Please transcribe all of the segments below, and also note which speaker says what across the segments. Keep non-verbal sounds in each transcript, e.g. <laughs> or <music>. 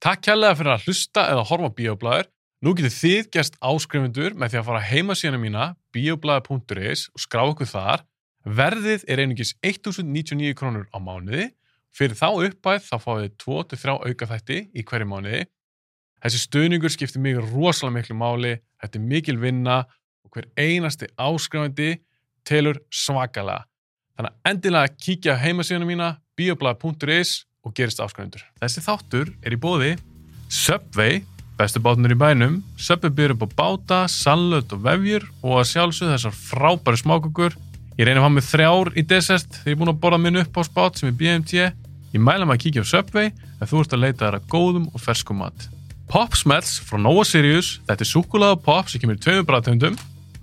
Speaker 1: Takk kærlega fyrir að hlusta eða horfa á Bíoblæður. Nú getur þið gerst áskrifundur með því að fara heima síðan mína, bioblæður.is og skrá okkur þar. Verðið er einungis 1099 krónur á mánuði. Fyrir þá uppæð þá fáið þið 2-3 auka þætti í hverju mánuði. Þessi stuðningur skiptir mig rosalega miklu máli, þetta er mikil vinna og hver einasti áskrifandi telur svakalega. Þannig að endilega kíkja á heimasíðuna mína bioblað.is og gerist áskrifundur. Þessi þáttur er í bóði Subway, bestu bátunur í bænum, Subway byrjur upp á báta, salöt og vefjur og að sjálfsögðu þessar frábæri smákukur. Ég reyna að fá mig þrjár í desert þegar ég er búin að borða minn upp á spát sem er BMT. Ég mæla maður að kíkja á Subway ef þú ert að leita þær að góðum og ferskum mat. Pop Smells frá Nova Sirius, þetta er súkulega pop sem kemur í tveimur bræðtöndum,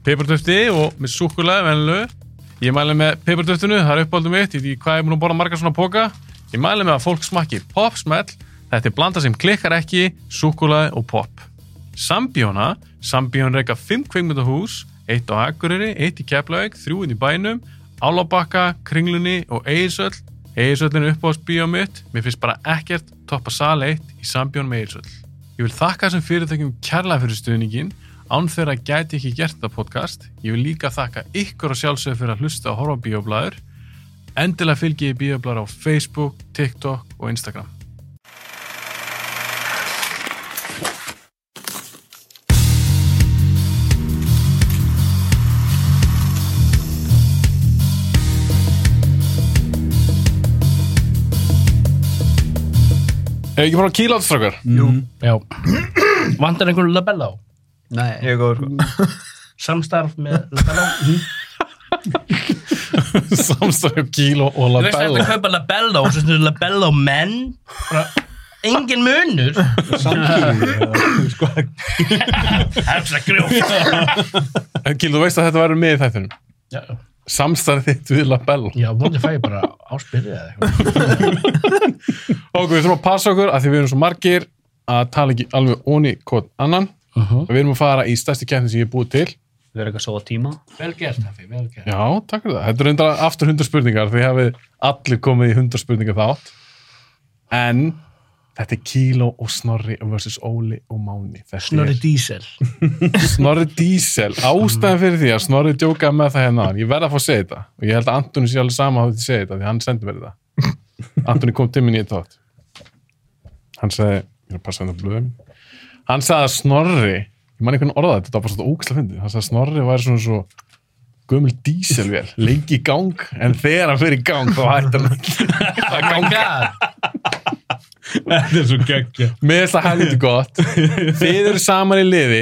Speaker 1: pipartöfti og með súkulega venlu. Ég mæli með pipartöftinu, það er uppáldum mitt, ég veit ekki hvað ég er búin að borða margar svona póka. Ég mæli með að fólk smakki Pop Smell, þetta er blanda sem klikkar ekki, súkulega og pop. Sambjóna, Sambjón reyka 5 kveikmyndahús, 1 á Akureyri, 1 í Keflavík, 3 inn í bænum, Álabakka, Kringlunni og Eirsöll. Eirsöllin er uppáhaldsbíó mitt, mér finnst bara ekkert toppa sal 1 í Sambjón með Eirsöll. Ég vil þakka þessum fyrirtækjum kærlega fyrir stuðningin, án þeirra gæti ég ekki gert það podcast. Ég vil líka þakka ykkur og sjálfsögur fyrir að hlusta og horfa á bíoblæður. Endilega fylgi ég bíoblæður á Facebook, TikTok og Instagram. Hefur ekki bara að kýla átt strákar?
Speaker 2: Já. Vandar einhvern labella á?
Speaker 3: Nei,
Speaker 4: Ég er góður
Speaker 2: <laughs>
Speaker 4: sko.
Speaker 2: Samstarf með
Speaker 1: <laughs>
Speaker 2: labella á?
Speaker 1: Samstæðu kýla og
Speaker 2: Þú veist eftir að
Speaker 1: labella.
Speaker 2: kaupa labella á, svo snurður labella á menn. Bara, engin munur.
Speaker 3: samkynni sko,
Speaker 2: Hefsa
Speaker 1: <laughs>
Speaker 2: grjóf.
Speaker 1: En Kýl, þú veist að þetta verður með í þættinum.
Speaker 2: Já,
Speaker 1: Samstæðu þitt við labella.
Speaker 2: já, vonandi fæ ég bara áspyrðið eða eitthvað.
Speaker 1: Ok, við þurfum að passa okkur að því við erum svo margir að tala ekki alveg óni hvort annan.
Speaker 2: Mhm.
Speaker 1: Við erum að fara í stærsti keppni sem ég er búið til.
Speaker 4: Við erum eitthvað svo tíma.
Speaker 2: Vel gert, Hafi, vel gert.
Speaker 1: Já, takk fyrir það. Þetta er undra aftur hundar spurningar því hafið allir komið í hundar spurningar þátt. En þetta er Kíló og Snorri versus Óli og Máni. Þetta er-
Speaker 2: Snorri Diesel.
Speaker 1: Snorri Diesel. Ástæðan fyrir því að Snorri djókaði með það hérna. áðan. Ég verð að fá að segja þetta. Og ég held að Antoni sé alveg sama að þetta segja þetta því hann sendi mér þetta. Antoni kom til minn í þetta átt. Hann sagði, ég er að passa þetta blöðum. Hann sagði að Snorri, ég man einhvern orðað þetta, þetta var bara svona ógæslega fyndið. Hann sagði að Snorri væri svona svo gömul díselvél, lengi í gang, en þegar hann fyrir í gang þá hættir hann að ganga.
Speaker 2: God.
Speaker 3: þetta er svo geggja
Speaker 1: Mér finnst það
Speaker 3: <laughs>
Speaker 1: helviti gott Þið eru saman í liði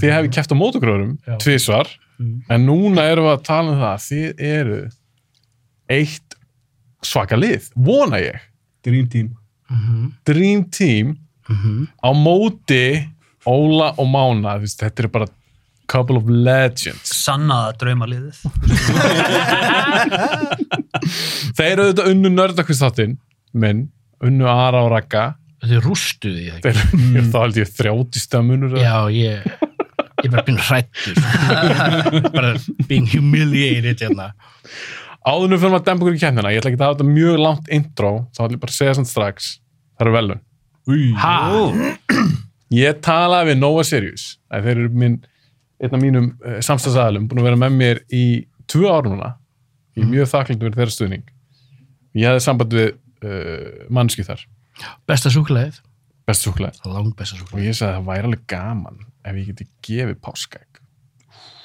Speaker 1: Þið hefði kæft á mótokröðurum
Speaker 2: Já.
Speaker 1: tvisvar
Speaker 3: Mm.
Speaker 1: En núna erum við að tala um það að Þið eru eitt svaka lið, vona ég
Speaker 3: Dream Team
Speaker 1: Dream Team á móti Óla og Mána Þú veist, Þetta er bara couple of legends
Speaker 4: Sannaða draumaliðið.
Speaker 1: Þeir eru auðvitað unnu nördakvistáttin minn, unnu Ara og Ragga
Speaker 2: Þið rústuðu því ekki.
Speaker 1: Þeir eru
Speaker 3: Mm.
Speaker 1: þá held ég þrjáttist að munur eða-
Speaker 2: Já, ég... Ég er bara bín
Speaker 1: <laughs>
Speaker 2: hrættur. bara being humiliated hérna.
Speaker 1: áðunum fyrir að dempa okkur í kemnina, ég ætla ekki að hafa þetta mjög langt intro, þá ætla ég bara að segja svona strax það eru velun.
Speaker 3: Új,
Speaker 1: Ég talaði við Nova Sirius, að þeir eru minn, einn af mínum uh, samstagsæðalum, búin að vera með mér í tvö ár núna, ég er mjög þakklægt fyrir þeirra stuðning. Ég hefði samband við uh, mannski þar,
Speaker 2: Besta súkulegið.
Speaker 1: best súkulega,
Speaker 2: Lang besta
Speaker 1: og
Speaker 2: súkulegið.
Speaker 1: ég sagði að það væri alveg gaman ef ég geti gefið páskaegg.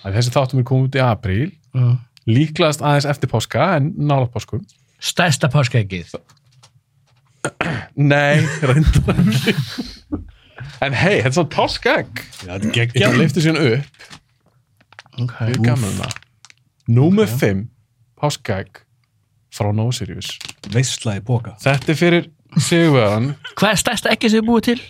Speaker 1: Að þessi þáttum er komið út í apríl,
Speaker 2: Mm.
Speaker 1: líklaðast aðeins eftir páska, en nála páskum.
Speaker 2: Stærsta páskaeggið.
Speaker 1: Nei, reyndar ekki. En hei, þetta er svona páskaegg.
Speaker 3: þetta er
Speaker 1: Ég
Speaker 3: geggja
Speaker 1: leifti síðan upp,
Speaker 2: Okay.
Speaker 1: við erum gaman um það. Númer 5, páskaegg frá Nova Sirius.
Speaker 3: veistla í boka
Speaker 1: Þetta er fyrir Sigurvegan,
Speaker 2: Hvað er stærsta ekki sem þið búið til?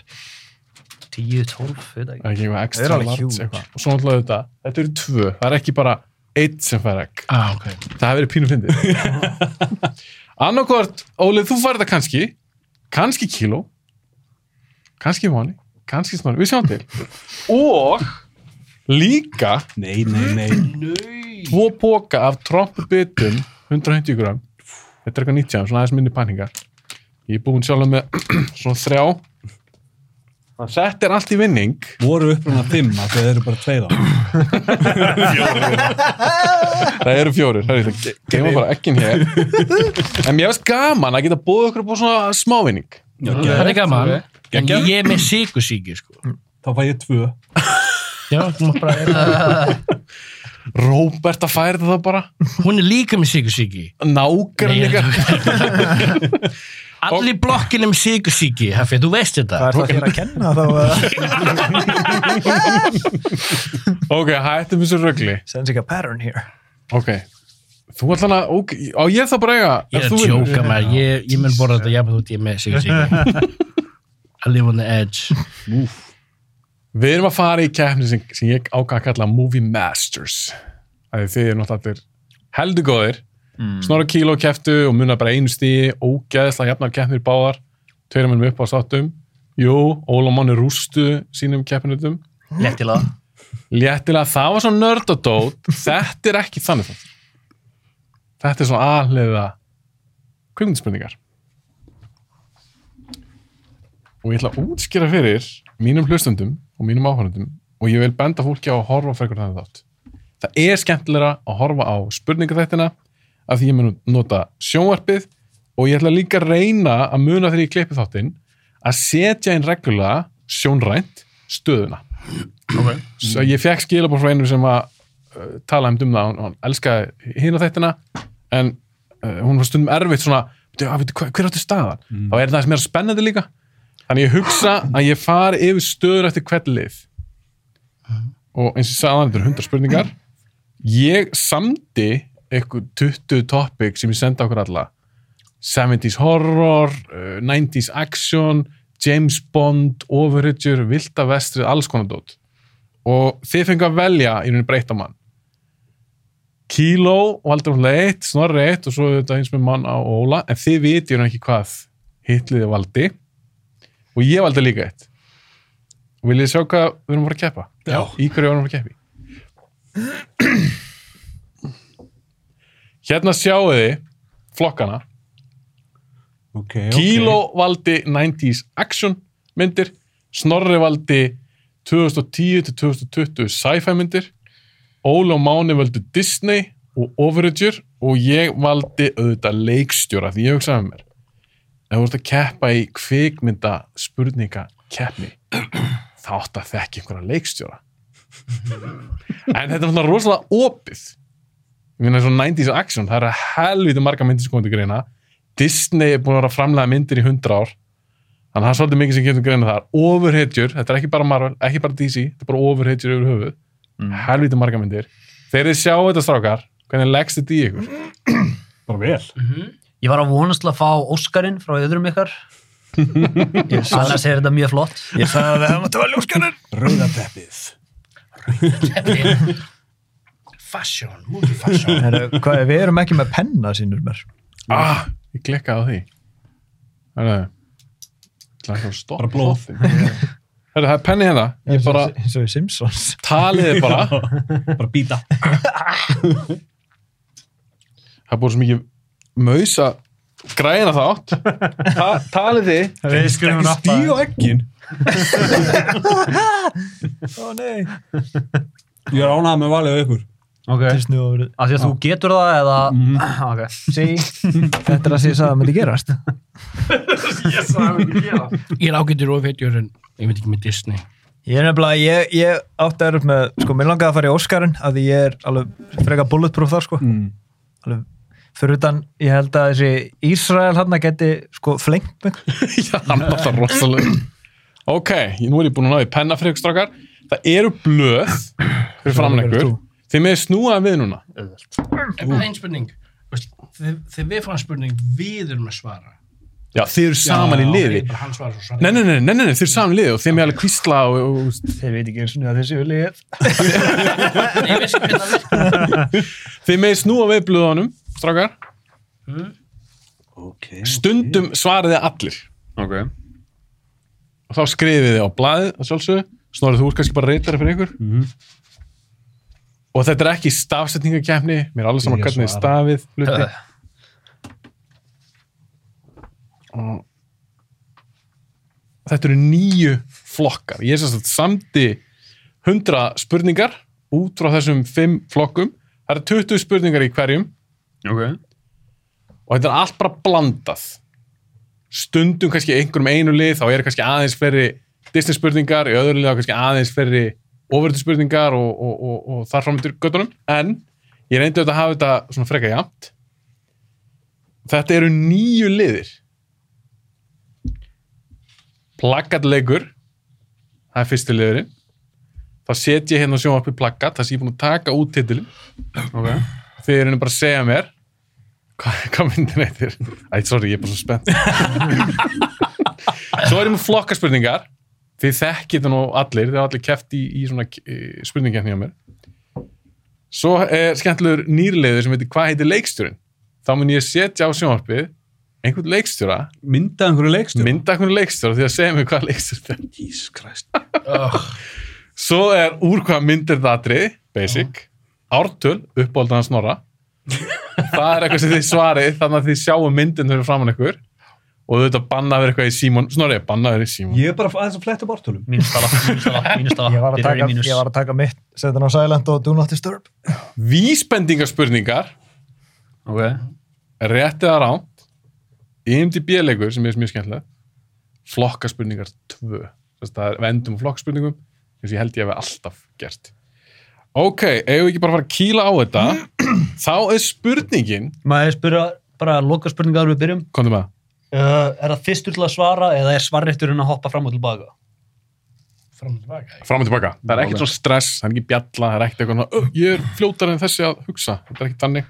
Speaker 4: 10-12, veit ekki.
Speaker 1: ekki eitthvað
Speaker 4: Þeir eru
Speaker 1: extra
Speaker 4: alveg
Speaker 1: large
Speaker 4: huge.
Speaker 1: eitthvað. Og svo náttúrulega þetta, þetta eru tvö, það er ekki bara eitt sem fær egg.
Speaker 2: Ah, ok.
Speaker 1: Það hefur verið pínu fyndið.
Speaker 3: <laughs>
Speaker 1: Annarkvort, Ólið, þú færði það kannski, kannski kíló, kannski mánu, kannski snorri, við sjáum til. Og líka
Speaker 3: nei, nei, nei
Speaker 2: Nau.
Speaker 1: tvo póka af trompubitum 150 gram <clears throat> þetta er eitthvað 90 gram, svona aðeins minni panningar ég er búinn sjálf með svona þrjá Þetta er allt í vinning.
Speaker 3: voru uppruna fimm af því að þeir eru bara tveira
Speaker 1: Það eru fjórir. Hörru, það geima bara ekkin hér. en mér finnst gaman að geta búið okkur upp á svona smávinning.
Speaker 2: Það er gaman.
Speaker 1: Ok.
Speaker 2: En
Speaker 1: Geggjað.
Speaker 2: ég er með sikursíki, sko.
Speaker 3: þá fæ ég tvö
Speaker 2: Já, þú mátt bara...
Speaker 1: Róbert að færa þetta þá bara.
Speaker 2: Hún er líka með sikursíki.
Speaker 1: Nákvæmlega
Speaker 2: Nei,
Speaker 1: líka.
Speaker 2: Allir í blokkinni með sikursíki, Hafi, þú veist þetta.
Speaker 5: Það er það þér að kenna þá að
Speaker 1: Ok, hættum þessu rögli.
Speaker 5: Sounds like a pattern here
Speaker 1: Ok. Þú ætlan að, ok, á ég þá bara eiga.
Speaker 2: Ég
Speaker 1: Ef
Speaker 2: er að
Speaker 1: þú vinnur.
Speaker 2: tjóka maður, ég, ég mun borða þetta jafn út ég er með
Speaker 1: <laughs>
Speaker 2: sikursíki. I live on the edge.
Speaker 1: Við erum að fara í keppni sem, sem ég ákvað að kalla Movie Masters. Það er þið er náttúrulega allir heldur góðir. Snorra kíló keftu og munar bara einu stíði, ógeðslega jafnar keppnir báðar. Tveir munum upp á sáttum. Jú, Ólamann er rústu sínum keppinutum.
Speaker 4: Lettilega.
Speaker 1: Léttilega, það var svona nördadót. Þetta er ekki þannig þáttur. Þetta er svona aðlega kvikmyndspurningar. Og ég ætla að útskýra fyrir mínum hlustundum og mínum áhörnundum og ég vil benda fólki á að horfa frekar þannig þátt. Það er skemmtilegra að horfa á spurningaþættina af því ég mun nota sjónvarpið og ég ætla líka að reyna að muna þegar ég klippi þáttinn að setja inn reglulega sjónrænt stöðuna. Okay. Svo ég fekk skilabóð frá einum sem að uh, tala um það, hún, hún elskaði hina þættina en uh, hún var stundum erfitt svona, "Bíddu, að, veitu, hver, hver áttu staðan? Þá er það sem er spennandi líka. Þannig ég hugsa að ég fari yfir stöður eftir hvern lið. Og eins og ég sagði að þetta eru 100 spurningar. Ég samdi eitthvað 20 topic sem ég sendi okkur alla. 70s horror, uh, 90s action, James Bond, Overridger, Vilda Vestrið, alls konar dót. Og þið fengu að velja í rauninni breyta mann. Kíló valdur hún leitt, snorri eitt og svo þetta eins með mann á Óla. En þið viti hún ekki hvað hitliði valdi. Og ég valdi líka eitt. Viljið þið sjá hvað við erum að fara að keppa? Já. Í hverju við erum að fara að keppa í? <clears throat> Hérna sjáu þið flokkana.
Speaker 3: okay,
Speaker 1: Kíló valdi 90s action myndir. Snorri valdi 2010-2020 sci-fi myndir. Óli og Máni valdi Disney og Overager og ég valdi auðvitað leikstjóra því ég hugsaði með mér. Ef þú ert að keppa í kvikmynda spurninga keppni <clears throat> þá átt að þekki einhverja leikstjóra. <laughs> en þetta er svona rosalega opið. Ég meina svona 90s action, það eru helviti marga myndir sem komið til greina. Disney er búin að vera að framlega myndir í 100 ár. Þannig að það er svolítið mikið sem kemur til greina þar. Overhedjur, þetta er ekki bara Marvel, ekki bara DC, þetta er bara overhedjur yfir höfuð. Helviti marga myndir. Þegar þið sjáu þetta strákar, hvernig leggst þetta í ykkur?
Speaker 3: bara vel
Speaker 4: Ég var að vonast til að fá Óskarinn frá öðrum
Speaker 2: <laughs>
Speaker 4: ykkar. Annars er þetta mjög flott.
Speaker 5: Ég sagði að um það máttu að ljóskanur
Speaker 3: rauðateppið
Speaker 2: Fashion, mútið fashion.
Speaker 5: Hvað, við erum ekki með penna sínur mér
Speaker 1: Ah, ég klikkaði á því. Hörru, það er ekki að stoppa.
Speaker 3: Bara blóð.
Speaker 1: þáttinn. Hörru, það er penni hérna. Ég bara
Speaker 5: Eins og í Simpsons
Speaker 1: taliði bara.
Speaker 3: bara býta
Speaker 1: Það er búin svo mikið maus að græna þátt. Ta talið þið.
Speaker 5: Við skulum
Speaker 3: ekki stíð á ekkin
Speaker 5: Ó nei
Speaker 3: ég er ánægð með valið á ykkur
Speaker 4: Ok.
Speaker 5: Til snúður
Speaker 4: Af því að þú getur það eða...
Speaker 2: Mhm.
Speaker 4: Ah, Ok.
Speaker 5: Sí, þetta er það sem ég sagði að myndi gerast
Speaker 2: Ég er ágættur ofetjur en ég veit ekki með Disney.
Speaker 5: Ég er nefnilega, ég, ég átti að erum með, sko, mér langaði að fara í Óskarinn af því ég er alveg freka bulletproof þar, sko.
Speaker 3: Mm.
Speaker 5: Alveg, fyrir utan, ég held að þessi Ísrael hann að geti, sko, flengt mig.
Speaker 1: <laughs> Já, hann var það rosalega. Ok, nú er ég búin að ná í penna fyrir ykkur strákar. Það eru blöð fyrir framann ykkur. Þið meði snúaði við núna.
Speaker 2: En það er einn spurning. Veist, Þegar þegar við fáum spurning, við erum að svara.
Speaker 1: Já, þið eru saman í liði.
Speaker 2: Ég bara hann svara svo svara.
Speaker 1: Nei, nei, nei, nei, nei, nei, þið eru saman í liði og þið meði alveg kvísla og, og, og
Speaker 5: Þeir veit ekki eins og þessi vil ég.
Speaker 2: nei. Ég veist ekki hvernig það virkar.
Speaker 1: Þið meði snúa við blöðunum, strákar.
Speaker 3: ok
Speaker 1: Stundum svariði allir. Ok. Og þá skrifið þið á blaðið, að sjálfsögðu. Snorrið þú úr kannski bara reytari fyrir ykkur.
Speaker 3: Mhm.
Speaker 1: Og þetta er ekki stafsetningakefni. Mér er alveg saman
Speaker 3: Ég
Speaker 1: hvernig þið
Speaker 3: svara.
Speaker 1: stafið hluti.
Speaker 4: Ugh.
Speaker 1: Og þetta eru nýju flokkar. Ég er sem sagt samdi 100 spurningar út frá þessum 5 flokkum. Það eru 20 spurningar í hverjum
Speaker 6: Ok.
Speaker 1: og þetta er allt bara blandað. Stundum kannski einhverjum einu lið, þá eru kannski aðeins fleiri Disney spurningar, í öðru lið þá kannski aðeins fleiri ofurðu spurningar og, og, og, og þar fram til göttunum. En ég reyndi auðvitað að hafa þetta svona freka jafnt. Þetta eru nýju liðir. Plakatleikur, það er fyrsti liðurinn. Þá set ég hérna sjónvarpið plakat, það sem ég er búin að taka út titilin.
Speaker 6: Ok.
Speaker 1: Þið eru bara að segja mér hvað, hvað myndin heitir. Æ, sorry, ég er bara svo spennt. Svo erum við flokkaspurningar. Þið þekkið þetta nú allir, þið hafa allir keft í, í svona spurningkjarni á mér. Svo er skemmtilegur nýrleiður sem heitir hvað heitir leikstjórin. Þá mun ég setja á sjónvarpið einhvern leikstjóra,
Speaker 3: Mynda einhverju leikstur
Speaker 1: mynda einhvern leikstjóra því að segja mér hvað leikstjóra þetta er.
Speaker 3: Jesus Christ
Speaker 1: Svo er úr hvað myndir það atrið, basic, ártöl, uppbóldan snorra. það er eitthvað sem þið svarið, þannig að þið sjáum myndin fyrir framann ykkur og þetta banna verið eitthvað í símón, snorri, banna verið í símón.
Speaker 3: Ég er bara aðeins að fletta upp ártölum
Speaker 2: Mínustafa, mínustafa, mínustafa.
Speaker 5: Ég var að taka, ég var að taka mitt, setja hann á silent og do not disturb.
Speaker 1: Vísbendingarspurningar,
Speaker 6: Ok.
Speaker 1: rétt eða ránt, IMDB-leikur sem er mjög skemmtilega, flokkaspurningar 2. Þess að það er vendum og flokkaspurningum, eins og ég held ég hef alltaf gert. Ok, eigum við ekki bara að fara að kýla á þetta, þá er spurningin,
Speaker 2: Maður spyrja bara loka spurninga áður við byrjum.
Speaker 1: komdu með það.
Speaker 2: Uh, er það fyrstur til að svara eða er svarrétturinn að hoppa fram og tilbaka?
Speaker 4: Fram og tilbaka.
Speaker 1: fram og tilbaka, það er ekkert svona stress það er ekki bjalla, það er ekkert eitthvað svona, "Ö, ég er fljótar en þessi að hugsa, þetta er ekkert þannig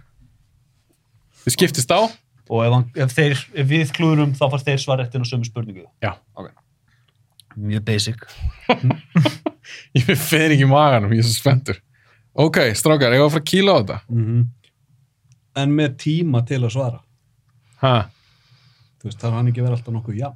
Speaker 1: þið skiptist á
Speaker 2: Og ef, hann, ef, þeir, ef við klúðurum þá fær þeir svarréttin á sömu spurningu.
Speaker 1: já,
Speaker 2: Mjög basic.
Speaker 1: ég fer ekki í maganum, ég er svo spenntur ok, strákar, ég var að fara að kíla á þetta
Speaker 3: En með tíma til að svara
Speaker 1: ha,
Speaker 3: Þú veist, þarf hann ekki að vera alltaf nokkuð já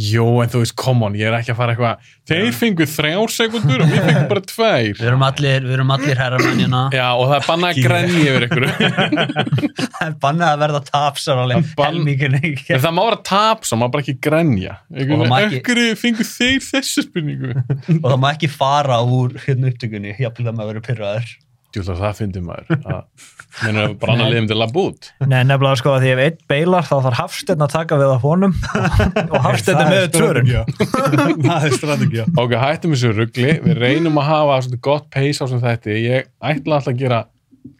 Speaker 1: jó, en þú veist, come on, ég er ekki að fara eitthvað þeir fengu þrjár sekundur og mér fengu bara tvær
Speaker 2: Við erum allir, við erum allir herramennina.
Speaker 4: hérna.
Speaker 1: já, og það er bannað að grenja yfir ykkur <laughs>
Speaker 2: Það er bannað að verða tapsar alveg.
Speaker 1: Bann-
Speaker 4: <laughs>
Speaker 2: Helmingin ekki.
Speaker 1: En það má vera tap svo, maður bara ekki grenja
Speaker 2: Og það má
Speaker 1: ykkur,
Speaker 2: ekki-
Speaker 1: ykkur fengu þeir þessu spurningu <laughs>
Speaker 2: og það má ekki fara úr hérna upptökunni jafnvel að maður verið pyrraður
Speaker 1: Júla, það fyndi <laughs> maður að, menur að bara um annar liðum til að bút
Speaker 5: Nei, nefnilega sko að því ef einn beilar þá þarf Hafsteinn að taka við af honum og Hafsteinn er með tvörun.
Speaker 3: tvörun Það er strategja
Speaker 1: Ok, hættum þessu ruggli, við reynum að hafa svolítið gott pace á sem þetta. Ég ætla alltaf að gera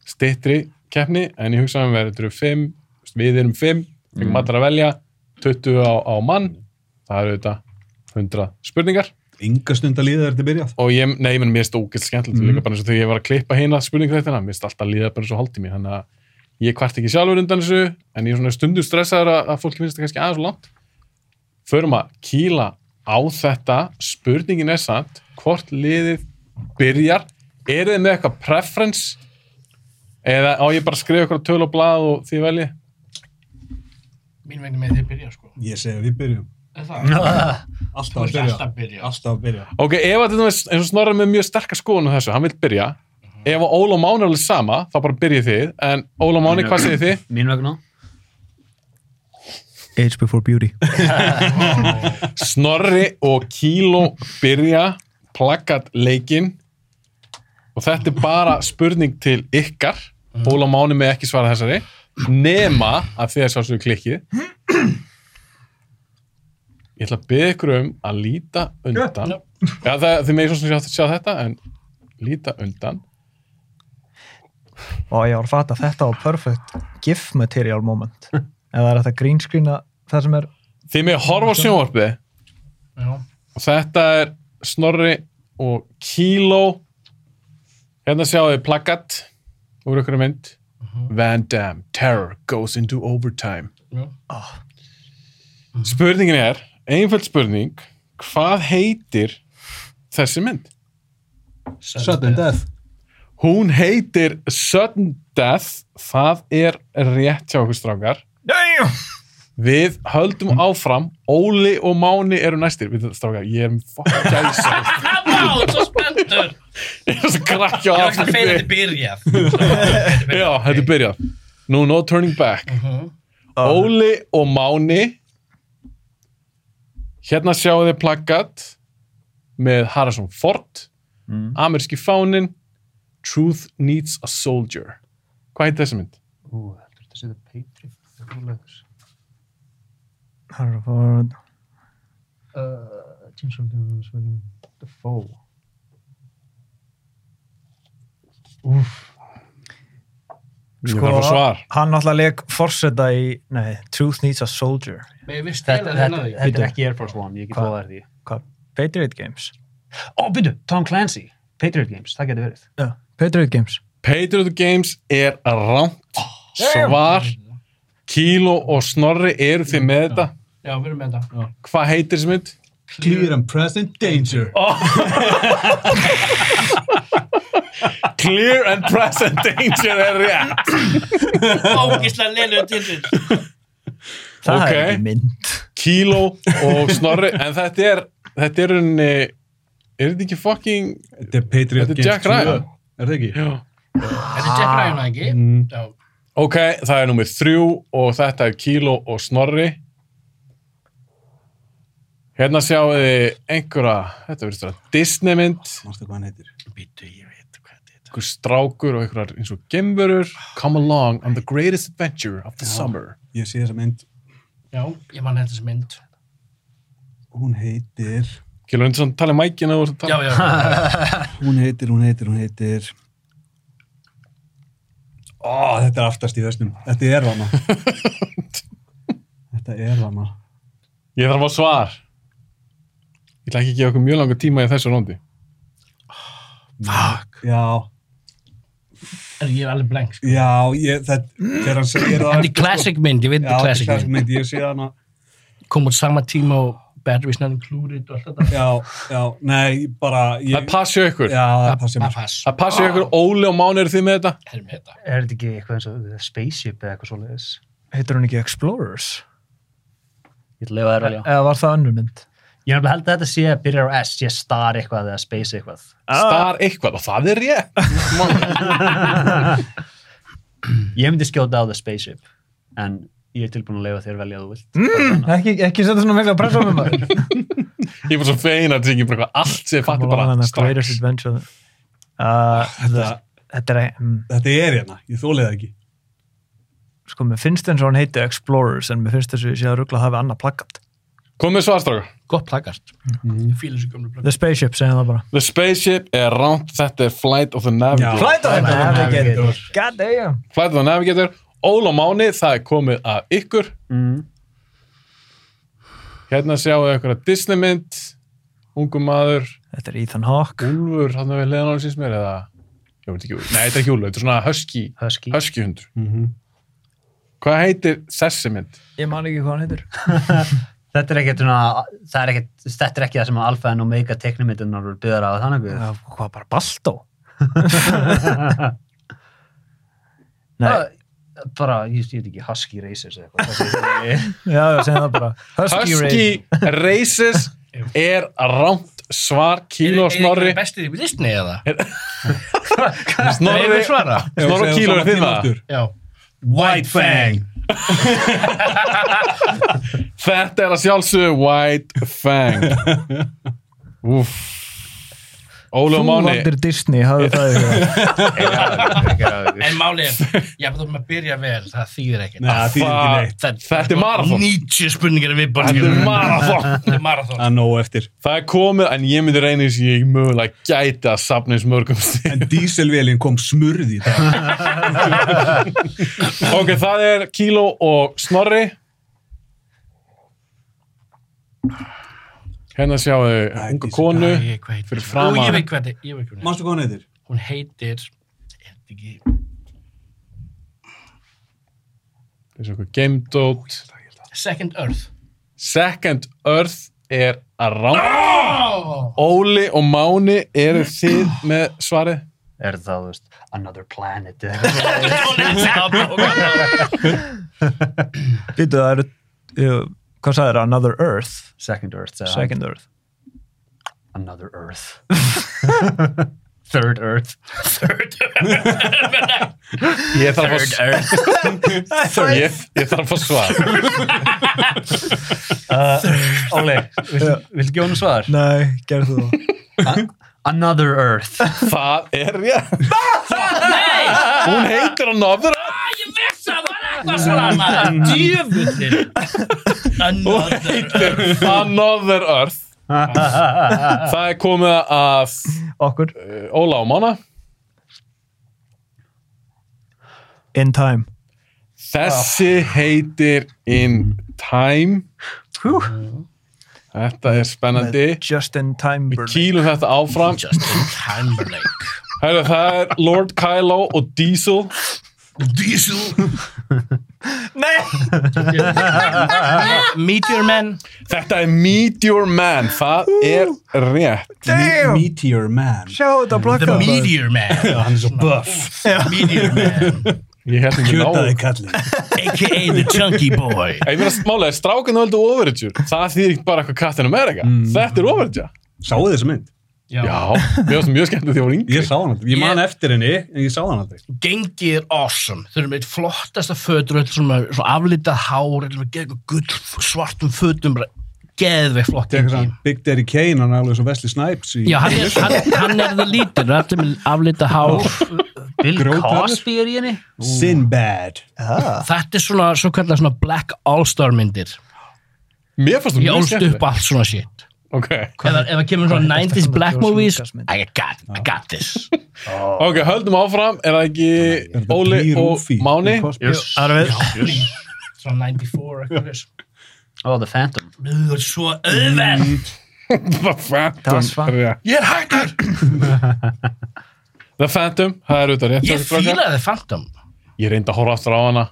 Speaker 1: stittri keppni, en ég hugsa að við erum fimm, við erum fimm, fengum allar að velja, 20 á, á mann, það eru þetta 100 spurningar.
Speaker 3: Inga stund að líða þegar þetta er byrjað
Speaker 1: Og ég, nei, menn, mér finnst það ógæst skemmtilegt, líka bara eins og þegar ég var að klippa hérna spurningu þetta, mér finnst alltaf að líða bara eins og hálftími, þannig að ég kvart ekki sjálfur undan þessu, en ég er svona stundu stressaður að, að fólki finnst þetta kannski aðeins og langt. Förum að kýla á þetta, spurningin er samt, hvort liðið byrjar, er þið með eitthvað preference, eða á ég bara að skrifa eitthvað töl og blað og því velji?
Speaker 4: Mín vegna með þið byrja, sko.
Speaker 3: Ég segi að við byrjum
Speaker 4: Er það?
Speaker 3: Alltaf
Speaker 4: Þú
Speaker 3: að
Speaker 4: ert alltaf
Speaker 3: byrja
Speaker 4: að byrja.
Speaker 3: Alltaf að byrja
Speaker 1: Ok, ef að þetta er eins og snorra með mjög sterka skoðun á þessu, hann vil byrja, ef að Óla og Máni er alveg sama, þá bara byrjið þið, en Óla og Máni, hvað segir þið?
Speaker 2: mín vegna
Speaker 5: Age before beauty.
Speaker 1: Snorri og Kíló byrja plakat leikinn og þetta er bara spurning til ykkar Óla Máni með ekki svara þessari nema að þið er svo sem klikkið Ég ætla að byrja ykkur um að líta undan Já, það, þið megin svo sem sjá, sjá þetta en líta undan
Speaker 5: Og ég var að fatta að þetta var perfect gif material moment. En það er þetta greenscreena það sem er
Speaker 1: Þið megin horfa á sjónvarpið
Speaker 4: Já.
Speaker 1: og þetta er Snorri og Kíló hérna sjáum við plakat úr ykkur mynd Van Damme, Terror goes into overtime Mhm.
Speaker 4: Mhm. Já.
Speaker 1: spurningin er einföld spurning hvað heitir þessi mynd?
Speaker 3: Sudden death
Speaker 1: Hún heitir Sudden Death það er rétt hjá okkur strákar
Speaker 5: Damn!
Speaker 1: Við
Speaker 4: Mhm.
Speaker 1: höldum áfram, Óli og Máni eru næstir. Við strákar, ég er fokk gæsa.
Speaker 4: <laughs> Vá, svo spenntur!
Speaker 1: Ég er svo krakki á
Speaker 4: Ég var ekki að feina
Speaker 1: afsökunni.
Speaker 4: þetta byrja.
Speaker 1: Já, þetta er byrjað. Nú, no Uh-huh. turning back.
Speaker 4: Mhm.
Speaker 1: Óli og Máni Hérna sjáu þið plakat með Harrison Ford,
Speaker 5: Mm.
Speaker 1: ameríski fánin, Truth Needs a Soldier. Hvað heitir þessi mynd?
Speaker 4: Ú, heldur þetta að setja Patriot? Það er rúlegur.
Speaker 5: Harford
Speaker 4: Uh, James Bond, Willem Dafoe.
Speaker 1: Ég þarf að fá svar.
Speaker 5: hann náttúrulega leik forseta í nei, Truth Needs a Soldier
Speaker 6: Mér vist
Speaker 2: hérna
Speaker 4: Þetta, þetta, þetta
Speaker 5: Bíddu.
Speaker 4: er ekki...
Speaker 6: ekki Air Force One, ég get
Speaker 5: Hvað?
Speaker 6: lofa þér því.
Speaker 5: hvað, Patriot Games
Speaker 6: Ó, byrju, Tom Clancy, Patriot Games, það getur verið.
Speaker 5: já, Patriot Games
Speaker 1: Patriot Games er rámt svar. Kíló og Snorri eru þið með þetta.
Speaker 6: Já, við erum með þetta.
Speaker 1: Hvað heitir þessi mynd?
Speaker 3: Clear and present danger.
Speaker 1: Clear and Present Danger er rétt.
Speaker 6: Ógislega lélur titill.
Speaker 5: það
Speaker 1: Ok.
Speaker 5: er ekki mynd
Speaker 1: Kíló og Snorri, en þetta er, þetta er unni, er þetta ekki fucking,
Speaker 3: Þetta er
Speaker 1: Þetta
Speaker 3: Patriot
Speaker 1: er
Speaker 3: Games
Speaker 1: Jack
Speaker 3: 2.
Speaker 1: Ryan.
Speaker 3: Er það ekki?
Speaker 1: já.
Speaker 7: Þetta er Jack Ryan, ekki? Já.
Speaker 1: Ok, það er nummið þrjú og þetta er Kíló og Snorri. Hérna sjáum við einhverja, þetta verður stöða Disneymynd,
Speaker 3: Mástu hvað hann heitir?
Speaker 1: einhver strákur og einhverjar eins og gemverur. Come along on the greatest adventure of the summer.
Speaker 3: Ég sé þessa mynd.
Speaker 7: Já, ég man þetta sem mynd.
Speaker 3: Hún heitir...
Speaker 1: Kíló, þetta er svona talið mækina og þetta.
Speaker 7: Já, <laughs> já, já.
Speaker 3: Hún heitir, hún heitir, hún heitir... Ó, þetta er aftast í vestum. Þetta er
Speaker 7: <laughs>
Speaker 3: hana. þetta er hana.
Speaker 1: Ég þarf að fá svar. Ég ætla ekki að gefa okkur mjög langa tíma í þessu róndi.
Speaker 3: Já,
Speaker 7: En ég er alveg blank, sko.
Speaker 3: já, ég, þetta... Þegar hann segir það...
Speaker 7: Þetta er classic mynd, ég veit
Speaker 3: Já,
Speaker 7: þetta er
Speaker 3: þetta er
Speaker 7: classic
Speaker 3: classic
Speaker 7: mynd.
Speaker 3: mynd. Ég sé hana.
Speaker 7: Kom út sama tíma og Batteries Not Included og allt þetta.
Speaker 3: Já, já, nei, bara... Ég,
Speaker 1: Það passja ykkur.
Speaker 3: Já, það passið
Speaker 7: Bara
Speaker 3: mér.
Speaker 7: pass.
Speaker 1: Það passja ykkur. Óli og Máni eru þið með þetta.
Speaker 7: Erum við þetta.
Speaker 4: Er þetta ekki eitthvað eins og The Spaceship eða eitthvað svoleiðis?
Speaker 5: heitur hún ekki Explorers
Speaker 4: Ég ætla að lifa þér alveg.
Speaker 5: eða var það önnur mynd
Speaker 4: Ég er nefnilega held að þetta sé að byrja á S, sé star eitthvað eða space eitthvað.
Speaker 1: Star eitthvað og það er rétt.
Speaker 4: <laughs> Ég myndi skjóta á The Spaceship, en ég er tilbúin að leifa þér velja að þú vilt.
Speaker 5: ekki, ekki setja svona mikla pressa á mig maður
Speaker 1: Ég er bara svo fein að tryggja bara eitthvað allt sem ég fatti
Speaker 5: Come along on
Speaker 1: bara
Speaker 5: the
Speaker 1: strax.
Speaker 5: Greatest Adventure uh,
Speaker 3: Þetta,
Speaker 5: þetta er mm,
Speaker 3: þetta er hérna. Ég þólið það ekki.
Speaker 5: sko, mér finnst eins og hann heiti Explorers en mér finnst þessu ég sé að ruggla að hafa annað plakkat
Speaker 1: Komið svarstrákur.
Speaker 7: Gott plakart. Ég fíla Mm-hmm. þessu gömlu plakart.
Speaker 5: The Spaceship, segjum það bara
Speaker 1: The Spaceship er rámt, þetta er Flight of the Navigator.
Speaker 5: Flight of the
Speaker 4: Navigator.
Speaker 5: Navigator God damn
Speaker 1: Flight of the Navigator. Óla og Máni, það er komið að ykkur.
Speaker 5: Mm.
Speaker 1: Hérna sjáum við einhverja Disneymynd, ungum maður,
Speaker 5: Þetta er Ethan Hawke
Speaker 1: Úlfur, hann er við hliðan á hans mér, eða... Ég veit ekki, Úlfur. nei, þetta er ekki Úlfur, þetta er svona husky,
Speaker 4: Husky.
Speaker 1: husky hundur.
Speaker 5: Mhm.
Speaker 1: Hvað heitir þessi mynd?
Speaker 5: Ég man ekki hvað hann heitir
Speaker 4: Þetta er ekkert svona, það er ekkert, þetta er ekki það sem Alfa en Omega teknimyndunar eru byggðar á þannig við.
Speaker 5: Já, Hvað bara Balto? Nei,
Speaker 4: Það- Bara, ég ég veit ekki, Husky Racers eða eitthvað. það sé ég.
Speaker 5: já, já, segjum það bara Husky, Husky.
Speaker 1: Husky Races er rámt svar, kíló og snorri.
Speaker 7: bestið í Disney eða? <laughs> Nei,
Speaker 1: Snorri,
Speaker 7: við svara.
Speaker 1: Snorri og kíló er þinn
Speaker 3: það.
Speaker 1: það.
Speaker 7: Já. White Fang.
Speaker 1: Þetta er að sjálfsögðu White Fang. Úf. Óli og
Speaker 5: Þú
Speaker 1: Máni,
Speaker 5: valdir Disney, hafðu það ykkur
Speaker 7: En málið, er, ég hef þótt maður að byrja vel, það þýðir ekkert.
Speaker 3: Nei, það þýðir ekki
Speaker 1: Það-
Speaker 3: neitt.
Speaker 1: þetta er marathon.
Speaker 7: 90 spurningar við bara.
Speaker 1: Þetta er marathon.
Speaker 7: Þetta er marathon.
Speaker 3: Það er nóg eftir.
Speaker 1: Það er komið, en ég myndi reyna þess að ég mögulega gæti að safna eins mörgum stíl.
Speaker 3: En díselvélin kom smurð í dag.
Speaker 1: <laughs> Ok, það er kíló og snorri. Hérna sjáum við unga konu
Speaker 7: Æ, ég- hvað heitir
Speaker 1: fyrir
Speaker 7: hún?
Speaker 1: framan-
Speaker 7: Ú, Ég veit hvað þetta, ég veit hvað hún heitir.
Speaker 3: Mástu hvað hann heitir?
Speaker 7: Hún heitir, er þetta ekki,
Speaker 1: eins og eitthvað Game Dot.
Speaker 7: Second Earth.
Speaker 1: Second Earth er að rána.
Speaker 7: Oh!
Speaker 1: Óli og Máni eru þið með svarið.
Speaker 4: <laughs> er það, þú veist, Another Planet eða eitthvað.
Speaker 5: Býtu, það eru jú, Hvað sagði það? Another Earth
Speaker 4: Second Earth. eða
Speaker 5: Second Earth
Speaker 4: Another Earth. Third Earth <laughs>
Speaker 1: Ég þarf að fá,
Speaker 4: Earth
Speaker 1: ég, ég þarf að fá svar.
Speaker 4: Uh, Óli, viltu viltu ekki honum svar?
Speaker 5: Nei, gerðu þú það.
Speaker 4: Another
Speaker 1: <laughs>
Speaker 4: Earth
Speaker 1: Það er rétt. Hún heitir hann ofður.
Speaker 7: Ég veist að það var eitthvað svona Djöfullin
Speaker 1: Hún heitir Another Earth.
Speaker 4: Þetta
Speaker 1: Það er komið að
Speaker 5: Okkur.
Speaker 1: uh, Óla og Mána.
Speaker 5: In time.
Speaker 1: Þessi heitir In Time.
Speaker 5: Hú.
Speaker 1: Þetta er spennandi.
Speaker 5: Með Just in time
Speaker 1: Við
Speaker 5: burn.
Speaker 1: kýlum þetta áfram.
Speaker 7: Justin Timberlake
Speaker 1: Herru, það er Lord Kylo og Diesel.
Speaker 7: Diesel
Speaker 5: Nei!
Speaker 7: Meteor Man
Speaker 1: Þetta er Meteor Man. Það er rétt.
Speaker 5: Damn!
Speaker 3: Meteor Man.
Speaker 5: Sjá þetta
Speaker 7: The
Speaker 5: blakka.
Speaker 7: Meteor Man
Speaker 3: Hann er svo buff.
Speaker 7: Meteor Man
Speaker 1: Ég held ekki ná.
Speaker 3: Kjötaði kallið.
Speaker 7: A.K.A. The Chunky Boy
Speaker 1: Ég meina smálega, strákanu heldur overager. Það þýðir ekki bara eitthvað Captain America. Þetta er overager.
Speaker 3: Sáu þið þessu mynd?
Speaker 1: Mm. Já, mér varst mjög skemmt að því að hún
Speaker 3: Ég
Speaker 1: yngri.
Speaker 3: sá hann aldrei. Ég man eftir henni, en ég sá hann aldrei.
Speaker 7: Gengið er awesome Þau eru með eitt flottasta fötur öll svona, svona aflitað hár Þeir eru með geðveikt gull svartum fötum bara Geðveikt flott
Speaker 3: Tekur
Speaker 7: gengi
Speaker 3: hann Big Daddy Kane, hann er alveg svo Wesley Snipes í
Speaker 7: Já, hann er, hann, hann er það lítur Þetta er með aflitað hár
Speaker 4: Bill
Speaker 3: Grjótharður.
Speaker 4: Cosby er í henni
Speaker 3: Sinbad.
Speaker 7: Þetta er svona, svo kallar svona Black All-Star myndir
Speaker 1: Mér fannst hún
Speaker 7: Ég
Speaker 1: mjög
Speaker 7: ólst
Speaker 1: skemmt.
Speaker 7: upp allt svona shit
Speaker 1: Ok,
Speaker 7: Ef ef það kemur svona 90s black
Speaker 5: svona
Speaker 7: movies
Speaker 5: útvarpsmynd?
Speaker 7: I got, I got this
Speaker 1: ok, höldum áfram. Er það ekki Óli og Máni?
Speaker 5: Arfið.
Speaker 7: Svona 94 eitthvað þess
Speaker 4: Oh, The Phantom
Speaker 7: Þú er svo auðveld
Speaker 1: The <laughs> Phantom.
Speaker 4: svar.
Speaker 1: rétt.
Speaker 7: Ég er hættur
Speaker 1: <laughs> The Phantom, það er auðvitað rétt.
Speaker 7: Ég
Speaker 1: hjá ykkur strákar.
Speaker 7: fílaði Phantom
Speaker 1: Ég reyndi að horfa aftur á hana.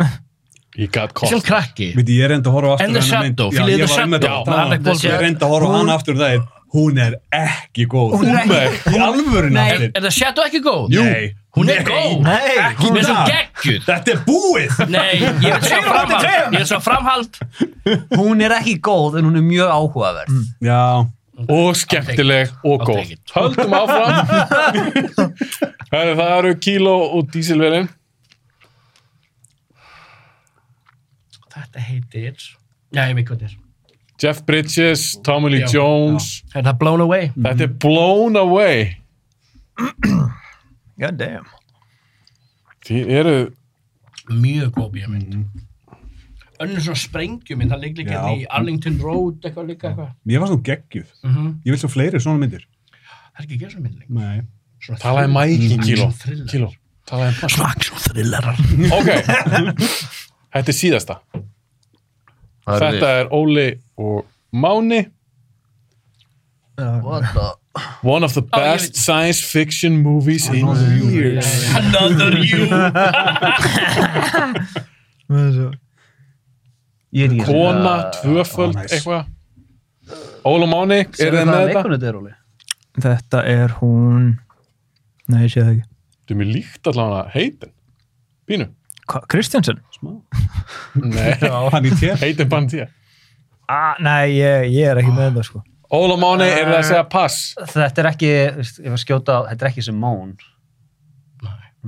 Speaker 1: Ég gat
Speaker 7: sem
Speaker 1: kost.
Speaker 7: krakki
Speaker 3: Veit, ég reyndi að horfa aftur
Speaker 7: And the
Speaker 3: á hana
Speaker 7: Shadow,
Speaker 3: Já,
Speaker 7: fílið
Speaker 3: ég
Speaker 7: The
Speaker 3: var
Speaker 7: Shadow.
Speaker 3: einmitt að tala um
Speaker 7: The
Speaker 3: það. Ég
Speaker 7: Shadow.
Speaker 3: reyndi að horfa á hana aftur það Hún er ekki góð. Hún er
Speaker 1: Nei,
Speaker 3: í alvörun
Speaker 7: Er,
Speaker 3: aftur.
Speaker 7: er það Shadow ekki góð?
Speaker 3: Jú.
Speaker 7: Hún er góð
Speaker 5: Nei!
Speaker 7: Hún er svo
Speaker 3: það.
Speaker 7: geggjur
Speaker 3: Þetta er búið!
Speaker 7: Nei, ég er svo framhald Ég er svo framhald
Speaker 4: Hún er ekki góð en hún er mjög áhugaverð
Speaker 3: Já,
Speaker 1: og skemmtileg og
Speaker 7: I'll
Speaker 1: góð.
Speaker 7: take it.
Speaker 1: Höldum áfram. <laughs> Herru, það eru Kilo og Dieselvelin.
Speaker 7: Þetta heitir Já, ég veit hvað þetta er
Speaker 1: Jeff Bridges, Tommy Lee
Speaker 7: Já,
Speaker 1: Jones.
Speaker 7: Er það Blown Away?
Speaker 1: Þetta er Blown Away.
Speaker 5: <clears throat> God damn.
Speaker 1: Þið eru
Speaker 7: mjög góð bíómynd önnur svona sprengjumynd, það liggur líka
Speaker 3: Já.
Speaker 7: hérna í Arlington Road eitthvað líka eitthvað
Speaker 3: ég var svona geggjuð.
Speaker 7: Mhm.
Speaker 3: Ég vil svo fleiri svona myndir.
Speaker 7: það er ekki að gera svona mynd lengur
Speaker 3: Nei.
Speaker 7: Svona
Speaker 1: talaði
Speaker 7: thriller-
Speaker 1: mækin Kilo.
Speaker 7: Action thriller.
Speaker 1: Kilo. Talaði mækin.
Speaker 7: svona action thrillerar
Speaker 1: Ok, þetta er síðasta. Þetta er Óli og Máni.
Speaker 4: What the
Speaker 1: One of the best science fiction movies in years.
Speaker 7: <laughs> another you
Speaker 4: Ég er ekki
Speaker 1: Kona, ah, tvöföld,
Speaker 3: nice.
Speaker 1: eitthvað. Óli og Máni, er þið með þetta?
Speaker 4: þetta er, Óli?
Speaker 5: Þetta er hún... Nei, ég sé það ekki.
Speaker 1: Þetta er mér líkt allavega heitin. Pínu.
Speaker 5: Hva- Kristjansen?
Speaker 1: Nei,
Speaker 3: Hann í tér.
Speaker 1: heitin bann tíð.
Speaker 5: Ah, nei, ég, ég er ekki með það, sko.
Speaker 1: Óli og Máni, er það að segja pass?
Speaker 4: Þetta er ekki, veist, ég var að skjóta á, þetta er ekki Simone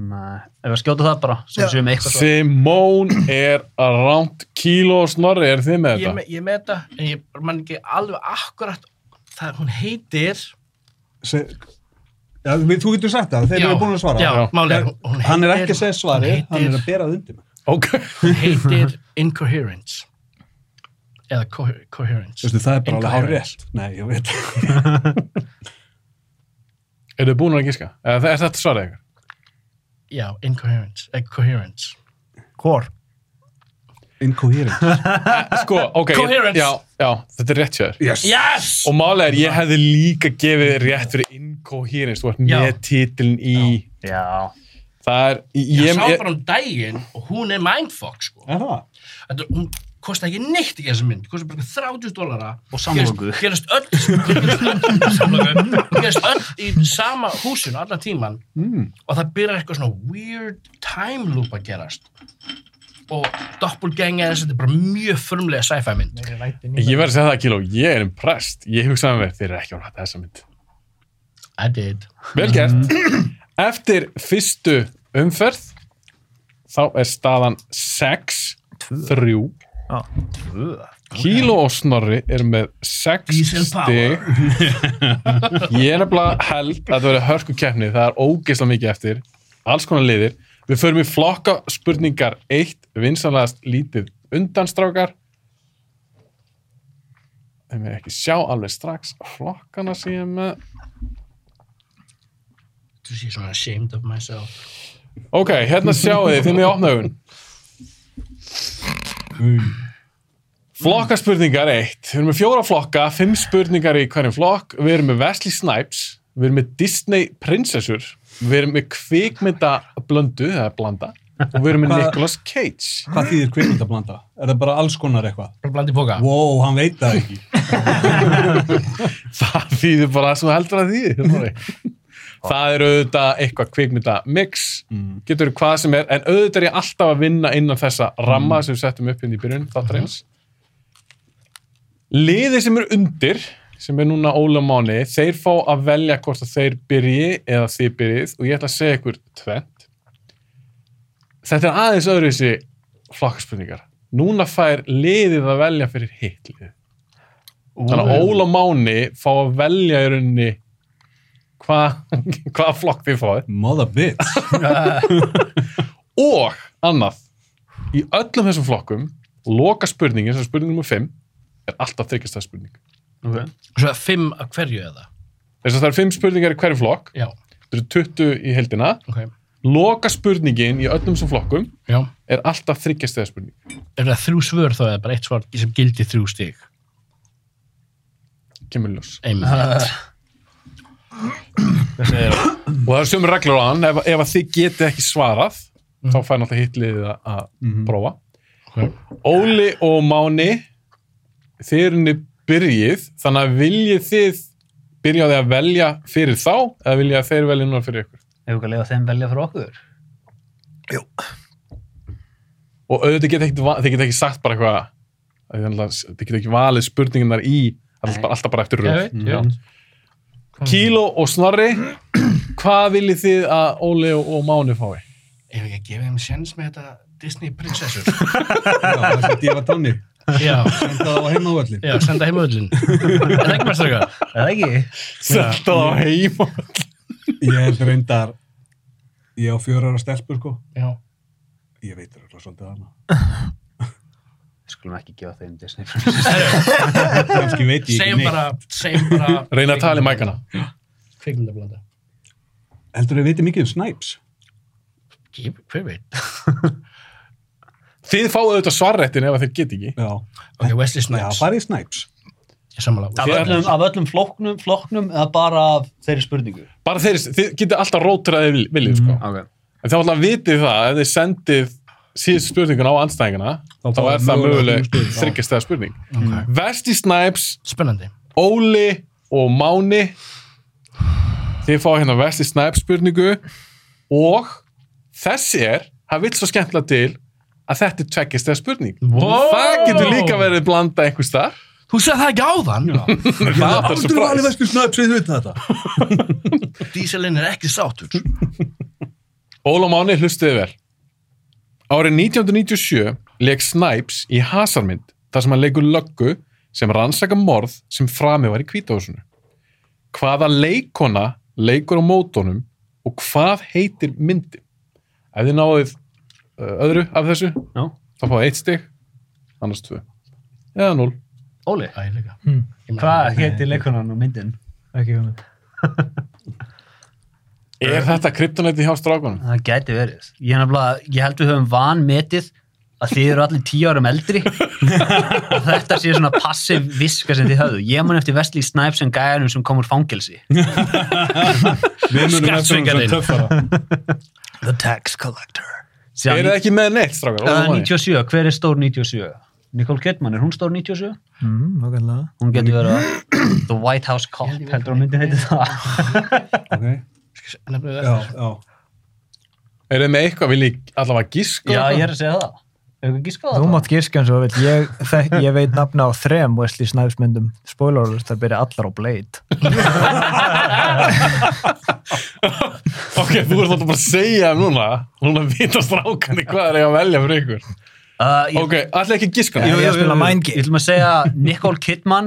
Speaker 4: Nei Ég var að skjóta það bara, sem séum með eitthvað svo
Speaker 1: Simone er around Kilo og Snorri, er þið með þetta?
Speaker 7: ég, er með- ég er með þetta, en ég man ekki alveg akkurat það hún heitir
Speaker 3: Se, já, við, þú getur sagt það, þeir
Speaker 7: Já.
Speaker 3: eru búin að svara.
Speaker 7: Já, málið er,
Speaker 3: Hann-
Speaker 7: hún- hún
Speaker 3: Hann er
Speaker 7: heitir-
Speaker 3: ekki að segja svari,
Speaker 7: hún heitir-
Speaker 3: hann er að bera það undir mig.
Speaker 1: <laughs> Ok.
Speaker 7: hún heitir Incoherence eða co Coherence
Speaker 3: Veistu, það er bara alveg hár
Speaker 7: Incoherence.
Speaker 3: rétt. Nei, ég veit. <laughs>
Speaker 1: Er þið búin að gíska? Eða er þetta svarið eitthvað?
Speaker 7: já, Incoherence, eh, coherence.
Speaker 5: Hvor?
Speaker 3: Incoherent.
Speaker 1: Sko, ok. ég-
Speaker 7: Coherence.
Speaker 1: Já, já, þetta er rétt hjá þér.
Speaker 3: Yes.
Speaker 7: yes!
Speaker 1: Og málega er, ég hefði líka gefið rétt fyrir incoherence, þú ert
Speaker 7: Já.
Speaker 1: með titilin í,
Speaker 4: Já,
Speaker 1: það er,
Speaker 7: ég,
Speaker 1: ég,
Speaker 7: sá
Speaker 1: ég,
Speaker 7: bara um daginn og hún er mindfuck sko.
Speaker 3: Er það?
Speaker 7: Þetta, hún kosti ekki neitt í þessu mynd kosti bara 30 dólara
Speaker 4: Og samloku.
Speaker 7: gerist, gerist öll samloku, gerist öll í sama húsinu allan tíman mm. og það byrjar eitthvað svona weird time loop að gerast og doppelganger þetta er bara mjög förmlega sci-fi mynd
Speaker 1: ég verði að segja það Kíló, ég er impressed, ég hugsaði með mér, þeir eru ekki á rætt þessa mynd.
Speaker 7: I did
Speaker 1: Vel gert. Eftir fyrstu umferð þá er staðan 6, 3,
Speaker 5: Já.
Speaker 1: 2. Kíló og Snorri er með 6
Speaker 7: Diesel
Speaker 1: stig. Ég er nefnilega held að það verið hörku keppni. Það er ógeðslega mikið eftir. Alls konar liðir. Við förum í flokka spurningar 1, vinsanlegast lítið undanstrákar. Þeim er ekki sjá alveg strax flokkana sem ég er með.
Speaker 7: Þú sé svona ashamed of myself.
Speaker 1: Ok, hérna sjáu þið, þið með opnaðun. Flokkaspurningar 1. Við erum með fjóra flokka, fimm spurningar í hverjum flokk. Við erum með Wesley Snipes, við erum með Disney prinsessur, við erum með kvikmynda blöndu, eða blanda, og við erum með
Speaker 3: Hvað-
Speaker 1: Nicolas Cage.
Speaker 3: Hvað þýðir kvikmynd að blanda? Er það bara alls konar eitthvað?
Speaker 7: Blandi póka.
Speaker 3: Wow, hann veit það ekki.
Speaker 1: Það þýðir bara það sem þú heldur að því. Það eru auðvitað eitthvað kvikmynda mix, getur hvað sem er, en auðvitað er ég alltaf að vinna innan þessa ramma sem við settum upp hérna í byrjun, þáttarins. Liðið sem eru undir, sem er núna Óla Máni, þeir fá að velja hvort að þeir byrji eða þið byrjið og ég ætla að segja ykkur tvent. Þetta er aðeins öðruvísi flokkspurningar. Núna fær liðið að velja fyrir hitt liðið. Þannig að Óla Máni fá að velja í rauninni hvað hva <laughs> flokk þið fáið.
Speaker 3: Mother bitch.
Speaker 1: Og annað, í öllum þessum flokkum, loka spurningin, sem er spurning nr. 5, er alltaf þykist það spurning.
Speaker 7: Svo fimm af hverju eða?
Speaker 1: Þess að það eru 5 spurningar í hverju flokk,
Speaker 7: Já,
Speaker 1: það eru 20 í heldina.
Speaker 7: ok.
Speaker 1: Loka spurningin í öllum þessum flokkum
Speaker 7: Já.
Speaker 1: er alltaf þykist það spurning.
Speaker 7: Er það þrjú svör þá eða bara eitt svar sem gildi þrjú stig?
Speaker 1: Kemur í ljós.
Speaker 7: <laughs> Einmitt.
Speaker 1: Og það eru sömur reglur á hann, ef, ef að þið getið ekki svarað, þá fær náttúrulega hitliðið að
Speaker 3: Mhm.
Speaker 1: prófa.
Speaker 7: Ok.
Speaker 1: Óli og Máni þið eru niður byrjið þannig að viljið þið byrja á því að velja fyrir þá eða vilja að þeir velja núna fyrir ykkur
Speaker 4: Ef við lefa þeim velja frá okkur.
Speaker 1: og auðvitað geta ekkit, va- þið geta ekki sagt bara eitthvað af því þannig að þið geta ekki valið spurninginnar í alltaf bara, alltaf bara eftir
Speaker 7: Ég
Speaker 1: röð
Speaker 7: veit, ég veit.
Speaker 1: Mm. Kíló og Snorri hvað viljið þið að Óli og, og Máni fái?
Speaker 7: Ef ekki að gefa þeim sjens með þetta Disney prinsessur.
Speaker 3: Já, það er dífa tanni.
Speaker 7: <laughs> já,
Speaker 3: Það var heima á öllin.
Speaker 7: já, senda heim öllin. Er það ekki bara straka?
Speaker 4: Eða ekki?
Speaker 1: Þetta á heim
Speaker 3: Ég held reyndar, ég á fjórar ára stelpur sko.
Speaker 7: Já.
Speaker 3: Ég veit það svolítið hana.
Speaker 4: Við skulum ekki gefa þeim Disney.
Speaker 3: Kanski veit ég ekki
Speaker 7: Segjum
Speaker 3: neitt.
Speaker 7: bara, segjum bara...
Speaker 1: reyna að
Speaker 7: um-
Speaker 1: tala í mækana
Speaker 7: Kvikmyndablanda.
Speaker 3: Heldur þau veitir mikið um Snipes?
Speaker 7: Hver veit?
Speaker 1: þið fáið auðvitað svarrættin ef að þeir geti ekki
Speaker 3: Já.
Speaker 7: Ok, Wesley
Speaker 3: Já,
Speaker 7: Snipes.
Speaker 3: farið í Snipes.
Speaker 7: Ég samanlega.
Speaker 4: Af öllum, af öllum flokknum, flokknum eða bara af þeirri spurningu.
Speaker 1: bara þeir, þið geti alltaf rótraðið viljið vilji, sko
Speaker 4: Ok.
Speaker 1: En þá alltaf vitið það, ef þið sendið síðustu spurninguna á anstæðingana, þá,
Speaker 3: fáið
Speaker 1: er það
Speaker 3: mögulega þrjú
Speaker 1: möguleg
Speaker 3: stig, já.
Speaker 1: þryggjastega spurning.
Speaker 7: Ok.
Speaker 1: Vesti Snipes,
Speaker 7: Spennandi.
Speaker 1: Óli og Máni, þið fá hérna Vesti Snipes spurningu og þessi er, það vill svo skemmtilega til að þetta er tveggjastega spurning.
Speaker 7: Wow!
Speaker 1: Það getur líka verið blanda einhvers þar.
Speaker 7: Þú sagði það ekki áðan? <laughs>
Speaker 1: Ég
Speaker 3: Aldrei valið vestu Snipes, við veitum þetta.
Speaker 7: Díselin er ekki sátur.
Speaker 1: Óla og Máni hlustuði vel. Árið 1997 leik Snipes í Hasarmynd þar sem hann leikur löggu sem rannsaka morð sem framið var í kvítahúsinu. Hvaða leikona leikur á mótónum og hvað heitir myndin? Ef þið náðuð uh, öðru af þessu,
Speaker 4: Já.
Speaker 1: þá fáið eitt stig, annars tvö. Eða núl.
Speaker 4: Óli,
Speaker 7: Æ, líka.
Speaker 5: Hmm.
Speaker 4: hvað heiti leikunan og myndin?
Speaker 5: Ekki hugmynd.
Speaker 1: Er þetta kryptonæti hjá strákunum?
Speaker 4: Það gæti verið. Ég, er nefnilega, ég held við höfum vanmetið að þið eru allir tíu árum
Speaker 5: <laughs>
Speaker 4: eldri og þetta sé svona passiv viska sem þið höfðu. Ég mun eftir Wesley Snipes en gæjanum sem kom úr fangelsi.
Speaker 3: Við munum eftir um
Speaker 7: Skattsvikarinn.
Speaker 3: það töffara.
Speaker 4: The Tax Collector.
Speaker 1: Er
Speaker 4: Síðan,
Speaker 1: það ekki með neitt, strákar? Óli
Speaker 4: uh,
Speaker 1: og Máni?
Speaker 4: 97, hver er stór 97? Nicole Kidman, er hún stór 97?
Speaker 5: Mm, nákvæmlega.
Speaker 4: Hún getur verið að The White House Cop, heldur hún myndi heiti það.
Speaker 3: Ok, já, já.
Speaker 1: Er það með eitthvað, vil ég allavega gíska?
Speaker 4: Já,
Speaker 1: á það?
Speaker 4: ég er að segja það. Hefur við gískað á
Speaker 5: Þú
Speaker 4: það?
Speaker 5: mátt gíska eins og þú vilt. Ég, þek- ég veit nafna á þrem Wesley Snipes myndum. Spoiler alert, það byrja allar á Blade.
Speaker 1: ok, þú ert alltaf bara að segja þeim núna núna vita strákandi hvað er ég að velja fyrir ykkur
Speaker 4: Uh, ég,
Speaker 1: ok, allir ekki að giska
Speaker 5: Ég
Speaker 1: það?
Speaker 5: er að spila
Speaker 4: ég
Speaker 5: Mindgame.
Speaker 4: ætlum að segja Nicole Kidman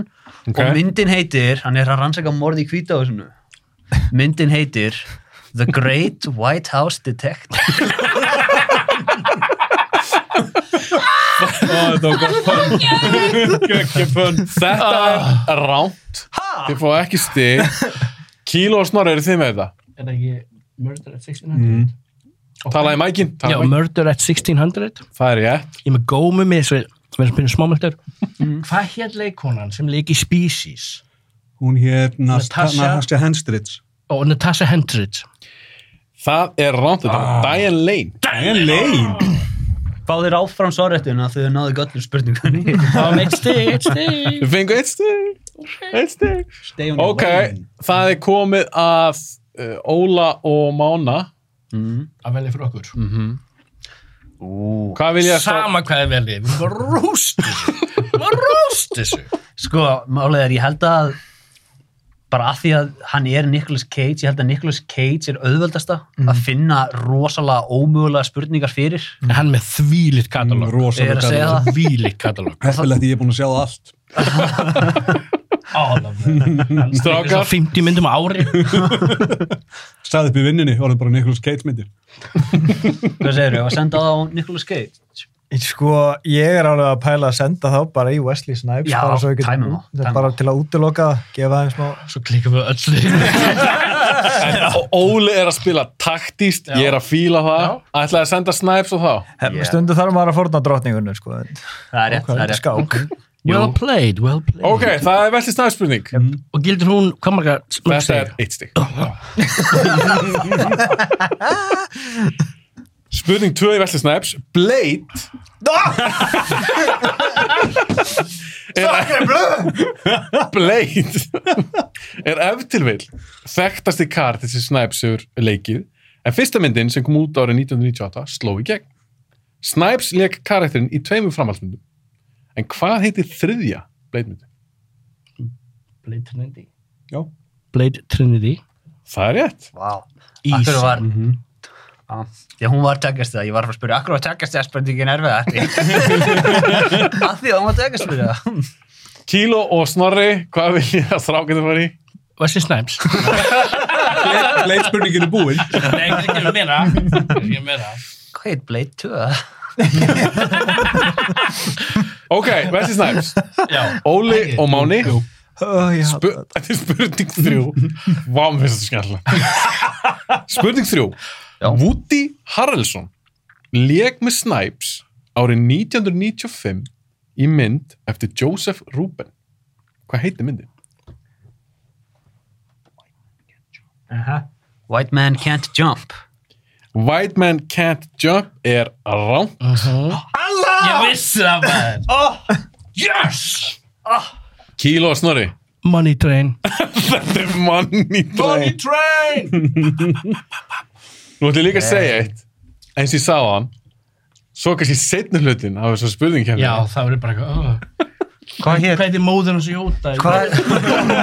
Speaker 1: Ok.
Speaker 4: og myndin heitir, hann er að rannsaka morði í kvíta og svona myndin heitir The Great White House Detective
Speaker 1: þetta er ránt þið fá ekki stig Kíló og Snorri eru þið með þetta
Speaker 7: Er það ekki Murder at 1600?
Speaker 1: talaði mækinn,
Speaker 7: Já,
Speaker 1: talaði mækinn,
Speaker 7: Murder at 1600.
Speaker 1: það er ég
Speaker 7: Ég er með gómi með þessu, við erum spyrir smámöldur. Hvað hér leikonan sem leik í Species?
Speaker 3: Hún hér
Speaker 7: Natasha-
Speaker 3: Natasha Henstridge.
Speaker 7: Og Natasha Hendricks.
Speaker 1: það er ránt þetta, ah. Diane Lane
Speaker 3: Diane Lane.
Speaker 4: Báðir áfram svarréttuna þegar þau náðu göllum spurningunni
Speaker 5: <laughs>
Speaker 7: Það var meitt stig, eitt stig.
Speaker 1: við fengum eitt stig eitt stig
Speaker 3: Stay on
Speaker 1: Ok, það er komið að uh, Óla og Mána
Speaker 7: Að velja fyrir okkur.
Speaker 1: Mhm. Hvað vil ég að
Speaker 7: Sama hvað þið veljið, við erum bara rúst þessu. Við erum bara rúst þessu.
Speaker 4: Sko, málið er, ég held að bara að því að hann er Nicolas Cage, ég held að Nicolas Cage er auðveldasta
Speaker 5: Mhm.
Speaker 4: að finna rosalega ómögulega spurningar fyrir
Speaker 7: En hann með þvílitt katalóg.
Speaker 4: Ég er að segja
Speaker 3: Rosalega.
Speaker 4: það
Speaker 7: Þvílitt katalóg.
Speaker 3: Heppilegt ég er búin að sjá það allt.
Speaker 7: All of them.
Speaker 1: Strákar.
Speaker 7: 50 myndum á ári.
Speaker 3: Sæði upp í vinninni, orðið bara Nicholas Cage myndir.
Speaker 4: Hvað segirðu, ég var að senda það á Nicolas Cage
Speaker 5: Sko, ég er alveg að pæla að senda þá bara í Wesley Snipes
Speaker 4: Já,
Speaker 5: bara, svo ég get-
Speaker 4: tæmum þá, tæmum
Speaker 5: bara til að útiloka, það, gefa það einn smá
Speaker 7: Svo klikum við öll leik.
Speaker 1: En Óli er að spila taktíst, ég er að fíla það
Speaker 7: Já.
Speaker 1: Ætlaði að senda snæps og þá
Speaker 4: Yeah.
Speaker 5: stundu þarf maður að forna drottningunum sko, en-
Speaker 4: Það er rétt, það
Speaker 5: þetta
Speaker 4: er
Speaker 5: er
Speaker 4: rétt
Speaker 5: skák
Speaker 4: <laughs>
Speaker 7: Well played, well played.
Speaker 1: Ok, það er veltið snæpsspurning
Speaker 7: Og gildir hún, hvað marga mörg
Speaker 1: Þetta
Speaker 7: stig?
Speaker 1: er eitt stig Spurning 2 í veltið snæps Blade er, Blade <laughs> er ef til vil þekktasti kar þessi Snipes hefur leikið en fyrsta myndin sem kom út árið 1998 sló í gegn Snipes leik karakterinn í tveimur framhaldsmyndum en hvað heitir þriðja Blade myndin?
Speaker 7: Blade Trinity.
Speaker 3: Já.
Speaker 7: Blade Trinity.
Speaker 1: Það er rétt
Speaker 4: Vá,
Speaker 7: Ís.
Speaker 4: akkur var Já, því að hún var tekjast það, ég var að fara að spyrja akkur var tekjast það spurningin erfið að því <laughs> að því að hún var tekjast fyrir það
Speaker 1: Kíló og Snorri, hvað vil ég að strákinu fara í?
Speaker 7: Wesley Snipes.
Speaker 3: Blade spurningin er búinn.
Speaker 7: Nei, ég er að meina. Ég er meina.
Speaker 4: Hvað heit Blade 2?
Speaker 1: Ok, Wesley Snipes,
Speaker 7: Já.
Speaker 1: Óli
Speaker 7: Ok.
Speaker 1: og Máni
Speaker 5: Ó, ég hata
Speaker 1: Spu- Þetta er spurning þrjú Vá, mér finnst þetta skjálflega Spurning þrjú Woody Harrelson leik með Snipes árið 1995 í mynd eftir Joseph Rubin Hvað heitir myndin?
Speaker 4: White man can't jump
Speaker 1: White Man Can't Jump er rám
Speaker 7: Ég vissi það maður. Oh. Yes!
Speaker 1: Kíló og Snorri
Speaker 7: Money Train.
Speaker 1: Þetta er Money Train
Speaker 7: Train!
Speaker 1: Nú ætlum ég líka að segja eitt eins og ég sá hann svo kannski setni hlutin af hérna. þessu spurning kemur
Speaker 7: Já, það verður bara eitthvað. Oh.
Speaker 5: Hvað hér?
Speaker 7: Hvað heitir móður hans Jóta?
Speaker 5: Hvað?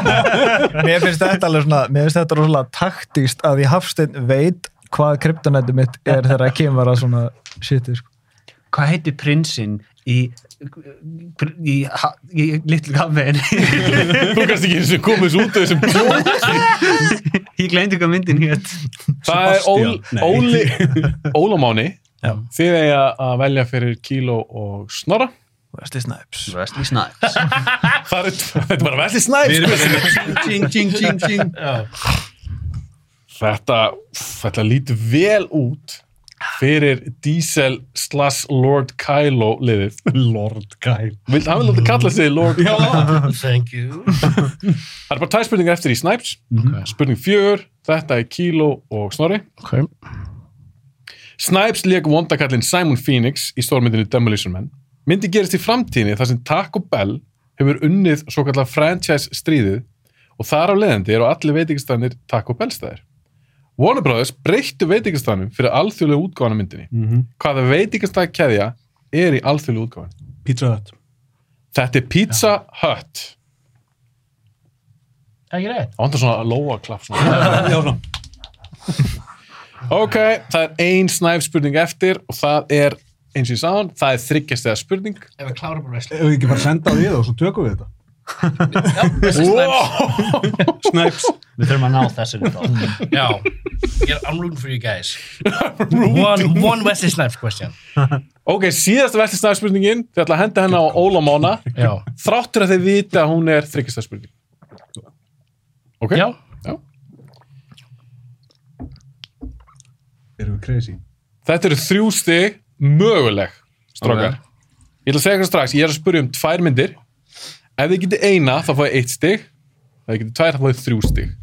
Speaker 5: <laughs> mér finnst þetta alveg svona, mér finnst þetta rosalega taktíst að ég hafsteinn veit hvað kryptonættu mitt er þegar kemur að svona shiti sko.
Speaker 4: hvað heitir prinsinn í pr- í, ha- í litlu kaffein
Speaker 1: Þú kannast ekki eins og komið svo út af þessum tjók
Speaker 4: <laughs> ég glemdi hvað myndin hér
Speaker 1: Það er Ól,
Speaker 3: Nei.
Speaker 1: Óli Ólamáni Þið eiga að velja fyrir Kíló og Snorra
Speaker 5: Wesley Snipes
Speaker 4: Wesley Snipes
Speaker 1: Það er, þetta er bara Wesley Snipes
Speaker 3: Ching, ching, ching, ching.
Speaker 1: Þetta, þetta lítur vel út fyrir Diesel slash Lord Kylo liðið
Speaker 3: <laughs> Lord Kyle.
Speaker 1: Vilt, hann vil láta kalla sig Lord Kylo
Speaker 7: Thank you.
Speaker 1: Það er bara tæð spurningar eftir í Snipes Spurning fjögur, þetta er Kíló og Snorri
Speaker 7: Okay.
Speaker 1: Snipes leik vondakallin Simon Phoenix í stórmyndinu Demolition Man. Myndi gerist í framtíðinni þar sem Taco Bell hefur unnið svo kallar franchise stríðið og þar af leiðandi eru allir veitingastannir Taco Bell staðir. Warner Brothers breyttu veitingastannum fyrir alþjóðlega útgáðan af myndinni.
Speaker 3: Mhm.
Speaker 1: Hvaða veitingastann keðja er í alþjóðlega útgáðan?
Speaker 3: Pizza Hut.
Speaker 1: Þetta er Pizza Hut.
Speaker 7: Ekki rétt.
Speaker 1: Það vantar svona að lóa klapp svona.
Speaker 3: Já, svona.
Speaker 1: Ok, það er ein snæf spurning eftir og það er, eins og ég sáðan, það er þryggjast eða spurning.
Speaker 7: Ef við klárum bara wrestling.
Speaker 3: Ef við ekki bara senda á því og svo tökum við þetta.
Speaker 7: Já, wrestling snipes.
Speaker 1: Snæfs.
Speaker 4: Við þurfum að ná þessu við þá.
Speaker 7: Já, ég er, I'm rooting for you guys. one, one wrestling snipes question.
Speaker 1: Ok, síðasta verðli snæfspurningin, þið ætla að henda henni á Óla Mána,
Speaker 7: Já.
Speaker 1: þráttur að þið vita að hún er þryggjast spurning. Ok?
Speaker 7: Já.
Speaker 3: Erum við crazy?
Speaker 1: Þetta eru þrjú stig möguleg, strókar. Ég ætla að segja eitthvað strax, ég er að spyrja um tvær myndir. Ef þið getið eina, þá fáið eitt stig. Ef þið getið tvær, þá fáið þrjú stig.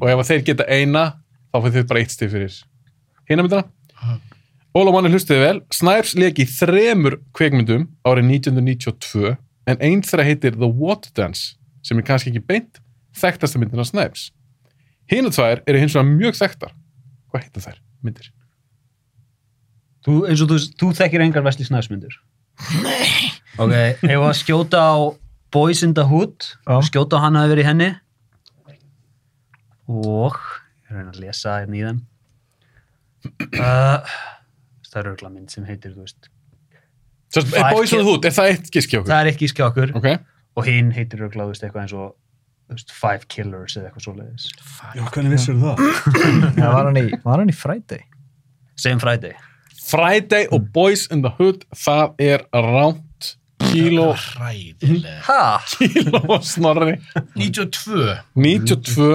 Speaker 1: og ef þeir geta eina, þá fáið þið bara eitt stig fyrir hina myndina. Óla Manni hlustiði vel. Snipes leik í þremur kveikmyndum árið 1992, en einn þeirra heitir The Water Dance, sem er kannski ekki beint þekktasta myndina Snipes. Hina tvær eru hins vegar mjög þekktar. Hvað heita þær myndir?
Speaker 4: Þú, eins og þú, þú þekkir engar Vesli Snæfsmyndur. <laughs> Nei. Ok, ef að skjóta á Boys in the Hood,
Speaker 5: Já.
Speaker 4: skjóta á hann hafi verið í henni. Og, ég reyna að lesa hérna <clears throat> í þeim. Uh, það er örgla mynd sem heitir, þú veist.
Speaker 1: Sérst, er
Speaker 4: Five
Speaker 1: Boys on the Hood, er það eitt giski okkur?
Speaker 4: Það er ekki í skjákur
Speaker 1: Ok,
Speaker 4: og hinn heitir örgla, þú veist, eitthvað eins og þú veist, Five Killers eða eitthvað svoleiðis.
Speaker 3: Já, hvernig vissir það?
Speaker 5: Já, var hann í, var hann í Friday?
Speaker 4: Same Friday.
Speaker 1: Friday og Boys in the Hood, það er ránt kíló, <laughs>
Speaker 7: Hræðilega.
Speaker 4: Ha? <laughs>
Speaker 1: kíló og snorri.
Speaker 7: 92.
Speaker 1: 92,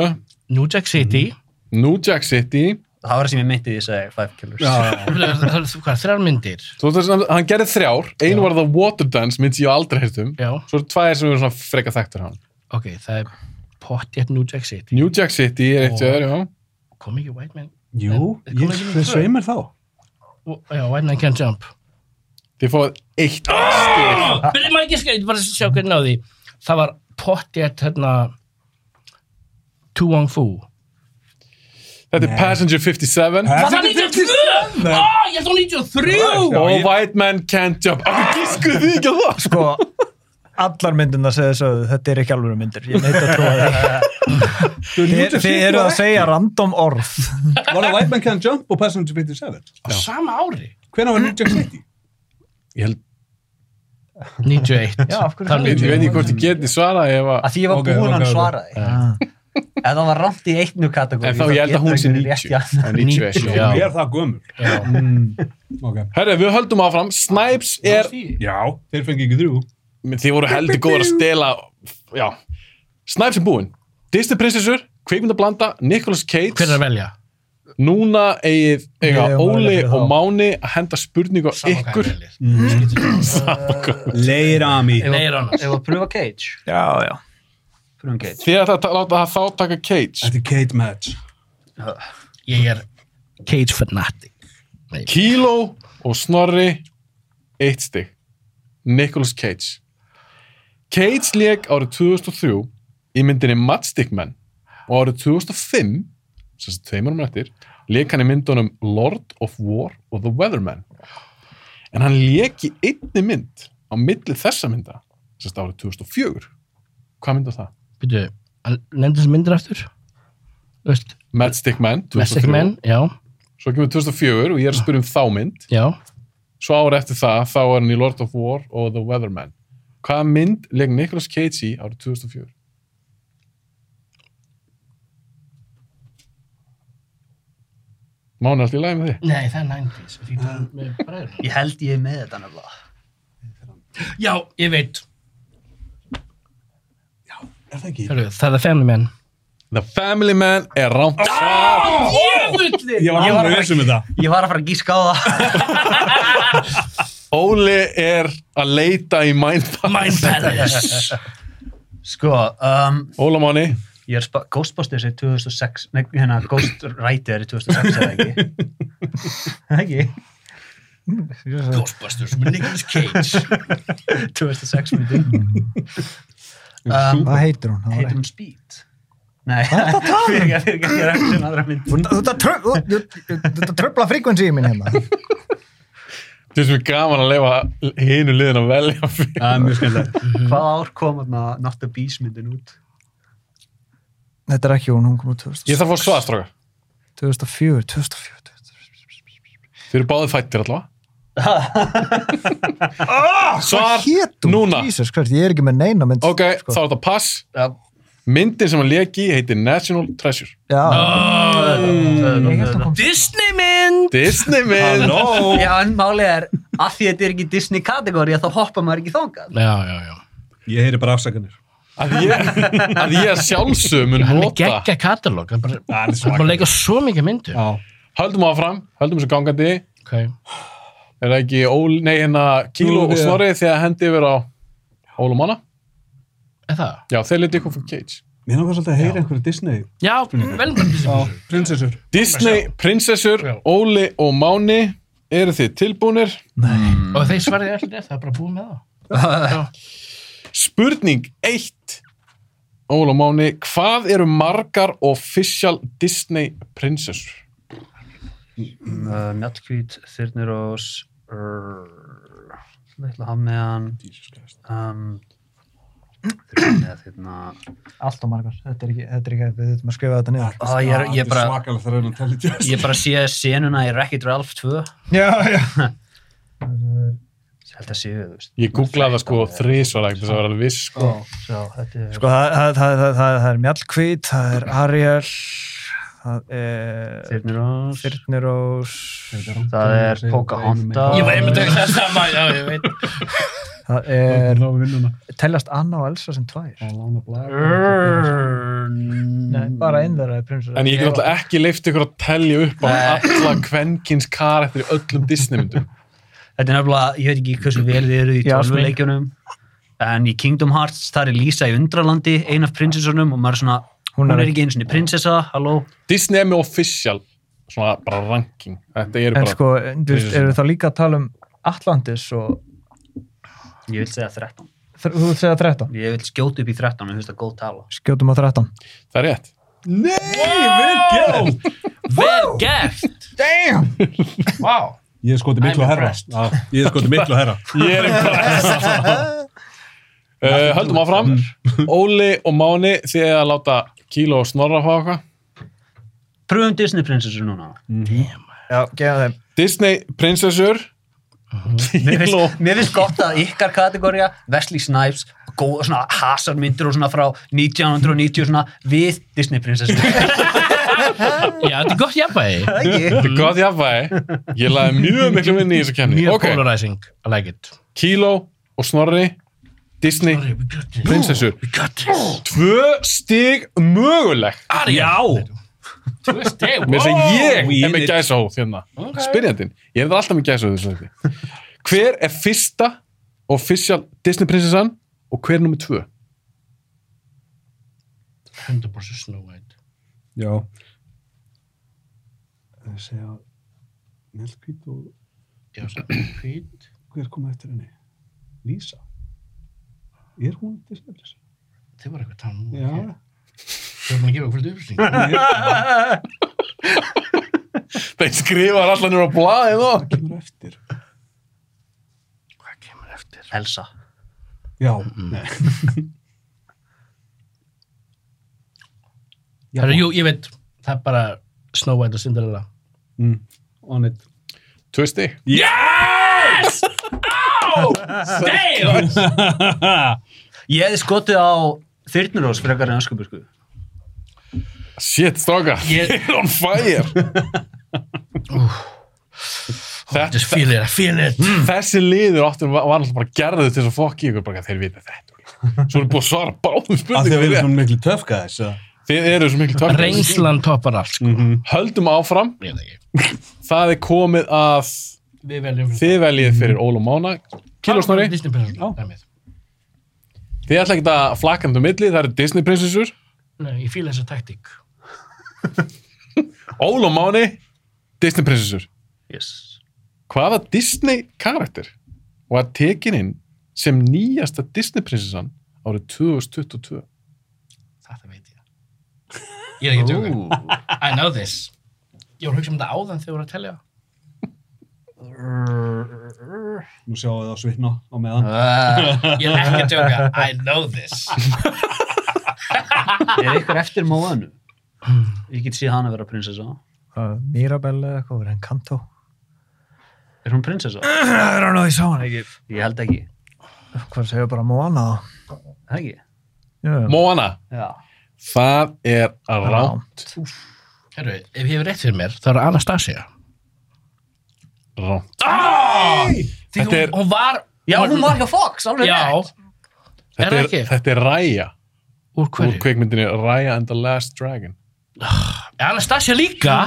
Speaker 7: New Jack City.
Speaker 1: New Jack City.
Speaker 4: Það var það sem ég myndi því að segja Five Killers.
Speaker 7: Það er- það eru hvað, þrjár myndir.
Speaker 1: Þú veist að hann gerði þrjár, einu var það Water Dance, minnst ég á aldrei heyrt um.
Speaker 7: Já.
Speaker 1: Svo eru tvær sem eru svona freka þekktur hann.
Speaker 7: Ok, það er pottjætt New Jack City.
Speaker 1: New Jack City er eitt
Speaker 7: Og-
Speaker 1: jöður, já.
Speaker 7: Kom ekki White Man?
Speaker 3: Jú,
Speaker 7: Kom
Speaker 3: ég,
Speaker 7: ekki með
Speaker 3: þið
Speaker 7: tvö?
Speaker 3: sveimir þá.
Speaker 7: Ó, Já, White Man Can't Jump.
Speaker 1: Þið fóðið eitt stig.
Speaker 7: Byrði maður ekki að skilja, bara að sjá hvernig náði. Það var pottjætt hérna... Tu Wong Fu.
Speaker 1: Þetta er Passenger 57
Speaker 7: Var það 92? Á, ég held hún 93!
Speaker 1: og White Man Can't Jump. Akkur giskuð þið ekki að það?
Speaker 5: Sko, allar myndina segði sögðu, þetta er ekki alveg myndir. Ég neitt að trúa þér. Þið, þið eru að segja random orð.
Speaker 3: Var það White Man Can't Jump og Passenger 57?
Speaker 7: Á sama ári.
Speaker 3: Hvernig var New Jack City?
Speaker 1: Ég held,
Speaker 7: 91.
Speaker 5: Já, af hverju
Speaker 7: Það er
Speaker 1: ég veit
Speaker 7: 91.
Speaker 1: ekki hvort ég geti svarað ef að...
Speaker 4: Að því ég var
Speaker 3: Ok,
Speaker 4: búinn
Speaker 3: ok,
Speaker 4: að
Speaker 3: ok.
Speaker 4: svara því. Ef það var rámt í einnu
Speaker 1: Ah.
Speaker 4: kategóri.
Speaker 1: En þá ég held að hún sé 90. Það er 91, já.
Speaker 3: Ég er það gömur.
Speaker 7: Já.
Speaker 3: Mm. Okay.
Speaker 1: Herri, við höldum áfram. Snipes er...
Speaker 3: Já, þeir fengi ekki þrjú.
Speaker 1: Menn, Þið voru heldur góður að stela... Já. Snipes er búinn. Disney prinsessur, kvikmyndablanda, Nicolas Cage.
Speaker 7: Hver er að velja?
Speaker 1: Núna eigið eiga
Speaker 5: Ég er
Speaker 1: Óli
Speaker 5: mögulega
Speaker 1: og
Speaker 5: fyrir þá.
Speaker 1: Máni að henda spurningu á
Speaker 7: Sama hvað
Speaker 1: ykkur.
Speaker 7: ég velja.
Speaker 3: Leir Ami.
Speaker 7: Nei, Ránas.
Speaker 4: Ef að pröfa Cage.
Speaker 5: Já, já.
Speaker 4: Pröfum Cage.
Speaker 1: Þið ætla að láta það þá taka Cage.
Speaker 3: Þetta er Kate Match.
Speaker 7: Ég er Cage fanatic.
Speaker 1: Kíló og Snorri, eitt stig. Nicolas Cage. Cage leik árið 2003 í myndinni Matstickman og árið 2005, sem þess að tveimur um eftir, leik hann í myndunum Lord of War og The Weatherman. En hann leik í einni mynd á milli þessa mynda, sem þess að árið 2004. Hvað mynda það?
Speaker 7: Býtu, nefndu þessu myndir aftur? Þú veist,
Speaker 1: Matstickman, 2003.
Speaker 7: Mystic Men, já,
Speaker 1: Svo kemur 2004 og ég er að spyrja um þá mynd.
Speaker 7: já.
Speaker 1: Svo árið eftir það, þá er hann í Lord of War og The Weatherman. Hvaða mynd leik Nicolas Cage í árið 2004? Mána allt í lagi með því.
Speaker 7: Nei, það er 90s. Því það er með bræður.
Speaker 4: Ég held ég er með þetta nefnilega.
Speaker 7: Já, ég veit.
Speaker 3: Er það ekki?
Speaker 7: Hörru, það er Family Men.
Speaker 1: The Family Man er rámt svar.
Speaker 7: Jöfnulli!
Speaker 3: Ég var
Speaker 4: Ég var
Speaker 3: alveg um vissum með það.
Speaker 4: Ég var að fara að gíska á það.
Speaker 1: <laughs> Óli er að leita í Mindpass.
Speaker 7: Mind Palace.
Speaker 4: Sko, um,
Speaker 1: Óla Máni,
Speaker 4: ég er spa- Ghostbusters er 2006, nei, hérna, Ghost Rider er 2006 eða
Speaker 1: <laughs>
Speaker 4: ekki. ekki?
Speaker 7: Ghostbusters með Nicolas
Speaker 1: <laughs>
Speaker 7: Cage.
Speaker 4: 2006 myndi.
Speaker 1: Mm.
Speaker 4: Um,
Speaker 5: Hvað heitir hún? Það var
Speaker 4: heitir
Speaker 5: ekki-
Speaker 4: hún Speed? Nei, fyrir ekki, fyrir ekki, ég er ekki um aðra mynd.
Speaker 5: Þú- Þetta trö- þú- þú- þetta tröfla frekvensíi mín hérna.
Speaker 1: þú veist mér gaman að leifa hinu liðin að velja fyrir.
Speaker 3: Það er mjög skemmtilegt.
Speaker 4: <laughs> Hvað um ár kom þarna Not the Beast myndin út?
Speaker 5: Þetta er ekki hún, hún kom úr 2000.
Speaker 1: Ég þarf að fá svarstróka.
Speaker 5: 2004, 2004, 2004.
Speaker 1: Þeir eru báðið fættir allavega. Svar
Speaker 5: Hétum,
Speaker 1: núna.
Speaker 5: Jesus Christ, ég er ekki með neina mynd. sko.
Speaker 1: Ok, þá er þetta pass.
Speaker 7: Já.
Speaker 1: Myndin sem hann leki heitir National Treasure.
Speaker 5: Já,
Speaker 1: Ah.
Speaker 5: ég held að kom.
Speaker 7: Disney mynd
Speaker 1: Disney mynd. Halló.
Speaker 4: <laughs> Já, en málið er, af því þetta er ekki Disney kategóri, þá hoppa maður ekki þangað.
Speaker 7: Já, já, já
Speaker 3: Ég heyri bara afsakanir.
Speaker 1: Að ég, að ég að sjálfsögum mun
Speaker 7: Hann er
Speaker 1: nota.
Speaker 7: geggja katalóg Hann bara-
Speaker 3: Það er
Speaker 7: hann bara leika svo mikið myndu
Speaker 3: Já.
Speaker 1: Höldum áfram, höldum þessu gangandi.
Speaker 7: okay.
Speaker 1: Er það ekki ól, nei, hérna Kíló
Speaker 3: Nú,
Speaker 1: og
Speaker 3: já.
Speaker 1: Snorri þegar hendi yfir á Ól og Mána?
Speaker 7: Er það?
Speaker 1: Já, þeir liti ykkur fyrir Cage.
Speaker 3: Mér náttúrulega svolítið að heyra einhverju Disney.
Speaker 7: Já, vel bara Disney mynd
Speaker 3: Prinsessur.
Speaker 1: Disney prinsessur, Óli og Máni, eru þið tilbúnir?
Speaker 7: Og þeir svarið allir rétt, það er bara búið með það
Speaker 1: Spurning 1 Óla Máni, hvað eru margar official Disney prinsessur?
Speaker 4: Uh, Mjallkvít, Þyrnirós, Rrrr, ég ætla að hafa með hann, um, Þyrnirós, þyrna,
Speaker 5: Allt og margar, þetta er ekki, þetta er ekki, við þurfum að skrifa þetta niður.
Speaker 4: Á, ég er- ég er bara-
Speaker 3: Svakalega það Ah, er að tella tjóðs.
Speaker 4: ég bara sé senuna í Wreck-It Ralph 2,
Speaker 5: Já, já.
Speaker 4: ég held að séu, þú veist,
Speaker 1: Ég googlaði það sko þrísvara þess að vera alveg viss sko.
Speaker 4: svo þetta er,
Speaker 5: Sko, það, það, það, það, það, það er Mjallkvít, það er Ariel, það er
Speaker 4: Þyrnirós,
Speaker 5: Þyrnirós,
Speaker 4: það er Pocahontas,
Speaker 7: Ég var einmitt ekki það sama, já, ég veit
Speaker 5: það er,
Speaker 3: Ná vinnuna.
Speaker 5: teljast Anna og Elsa sem tvær.
Speaker 3: Lána blæð.
Speaker 5: Nei,
Speaker 4: Nei,
Speaker 5: bara einn þeirra er prinsur.
Speaker 1: En ég get náttúrulega ekki leift ykkur að telja upp á alla kvenkins karakter í öllum Disneymyndum.
Speaker 4: Þetta er nefnilega, ég veit ekki hversu vel þið eru í
Speaker 5: Já,
Speaker 4: tölvuleikjunum en í Kingdom Hearts, þar er Lisa í Undralandi ein af prinsessunum og maður er svona hún
Speaker 5: Hún
Speaker 4: er,
Speaker 5: er
Speaker 4: ekki eins og niður prinsessa, halló
Speaker 1: Disney er með official svona bara ranking. Þetta eru
Speaker 5: En
Speaker 1: bara
Speaker 5: sko, þú veist, eru þá líka að tala um Atlantis og
Speaker 4: ég vil segja 13,
Speaker 5: þr- þú segja 13,
Speaker 4: ég vil skjóta upp í 13 mér finnst það góð tala
Speaker 5: skjótum á 13.
Speaker 1: það er rétt.
Speaker 7: Vel gert Damn
Speaker 3: Ég hef skotið miklu
Speaker 7: I'm
Speaker 3: að herra.
Speaker 7: impressed.
Speaker 3: Já, Ég hef skotið miklu að
Speaker 4: <laughs>
Speaker 3: herra.
Speaker 1: Ég er impressed. uh, höldum áfram. Óli og Máni þið að láta Kíló og Snorra fá okkar.
Speaker 4: pröfum Disney prinsessur <laughs> núna
Speaker 5: Já, gefa þeim.
Speaker 1: Disney prinsessur
Speaker 4: mér
Speaker 1: Kíló
Speaker 4: finnst, mér finnst gott að ykkar kategória Wesley Snipes, góð, svona hasarmyndir og svona frá 1990 og svona við Disney <laughs> prinsessur
Speaker 7: Já, þetta er gott jafnvægi
Speaker 4: ekki,
Speaker 1: Þetta er gott jafnvægi. Ég laði mjög miklu minni í þessu kemni.
Speaker 7: Mjög
Speaker 1: Ok,
Speaker 7: polarizing, I like it
Speaker 1: Kíló og Snorri, Disney, prinsessur. Tvö stig möguleg.
Speaker 7: Já Tvö steg,
Speaker 1: Mér sem ég
Speaker 3: we
Speaker 1: er með
Speaker 3: in it.
Speaker 1: gæsa hóð hérna. Spyrjandinn. Ég er alltaf með gæsa hóð þessu þetta. Hver er fyrsta official Disney prinsessan og hver er nummer tvö?
Speaker 7: 100% Snow White
Speaker 3: Já. Það segja Melkvít og
Speaker 7: Já, sagði hvít
Speaker 3: hver kom eftir henni? Lísa. Er hún Disney prinsessa?
Speaker 7: Þið var eitthvað að tala um
Speaker 3: Já.
Speaker 7: núna. Þið var búin að gefa okkur upplýsning
Speaker 1: Þeir skrifar alltaf nýra á blaðið þó.
Speaker 3: Hvað kemur eftir?
Speaker 7: Hvað kemur eftir?
Speaker 4: Elsa
Speaker 3: Já.
Speaker 7: <laughs>
Speaker 3: Nei. Já.
Speaker 7: Herra, jú, ég veit Það er bara Snow White og Cinderella
Speaker 3: Mm. On it.
Speaker 1: Tvö stig.
Speaker 7: Yes! Ow! Damn!
Speaker 4: ég hefði skotið á Þyrnirós frekar en Öskubur
Speaker 1: Shit, stráka. Ég er on fire. Þetta
Speaker 7: Just feel it, I feel it
Speaker 1: þessi liður áttur var alltaf bara gerðið til þess að fokki ykkur bara þeir vita þetta svo er búið að svara báðum
Speaker 3: Af því að við erum
Speaker 1: spurningum
Speaker 3: svona miklu töfkaðis.
Speaker 1: þið eru svo mikil tökk
Speaker 7: Reynslan toppar allt sko.
Speaker 1: höldum áfram,
Speaker 7: Ég veit ekki.
Speaker 1: það er komið að
Speaker 7: Við veljum
Speaker 1: þið veljið fyrir Ól og Mána Kílósnori,
Speaker 7: Disney prinsessur dæmið.
Speaker 1: þið ætla ekki að flakandi um milli, það eru Disney prinsessur
Speaker 7: Nei, ég fíla þessa taktík
Speaker 1: Ól og Máni, Disney prinsessur
Speaker 4: yes
Speaker 1: hvaða Disney karakter var tekin inn sem nýjasta Disney prinsessan árið 2022
Speaker 7: Þetta veit ég Ég er ekki að tjóka I know this Ég var að hugsa um þetta áðan þegar þú voru að telja
Speaker 3: Nú sjáum við það svitna á meðan.
Speaker 7: Ég er ekki að tjóka I know this
Speaker 4: Er ykkur eftir Moanu? Ég get séð hann að vera prinsessa.
Speaker 5: hvað, Mirabella eða eitthvað, verið hann Kanto
Speaker 4: Er hún prinsessa?
Speaker 5: I don't know, ég sá hann ekki
Speaker 4: Ég held ekki.
Speaker 5: hvað segja bara Moana
Speaker 4: Það ekki?
Speaker 5: þá
Speaker 1: Moana,
Speaker 4: Já.
Speaker 1: það er að rá.
Speaker 7: Herru, ef ég hef rétt fyrir mér, það er Anastasia.
Speaker 1: Rá.
Speaker 7: Því
Speaker 1: Þetta
Speaker 7: hún,
Speaker 1: er-
Speaker 7: hún var...
Speaker 4: Já, hún var hjá Fox, alveg
Speaker 7: Já,
Speaker 4: rétt.
Speaker 7: Er
Speaker 1: Þetta
Speaker 7: það
Speaker 1: er,
Speaker 7: ekki?
Speaker 1: þetta er Raya
Speaker 7: úr
Speaker 1: úr
Speaker 7: hverju?
Speaker 1: kveikmyndinni Raya and the Last Dragon.
Speaker 7: Anastasia líka?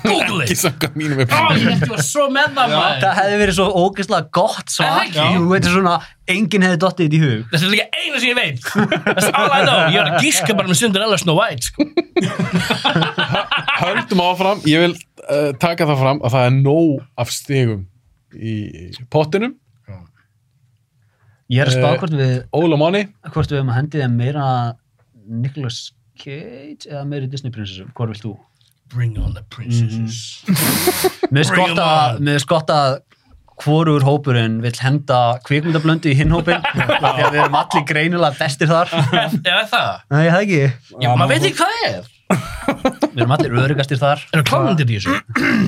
Speaker 7: Google
Speaker 1: Ekki
Speaker 7: it!
Speaker 1: sanga mínum upp.
Speaker 7: <laughs> Ó, ég <laughs> held ég var svo með það maður.
Speaker 4: Það hefði verið svo ógeðslega gott svar.
Speaker 7: Er það ekki?
Speaker 4: Þú veitir svona, enginn hefði dottið þetta í hug.
Speaker 7: Þetta er líka eina sem ég veit. That's all I know. Ég er að gíska bara með Cinderella Snow White, sko.
Speaker 1: Höldum áfram, ég vil uh, taka það fram að það er nóg af stigum í pottinum.
Speaker 4: Ég er að spá
Speaker 1: Eh,
Speaker 4: hvort við,
Speaker 1: Óla Máni,
Speaker 4: hvort við hefum að hendi þeim meira Nicolas Cage eða meiri Disney prinsessum. Hvor vilt þú?
Speaker 7: Bring on the princesses.
Speaker 4: Mér finnst
Speaker 7: Bring
Speaker 4: gott
Speaker 7: 'em
Speaker 4: að-
Speaker 7: on.
Speaker 4: mér finnst gott að hvorur hópurinn vill henda kvikmyndablöndu í hinn hópinn af
Speaker 7: <laughs>
Speaker 4: því að við erum allir greinilega bestir þar
Speaker 7: Eða það?
Speaker 4: Nei, það ekki
Speaker 7: Já, maður veit ekki hvað það er.
Speaker 4: Við erum allir öðrugastir þar
Speaker 7: Eru klámyndir í þessu?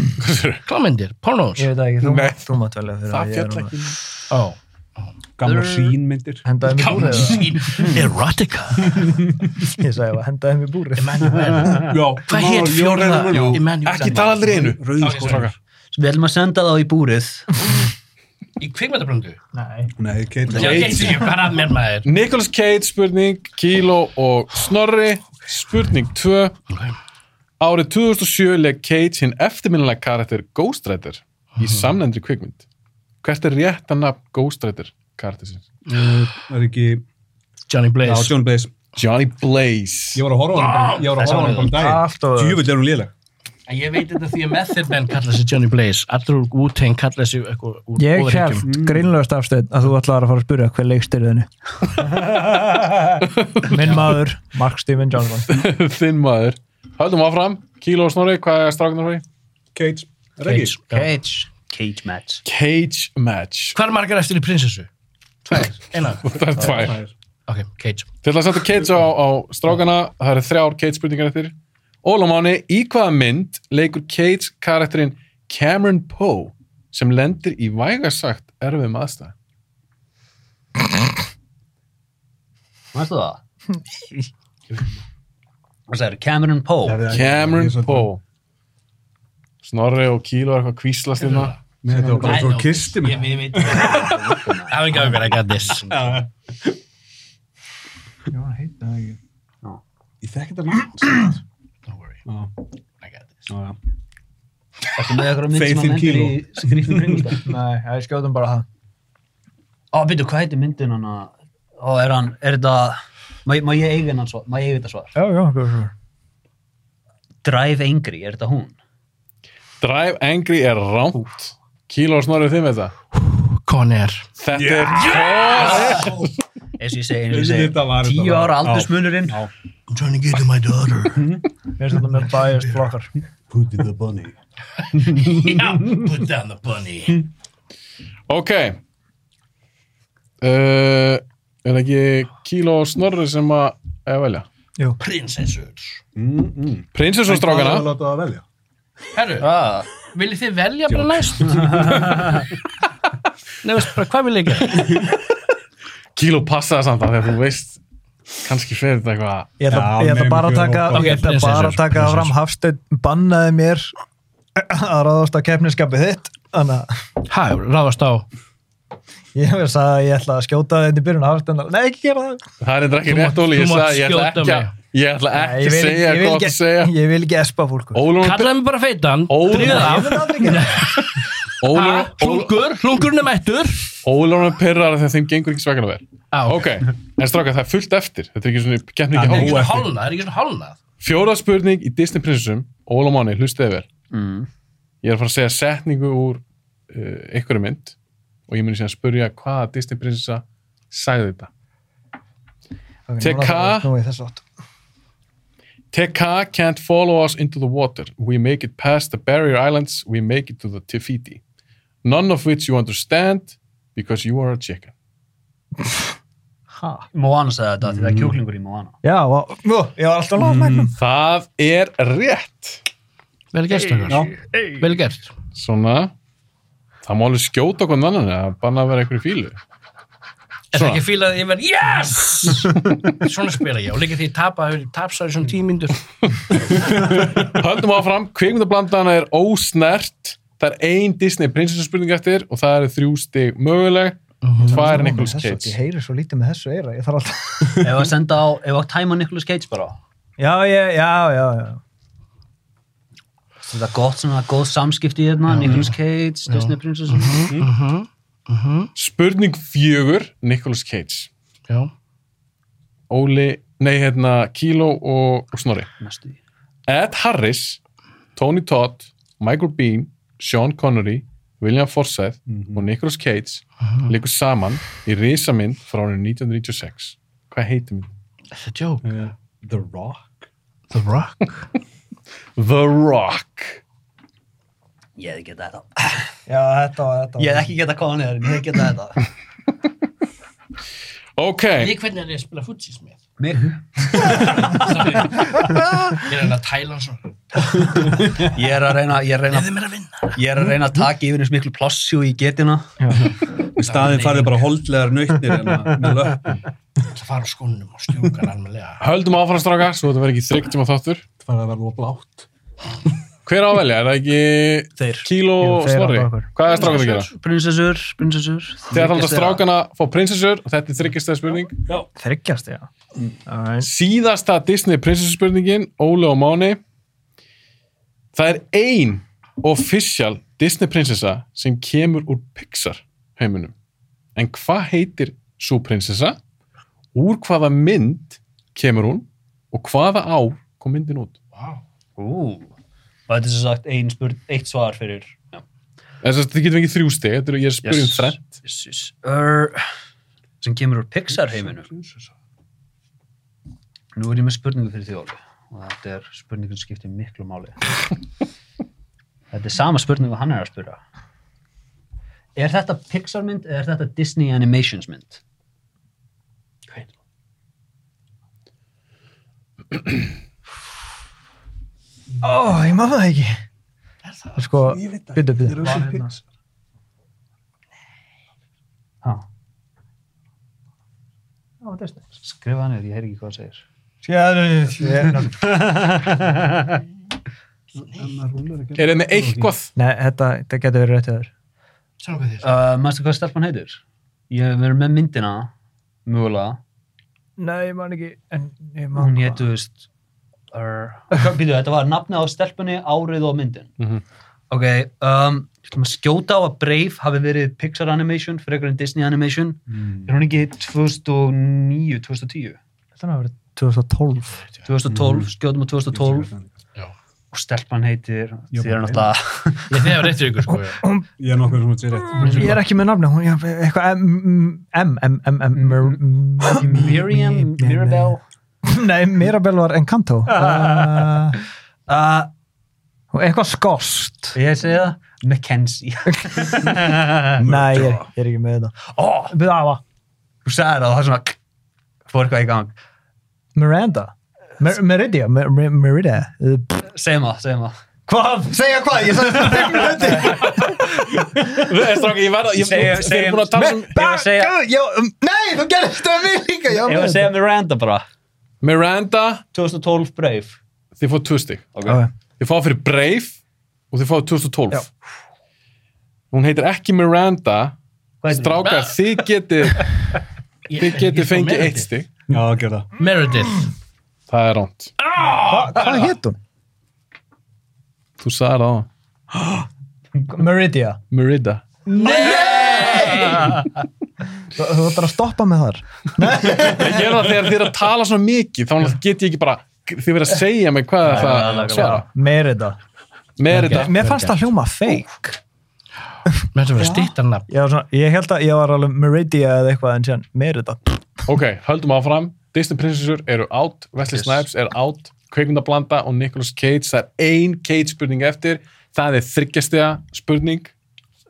Speaker 7: <clears throat> Klámyndir? Pornos?
Speaker 5: ég veit það ekki, þú,
Speaker 1: Nei.
Speaker 5: þú mátt velja fyrir
Speaker 1: það
Speaker 5: ég er
Speaker 1: fjall
Speaker 5: núna-
Speaker 1: ekki.
Speaker 7: Ó.
Speaker 3: Gamla sínmyndir.
Speaker 5: hendaði mig búrið eða?
Speaker 7: Klámsýn. <laughs> Erotica.
Speaker 5: ég sagði bara, hendaði mig búrið
Speaker 3: Já,
Speaker 7: Hvað hétt fjórða? Emmanuel
Speaker 1: Ekki tala aldrei einu.
Speaker 7: sko,
Speaker 3: Rauðskóð.
Speaker 4: Við ætlum að senda þá í búrið
Speaker 7: Í kvikmyndabröndu?
Speaker 3: Nei, Kate.
Speaker 7: Já, ég sé ekki hvað er að mér maður.
Speaker 1: Nicholas Cage spurning, Kilo og Snorri spurning 2 Árið 2007 leik Cage hinn eftirminnilega karakter Ghost Rider í samnefndri kvikmynd Hvert er rétt að nafn Ghost Rider karaktersins?
Speaker 3: Það er ekki...
Speaker 7: Johnny
Speaker 3: Já,
Speaker 7: Blaze.
Speaker 3: John Blaze.
Speaker 1: Johnny Blaze
Speaker 3: Ég var að horfa á hann bara- ég var að horfa á hann bara um
Speaker 5: Allt og-
Speaker 3: daginn. Djúvill er hún léleg.
Speaker 7: En ég veit þetta því að Method Man kallaði sig Johnny Blaze, allur úr Wu-Tang kallaði sig eitthvað úr
Speaker 5: ég
Speaker 7: Óðurríkjum.
Speaker 5: held greinlega stafstöðn að þú ætlar að fara að spyrja hver leikstýrið henni minn maður Mark Steven Johnson
Speaker 1: <laughs> Þinn maður Haldum áfram, Kilo og Snorri, hvað er strákunar fyrir?
Speaker 3: Kate. Er það ekki?
Speaker 4: Cage Cage match
Speaker 1: Cage match
Speaker 7: Hvað er margar eftir í prinsessu? Tvær. Eina.
Speaker 1: Það er tvær
Speaker 7: Ok, Cage.
Speaker 1: Til að setja Cage á, á strákana Það eru þrjár Cage spurningar eftir Ólamáni, í hvaða mynd leikur Cage karakterinn Cameron Poe sem lendir í vægasagt erfiðum aðstæð
Speaker 4: Mæstu <laughs> það? Hvað sagður? Cameron Poe
Speaker 1: Cameron
Speaker 3: Ég er svolítið-
Speaker 1: Poe Snorri og Kílo er eitthvað kvíslast hérna
Speaker 3: Nei, Þetta var bara svo kisti mig.
Speaker 7: Ég ég veit það. I got, I got this.
Speaker 3: Já, heita það ekki.
Speaker 4: Já.
Speaker 3: Ég þekki þetta náttúrulega.
Speaker 7: Don't worry, I got this.
Speaker 3: Já, já.
Speaker 4: <laughs> Ertu með eitthvað mynd
Speaker 3: Faith
Speaker 4: sem
Speaker 3: in
Speaker 4: að myndir í
Speaker 3: Kilo.
Speaker 4: skrýfnum kringumstæð?
Speaker 5: nei, ég skjóðum bara það
Speaker 4: Ó, byrju, hvað heitir myndin hann að Ó, er hann, er þetta Má, má ég eiga hann svar? Má ég eiga þetta svar?
Speaker 5: já, já, hvað er svo
Speaker 4: Drive Angry, er þetta hún?
Speaker 1: Drive Angry er rámt Kílo og Snorri þið með þetta
Speaker 7: Conair.
Speaker 1: Þetta er Poe
Speaker 4: eins og ég segi, eins og ég
Speaker 3: Þetta var-
Speaker 4: segi
Speaker 3: þetta
Speaker 4: tíu
Speaker 3: var-
Speaker 4: ára
Speaker 3: Já.
Speaker 4: aldursmunurinn
Speaker 7: I'm trying to get to my daughter.
Speaker 5: mér finnst þetta með biased flokkar
Speaker 3: Who did the bunny?
Speaker 7: yeah, put down the bunny.
Speaker 1: Ok uh, Er það ekki Kílo og Snorri sem að eða velja?
Speaker 7: Prinsessur.
Speaker 3: Mm, mm.
Speaker 1: Prinsessu og
Speaker 3: Hvað er að
Speaker 1: strákana
Speaker 3: láta það velja?
Speaker 7: Herru, viljið þið velja bara næst? Nei, veist bara, hvað vil ég gera?
Speaker 1: Kílo passa það samt að þegar þú veist kannski fer þetta eitthvað
Speaker 5: ég ætla,
Speaker 3: Já,
Speaker 5: ég ætla
Speaker 3: nei,
Speaker 5: bara að
Speaker 3: mjög
Speaker 5: taka,
Speaker 3: gott.
Speaker 5: okay,
Speaker 7: Ok, prinsessur,
Speaker 5: bara að taka
Speaker 7: prinsessur.
Speaker 5: fram Hafsteinn bannaði mér að ráðast á keppniskapið þitt þannig að
Speaker 7: Hæ, ráðast á.
Speaker 5: ég hef sagt að ég ætla að skjóta þetta í byrjun Hafsteinn nei, ekki gera það
Speaker 1: Það er eitthvað ekki
Speaker 7: Þú
Speaker 1: rétt
Speaker 7: mátt-
Speaker 1: Óli, ég
Speaker 7: þú
Speaker 1: sagði að
Speaker 7: mátt
Speaker 1: ég ætla
Speaker 7: skjóta
Speaker 1: ekki að ég ætla
Speaker 5: Nei,
Speaker 1: ekki
Speaker 5: ég
Speaker 1: að
Speaker 5: vil
Speaker 1: segja
Speaker 5: ég
Speaker 1: hvað
Speaker 5: vil
Speaker 1: þú
Speaker 5: ekki-
Speaker 1: átt að segja
Speaker 5: ég vil ekki espa sko. fólku
Speaker 1: Ólun
Speaker 7: Kallaði mig bara feitan.
Speaker 1: Ó,
Speaker 7: Drífið
Speaker 1: nei.
Speaker 7: af.
Speaker 1: <laughs>
Speaker 7: Ha, Hlungur, hlungurinn er mættur.
Speaker 1: er pyrrar þegar þeim gengur ekki svakana vel
Speaker 7: Ah,
Speaker 1: Ok, en stráka það er fullt eftir Þetta er ekki svona, getn ekki
Speaker 3: Það
Speaker 7: Það er
Speaker 3: er
Speaker 1: hálf
Speaker 7: ekki svona
Speaker 3: eftir.
Speaker 7: hálnað, það er ekki svona hálnað.
Speaker 1: Fjóra spurning í Disney prinsessum Óla Máni, hlustið yfir
Speaker 4: Mm.
Speaker 1: Ég er að fara að segja setningu úr uh, einhverju mynd og ég muni síðan að spurja hvaða Disney prinsessa sagði þetta TK.
Speaker 5: nú er þess átt
Speaker 1: Teka can't follow us into the water. We make it past the barrier islands. We make it to the Tifiti. None of which you understand because you are a chicken.
Speaker 4: Moana sagði þetta því það
Speaker 3: Mm.
Speaker 4: er kjúklingur í Moana
Speaker 1: Mm,
Speaker 5: já, vá, Ó, ég var alltaf lág
Speaker 1: Það er rétt.
Speaker 2: Vel gert, Stökar. Vel gert.
Speaker 1: Svona. Það má alveg skjóta okkur annan að banna að vera einhverju fílu.
Speaker 7: Er það
Speaker 1: Svona.
Speaker 7: ekki fílað að ég verð,
Speaker 2: <laughs>
Speaker 7: yes! Svona spila ég og líka því ég tapa, tapsaði svona tímyndur.
Speaker 1: Höldum áfram, kvikmyndablandana er ósnert. Það er ein Disney prinsessuspurning eftir og það eru þrjú stig möguleg. Tvær Nicolas
Speaker 5: Ég
Speaker 1: Cage.
Speaker 5: heyri svo lítið með þessu eira, ég þarf alltaf... <laughs>
Speaker 4: Ef að senda á, ef að tæma Nicolas Cage bara
Speaker 5: Já, ég, já, já, já.
Speaker 4: Þetta er gott svona, góð samskipti hérna, Nicolas Cage, Disney Princess
Speaker 3: Mhm.
Speaker 1: Spurning fjögur, Nicolas Cage.
Speaker 7: Já.
Speaker 1: Óli, nei hérna, Kilo og, og Snorri.
Speaker 4: Næstu því.
Speaker 1: Ed Harris, Tony Todd, Michael Bean, Sean Connery, William Forsyth og Nicolas Cage líkur saman í risamynd frá árið 1996. Hvað heitir mynd?
Speaker 2: Þetta er joke.
Speaker 3: Uh, The Rock.
Speaker 2: The Rock.
Speaker 1: The Rock.
Speaker 4: Ég hef getað þetta
Speaker 5: Já, þetta var, þetta var.
Speaker 4: Ég hef ekki getað komað neður, en ég hef getað þetta
Speaker 1: Ok,
Speaker 7: Ég hvernig er ég að spila futsis með?
Speaker 4: Mig?
Speaker 7: Ég er hann að tæla hann svona.
Speaker 4: Ég er að reyna, ég er að reyna,
Speaker 7: Þið mér að vinna.
Speaker 4: ég er að reyna að taka yfir eins miklu plossi og ég geti hérna
Speaker 3: Í staðin farið bara holdlegar nautnir hérna með löppum.
Speaker 7: Það fara á skónum og stjúka hann almennilega.
Speaker 1: höldum áfram stráka, svo þetta verður ekki þryggt sem að þáttur.
Speaker 3: Það farið að verða of blátt.
Speaker 1: Hver á að velja? Er það ekki
Speaker 4: Þeir
Speaker 1: Kilo
Speaker 5: Jú,
Speaker 1: og
Speaker 5: þeir á
Speaker 1: Snorri?
Speaker 5: bákur.
Speaker 1: Hvað er strákan að gera?
Speaker 4: Prinsessur, prinsessur
Speaker 1: Þegar þarf þetta strákan að fá prinsessur og þetta er þryggjastæða spurning.
Speaker 5: Þryggjast, já. Alright.
Speaker 1: síðasta Disney prinsessuspurningin Óli og Máni það er ein official Disney prinsessa sem kemur úr Pixar heiminum en hvað heitir svo prinsessa úr hvaða mynd kemur hún og hvaða á kom myndin út
Speaker 4: Ú, og þetta er sem sagt ein spurn, eitt svar fyrir
Speaker 1: þess að þið getum ekki þrjú steg þetta eru ég er spurning um yes. þrenn
Speaker 4: Jesus. Ör, sem kemur úr Pixar heiminu Nú er ég með spurningu fyrir því Óli og þetta er spurningu sem skiptir miklu <laughs> máli Þetta er sama spurningu og hann er að spura Er þetta Pixar mynd eða er þetta Disney Animations mynd?
Speaker 5: Ó, ég maður það ekki. Sko, byrju, byrju.
Speaker 4: Skrifa hann eða ég heyr ekki hvað það segir <laughs>
Speaker 5: Nei,
Speaker 1: er þið með eitthvað <laughs>
Speaker 5: þetta, þetta getur verið rétt öður.
Speaker 7: Svona hvað þér.
Speaker 4: uh, Manstu hvað stelpan heitir? Ég hef verið með myndina mögulega
Speaker 5: Nei, ég man ekki, en ég man
Speaker 4: hún hétu, þú veist býtu, þetta var nafni á stelpunni árið og myndin
Speaker 1: Mhm.
Speaker 4: ok, um, ég ætlum að skjóta á að Brave hafi verið Pixar Animation frekar en Disney Animation
Speaker 3: Mm.
Speaker 4: er hún ekki 2009, 2010
Speaker 5: Þetta var 2012.
Speaker 4: 2012, skjótum á 2012 og stelpan heitir
Speaker 3: Jú,
Speaker 4: því er
Speaker 3: bara
Speaker 4: náttúrulega
Speaker 7: Ég þið hefur réttir ykkur sko.
Speaker 3: Ég er nokkuð sem að sé rétt.
Speaker 5: Ég er ekki með nafni, hún er eitthvað M, M, M, M, M, Mir-
Speaker 4: Miriam, Mirabel
Speaker 5: Nei, Mirabel var <laughs> Encanto. Uh,
Speaker 4: uh,
Speaker 5: hún- Eitthvað skost.
Speaker 4: ég segi það, Mackenzie
Speaker 5: Nei, ég, ég er ekki með þetta.
Speaker 4: ó,
Speaker 5: Við afa.
Speaker 4: þú sagði það, það var svona fór eitthvað í gang
Speaker 5: Miranda. Mer Meridia. Mer Mer Meridia. Uh,
Speaker 4: segjum það, segjum það
Speaker 5: Hvað? Segja hvað? Ég sagði þetta þegar við <laughs> höndi.
Speaker 1: stráka, ég verða ég
Speaker 4: Segjum-
Speaker 1: þið eru búin að tala um
Speaker 4: Ég var að segja-
Speaker 5: Já, um, nei, þú gerðist það við líka. Já,
Speaker 4: Ég var að segja Miranda bara
Speaker 1: Miranda
Speaker 4: 2012 Brave
Speaker 1: þið fóðu tvö steg
Speaker 5: Okay.
Speaker 1: Þið fáið fyrir Brave og þið fáið 2012. Hún heitir ekki Miranda. Strákar, þið getið þið getið fengið eitt stig.
Speaker 3: Já, gerða.
Speaker 7: Meredith.
Speaker 1: Það er ránt.
Speaker 5: Hvað hétt hún?
Speaker 1: Þú sagði það á hann.
Speaker 5: Meridia.
Speaker 1: Merida.
Speaker 5: Þú þú ætlar að stoppa með þar.
Speaker 1: Ég er það þegar þið er að tala svona mikið þá get ég ekki bara, þið verið að segja mig hvað er það að svara.
Speaker 5: Merida.
Speaker 1: Merida.
Speaker 5: Mér fannst það hljóma fake.
Speaker 7: Mér þetta verið stýttan nafn.
Speaker 5: Ég, var svona, ég held að ég var alveg Meridia eða eitthvað en síðan Merida.
Speaker 1: Ok, höldum áfram. Disney prinsessur eru átt, Wesley Snipes er átt, Kveikmyndablanda og Nicolas Cage. Það er ein Cage spurning eftir. Það er þryggjastega spurning.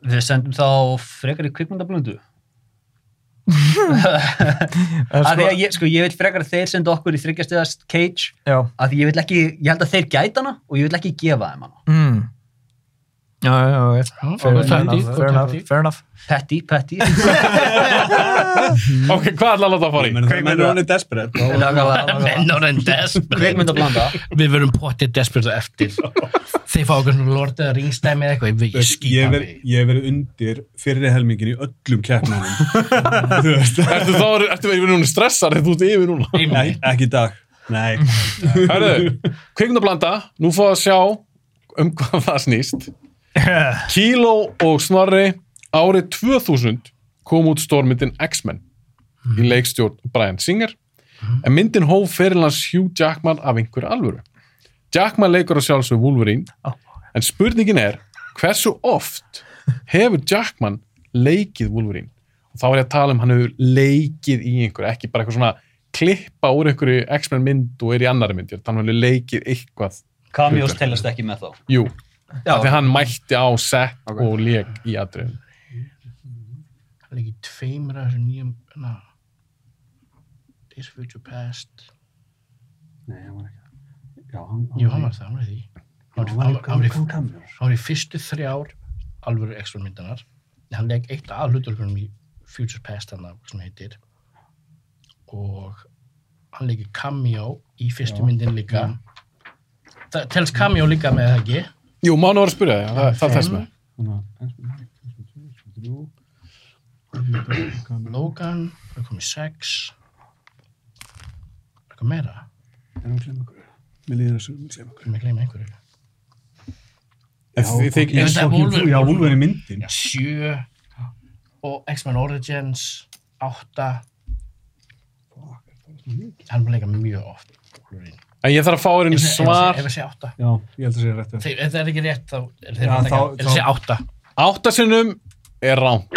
Speaker 4: Við sendum þá frekar í kvikmyndablöndu
Speaker 5: En
Speaker 4: Af því
Speaker 5: sko,
Speaker 4: að ég, sko, ég vil frekar að þeir senda okkur í þryggjastiðast cage
Speaker 5: já.
Speaker 4: af því ég vil ekki, ég held að þeir gæta hana og ég vil ekki gefa þeim hana
Speaker 5: Mm. Já, já, já, ok. Fair
Speaker 2: góð taktík,
Speaker 5: enough,
Speaker 2: góð
Speaker 5: fair enough,
Speaker 2: taktík.
Speaker 5: fair enough.
Speaker 4: Petty, Petty
Speaker 1: Ok, hvað ætla að láta að fara í?
Speaker 3: Menn er honum desperate. þá-
Speaker 2: Men are in desperate.
Speaker 4: Kveikmynd að blanda
Speaker 2: Við verum potið desperate á
Speaker 7: <laughs>
Speaker 2: eftir. Þeir fá okkur svona Lord eða Ringstæmi eða eitthvað, ég veit, ég
Speaker 3: Ég
Speaker 2: skýta
Speaker 3: hef
Speaker 2: mig.
Speaker 3: verið- ég hef verið undir fyrri helmingin í öllum keppnunum. Þú veist,
Speaker 1: Ertu þá, ertu verið núna stressar, þú ert yfir núna.
Speaker 3: Nei, ekki í dag. Nei.
Speaker 1: Herðu, kvikmyndablanda, nú fá að sjá um hvað það snýst. Kíló og Snorri árið 2000 kom út stórmyndin X-Men í leikstjórn Brian Singer en myndin hóf fyrirlans Hugh Jackman af einhverju alvöru. Jackman leikur á sjálfsög Wolverine en spurningin er hversu oft hefur Jackman leikið Wolverine? Og þá er ég að tala um hann hefur leikið í einhverju, ekki bara eitthvað svona klippa úr einhverju X-Men mynd og er í annari mynd, ég er að tala um hann hefur leikið eitthvað.
Speaker 4: Cameos telast ekki með þá
Speaker 1: Jú,
Speaker 4: Já,
Speaker 1: af því hann mætti á set og leik í atriðum.
Speaker 7: Það er ekki tveimur af þessu nýjum, na, Days of Future Past.
Speaker 6: Nei, hann var ekki. Já, hann,
Speaker 7: Jú, hann var það, hann var í því. Hann var- hann var- hann var í- hann var í fyrstu þrjár alvöru X-Men myndanar. En Hann legg eitt af hluturlökunum í Future Past hann sem heitir. Og hann leggir cameo í fyrstu myndin líka. Það telst cameo líka með það ekki.
Speaker 1: Jú, mánu var að spyrja þig, það, það er þess með.
Speaker 7: Logan, það kom í sex. Eitthvað meira,
Speaker 3: Mér líður þessu, mér segja okkur.
Speaker 7: hvernig ég gleyma einhverju.
Speaker 1: Þið þykir
Speaker 7: Ég
Speaker 1: eins
Speaker 7: veit að Wolverine-
Speaker 3: Já, Úlfur í myndin.
Speaker 7: Já, sjö og X-Men Origins átta hann var leika mjög oft Wolverine.
Speaker 1: En ég þarf að fá þér einu
Speaker 7: <laughs> Ef- ef-
Speaker 1: svar.
Speaker 7: ef ég segi átta
Speaker 3: Já, ég held að segja rétt.
Speaker 7: Þeir- ef það er ekki rétt þá er þeir
Speaker 3: Já,
Speaker 7: að taka
Speaker 3: þá-
Speaker 7: ef ég segi átta
Speaker 1: Áttasinnum er rán.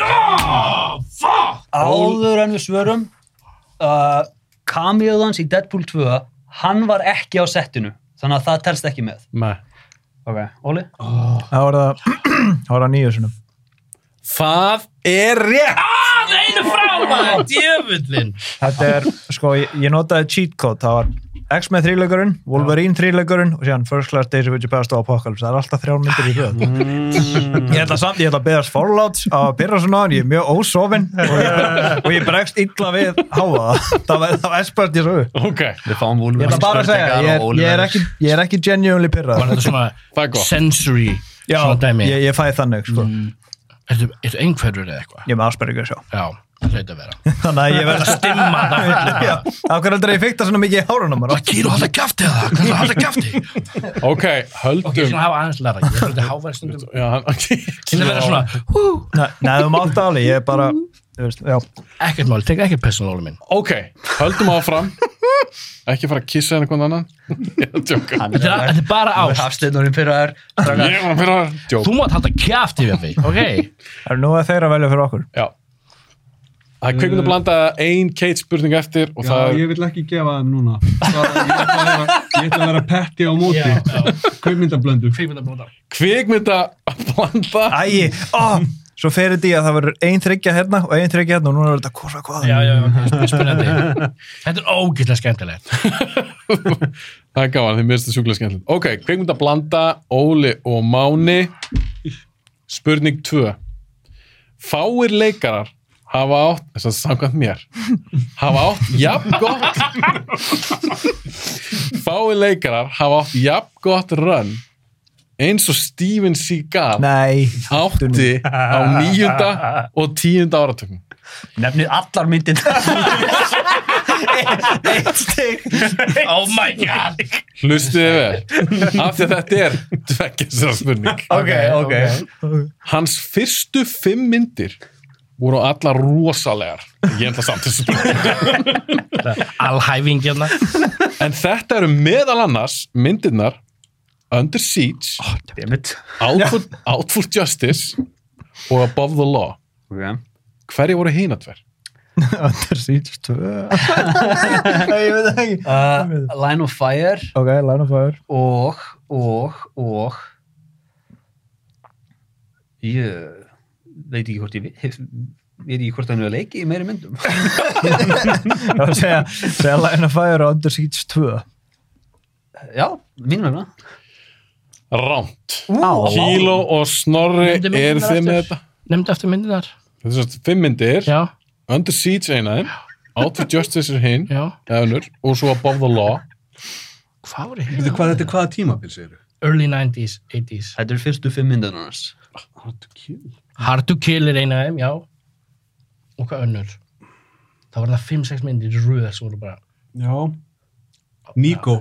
Speaker 4: Áður en við svörum uh, Cameoð hans í Deadpool 2 hann var ekki á settinu þannig að það telst ekki með
Speaker 1: Nei.
Speaker 4: Ok, Óli?
Speaker 5: Það var það, það var það nýju sinum.
Speaker 1: Það er rétt!
Speaker 7: Það er einu frá maður, djöfullin
Speaker 5: Þetta er, sko, ég, ég notaði cheat code, það var X-Men þrýleikurinn, Wolverine þrýleikurinn og síðan First Class Days of Future Past og Apocalypse, það er alltaf þrjár myndir í hljóð. Ég ætla samt, ég ætla að beðast forláts á að byrja svona, en ég er mjög ósofin og ég, og ég bregst illa við háa það, það var- það espast ég svo upp.
Speaker 1: Ok,
Speaker 2: Við fáum
Speaker 5: Ég ætla bara að segja, ég er, ég er, ekki, ég er ekki genuinely
Speaker 7: Var
Speaker 5: pyrrað.
Speaker 7: þetta svona
Speaker 1: það er gott.
Speaker 7: sensory
Speaker 5: Já,
Speaker 7: svona dæmi Mm.
Speaker 5: ég, ég fæ þannig, sko.
Speaker 7: Ertu ertu einhverfur eða eitthvað?
Speaker 5: Ég er með Asperger sjá. <laughs>
Speaker 7: Já, það hlaut að vera
Speaker 5: Þannig að ég verð <laughs>
Speaker 7: Dimma það
Speaker 5: Já, af hverju aldrei ég fikk það svona mikið í hárunum bara?
Speaker 7: Kýru halda kæfti eða? Hvað er það halda kæfti?
Speaker 1: Ok, höldum.
Speaker 7: <laughs> Ok, ég svona hafa aðeins læra Ég þurfti að háværi stundum
Speaker 1: Já, hann- <laughs> ok.
Speaker 7: Kynna vera svona
Speaker 5: Nei, nei, þú mátt alveg, ég er bara, þú veist, já.
Speaker 7: Ekkert máli, tek ekki personáli minn
Speaker 1: Ok, höldum áfram. Ekki fara að kissa henni hvernig annan. <laughs> Ég er að djóka.
Speaker 7: Þetta er- þetta er bara á
Speaker 4: Hafsteinurinn pyrraður
Speaker 1: Ég var að fyrra að djóka.
Speaker 7: Þú mátt halda kæft yfir því, <laughs> ok
Speaker 5: Það er nú að þeir að velja fyrir okkur.
Speaker 1: Já. Það er kvikmynd að blanda ein Kate spurning eftir og
Speaker 3: Já,
Speaker 1: það er...
Speaker 3: ég vil ekki gefa það núna. Það, ég, ætla að vera, ég ætla að vera petti á móti. Kveimyndablöndu.
Speaker 7: Kvíkmyndabóta
Speaker 1: Kvikmynd að
Speaker 3: <laughs>
Speaker 1: blanda...
Speaker 5: Æi, ó, svo fer þetta í að það verður ein þryggja hérna og ein þryggja hérna og núna verður þetta hvora hvað.
Speaker 7: Já, já, ok, sp- spennandi Þetta er ógeðlega skemmtilegt
Speaker 1: Það er gaman, þið myrst það sjúklega skemmtilegt. Ok, kveikmynd að blanda, Óli og Máni. Spurning 2. Fáir leikarar hafa átt, þess að samkvæmt mér, hafa átt jafn gott... Fáir leikarar hafa átt jafn gott run eins og Steven Seagal
Speaker 5: Nei,
Speaker 1: átti á nýjunda og tíunda áratökum.
Speaker 4: Nefnið allar
Speaker 5: <laughs>
Speaker 4: myndin
Speaker 7: <laughs> Oh my god
Speaker 1: Hlustiði vel, af því að þetta er tveggjensra spurning.
Speaker 5: ok, ok.
Speaker 1: Hans fyrstu fimm myndir voru allar rosalegar. Ég enda samt þessu spurning.
Speaker 7: Alhæfing hérna
Speaker 1: En þetta eru meðal annars myndirnar Under Siege,
Speaker 5: Oh,
Speaker 4: Dammit
Speaker 1: Outful, Outful Justice og Above the Law. Hverju voru hinatver?
Speaker 5: Under Siege 2. <laughs> Nei, ég veit það ekki.
Speaker 4: uh, Line of Fire
Speaker 5: Ok, line of fire.
Speaker 4: og, og, og ég veit ekki hvort ég vi- hef- Ég er í hvort hann hefur leikið í meiri myndum. <laughs>
Speaker 5: Það var að segja, segja Line of Fire og Under Siege 2.
Speaker 4: Já, mínum vegna.
Speaker 1: Rámt.
Speaker 4: Á.
Speaker 1: Kíló og Snorri,
Speaker 7: Nefndu myndirnar
Speaker 1: eru þið með
Speaker 7: aftur.
Speaker 1: þetta?
Speaker 7: Nefndi aftur myndinar.
Speaker 1: Þetta er svona fimm myndir,
Speaker 7: Já,
Speaker 1: Under Siege er eina þeim, Out of Justice er hinn,
Speaker 7: já.
Speaker 1: eða önnur, og svo Above the Law.
Speaker 7: Hvað var
Speaker 3: Veitu
Speaker 7: ég?
Speaker 3: hvað þetta er hvaða tímabil, segir þú?
Speaker 7: Early 90s, 80s.
Speaker 4: Þetta eru fyrstu fimm myndin hans.
Speaker 7: Hard to Kill er eina af þeim, já. Og hvað önnur? Það var það 5-6 myndir í röð sem voru bara,
Speaker 3: Já. Nico.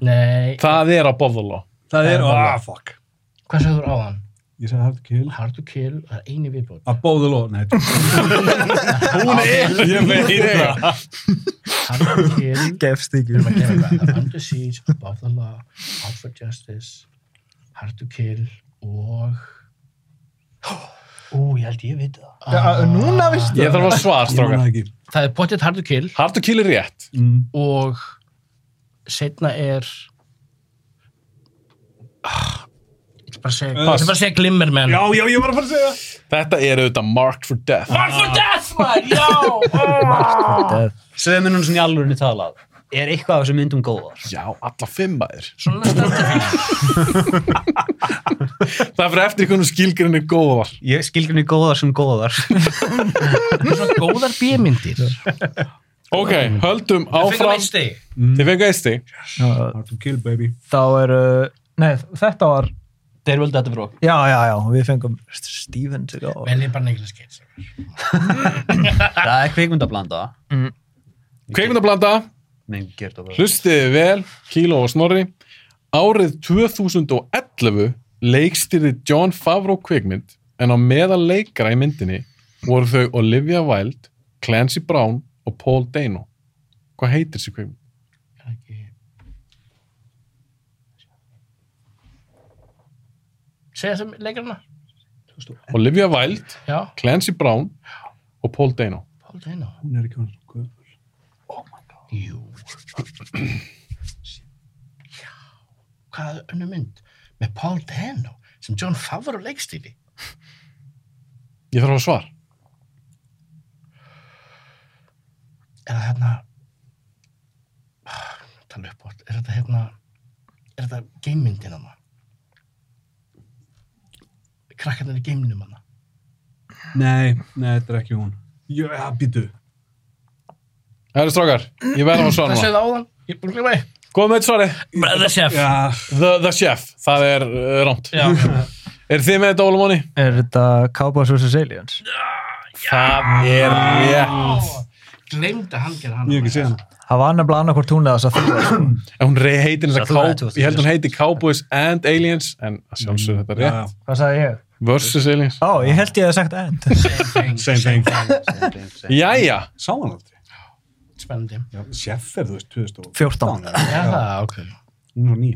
Speaker 7: nei,
Speaker 1: Það er Above the Law.
Speaker 3: Það er,
Speaker 7: Það er-
Speaker 3: ah, fuck.
Speaker 7: hvað sagður á hann?
Speaker 3: Ég sagði hard to kill.
Speaker 7: Hard to Kill, það er eini viðbót.
Speaker 3: Að bóðu lóð, nei.
Speaker 1: Hún er, ég veit það.
Speaker 7: Hard to
Speaker 5: <laughs>
Speaker 7: Kill,
Speaker 5: Gefst
Speaker 7: við
Speaker 5: ekki.
Speaker 7: erum að gera eitthvað. Það er Under Siege, Above the Law, Out for Justice, Hard to Kill og... <gasps> Ó, ég held ég veit það.
Speaker 5: Núna vist
Speaker 1: Ég þarf að svara,
Speaker 3: Ég man
Speaker 1: strákar.
Speaker 3: það ekki.
Speaker 7: Það er potið Hard to Kill
Speaker 1: Hard to Kill er rétt.
Speaker 3: Mm.
Speaker 7: og setna er... Ah, Ég ætla bara að segja, ég ætla bara að segja Glimmer, menn.
Speaker 3: Já, já, ég var að fara að segja.
Speaker 1: Þetta er auðvitað Marked for Death.
Speaker 7: Hard for Death, man, já! Ah.
Speaker 4: Sveið minnum svona í alvörunni talað. Er eitthvað af þessum myndum góðar?
Speaker 1: Já, alla fimm aðeir.
Speaker 7: Svona stendur.
Speaker 1: Það er fyrir eftir hvernig skilgrinni góða var.
Speaker 4: Ég skilgjum því góðar sem góðar.
Speaker 7: Svona góðar bímyndir.
Speaker 1: Ok, höldum áfram.
Speaker 7: stegi.
Speaker 1: Þið fengið eitt stig.
Speaker 3: Hard to kill, baby.
Speaker 5: Þá eru, nei, þetta var,
Speaker 4: <laughs> Þeir völdu þetta frá.
Speaker 5: já, já, já, við fengum Steven til að...
Speaker 7: Vel ég bara Nicolas Cage.
Speaker 4: Það er kvikmyndablanda.
Speaker 1: Kveikmyndablanda,
Speaker 4: Menn gerð það bara.
Speaker 1: hlustiði vel, Kíló og Snorri. Árið 2011 leikstýrði John Favreau kveikmynd en á meðal leikara í myndinni voru þau Olivia Wilde, Clancy Brown og Paul Dano. Hvað heitir þessi kveikmynd?
Speaker 7: Segja sem leikarna?
Speaker 1: Olivia Wilde,
Speaker 7: Já,
Speaker 1: Clancy Brown og Paul Dano.
Speaker 7: Paul Dano.
Speaker 3: Hún er ekki hann. Hvað?
Speaker 7: Jú. Já. Hvað er önnur mynd? Með Paul Dano sem John Favreau leikstýri.
Speaker 1: Ég þarf að svara.
Speaker 7: Er það hérna... Tala upp átt. Er þetta hérna... Er þetta geimmyndin hana? Krakkarnir í geimnum hana.
Speaker 3: Nei, nei, þetta er ekki hún. Já, ja, býtu.
Speaker 1: Það eru strákar, ég verðum að svara
Speaker 7: Hvað
Speaker 1: núna.
Speaker 7: segðu áðan? Ég er búin að glima því.
Speaker 1: Góð með eitt svari.
Speaker 7: Brother Chef.
Speaker 3: Já,
Speaker 1: The, the Chef, það er uh, rámt.
Speaker 7: Já.
Speaker 1: Er þið með þetta Ólumóni?
Speaker 5: Er þetta Cowboys vs. Aliens?
Speaker 1: Það er rétt.
Speaker 7: Gleimd að hann gera hann.
Speaker 3: ég hef ekki séð hana.
Speaker 5: Það var nefnilega annarkvort hún eða sko. þess að þú
Speaker 1: En hún re- heitir þess
Speaker 4: Það er
Speaker 1: að Cow...
Speaker 4: 2000.
Speaker 1: Ég held hún heiti Cowboys and Aliens, en að sjálfsögðu þetta er rétt.
Speaker 3: Já,
Speaker 5: Hvað sagði ég?
Speaker 1: Versus Aliens.
Speaker 5: Ó, ég held ég hef sagt end.
Speaker 7: Same
Speaker 3: Same thing.
Speaker 1: Jæja,
Speaker 3: sá hann aldrei.
Speaker 7: Spennandi.
Speaker 3: Já, Chef er, þú veist, 2014.
Speaker 5: 14.
Speaker 7: Já, það, ok.
Speaker 3: Hún var ný.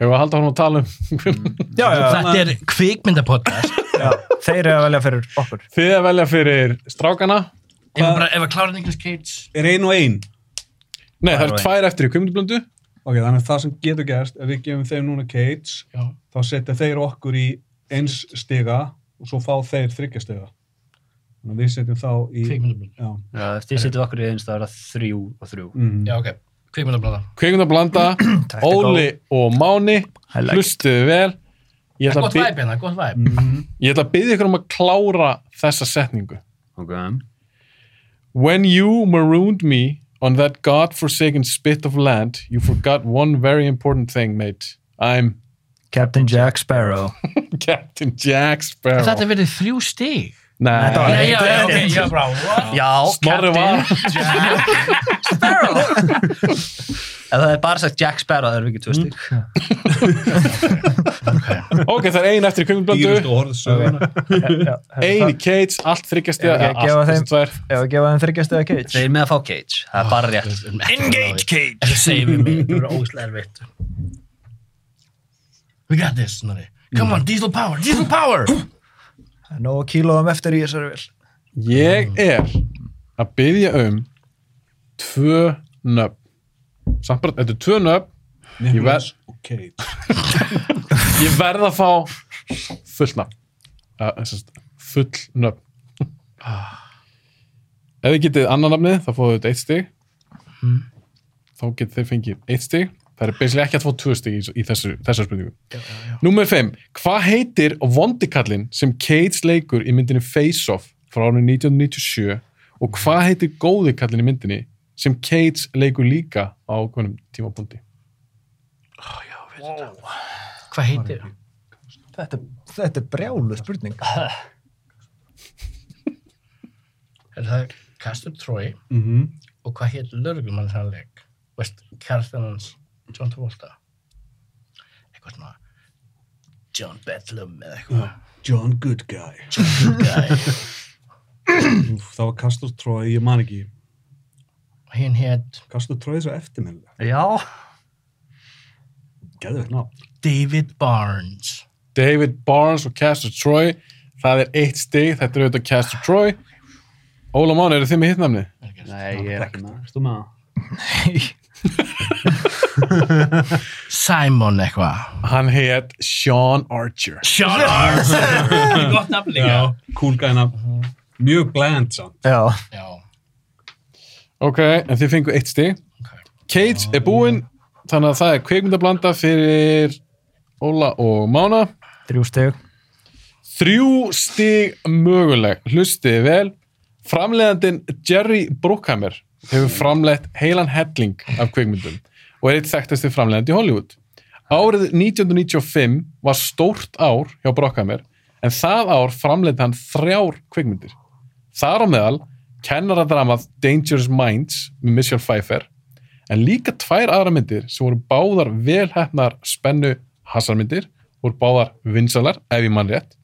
Speaker 1: hefur að halda hún að tala um.
Speaker 5: Já, já,
Speaker 7: Þetta er kvikmyndapodcast.
Speaker 5: já. Þeir eru að velja fyrir okkur.
Speaker 1: þið að velja fyrir strákana.
Speaker 7: Ef að bara, ef að klára Nicolas Cage.
Speaker 3: Er ein og ein.
Speaker 1: Nei, það eru tvær eftir í kvimdublöndu.
Speaker 3: Ok, þannig að það sem getur gerst, ef við gefum þeim núna Cage,
Speaker 7: Já.
Speaker 3: þá setja þeir okkur í eins stiga og svo fá þeir þryggja stiga. Þannig að við setjum þá í...
Speaker 7: Kvikmyndablaða.
Speaker 3: Já.
Speaker 4: Já, eftir setjum við okkur í eins, það er það þrjú og þrjú.
Speaker 3: Mm.
Speaker 7: Já, ok. Kvikmyndablada.
Speaker 1: Kvimdublanda, Óli og Máni.
Speaker 5: like
Speaker 1: Hlustuðu vel. Ég ætla, að
Speaker 7: Gott
Speaker 1: bi-
Speaker 7: væp hérna, gott væp.
Speaker 1: ég ætla að byggja ykkur um að klára þessa setningu.
Speaker 4: Ok.
Speaker 1: When you marooned me on that godforsaken spit of land, you forgot one very important thing, mate. I'm
Speaker 5: Captain Jack Sparrow.
Speaker 1: Captain Jack Sparrow.
Speaker 7: Þetta verið þrjú stig.
Speaker 1: Nei,
Speaker 5: var-
Speaker 7: Já, já, já, ok, já, brá. What?
Speaker 4: Já,
Speaker 1: Snorri var
Speaker 4: <laughs> ef það er bara sagt Jack Sparrow, það er vikið tvö stygg.
Speaker 1: Ok, það er ein eftir í kvöngblöndu
Speaker 3: Dýrust orð söguna.
Speaker 1: Ein í Cates, allt þryggjast
Speaker 5: Ég- ég gefa þeim-
Speaker 1: tvær
Speaker 5: Ef að gefa þeim þryggjast eða Cage.
Speaker 4: Þeir eru með að fá Cage, Ah, það er bara rétt.
Speaker 7: Engage Cage. Þetta segir við mig. Þetta verður óslega erfitt. We got this, Snorri. Come on, diesel power, diesel power!
Speaker 5: Nó kílóðum eftir í þessari vil.
Speaker 1: Ég er að byggja um tvö nöfn Samt bara, þetta er tvö nöfn Ég verð-
Speaker 3: og Cage.
Speaker 1: Eh, Ég verð að fá full nöfn uh, full nöfn Ef þið getið annan nafnið, þá fóðu þetta eitt stig. Þá getið þið fengið eitt stig. Það er basically ekki að fá tvö stig í, í þessu, þessar spurningu. Númer 5. Hvað heitir vondikallin sem Cage leikur í myndinni Face Off frá árinu 1997 og hvað heitir góðikallin í myndinni sem Cage leikur líka á ákveðnum tímapunkti?
Speaker 7: Hvað heitir það?
Speaker 5: Þetta, þetta er brjálu spurning.
Speaker 7: Er það Castor Troy
Speaker 3: Mm -hmm.
Speaker 7: og hvað heit lörgumann hann leik? Veist, kærastan hans, John Travolta. Eitthvað svona, John Bedlam eða <laughs> eitthvað.
Speaker 3: John Good Guy.
Speaker 7: Guy.
Speaker 3: Úf, það var Castor Troy, ég man ekki.
Speaker 7: Og hinn heit
Speaker 3: Castor Troy er svo eftirminnilega.
Speaker 4: <laughs> Já.
Speaker 3: Gæðvegt nafn.
Speaker 7: David Barnes.
Speaker 1: David Barnes og Castor Troy. Það er eitt stig. Þetta er auðvitað Castor Troy. Óla Máni, eru þið með hitt nafnið?
Speaker 4: Nei, ég er ekki með.
Speaker 3: Erstu með það?
Speaker 7: Simon eitthvað.
Speaker 1: Hann heit Sean Archer.
Speaker 7: Sean Arms. Gott nafn líka.
Speaker 3: Cool guy nafn. Mjög bland samt.
Speaker 5: Já.
Speaker 7: Já.
Speaker 1: Ok, en þið fengu eitt stig.
Speaker 7: Ok.
Speaker 1: Cage er búinn, þannig að það er kveikmyndablanda fyrir Óla og Mána.
Speaker 5: Þrjú steg.
Speaker 1: Þrjú stig möguleg, hlustiði vel. Framleiðandinn Jerry Bruckheimer hefur framleitt heilan helling af kveikmyndum og er eitt þekktasti framleiðandi í Hollywood. Árið 1995 var stórt ár hjá Bruckheimer en það ár framleiði hann þrjár kveikmyndir. Þar á meðal kennaradramað Dangerous Minds með Michelle Pfeiffer en líka tvær aðra myndir sem voru báðar velhæfnar spennu hasarmyndir voru báðar vinsalar ef ég mann rétt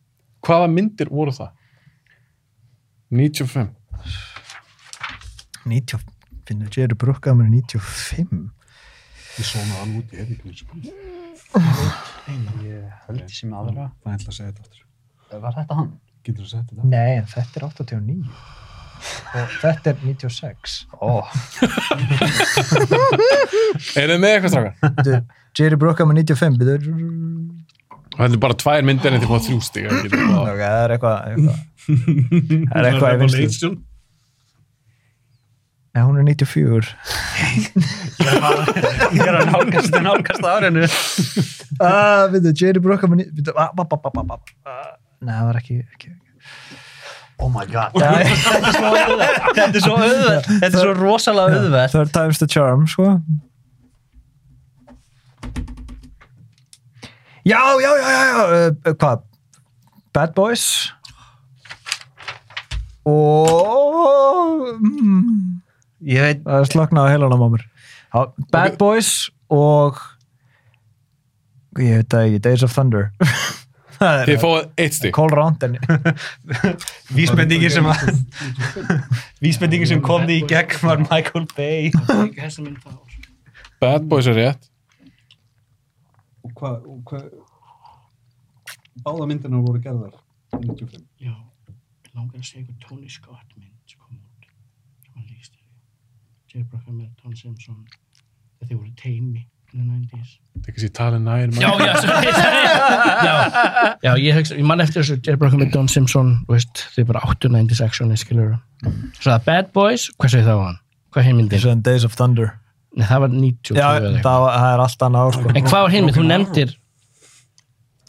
Speaker 1: hvaða myndir voru það? 95
Speaker 5: 90, finnum við Jerry Bruckham er 95.
Speaker 3: Ég svona hann út, ég hef ekki minn spurning.
Speaker 4: Ég held ég sem aðra.
Speaker 3: Það er ætla að segja þetta aftur.
Speaker 4: Eh, Var þetta hann?
Speaker 3: Getur þú að segja þetta?
Speaker 5: Nei, en þetta er 89. Og þetta er 96. Ó.
Speaker 1: Er þið með eitthvað strákar?
Speaker 5: Bíddu, Jerry Bruckham er 95. Bíddu,
Speaker 1: Það er bara tvær myndir en þið komað þrjú stig ef ég get eitthvað.
Speaker 5: ok, það er eitthvað. eitthvað. Það er eitthvað í vinstu. Nei, hún er 94.
Speaker 2: Ég er að nálgast, nálgast árinu.
Speaker 5: Ah, við þau, Jerry Bruckham er ný- við þau, ah, bap, bap, bap, bap, bap. Ah, Nei, það var ekki, ekki.
Speaker 4: Oh my god. <laughs>
Speaker 5: Já,
Speaker 4: Þetta er svo auðveld. Þetta er svo rosalega auðveld.
Speaker 5: Third time's the charm, sko. Já, já, já, já, já, uh, hvað? Bad Boys? Og... Mm,
Speaker 4: Ég veit,
Speaker 5: það er sloknað á heilanum á mér. Já, Bad
Speaker 1: Ok.
Speaker 5: Boys og... Ég veit það ekki, Days of Thunder. <laughs> það
Speaker 1: Þið fáið eitt stig
Speaker 5: Cole Rountain.
Speaker 2: Vísbendingin sem að...
Speaker 3: <laughs>
Speaker 2: Vísbendingin sem kom því í gegn var Michael Bay.
Speaker 7: Ekki þessi mynd það ár.
Speaker 1: Bad Boys er rétt
Speaker 3: Og hvað, og hvað, báða myndirna voru gerðar. 95.
Speaker 7: Já. Ég langar að segja eitthvað Tony Scott mynd sem kom út. Sem hann líst þér. Jerry Bruckheimer, Tom Simpson. Þeir voru teimi in the 90s.
Speaker 1: Það er kannski talið nær
Speaker 7: já,
Speaker 1: maður.
Speaker 7: já, sorry, sorry. já, já ég, hugsa, ég man eftir þessu Jerry Bruckham með Don Simpson þú veist, þið bara 890 sectioni skilur svo það Bad Boys, hvað segir það á hann? hvað er heimildin?
Speaker 5: Sem Days of Thunder.
Speaker 7: Nei, það var 90
Speaker 5: Já,
Speaker 7: eða
Speaker 5: það,
Speaker 7: eitthvað.
Speaker 5: var- það er allt annað ár, sko.
Speaker 7: en hvað var heimild? þú nefndir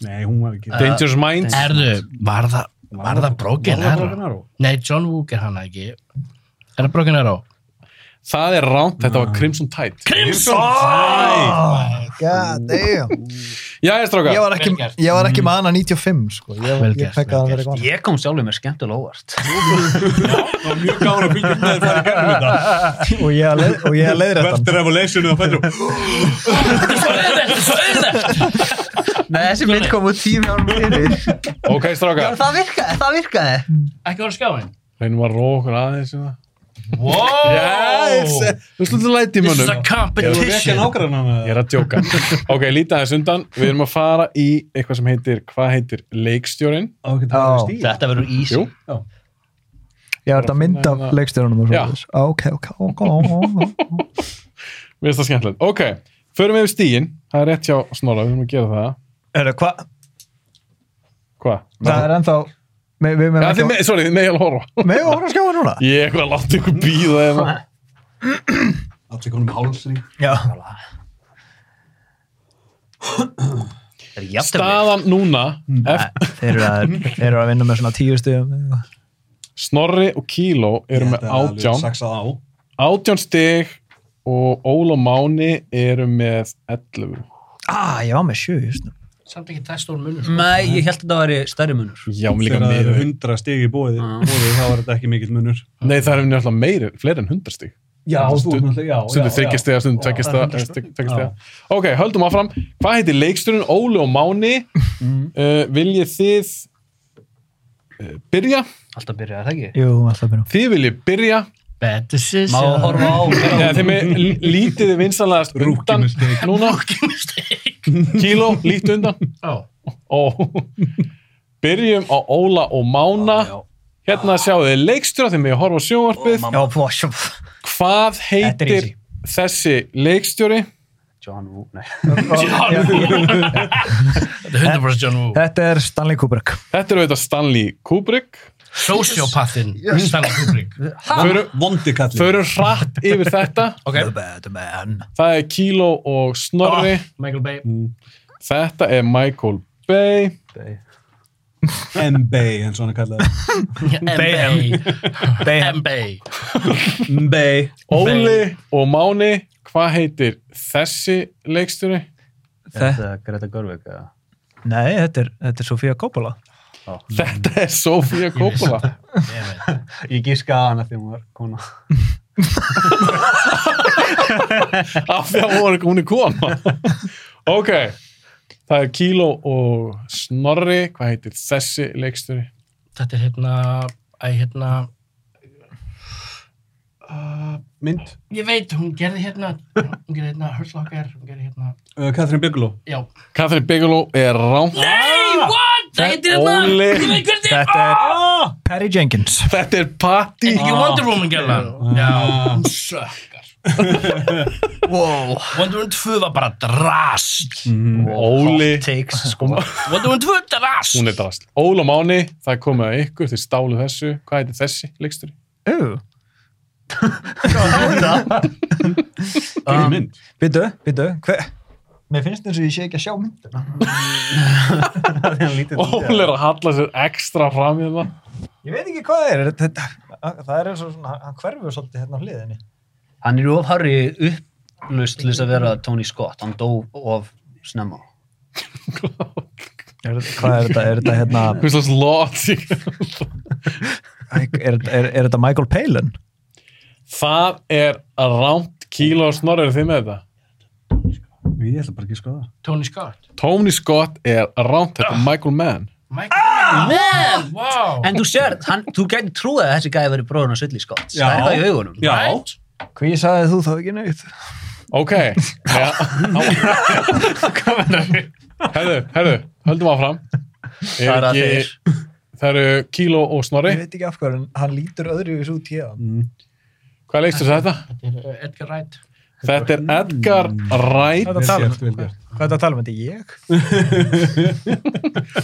Speaker 3: Nei, hún var ekki.
Speaker 1: Dangerous Minds
Speaker 7: erðu, var það, var það Broken
Speaker 3: Var það
Speaker 7: Arrow?
Speaker 3: Broken Arrow?
Speaker 7: nei, John Wook er hann ekki er það Broken Arrow?
Speaker 1: Það er ránt, þetta var Crimson Tide
Speaker 7: Crimson
Speaker 5: Oh God damn.
Speaker 1: Já, ég strákar
Speaker 5: Ég var ekki,
Speaker 7: Vel gert.
Speaker 5: ég var ekki með hana 95, sko. Ég,
Speaker 7: Vel
Speaker 5: ég
Speaker 7: gert,
Speaker 5: fekk að
Speaker 7: vel
Speaker 5: hann
Speaker 7: gert.
Speaker 5: verið góð.
Speaker 4: ég kom sjálfur með skemmtilega óvart.
Speaker 3: Það var mjög gáður að fylgja um þegar það er gerðum þetta.
Speaker 5: Og ég að
Speaker 3: <laughs>
Speaker 5: leið- og ég að leiðrætt hann.
Speaker 3: Verður revolutionu að fættu.
Speaker 4: <laughs> Nei, þessi mynd kom út tími árum fyrir.
Speaker 1: Ok, strákar
Speaker 4: Það virkaði, það virkaði.
Speaker 7: ekki voru skáin?
Speaker 1: Reynum að róa okkur aðeins um það.
Speaker 7: wow
Speaker 1: Yes! Þú sluttu læti í
Speaker 7: this is
Speaker 1: mönnum
Speaker 7: a
Speaker 3: Þú er ekki
Speaker 7: competition
Speaker 3: nákvæmlega
Speaker 1: Ég er að djóka. ok, lítið aðeins undan. Við erum að fara í eitthvað sem heitir, hvað heitir leikstjórin?
Speaker 3: Á ekki það
Speaker 5: Já.
Speaker 3: var stíl.
Speaker 4: Þetta verður easy.
Speaker 1: Jú.
Speaker 5: Ég var þetta mynd af leikstjórnum og svo. Ah,
Speaker 1: Já.
Speaker 5: Ok, ok, ok, ok.
Speaker 1: Mér finnst það skemmtilegt. Ok, förum við yfir stígin. Það er rétt hjá Snorra, við erum að gera það.
Speaker 5: Erðu, hvað?
Speaker 1: Hvað?
Speaker 5: Það er ennþá Me- Við
Speaker 1: Já, þið
Speaker 5: meðum
Speaker 1: með, sorry, þið með alveg horfa.
Speaker 5: Megum við horfa að skjáða núna?
Speaker 1: Ég er eitthvað að láta ykkur hérna. býða eða.
Speaker 3: Allt ekki honum hálsri.
Speaker 5: Já.
Speaker 4: Það er jafntefli.
Speaker 1: Staðan núna, eftir
Speaker 5: Þeir eru að, þeir eru að vinna með svona tíu stigum.
Speaker 1: Snorri og Kíló eru með átján.
Speaker 3: Saksað á.
Speaker 1: Átján stig og Ól og Máni eru með 11.
Speaker 5: Ah, ég var með sjö, just nú.
Speaker 7: Samt ekki það stór munur.
Speaker 4: Nei, ég held að þetta væri stærri munur.
Speaker 1: Já, mér líka
Speaker 3: Þegar það
Speaker 1: meira.
Speaker 3: eru hundra stig í bóði, bóði þá er þetta ekki mikill munur.
Speaker 1: Nei, það eru náttúrulega meiri, fleiri en 100 stig.
Speaker 3: Já, þú ert náttúrulega, já.
Speaker 1: Stundu þryggjast eða, stundu tveggjast eða, tveggjast eða. Ok, höldum áfram. Hvað heitir leiksturinn Óli og Máni? Uh, viljið þið uh, byrja?
Speaker 6: Alltaf byrjaði það ekki?
Speaker 5: Jú, alltaf byrjum.
Speaker 1: Þið viljið byrja.
Speaker 7: Bad
Speaker 4: Má
Speaker 7: decision.
Speaker 4: horfa <laughs> á.
Speaker 1: Eða þið með lítið vinsanlegast undan
Speaker 3: mistake.
Speaker 1: núna. Kíló, lítið undan.
Speaker 7: Já.
Speaker 1: og byrjum á Óla og Mána hérna sjáu þið leikstjóra þegar við horfa á sjónvarpið
Speaker 5: Já, pú, sjö.
Speaker 1: hvað
Speaker 5: er
Speaker 1: heitir
Speaker 5: easy.
Speaker 1: þessi leikstjóri
Speaker 6: John Woo, nei.
Speaker 7: Þetta er 100% John Woo.
Speaker 5: Þetta er Stanley Kubrick.
Speaker 1: þetta er auðvitað Stanley Kubrick
Speaker 7: Sociopathin. Stanley Kubrick.
Speaker 1: förum,
Speaker 3: Vondi kallið.
Speaker 1: förum hrætt yfir þetta
Speaker 7: Ok.
Speaker 5: The bad man.
Speaker 1: það er Kíló og Snorri
Speaker 7: Michael Bay.
Speaker 1: þetta er Michael Bay
Speaker 3: Mbay, eins og hann kallaði.
Speaker 7: M-Bay.
Speaker 5: Bam.
Speaker 7: M-Bay.
Speaker 3: Mbay.
Speaker 1: Óli og Máni hvað heitir þessi leikstjóri
Speaker 6: Þetta er Greta Gerwig, eða?
Speaker 5: Nei, þetta er, þetta er Sofía Coppola.
Speaker 1: þetta er Sofía Coppola
Speaker 6: Ég gíska á hana því hún var kona.
Speaker 1: af því að hún er, hún er kona ok það er Kíló og Snorri hvað heitir þessi leikstöri
Speaker 7: Þetta er hérna, æ, hérna,
Speaker 3: Mynd.
Speaker 7: ég veit, hún gerði hérna, hún gerði hérna Hörslokar, hún gerði hérna,
Speaker 3: Uh, Catherine Bigelow.
Speaker 7: já.
Speaker 1: Catherine Bigelow er rám
Speaker 7: Nei, what? Ah, Það heitir hérna,
Speaker 1: Óli.
Speaker 7: ég veit hvert þið,
Speaker 5: Þetta er Patty Jenkins.
Speaker 1: þetta er Patti
Speaker 7: ekki Wonder Woman gerði hann. Já, hún sökkar. wow. Wonder Woman 2 var bara drast.
Speaker 1: Óli
Speaker 4: Takes, sko.
Speaker 7: Wonder Woman 2 drast.
Speaker 1: hún er drast Óla Máni það er komið að ykkur þið stálu þessu hvað heitir þessi leikstöri
Speaker 5: Ú,
Speaker 3: Um, mynd.
Speaker 5: býtu, býtu, hver? Mér finnst eins og ég sé ekki að sjá myndina.
Speaker 1: Óli er að halla sér ekstra fram hérna. í það
Speaker 5: Ég veit ekki hvað það er. Þetta, það er eins og svona, hann hverfur svolítið hérna á hliðinni.
Speaker 4: Hann er of harri upplust til þess að vera Tony Scott. Hann dó of snemma.
Speaker 5: Er, hvað er þetta? Er þetta hérna...
Speaker 1: hvað slags logic
Speaker 5: Er, er, er, er þetta Michael Palin?
Speaker 1: það er rámt Kíló og Snorri eru þið með þetta
Speaker 3: Ég ætla bara ekki að skoða það.
Speaker 7: Tony Scott.
Speaker 1: Tony Scott er rámt þetta er Michael Mann
Speaker 7: Michael Ah! Man, wow.
Speaker 4: En þú sér, hann, þú gæti trúið að þessi gæði verið bróðun á Sully Scott.
Speaker 3: Já.
Speaker 4: Það er það í augunum.
Speaker 3: Já.
Speaker 7: Right?
Speaker 5: Hví sagði þú þá ekki neitt?
Speaker 1: Ok ja. Herðu, herðu, höldum áfram
Speaker 4: Það
Speaker 1: Er
Speaker 4: er að
Speaker 1: ekki-
Speaker 4: þeir.
Speaker 1: Það eru Kíló og Snorri
Speaker 5: Ég veit ekki af hverju, en hann lítur öðruvis út hér.
Speaker 7: Mm.
Speaker 1: Hvað leikstur þetta?
Speaker 7: Þetta er uh, Edgar Wright.
Speaker 1: Þetta er Edgar
Speaker 5: Hvað
Speaker 1: Wright
Speaker 5: er
Speaker 3: Vel
Speaker 5: þetta að
Speaker 3: gert, vel
Speaker 5: tala um?
Speaker 3: gert.
Speaker 5: Hvað er þetta að tala um? Þetta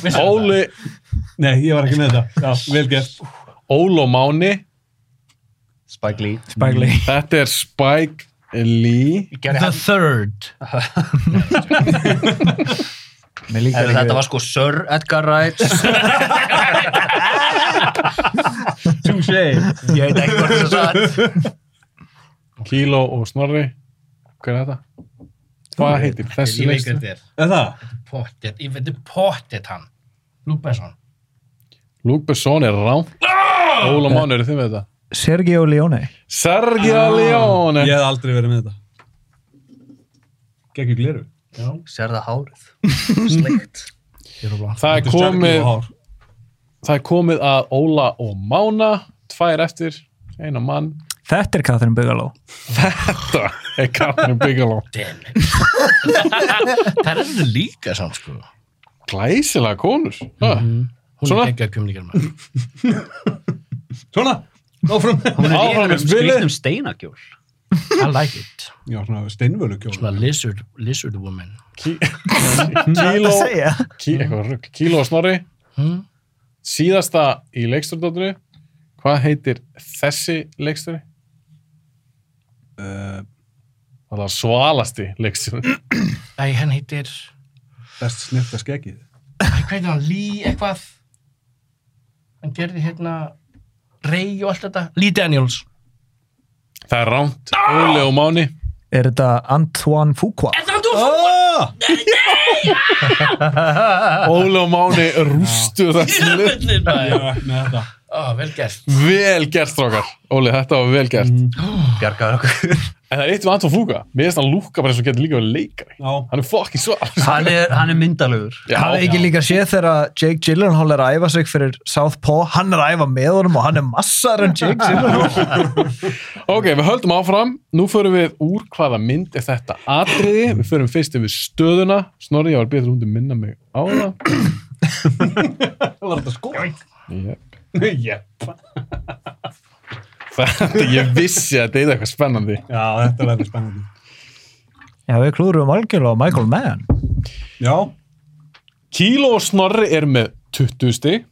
Speaker 5: er ég?
Speaker 1: Óli,
Speaker 3: Nei, ég var ekki með þetta. Já, vel gert.
Speaker 1: Ólo Máni
Speaker 4: Spike Lee.
Speaker 5: Spægli.
Speaker 1: Þetta er Spike Lee
Speaker 7: The Third.
Speaker 5: Mm. Mér
Speaker 4: Ef
Speaker 5: líkar ekki
Speaker 4: þetta var sko Sir Edgar Wright.
Speaker 3: Touché.
Speaker 4: Ég veit ekki hvort þess að satt.
Speaker 1: Kíló og Snorri Hvað er þetta? Hvað heitir þessi
Speaker 7: Ég veit
Speaker 1: leikstur?
Speaker 7: hvert þið er.
Speaker 3: Er það?
Speaker 7: Pottet, ég veit, pottet hann. Luke Besson.
Speaker 1: Luke Besson er rámt Ólo Máni eru þið með þetta?
Speaker 5: Sergio Leone.
Speaker 1: Sergio Leone
Speaker 3: Ég hef aldrei verið með þetta. Gekki gleru.
Speaker 4: Sér það hárið. Sleikt.
Speaker 1: Það er komið Það er komið að Óla og Mána, tvær eftir, eina mann.
Speaker 5: Þetta er Catherine Bigelow.
Speaker 1: Þetta er Katrin Bigelow.
Speaker 7: Damn it. það er þetta líka samt, sko.
Speaker 1: Glæsilega konur.
Speaker 7: Mhm.
Speaker 1: Mm.
Speaker 7: Hún
Speaker 1: Svona.
Speaker 7: er ekki að kjumlíkar maður.
Speaker 3: Svona, áfram.
Speaker 4: Hún er
Speaker 1: Áfram
Speaker 4: í
Speaker 1: með
Speaker 4: einhverjum
Speaker 1: spilið.
Speaker 4: skrýttum steinakjól.
Speaker 7: I like it.
Speaker 3: Já, svona steinvölu kjóla.
Speaker 7: Svona lizard, lizard woman. <laughs>
Speaker 1: Kíló,
Speaker 5: segja.
Speaker 1: kí, eitthvað rugg. Kíló og Snorri,
Speaker 7: Hmm?
Speaker 1: síðasta í leikstjórnáttunni hvað heitir þessi leikstjóri?
Speaker 3: Uh,
Speaker 1: Það er svalasti leikstjóri
Speaker 7: Æ, henn heitir,
Speaker 3: Best snirta skeggið.
Speaker 7: æ, hvað heitir hann, Lee eitthvað? Hann gerði hérna Rey og allt þetta. Lee Daniels.
Speaker 1: Það er ránt, Óli og Máni
Speaker 5: Er þetta Antoine Fuqua?
Speaker 7: Er það þú? Ah!
Speaker 1: Óli og Máni rústu þessu
Speaker 7: Jöfullinn, maður.
Speaker 3: Já, með þetta.
Speaker 7: Ó, vel gert.
Speaker 1: Vel gert, strákar Óli, þetta var vel gert
Speaker 3: Mm.
Speaker 4: Bjargaður okkur.
Speaker 1: En það er eitt við Anton Fúka Mér finnst hann lúka bara eins og getur líka verið leikari
Speaker 3: Já,
Speaker 1: Hann er fucking svalast
Speaker 4: Hann er, hann er myndalegur.
Speaker 5: Hann er ekki líka séð þegar Jake Gyllenhaal er að æfa sig fyrir Southpaw, hann er að æfa með honum og hann er massar en Jake <laughs> Gyllenhaal.
Speaker 1: Ok, við höldum áfram. Nú förum við úr hvaða mynd er þetta atriði. Við förum fyrst yfir stöðuna. Snorri, ég var betur hundi minna mig á það.
Speaker 3: það <coughs> var þetta sko.
Speaker 1: Yep.
Speaker 3: Já,
Speaker 1: Þetta, ég <laughs> vissi að þetta er eitthvað spennandi.
Speaker 3: þetta verður spennandi.
Speaker 5: Já, við klúðurum algjörlega á Michael Mann.
Speaker 3: Já,
Speaker 1: Kíló og Snorri er með 20 stig.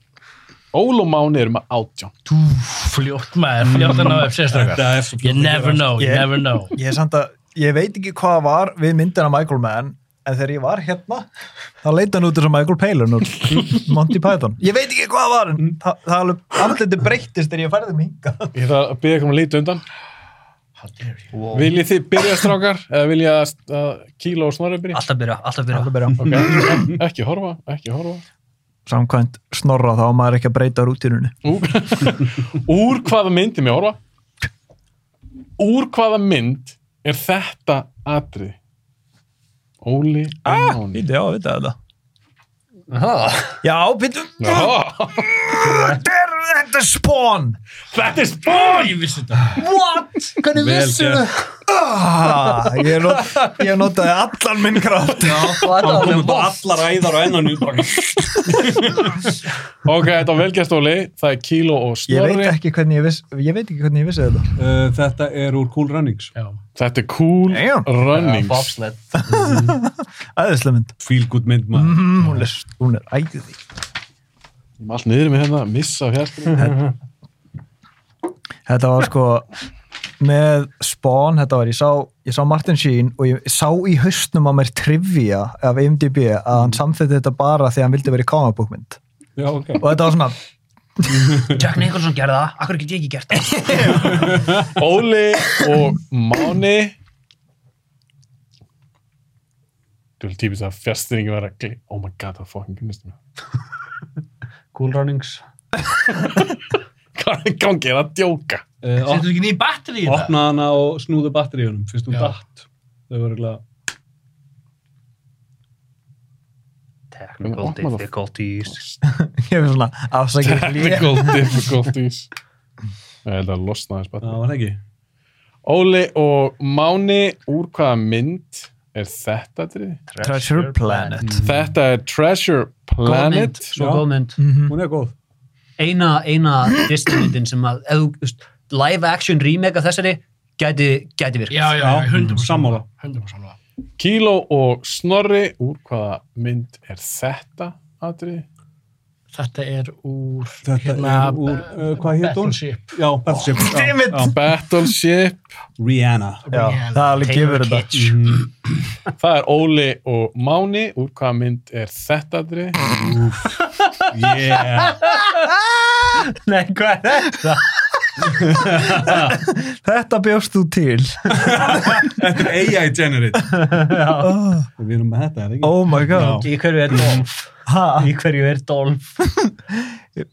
Speaker 1: Ól og Máni er með 18.
Speaker 7: Þú, fljótt maður, fljótt að ná upp sérstakar.
Speaker 3: það er svo.
Speaker 7: You never know, you
Speaker 5: Ég-
Speaker 7: never know.
Speaker 5: Ég, er samt að, ég veit ekki hvað var við myndina Michael Mann, en þegar ég var hérna, þá leita hann út þess að Michael Palin úr <laughs> Monty Python. Ég veit ekki hvað var, en það, það alveg, andliti breyttist þegar ég færði mig hingað.
Speaker 1: Ég ætla að byrja ykkur um að líta undan.
Speaker 7: How dare you?
Speaker 1: Viljið þið byrja strákar? Eða viljið að að Kíló og Snorri byrja?
Speaker 4: Alltaf byrja, alltaf byrja.
Speaker 5: Alveg byrja.
Speaker 1: Ok, ekki horfa, ekki horfa.
Speaker 5: Samkvæmt snorra þá á maður ekki að breyta rútínunni.
Speaker 1: Úr, úr hvaða mynd er mér að horfa? Úr hvaða mynd er þetta atrið? Óli ah, Máni.
Speaker 5: Býtu, já, við þetta. Já, býtu.
Speaker 1: Ah,
Speaker 5: Þetta er, þetta er spawn.
Speaker 1: þetta er spór!
Speaker 7: Ég vissi þetta.
Speaker 5: What? Hvernig
Speaker 3: Vel gert.
Speaker 5: Ah, ég, not, ég notaði allan minn kraft
Speaker 3: Það komum bara allar æðar á ennan út.
Speaker 7: <laughs>
Speaker 1: Ok, þetta var velgjast Óli. Það er Kíló og
Speaker 5: ég veit
Speaker 1: Snorri.
Speaker 5: ekki hvernig ég vissi ég veit ekki hvernig ég vissi þetta
Speaker 3: Uh, þetta er úr Cool Runnings.
Speaker 7: Já.
Speaker 1: Þetta er Cool
Speaker 5: Damn.
Speaker 1: Runnings.
Speaker 4: Bobsled.
Speaker 5: æðislega mynd
Speaker 3: Feel good mynd maður.
Speaker 5: mm, hún er, hún er æði
Speaker 1: Ég er allt niður með hérna, missa af hérna.
Speaker 5: þetta var sko með Spawn, þetta var, ég sá, ég sá Martin Sheen og ég sá í haustnum á mér trivia af IMDb að hann samþýtti þetta bara því að hann vildi verið kámabúkmynd
Speaker 7: Mm.
Speaker 3: Já, ok.
Speaker 5: og þetta var svona, <laughs>
Speaker 4: Jack Nicholson gerði það, akkur get ég ekki gert það?
Speaker 1: Óli og Máni. Þú vil típist að fjastýringi var að gli. Oh my god, það fucking kynnist mér.
Speaker 2: Cool Runnings.
Speaker 1: <laughs> Hvað er í gangi? Er það að djóka?
Speaker 3: Uh, op
Speaker 7: Settu ekki nýjum batteri í þetta?
Speaker 3: opnaði hana og snúðu batteríunum. Fyrst hún
Speaker 7: Já.
Speaker 3: datt. Þau voru glæða.
Speaker 4: Technical
Speaker 1: Opna það.
Speaker 4: difficulties.
Speaker 5: ég er svona afsakir hlýja
Speaker 1: Technical difficulties Ég held að losna aðeins
Speaker 3: Það
Speaker 1: bara
Speaker 3: var það ekki.
Speaker 1: Óli og Máni úr hvaða mynd er þetta atriði?
Speaker 5: Treasure Planet
Speaker 3: Mm.
Speaker 1: Þetta er Treasure
Speaker 4: Góð mynd,
Speaker 1: Planet
Speaker 3: Já.
Speaker 4: svo góð mynd.
Speaker 7: Mhm.
Speaker 3: Hún er góð.
Speaker 4: Eina, eina Disney-myndin sem að, ef þú, veist, live action remake af þessari, gæti, gæti virkað.
Speaker 7: Já, já,
Speaker 3: Já, mm,
Speaker 7: 100%
Speaker 3: sammála.
Speaker 7: 100% sammála.
Speaker 1: Kíló og Snorri úr hvaða mynd er þetta atriði?
Speaker 7: Þetta er úr
Speaker 3: Þetta er úr, uh, hvað hét hún?
Speaker 7: Hérna, Battleship.
Speaker 3: Já, Battleship. Já, já.
Speaker 1: Battleship
Speaker 3: Rihanna.
Speaker 5: Já, það alveg gefur þetta
Speaker 1: Það er Óli og Máni úr hvaða mynd er þetta atriði?
Speaker 3: Yeah.
Speaker 5: Nei, hvað er þetta? þetta bjóst þú til.
Speaker 3: Þetta er AI
Speaker 7: <laughs>
Speaker 3: generate. Við erum með þetta, er það ekki?
Speaker 5: Oh my god.
Speaker 4: <laughs> Í hverju er Dolph?
Speaker 5: Ha,
Speaker 4: Í hverju er Dolph?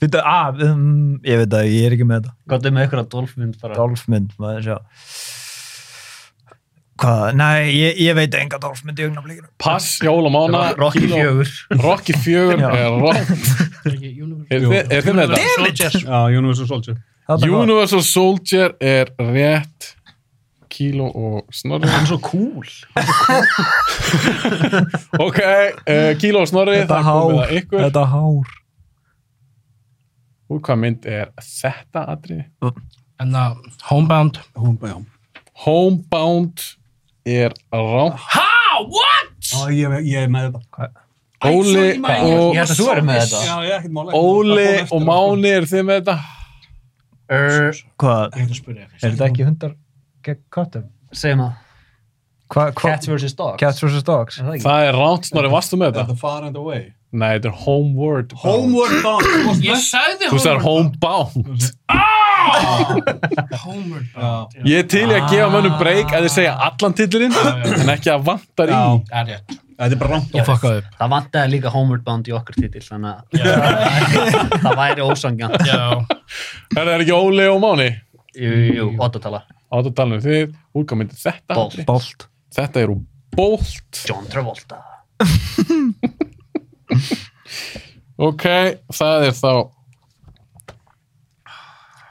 Speaker 5: byrja, að, um, ég veit að ég er ekki með þetta.
Speaker 4: Gott er með ykkur að Dolph mynd bara.
Speaker 5: Dolfmynd, maður sjá. Hvað? Nei, ég, ég veit enga dolfmynd í augnablikinu.
Speaker 1: Pass hjá Óla og Mána
Speaker 4: Rocky
Speaker 1: Kíló-
Speaker 4: fjögur.
Speaker 1: Rocky fjögur
Speaker 5: Já.
Speaker 1: er rock Er þið- er þið með þetta?
Speaker 3: Já, Universal Soldier.
Speaker 5: Þarna var-
Speaker 1: Universal Soldier er rétt Kíló og Snorri
Speaker 7: Hann er svo cool.
Speaker 1: Ok, uh, Kíló og Snorri
Speaker 5: Þetta
Speaker 1: það er komið
Speaker 5: hár,
Speaker 1: að ykkur
Speaker 5: þetta hár.
Speaker 1: Úr hvað mynd er þetta atriði?
Speaker 7: En það, Hérna, Homebound.
Speaker 3: Hún, já.
Speaker 1: Homebound er rátt
Speaker 7: Ha, Ah, what?
Speaker 3: Ó, ég, ég er með þetta.
Speaker 1: Óli og-
Speaker 4: Ég held að þú erum með þetta.
Speaker 3: Já, ég er ekkert mála.
Speaker 1: Óli og Máni, eru þið með þetta?
Speaker 4: Er
Speaker 5: Hvað,
Speaker 7: Ég ætla að spyrja þig fyrst.
Speaker 5: er þetta ekki hundar gegn köttum?
Speaker 4: Segjum að
Speaker 5: Hvað, hvað?
Speaker 4: Cats vs. Dogs.
Speaker 5: Cats vs. Dogs?
Speaker 4: Er það ekki?
Speaker 1: Það er ránt, Snorri, varstu með
Speaker 3: Þetta
Speaker 1: þetta?
Speaker 3: er far and away.
Speaker 1: Nei, þetta er Homeward. Bound.
Speaker 3: Homeward bound. Þú varst
Speaker 7: Ég
Speaker 3: næst-
Speaker 7: sagði
Speaker 1: Þú sagðir Homebound.
Speaker 7: Homeward
Speaker 3: Já.
Speaker 1: Ég er til í að gefa
Speaker 3: Ah.
Speaker 1: mönnum break að þið segja allan titlirinn, en ekki að vantar í.
Speaker 3: Já.
Speaker 7: Það er rétt.
Speaker 3: Þetta er bara rámt
Speaker 7: Ég fokkaði upp.
Speaker 4: Það vantaði líka Homeward Bound í okkar titill, þannig að <laughs> það væri ósangjant.
Speaker 7: Já.
Speaker 1: Það er ekki Óli og Máni.
Speaker 4: Jú, jú, óttatala.
Speaker 1: Átt að tala um þið, úrkomindi þetta.
Speaker 4: Bolt.
Speaker 5: Bolt.
Speaker 1: Þetta er úr Bolt.
Speaker 4: John Travolta.
Speaker 1: Ok, það er þá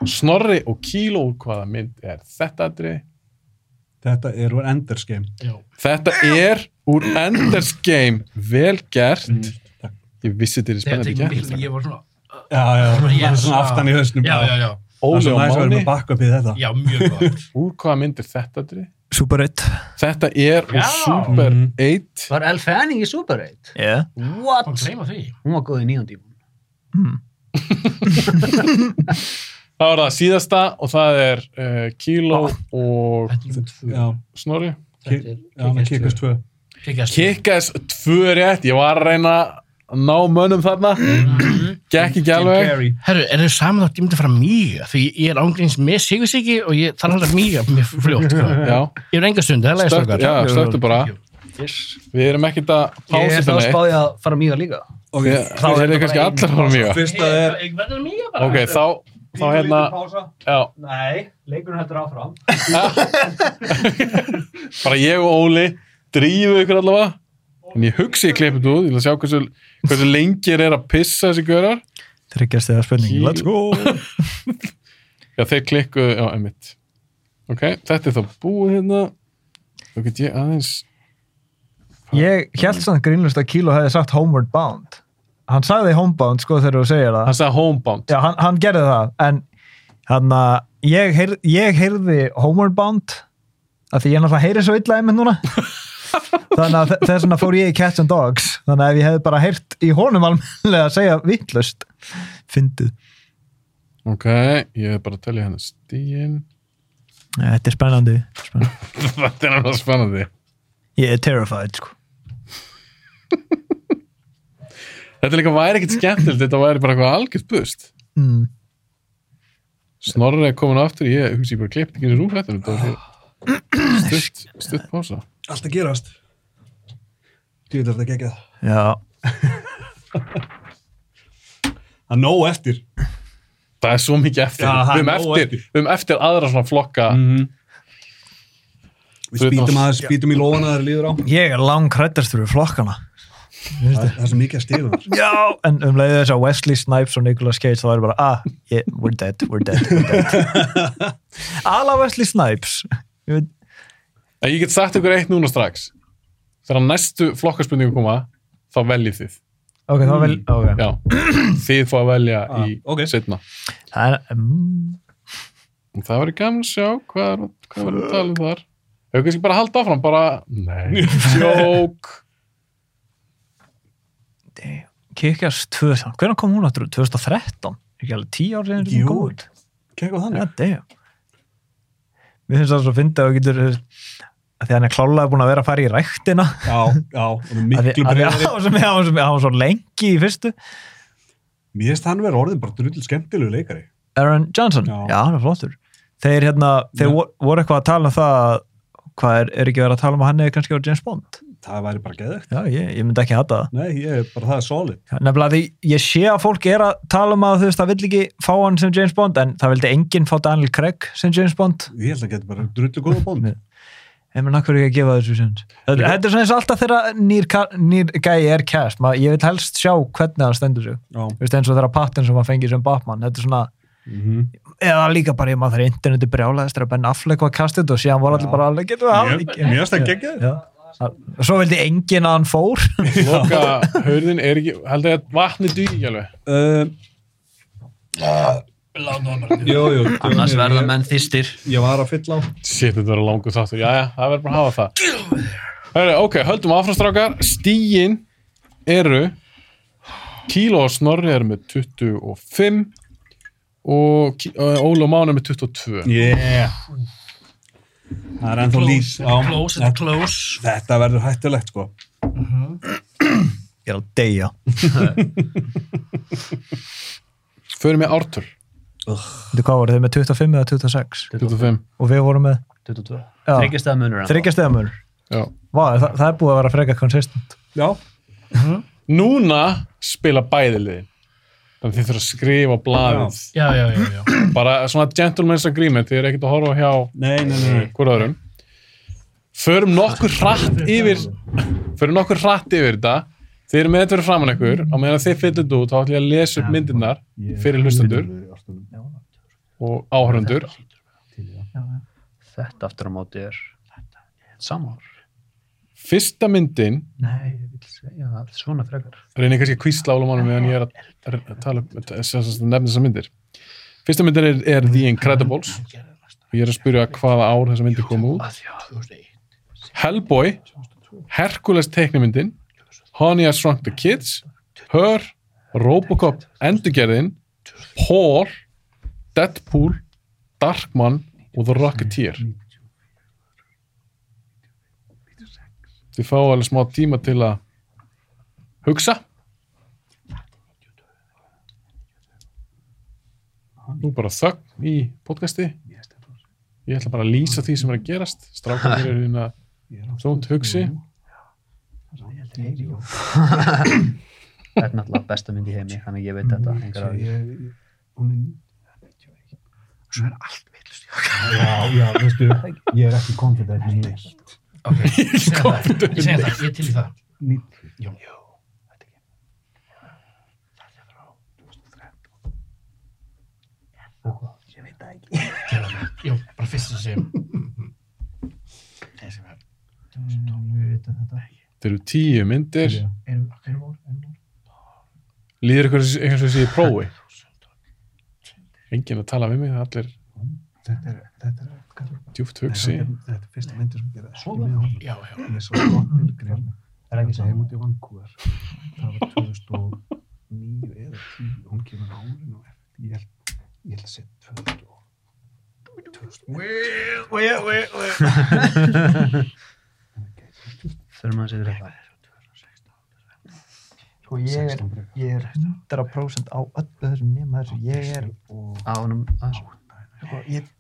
Speaker 1: Snorri og Kíló, hvaða mynd er þetta atri?
Speaker 3: Þetta er úr Enders game.
Speaker 1: Þetta er úr Enders Game, vel gert.
Speaker 3: Mm,
Speaker 1: Ég vissi þetta er
Speaker 7: Þegar
Speaker 1: spennandi
Speaker 7: tekið
Speaker 1: gert.
Speaker 7: miklu, ég var svona...
Speaker 3: Já, já. Það er
Speaker 7: Yes.
Speaker 3: svona aftan í hausnum.
Speaker 7: Já, já, já.
Speaker 3: Það er
Speaker 1: Óli
Speaker 3: svo
Speaker 1: og
Speaker 3: næst að vera
Speaker 1: Máni,
Speaker 3: með backup í þetta.
Speaker 7: Já, mjög gott.
Speaker 1: úr hvaða mynd er þetta atri?
Speaker 5: Super 8.
Speaker 1: Þetta er úr
Speaker 7: Já.
Speaker 1: Super
Speaker 3: Mhm.
Speaker 1: 8.
Speaker 4: Var Elle Fanning í Super 8?
Speaker 5: Yeah.
Speaker 4: What?
Speaker 7: Má gleyma því.
Speaker 4: Hún var góð í nýjum tímum.
Speaker 5: Hmm.
Speaker 1: Það var það síðasta og það er uh, Kíló og
Speaker 7: Þetta er út fyrir.
Speaker 3: Já,
Speaker 1: Snorri.
Speaker 3: Ki- já, með Kikas 2.
Speaker 7: Kikkast.
Speaker 1: Kickass 2 rétt, ég var að reyna að ná mönnum þarna. Gekk ekki alveg.
Speaker 7: Herru, er þau saman þá dýmdi að fara mýga? Því ég er ángríns með Sigursíki og ég þarf alltaf mýga með fljótt. sko.
Speaker 1: Já.
Speaker 7: Ég er enga stund, það er
Speaker 1: Stöktu,
Speaker 7: stökkar.
Speaker 1: já, stöktu bara Við erum ekkert að
Speaker 4: Ég
Speaker 1: pása
Speaker 4: er þá
Speaker 1: þetta neitt
Speaker 4: spáði að fara mjög líka.
Speaker 1: Þið þið eruð kannski allar frá mjög
Speaker 3: Fyrsta er...
Speaker 7: Ég verður mýga bara.
Speaker 1: Ok, þá, þá hérna já, <laughs>
Speaker 6: Nei, leikurinn heldur áfram.
Speaker 1: bara ég og Óli drífu ykkur allavega en ég hugsi ég klippið út, ég ætla að sjá hversu, hversu lengir er að pissa þessi görar
Speaker 5: Tryggjast eða spurning. Let's go.
Speaker 1: Já, þeir klikkuðu, já, emitt Ok, þetta er þá búið hérna Þá get ég aðeins
Speaker 5: <laughs> Ég held samt grínlust að Kíló hefði sagt Homeward Bound. Hann sagði Homebound sko þegar þú segir það.
Speaker 1: Hann sagði homebound
Speaker 5: Já, hann, hann gerði það, en hann að ég, heyr, ég heyrði Homeward Bound, af því ég náttúrulega heyri svo illa einmitt núna. þannig að þe- þess vegna fór ég í Cats and Dogs, þannig að ef ég hefði bara heyrt í honum almennilega að segja vittlust, fyndið.
Speaker 1: Ok, ég er bara að telja hérna stíin
Speaker 5: Ja, Þetta er spennandi. spennandi.
Speaker 1: Þetta er náttúrulega spennandi
Speaker 5: Ég er terrified, sko.
Speaker 1: Þetta líka væri ekkert skemmtilegt, þetta væri bara eitthvað algjört bust
Speaker 5: Mm.
Speaker 1: Snorri er komin aftur, ég hugsi ég bara klippt ekki rúf þetta, þetta var svo stutt, stutt pása.
Speaker 3: Allt að gerast. Týður þetta gekkja það.
Speaker 5: Já,
Speaker 3: Það er nóg eftir.
Speaker 1: Það er svo mikið eftir,
Speaker 3: Já, það
Speaker 1: við
Speaker 3: er
Speaker 1: höfum
Speaker 3: nóg
Speaker 1: eftir,
Speaker 3: eftir. Mm.
Speaker 1: við höfum eftir aðra svona flokka,
Speaker 5: Mhm.
Speaker 3: Við
Speaker 1: Fyrir
Speaker 3: spýtum
Speaker 1: utan-
Speaker 3: aðeins, spýtum í lóana þegar líður á.
Speaker 5: ég er lang hrættast fyrir flokkana.
Speaker 3: Það það er svo mikið að stíða
Speaker 7: <laughs>
Speaker 3: þar.
Speaker 5: Já, en um leiðu þess að Wesley Snipes og Nicolas Cage þá er bara, ah, yeah, we're dead, we're dead, we're dead. <laughs> Alla Wesley Snipes. Ég veit,
Speaker 1: en ég get sagt ykkur eitt núna strax. Þegar næstu flokkarspurningu koma, þá veljið þið.
Speaker 5: Ok, það var vel,
Speaker 3: Mm.
Speaker 5: ok.
Speaker 1: Mm.
Speaker 5: Ah,
Speaker 1: Já, <clears throat> þið fá að velja í
Speaker 3: ok.
Speaker 1: setna.
Speaker 5: Það er, mm,
Speaker 1: Og það verður gaman að sjá hvað er, hvað
Speaker 5: Uh.
Speaker 1: er að tala um þar. Hefur kannski bara að halda áfram, bara,
Speaker 5: <laughs>
Speaker 1: nei, sjók.
Speaker 5: Kickers 2000, hvernig kom hún áttur? 2013? Ekki alveg 10 ár síðan sem
Speaker 3: Jú.
Speaker 5: hún kom út.
Speaker 3: Kekka
Speaker 5: Já,
Speaker 3: þannig.
Speaker 5: damn. Mér finnst það svo að finna að þú getur, að því hann er klálega búin að vera að fara í ræktina.
Speaker 3: Já, já, og
Speaker 5: Af því-
Speaker 3: miklu
Speaker 5: af því að
Speaker 3: breyðari.
Speaker 5: Hann var svo- hann var svo- hann var svo lengi í fyrstu.
Speaker 3: Mér finnst hann vera orðin bara drull skemmtilegu leikari.
Speaker 5: Aaron Johnson, já,
Speaker 3: Já.
Speaker 5: hann er flottur þeir hérna, þeir
Speaker 3: Já.
Speaker 5: voru, voru eitthvað að tala um það að- hvað er, er ekki verið að tala um að hann er kannski á James Bond
Speaker 3: Það væri bara geðvegt.
Speaker 5: já, ég, ég myndi ekki hata það
Speaker 3: Nei, ég er bara það er solid.
Speaker 5: nefnilega því ég sé að fólk er að tala um að þú veist, það vill ekki fá hann sem James Bond en það vildi enginn fá Daniel Craig sem James Bond
Speaker 3: Ég held að geta bara drullu góða bónd.
Speaker 5: en mér nakkur ekki að gefa þessu sens þetta þetta er svona eins og alltaf þegar nýr, ka- nýr gæi er cast, Ma, ég vil helst sjá hvernig hann stendur sig,
Speaker 3: Já.
Speaker 5: Þú veist, eins og þegar Patton sem hann fengið sem Batman, þetta er svona Mhm. eða líka bara ég maður þegar interneti brjálaðist þegar Ben Affleck var kastið og síðan voru allir
Speaker 3: Já.
Speaker 5: bara alveg getur við hann
Speaker 3: Mér
Speaker 5: ekki?"
Speaker 3: mér finnst það gekkja
Speaker 5: Já. og svo vildi enginn að hann fór
Speaker 1: Loka, hörðin er ekki, held ég að vatni dugi ekki alveg.
Speaker 3: Um,
Speaker 7: Láta það bara.
Speaker 3: jú, jú, jú,
Speaker 4: Annars
Speaker 3: ég-
Speaker 4: verða menn þýstir.
Speaker 3: Ég var að fylla á.
Speaker 1: Shit, þetta verður langur þáttur. Jæja, það verður bara að hafa það. Hörru, ok, höldum áfram strákar. Stíin eru Kíló og Snorri er með 25 og Kí- eh, Óli og Máni er með 22
Speaker 3: Yeah. Það er ennþá
Speaker 7: Close,
Speaker 3: lít. Já,
Speaker 7: close, it's close.
Speaker 3: Þetta verður hættulegt, sko.
Speaker 5: <laughs> Ég er að deyja.
Speaker 1: Förum með ártöl,
Speaker 5: Þú hvað voru þau með 25 eða 26?
Speaker 1: 25
Speaker 5: Og við vorum með
Speaker 4: 22.
Speaker 5: Já.
Speaker 4: Þryggjast að munur.
Speaker 5: þryggja stegamur.
Speaker 1: Já.
Speaker 5: Vá, það, það er búið að vera freka konsistent.
Speaker 3: Já.
Speaker 1: Núna spila bæði liðin þannig að þið þurfa að skrifa á blaðið
Speaker 7: Já, já, já, já.
Speaker 1: bara svona gentleman's agreement þið er ekkert að horfa hjá
Speaker 3: Nei, nei, nei. nei.
Speaker 1: hver öðrum förum nokkur hratt yfir förum nokkur hratt yfir þetta þið eru með þetta fyrir framann ykkur á meðan þið fyllir þetta út þá ætlum ég að lesa upp myndirnar fyrir hlustendur og áhörundur
Speaker 4: Þetta aftur á móti er samar.
Speaker 1: fyrsta myndin
Speaker 4: Nei, ég vil segja það. Svona frekar.
Speaker 1: reynir kannski að kvísla álum ánum meðan ég er að er að tala um nefna þessar myndir fyrsta myndin er, er The Incredibles og ég er að spyrja hvaða ár þessar myndir koma út
Speaker 7: Að já, 2001.
Speaker 1: Hellboy, Hercules teiknumyndin, Honey I Shrunk the Kids, Her, Robocop endurgerðin, Paul, Deadpool, Darkman og The Rocketeer. Þið fáu alveg smá tíma til að hugsa. Nú bara þögn í podcasti. Ég ætla bara að lýsa því sem er að gerast. Strákan hér er hérna þónt hugsi.
Speaker 4: Þetta er náttúrulega besta mynd í heimi, þannig að Mm, ég veit þetta. Engar að
Speaker 3: Já, já, veistu, ég er ekki confident með
Speaker 7: <laughs>
Speaker 3: neitt.
Speaker 7: Ok, ég segja það, ég segja það, ég til í það. Jó. Þetta er frá 2013. Ég veit það ekki. Jó, bara fyrst að segja. Þessi verð.
Speaker 1: Þeir eru tíu myndir.
Speaker 7: Erum, hver voru, erum voru?
Speaker 1: Lýðir ykkur eins og sé í prófi. Engin að tala við mig, það allir
Speaker 3: Þetta er, þetta er, þetta er,
Speaker 1: djúft hugsi.
Speaker 3: þetta er fyrsta myndir sem gera ekki með honum.
Speaker 7: Já, já.
Speaker 3: Ég svo gott myndgrið. Er ekki svo heim út í Vancouver. Það var 2009 eða 10. Hún kemur árin og eftir. Ég held, ég held að setja 2000 og...
Speaker 4: þurfum að segja þetta.
Speaker 5: Sko, ég er, ég er 100% á öllu þessum nema þessu. Ég er,
Speaker 4: Á honum, að svo.
Speaker 5: sko, ég,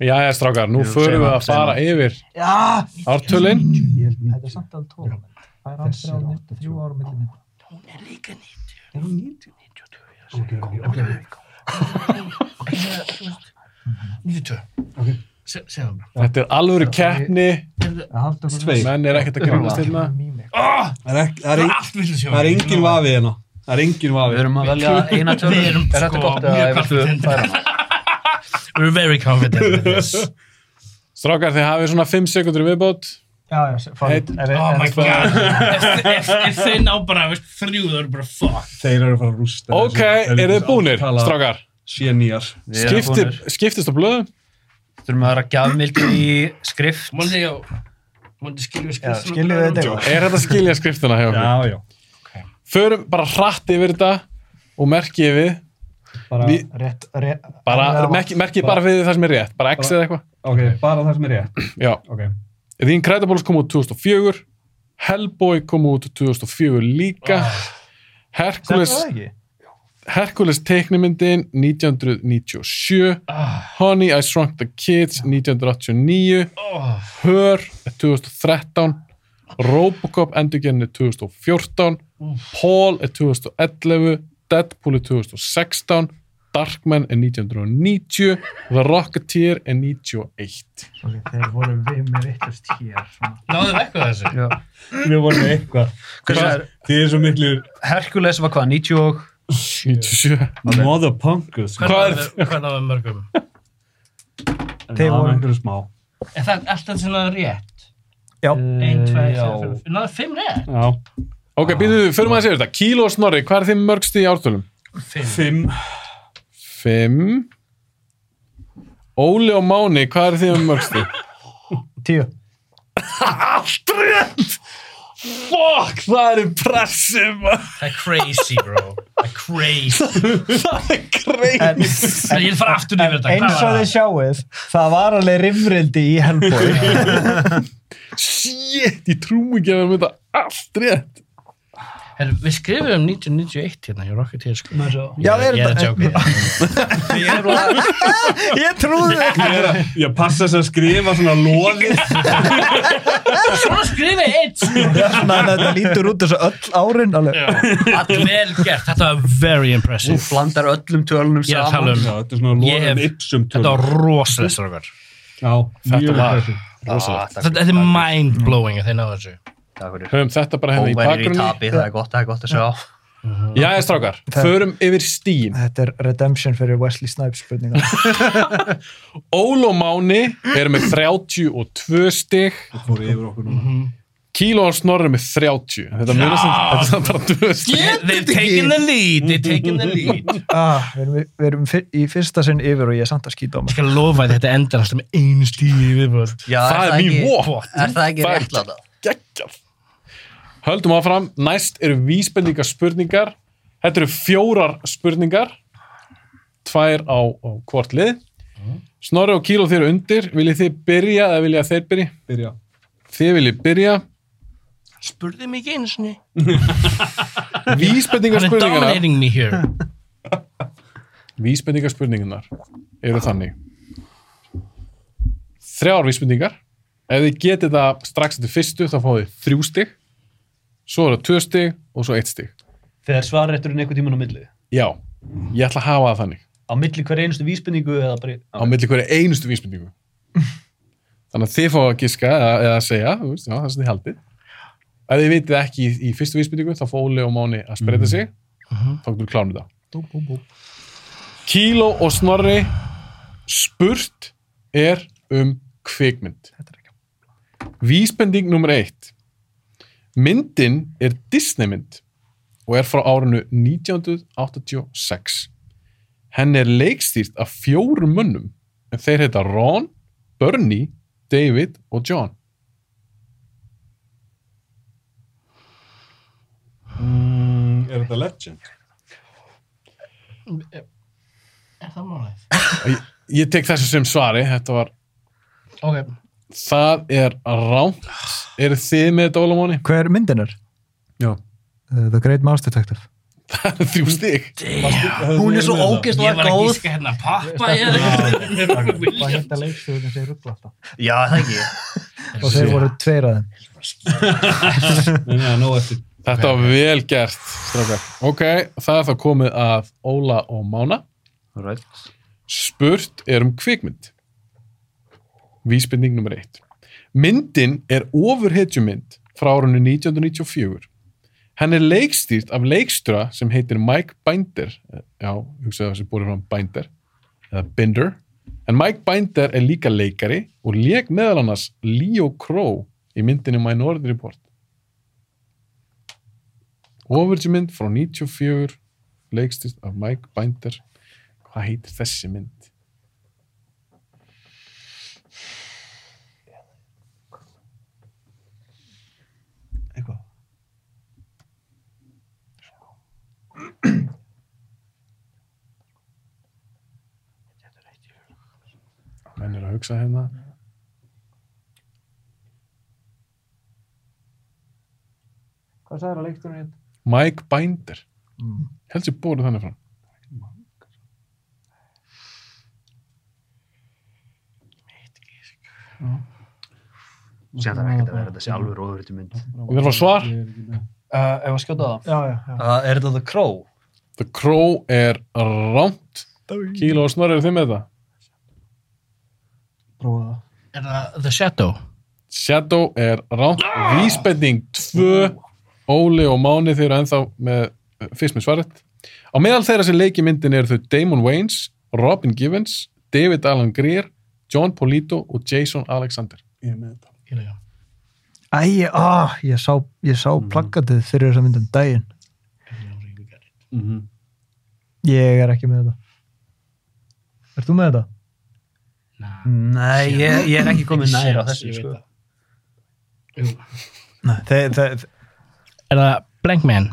Speaker 1: Jæja, strákar, nú
Speaker 4: Jú,
Speaker 1: förum
Speaker 4: segðu
Speaker 7: um
Speaker 1: við
Speaker 4: það,
Speaker 1: að fara yfir
Speaker 5: já,
Speaker 1: ártölin.
Speaker 5: þetta er samt alveg tóra. Það er alveg þrjá mitt, þrjú ára mitt mitt.
Speaker 7: Nýttu tö. Se- Segðu það bara.
Speaker 1: Þetta er alvöru keppni,
Speaker 3: Tvei.
Speaker 1: menn er ekkert að grínast hérna.
Speaker 3: Það er ekki,
Speaker 7: Það
Speaker 3: það er
Speaker 7: er
Speaker 3: ekki,
Speaker 7: allt vill að sjá.
Speaker 3: það er engin vafi hérna. Það er engin
Speaker 4: <laughs>
Speaker 3: vafi.
Speaker 4: Við erum að velja eina tölur.
Speaker 7: Við erum
Speaker 4: er þetta
Speaker 7: sko
Speaker 4: gott eða viltu færa hana?
Speaker 7: mjög confident. We're very confident in this.
Speaker 1: Strákar, þið hafið svona 5 sekundur viðbót.
Speaker 5: Já, já,
Speaker 1: Einn.
Speaker 5: fara.
Speaker 7: Oh my god. Ef, ef, ef þeir ná bara veist, þrjú, það eru bara fuck.
Speaker 3: Þeir eru að fara að rústa.
Speaker 1: Ok, eru þið búnir, strákar?
Speaker 3: Sjenýjar.
Speaker 4: Við erum
Speaker 1: Skipti,
Speaker 4: búnir.
Speaker 1: skiptist á blöðum?
Speaker 4: Þurfum að vera gjafmildi í skrift.
Speaker 7: Máli segja, máli skilju
Speaker 5: Já,
Speaker 7: skrifstunum.
Speaker 5: skiljum við þetta.
Speaker 1: Er þetta að skilja skriftina hjá okkur?
Speaker 3: Já, já.
Speaker 1: Förum bara hratt yfir þetta og merkið við.
Speaker 3: Bara,
Speaker 1: Við-
Speaker 5: Rétt, rétt.
Speaker 1: Bara, merkið merki bara við það sem er rétt, bara X eða eitthvað.
Speaker 3: ok, bara það sem er rétt.
Speaker 1: Já.
Speaker 3: Ok.
Speaker 1: The Incredibles kom út 2004 Hellboy kom út 2004 líka Hercules, Hercules teiknimyndin 1997 Honey I Shrunk the Kids 1989 Her 2013 Robocop endurgenni 2014 Paul eh, er 2011 Deadpool er 2016 Darkman eh, er 1990 The Rocketeer eh, er 91
Speaker 5: Þeir voru við með vittust hér.
Speaker 7: Náðu vekku þessu.
Speaker 3: Við vorum með eitthvað.
Speaker 4: Hversu er?
Speaker 3: Þið er svo miklir
Speaker 4: Hercules var hvað, 90 og...
Speaker 1: 97
Speaker 3: mother punkers. sko.
Speaker 1: Hvað er-
Speaker 7: Hvað náðu mörgum?
Speaker 3: En
Speaker 5: Þeir
Speaker 3: það var
Speaker 5: voru-
Speaker 3: einhverju smá.
Speaker 7: Er það alltaf svona rétt?
Speaker 5: Já.
Speaker 7: Einn, tvei,
Speaker 4: já.
Speaker 7: þrjá, fyrir. Náðu fimm rétt?
Speaker 3: Já.
Speaker 1: Ok, býðu, förum að segja þetta. Kíló og Snorri, hvað er þið mörgst í ártölum?
Speaker 7: Fimm.
Speaker 3: Fimm.
Speaker 1: Fimm. Óli og Máni, hvað er þið mörgst í?
Speaker 5: Tíu. Allt rétt! Fuck, það er impressive.
Speaker 7: Það er crazy, bro. Það er crazy. <laughs>
Speaker 5: það er greið.
Speaker 2: En-
Speaker 7: Það ég vil fara aftur yfir þetta.
Speaker 2: Eins og þið sjáuð, það var alveg rifrildi í
Speaker 7: <laughs>
Speaker 2: Hellboy.
Speaker 1: Shit, ég trú ekki að vera með þetta allt rétt.
Speaker 7: Her, við skrifum um 1991 hérna hjá Rocketeer sko.
Speaker 5: Já, er
Speaker 7: ég er að hérna.
Speaker 5: þetta-
Speaker 7: tjóka.
Speaker 5: <laughs> Ég trúði ekki.
Speaker 1: Ég, er að, ég passa þess að skrifa svona loðið.
Speaker 7: Svona sko. skrifa ég eitt.
Speaker 5: Þannig að þetta lítur út þessu öll árin. Alveg.
Speaker 7: Allt vel gert. Þetta var very impressive.
Speaker 4: blandar öllum tölunum
Speaker 7: Ég er að tala
Speaker 4: saman
Speaker 7: um.
Speaker 3: Já, þetta er svona
Speaker 7: Ég hef-
Speaker 3: loðan ipsum
Speaker 7: Þetta var rosalega strókar.
Speaker 3: Já,
Speaker 1: Þetta
Speaker 3: mjög
Speaker 1: var
Speaker 3: impressive.
Speaker 4: Ah,
Speaker 1: rosalegt.
Speaker 7: Þetta þetta er mind-blowing að þeir náðu þessu.
Speaker 4: Takk fyrir.
Speaker 1: Höfum þetta bara hérna í
Speaker 4: Óværir í
Speaker 1: bakgrunni.
Speaker 4: tapi, það er gott, það er gott að sjá
Speaker 1: Jæja, strákar,
Speaker 5: Það-
Speaker 1: förum yfir stíin.
Speaker 5: Þetta er redemption fyrir Wesley Snipes spurninga.
Speaker 1: Ólo Máni er með 32 stig.
Speaker 3: Þetta fór yfir okkur núna.
Speaker 1: Kíló og Snorri er með 30. Þetta munir sem þetta er samt bara 2 stig.
Speaker 7: They've taken the lead. They've taken the lead.
Speaker 5: Ah, við erum, við erum fyr, í fyrsta sinn yfir og ég er samt að skýta á
Speaker 7: Ég
Speaker 5: mig.
Speaker 7: skal lofa að þetta endar alltaf með einu stíði viðbúð.
Speaker 4: Já,
Speaker 1: Það er mín
Speaker 4: ekki-
Speaker 1: von.
Speaker 4: Er það ekki
Speaker 1: Það er-
Speaker 4: réttláta?
Speaker 1: geggjað Höldum áfram, næst eru vísbendingar spurningar Þetta eru fjórar spurningar Tvær á, á hvort lið Snorri og Kíló þeir eru undir Viljið þið byrja eða viljið að þeir byrja?
Speaker 3: Byrja.
Speaker 1: Þið viljið byrja
Speaker 7: Spurði mig ekki einu sinni.
Speaker 1: Vísbendingar
Speaker 7: Hann er
Speaker 1: spurningarnar
Speaker 7: dominating me
Speaker 5: <laughs>
Speaker 7: here.
Speaker 1: Vísbendingar spurningarnar eru þannig Þrjár vísbendingar Ef þið getið það strax til fyrstu þá fáið þið þrjú stig Svo er það tvö stig og svo eitt stig
Speaker 2: Þegar svarrætturinn einhvern tíman á milli.
Speaker 1: Já, ég ætla að hafa það þannig
Speaker 2: Á milli hver einustu vísbendingu eða bara... í-
Speaker 1: á milli hverja einustu vísbendingu þannig að þið fá að giska eða, eða segja, þú veist, já, það sem þið haldið ef þið vitið ekki í, í fyrstu vísbendingu þá fá Óli og Máni að spreita sig þá getur við klánum það Kíló og Snorri spurt er um kvikmynd vísbending nummer eitt myndin er Disneymynd og er frá árinu 1986 Henni er leikstýrt af fjórum mönnum en þeir heita Ron, Bernie, David og John.
Speaker 3: Mm, er þetta legend?
Speaker 7: Er það málið?
Speaker 1: Ég tek þessu sem svari, þetta var
Speaker 7: Ok.
Speaker 1: það er rámt. Eru þið með þetta Ólamóni?
Speaker 5: Hver myndin er?
Speaker 1: Já.
Speaker 5: Uh, The Great Mouse Detective.
Speaker 1: <laughs> Það er þrjú stig.
Speaker 4: Hún er svo ógeðst
Speaker 7: Ég
Speaker 4: og
Speaker 7: var að
Speaker 4: góð
Speaker 7: gíska hérna pappa ég er
Speaker 3: Hvað
Speaker 7: ekki.
Speaker 3: hérna leikstjóðin segir ruggla alltaf?
Speaker 4: Já, er það ekki
Speaker 5: Og þeir voru tveir að þeim.
Speaker 3: Nei, nei, nóg eftir.
Speaker 1: Þetta var vel gert, strákar. Ok, það er þá komið að Óla og Mána.
Speaker 4: Right.
Speaker 1: Spurt er um kvikmynd. Vísbending nummer eitt. Myndin er ofurhetjumynd frá árunni 1994. Henn er leikstýrt af leikstura sem heitir Mike Binder. Eh, Já, hugsaðu þessi búið fram Binder eða Binder. En Mike Binder er líka leikari og leik meðal annars Leo Crow í myndinni Minority Report. Ofurhetjumynd frá 94 leikstýrt af Mike Binder hvað heitir þessi mynd?
Speaker 3: Eitthvað.
Speaker 1: Menn er að hugsa hérna.
Speaker 3: Hvað sagði það leikstjóðin hérna?
Speaker 1: Mike Binder. Helst ég búið þannig fram.
Speaker 4: Sér það er ekkert að vera þetta sé alveg róðurðu mynd
Speaker 1: Ég þarf að fá svar.
Speaker 2: Uh, ef að skjóta það.
Speaker 5: Já, já, já.
Speaker 2: Uh, er þetta The Crow?
Speaker 1: The Crow er rámt. Kíló og Snorri eru þið með það.
Speaker 3: Prófa það.
Speaker 7: Er það The Shadow?
Speaker 1: Shadow er rámt.
Speaker 7: Ah!
Speaker 1: Vísbending 2. Óli og Máni þeir eru ennþá með eh, fyrst með svaret. Á meðal þeirra sem leiki myndin eru þau Damon Wayans, Robin Givens, David Alan Greer, John Polito og Jason Alexander.
Speaker 3: Ég er með þetta.
Speaker 7: Ég líka.
Speaker 5: Æ, ég- á, ég sá, ég sá plakatið fyrir þess að myndum daginn. Ég er ekki með þetta. Er þú með þetta?
Speaker 7: Nah.
Speaker 4: Nei, ég, ég er ekki komið
Speaker 7: Ekki
Speaker 4: næra
Speaker 7: séns,
Speaker 4: þessu
Speaker 7: ég veit
Speaker 4: sko.
Speaker 7: það.
Speaker 5: Nei, þeir, þeir,
Speaker 7: Er það Blank Man?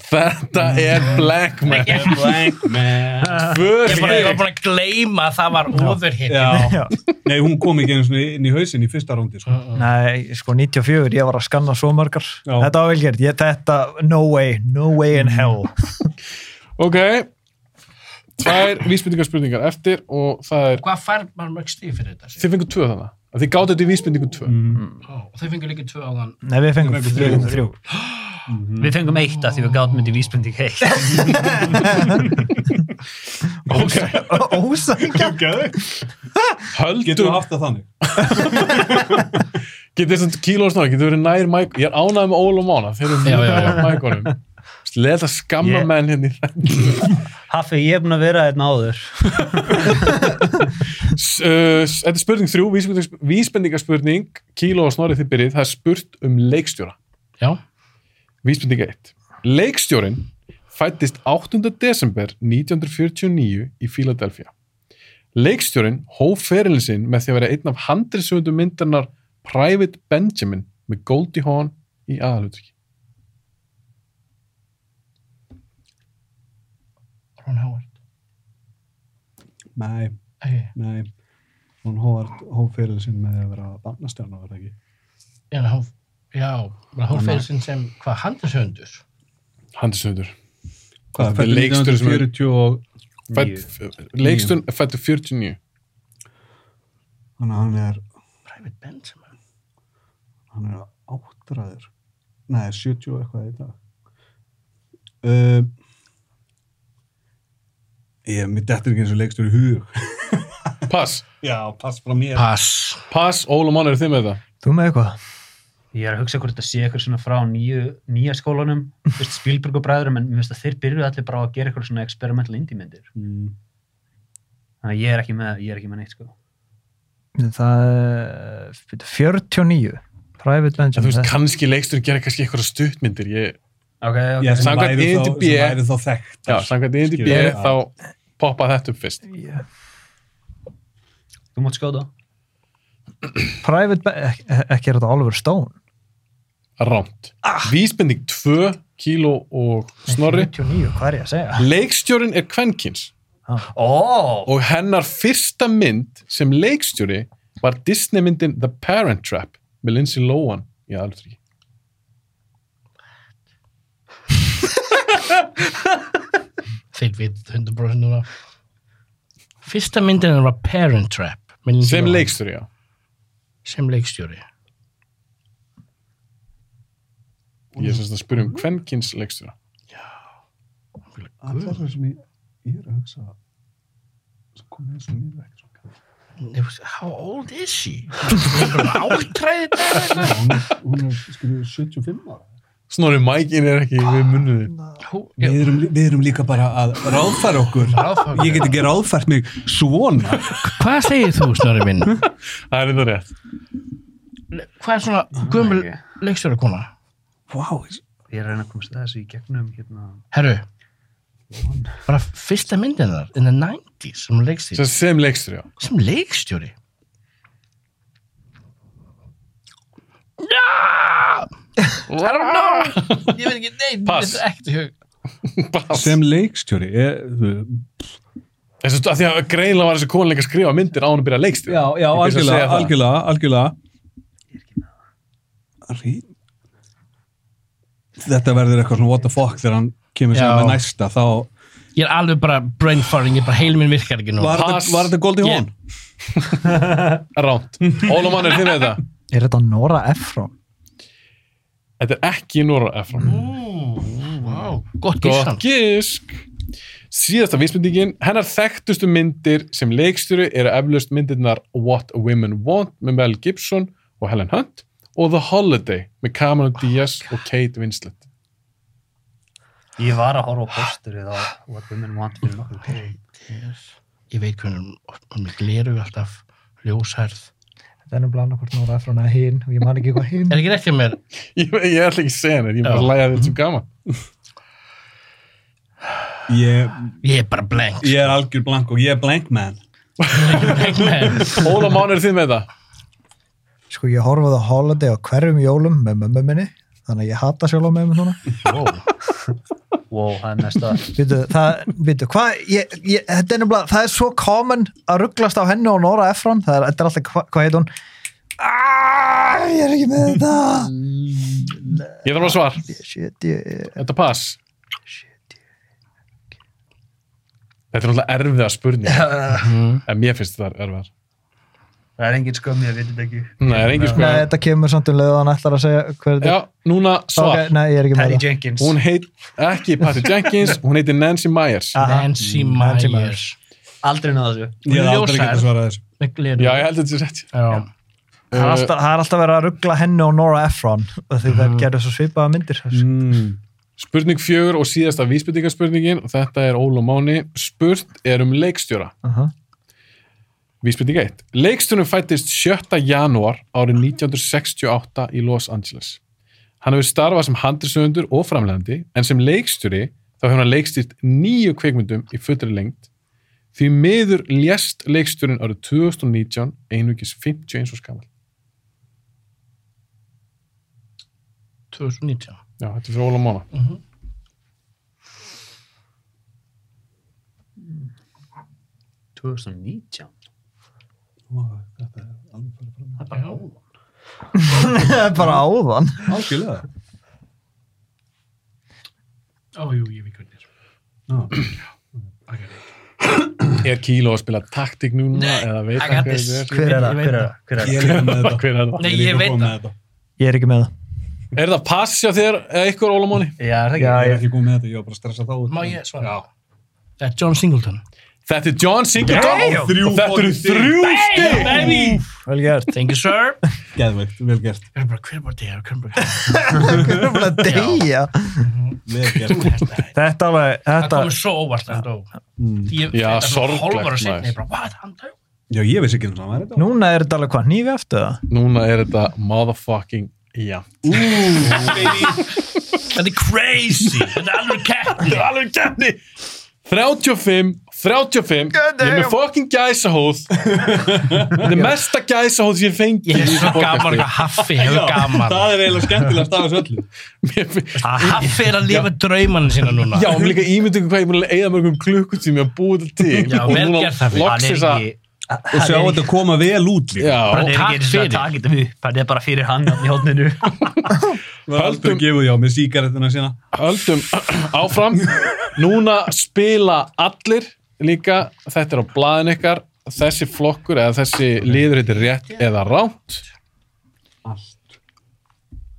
Speaker 1: Þetta er Black Man
Speaker 7: <laughs>
Speaker 3: Blank man.
Speaker 1: Tvö
Speaker 7: Ég bara- ég var
Speaker 1: stig.
Speaker 7: bara að gleyma að það var óður hitt.
Speaker 3: Já.
Speaker 5: Já.
Speaker 3: Nei, hún kom ekki einu sinni inn í hausin í fyrsta róndi, sko.
Speaker 5: <laughs> nei, sko 94, ég var að skanna svo margar.
Speaker 3: Já.
Speaker 5: Þetta var vel gert. Ég, þetta, no way, no way in hell.
Speaker 1: Ok Tvær vísbendingarspurningar eftir og það er
Speaker 7: Hvað fær maður mörg stíð fyrir þetta? Sig?
Speaker 1: Þið fengur tvö þannig að Þið gátu þetta í vísbendingu tvö
Speaker 3: Mm.
Speaker 7: Ó, og þau fengur líka tvö á þann.
Speaker 5: Nei, við fengum
Speaker 3: Við fengum
Speaker 5: þrjú.
Speaker 3: þrjú.
Speaker 5: þrjú.
Speaker 4: Við fengum eitt að því við gátum myndi vísbending
Speaker 2: <laughs>
Speaker 4: heitt.
Speaker 1: Ok,
Speaker 5: <laughs> Ósækja.
Speaker 3: Getur þú
Speaker 1: höldum
Speaker 3: haft það þannig?
Speaker 1: Getur þessum kílóð snáð, getur verið nær mæk Ég er ánægð með Óla og Mána, þeir eru mjög nær mækunum Leta skamma
Speaker 8: Ég-
Speaker 1: menn hérna í þetta
Speaker 8: Haffi, ég er búin að vera
Speaker 2: hérna
Speaker 8: þetta áður.
Speaker 1: S- uh, s- Þetta er spurning þrjú, vísbendingarspurning, vísbendingarspurning Kíló og Snorri þið byrjið, það er spurt um leikstjóra
Speaker 7: Já.
Speaker 1: Vísbendinga 1. Leikstjórin fættist 8. desember 1949 í Philadelphia. Leikstjórin hóf ferilin sinn með því að vera einn af handriðsöfundu myndarnar Private Benjamin með Goldie Hawn í aðalutryggi.
Speaker 7: Ron Howard.
Speaker 3: Nei,
Speaker 7: Okay.
Speaker 3: nei. Hún hófart hófferðið sinn með því að vera barnastjarn og verða ekki.
Speaker 7: Já, hún, já, bara hún fyrir sinn sem hvað handishöndur.
Speaker 1: Handriðsöfundur.
Speaker 3: Hvað,
Speaker 1: Þetta er leikstjóri sem er-
Speaker 3: 40 og...
Speaker 1: Leikstjórin fættu 49.
Speaker 3: Þannig að hann er,
Speaker 7: Private Benjamin.
Speaker 3: hann er áttræður. Nei, 70 og eitthvað í dag. Uh, ég, mér dettur ekki eins og leikstjóri í hug.
Speaker 1: Pass.
Speaker 3: Já, pass frá mér.
Speaker 7: Pass.
Speaker 1: Pass, Óla Mann, eru þið með það?
Speaker 5: Þú með eitthvað?
Speaker 4: Ég er að hugsa hvort þetta sé eitthvað svona frá nýju, nýja skólanum, þú veist, Spielberg og bræðurum, en mér finnst að þeir byrjuðu allir bara á að gera eitthvað svona experimental indie myndir.
Speaker 3: Mm.
Speaker 4: Þannig að ég er ekki með, ég er ekki með neitt, sko.
Speaker 5: Það er bíddu, 49. Private
Speaker 1: En þú
Speaker 5: Benjamin.
Speaker 1: veist, kannski leikstjórin gera kannski eitthvað stuttmyndir. Ég,
Speaker 4: Ok, ok.
Speaker 3: Já, sem
Speaker 1: Samkvæmt
Speaker 3: væri þá-
Speaker 1: IMDb.
Speaker 3: sem væri þá þekkt.
Speaker 1: já, samkvæmt INDB
Speaker 3: Skilur.
Speaker 1: þá poppa þetta upp fyrst.
Speaker 5: Yeah.
Speaker 4: Þú mátt skjóta.
Speaker 5: Private Benjamin, ekki er þetta Oliver Stone?
Speaker 1: Rámt.
Speaker 5: Ah.
Speaker 1: Vísbending 2, Kíló og Snorri.
Speaker 5: 49, hvað er ég að segja?
Speaker 1: Leikstjórin er kvenkins
Speaker 4: Ó,
Speaker 1: og hennar fyrsta mynd sem leikstjóri var Disneymyndin The Parent Trap með Lindsay Lohan í aðlutryggi.
Speaker 7: Þeir við 100% núna. Fyrsta myndin er að Parent Trap. með Lindsay
Speaker 1: Sem
Speaker 7: Lohan.
Speaker 1: leikstjóri, já.
Speaker 7: Sem leikstjóri.
Speaker 1: Ég er semst að
Speaker 5: Mm.
Speaker 1: spyrja um kvenkins leikstjóra.
Speaker 3: Allar það sem ég, ég er að hugsa sem komið eins og mér er ekki svo gammal.
Speaker 7: Nei, How old is she? Hún er bara áttræðið þetta.
Speaker 3: Hún er, hún er skilur, 75 ára.
Speaker 1: Snorri Mækin er ekki við munnuðið.
Speaker 3: Við erum, við erum líka bara að ráðfæra okkur.
Speaker 7: Ráðfæra.
Speaker 3: Ég get ekki ráðfært mig svona.
Speaker 7: Hvað segir þú, Snorri minn?
Speaker 1: Það er þetta rétt.
Speaker 7: Hvað er svona gömul leikstjóra kona?
Speaker 3: Vá,
Speaker 4: ég er að reyna að komast að þessu í gegnum, hérna.
Speaker 7: Herru, bara fyrsta myndin þar, in the 90s, sem leikstjóri.
Speaker 1: Sem, sem leikstjóri, já.
Speaker 7: Sem leikstjóri? No! I don't know! Ég veit ekki, nei,
Speaker 1: Pass.
Speaker 7: þetta er ekkert í hug.
Speaker 1: Pass.
Speaker 3: sem leikstjóri. Ég, þú-
Speaker 1: Þessu, að því að greinlega var þessi konleika að skrifa myndir á hann að byrja leikstjóri.
Speaker 3: já, já,
Speaker 1: Ég finnst að segja
Speaker 3: algjörlega,
Speaker 1: það.
Speaker 3: algjörlega, algjörlega. Rí- Þetta verður eitthvað svona what the fuck þegar hann kemur sem
Speaker 7: Já.
Speaker 3: með næsta. Þá
Speaker 7: Ég er alveg bara brain farting, ég bara heil minn virkar ekki nú.
Speaker 3: var,
Speaker 1: Pass.
Speaker 3: þetta, var þetta Goldie Hawn.
Speaker 1: Rámt. Ólumann er þið með þetta.
Speaker 5: Er þetta Nora Ephron?
Speaker 1: Þetta er ekki Nora Ephron.
Speaker 7: Wow, gott
Speaker 1: Gott
Speaker 7: gísan.
Speaker 1: gísk Síðasta vísmyndingin, hennar þekktustu myndir sem leikstjóri eru eflaust myndirnar What Women Want með Mel Gibson og Helen Hunt og The Holiday með Cameron Diaz og Kate Winslet. <laughs>
Speaker 4: Ég var að horfa á posturið á What Women Want fyrir nokkur tíma.
Speaker 7: Ég veit hvernig hún er gleru alltaf, ljósherð.
Speaker 5: Þetta er nefnilega annað hvort Nora Ephron eða hinn og ég man ekki hvað <laughs> hinn.
Speaker 7: Er ekki rétt hjá mér?
Speaker 1: Ég, ég ætla ekki að segja henni, ég er bara að
Speaker 7: Já.
Speaker 1: læja þetta sem gaman.
Speaker 3: Ég,
Speaker 7: Ég er bara blank.
Speaker 3: ég er algjör blank og ég er blank man.
Speaker 7: Blank man.
Speaker 1: Óla Mán er þið með það?
Speaker 5: Sko, ég horfaði á Holiday á hverjum jólum með mömmu minni, þannig að ég hata sjálf á með mér svona.
Speaker 4: Wow, það er mest að
Speaker 5: Býtu, það, býtu, hvað, ég, ég, þetta er nefnilega, það er svo common að rugglast á henni og Nora Efron, það er, þetta er alltaf, hva, hvað heit hún? Aaaaah, ég er ekki með þetta.
Speaker 1: Ég þarf að svar.
Speaker 5: Shit, ég,
Speaker 1: Þetta pass. Þetta er náttúrulega erfiða spurning. en mér finnst þetta erfiðar.
Speaker 6: Það er engin skömmi að við þetta ekki.
Speaker 4: Mm,
Speaker 1: Nei, það er engin
Speaker 5: nei,
Speaker 1: spurning.
Speaker 5: þetta kemur samt um leið og hann ætlar að segja hver þetta
Speaker 1: Já,
Speaker 5: er.
Speaker 1: núna svar.
Speaker 5: Ok, nei, ég er ekki með
Speaker 6: Patty
Speaker 5: þetta.
Speaker 6: Jenkins.
Speaker 1: Hún heit ekki Patty Jenkins, hún heitir Nancy Myers.
Speaker 7: Nancy Myers.
Speaker 4: aldrei náða þessu.
Speaker 7: Hún Ég er
Speaker 9: hef aldrei getað
Speaker 7: ljósar
Speaker 9: svarað þessu.
Speaker 7: með gleru.
Speaker 1: Já, ég held að þetta sé rétt.
Speaker 7: Já.
Speaker 5: Það er alltaf- það er alltaf verið að ruggla henni og Nora Efron, því það gerur svo svipaða myndir.
Speaker 1: Spurning fjögur og síðasta vísbendingarspurningin og þetta er Óla Máni. Spurt er um leikstjóra.
Speaker 5: Aha.
Speaker 7: <laughs>
Speaker 1: Vísbending 1. Leikstjónum fættist 7. janúar árið 1968 í Los Angeles. Hann hefur starfað sem handrisöfundur og framlegandi en sem leikstjóri þá hefur hann leikstýrt nýju kveikmyndum í fullri lengt því miður lést leikstjórin árið 2019 einugis 51 og skammal.
Speaker 7: 2019.
Speaker 1: Já, þetta er fyrir Óla Mána.
Speaker 9: Vá, Þetta er alveg farið fram.
Speaker 7: Það er bara hún.
Speaker 5: Það er bara áðan.
Speaker 9: Algjörlega.
Speaker 7: Ó, jú, ég veit hvernig.
Speaker 9: Já.
Speaker 1: Er Kíló að spila taktik núna eða veit hann hver þetta
Speaker 7: Hver er það? Hver er það?
Speaker 6: Hver er það?
Speaker 9: Ég er líka með þetta.
Speaker 1: er? Hver er það?
Speaker 7: Nei,
Speaker 9: er líka
Speaker 7: ég veit
Speaker 9: góð með
Speaker 7: það.
Speaker 9: þetta.
Speaker 5: Ég er ekki með það.
Speaker 1: Er það pass hjá þér eða ykkur Óla Máni?
Speaker 6: Já, er það ekki.
Speaker 5: Já,
Speaker 9: Ég er
Speaker 5: ég,
Speaker 9: ekki góð með þetta, ég var bara að stressa þá út.
Speaker 7: Má ég svara? Já. Það er John Singleton.
Speaker 1: Þetta er John Singleton
Speaker 9: Damn!
Speaker 1: og þetta eru þrjú stig.
Speaker 5: vel
Speaker 7: <laughs>
Speaker 5: gert.
Speaker 7: Thank you, sir.
Speaker 9: Geðveikt, vel gert.
Speaker 7: Hver er bara, hver er bara þér? Hver er bara þér?
Speaker 5: Ég er bara að deyja.
Speaker 9: Vel gert.
Speaker 5: Þetta alveg,
Speaker 7: Það
Speaker 5: þetta,
Speaker 7: komið svo óvart að hann dó. Ég-
Speaker 1: Mm. Já,
Speaker 7: þetta er svona
Speaker 1: sorglegt,
Speaker 7: Hálfara
Speaker 1: maður.
Speaker 7: sinni, ég bara, hvað, hann dó?
Speaker 9: Já, ég vissi ekki hvernig það var þetta.
Speaker 5: núna er þetta alveg hvað, nýfi eftir það?
Speaker 1: Núna er þetta motherfucking já.
Speaker 7: Þetta er crazy. Þetta er alveg keppni.
Speaker 1: Alveg keppni! 35, 35, ég er með fucking gæsahóð. þetta er mesta gæsahóð sem ég fengi.
Speaker 7: Ég er svo gaman hvað Haffi hefur gaman.
Speaker 9: Það er eiginlega skemmtilegast af þessu öllu.
Speaker 1: gaman.
Speaker 7: Haffi er að lifa draumann sína núna.
Speaker 1: Já, mér líka ímyndu ykkur hvað ég er búin að eigða mörgum klukkutími að búa þetta til.
Speaker 7: Já,
Speaker 1: Og
Speaker 7: vel
Speaker 1: núna
Speaker 7: gert, Haffi.
Speaker 4: Hann er
Speaker 1: Loksins að,
Speaker 4: ekki,
Speaker 9: Og sjá þetta koma vel út líka.
Speaker 4: hann
Speaker 1: já,
Speaker 4: er
Speaker 7: takk
Speaker 4: ekki eins og
Speaker 7: fyrir.
Speaker 4: að taka þetta upp. Hann er bara fyrir hann þarna í <laughs> hótninu.
Speaker 9: Það var aldrei
Speaker 1: Höldum-
Speaker 9: gefið já með síkarettina sína.
Speaker 1: höldum áfram núna spila allir líka, þetta er á blaðin ykkar þessi flokkur eða þessi liður heitir rétt eða ránt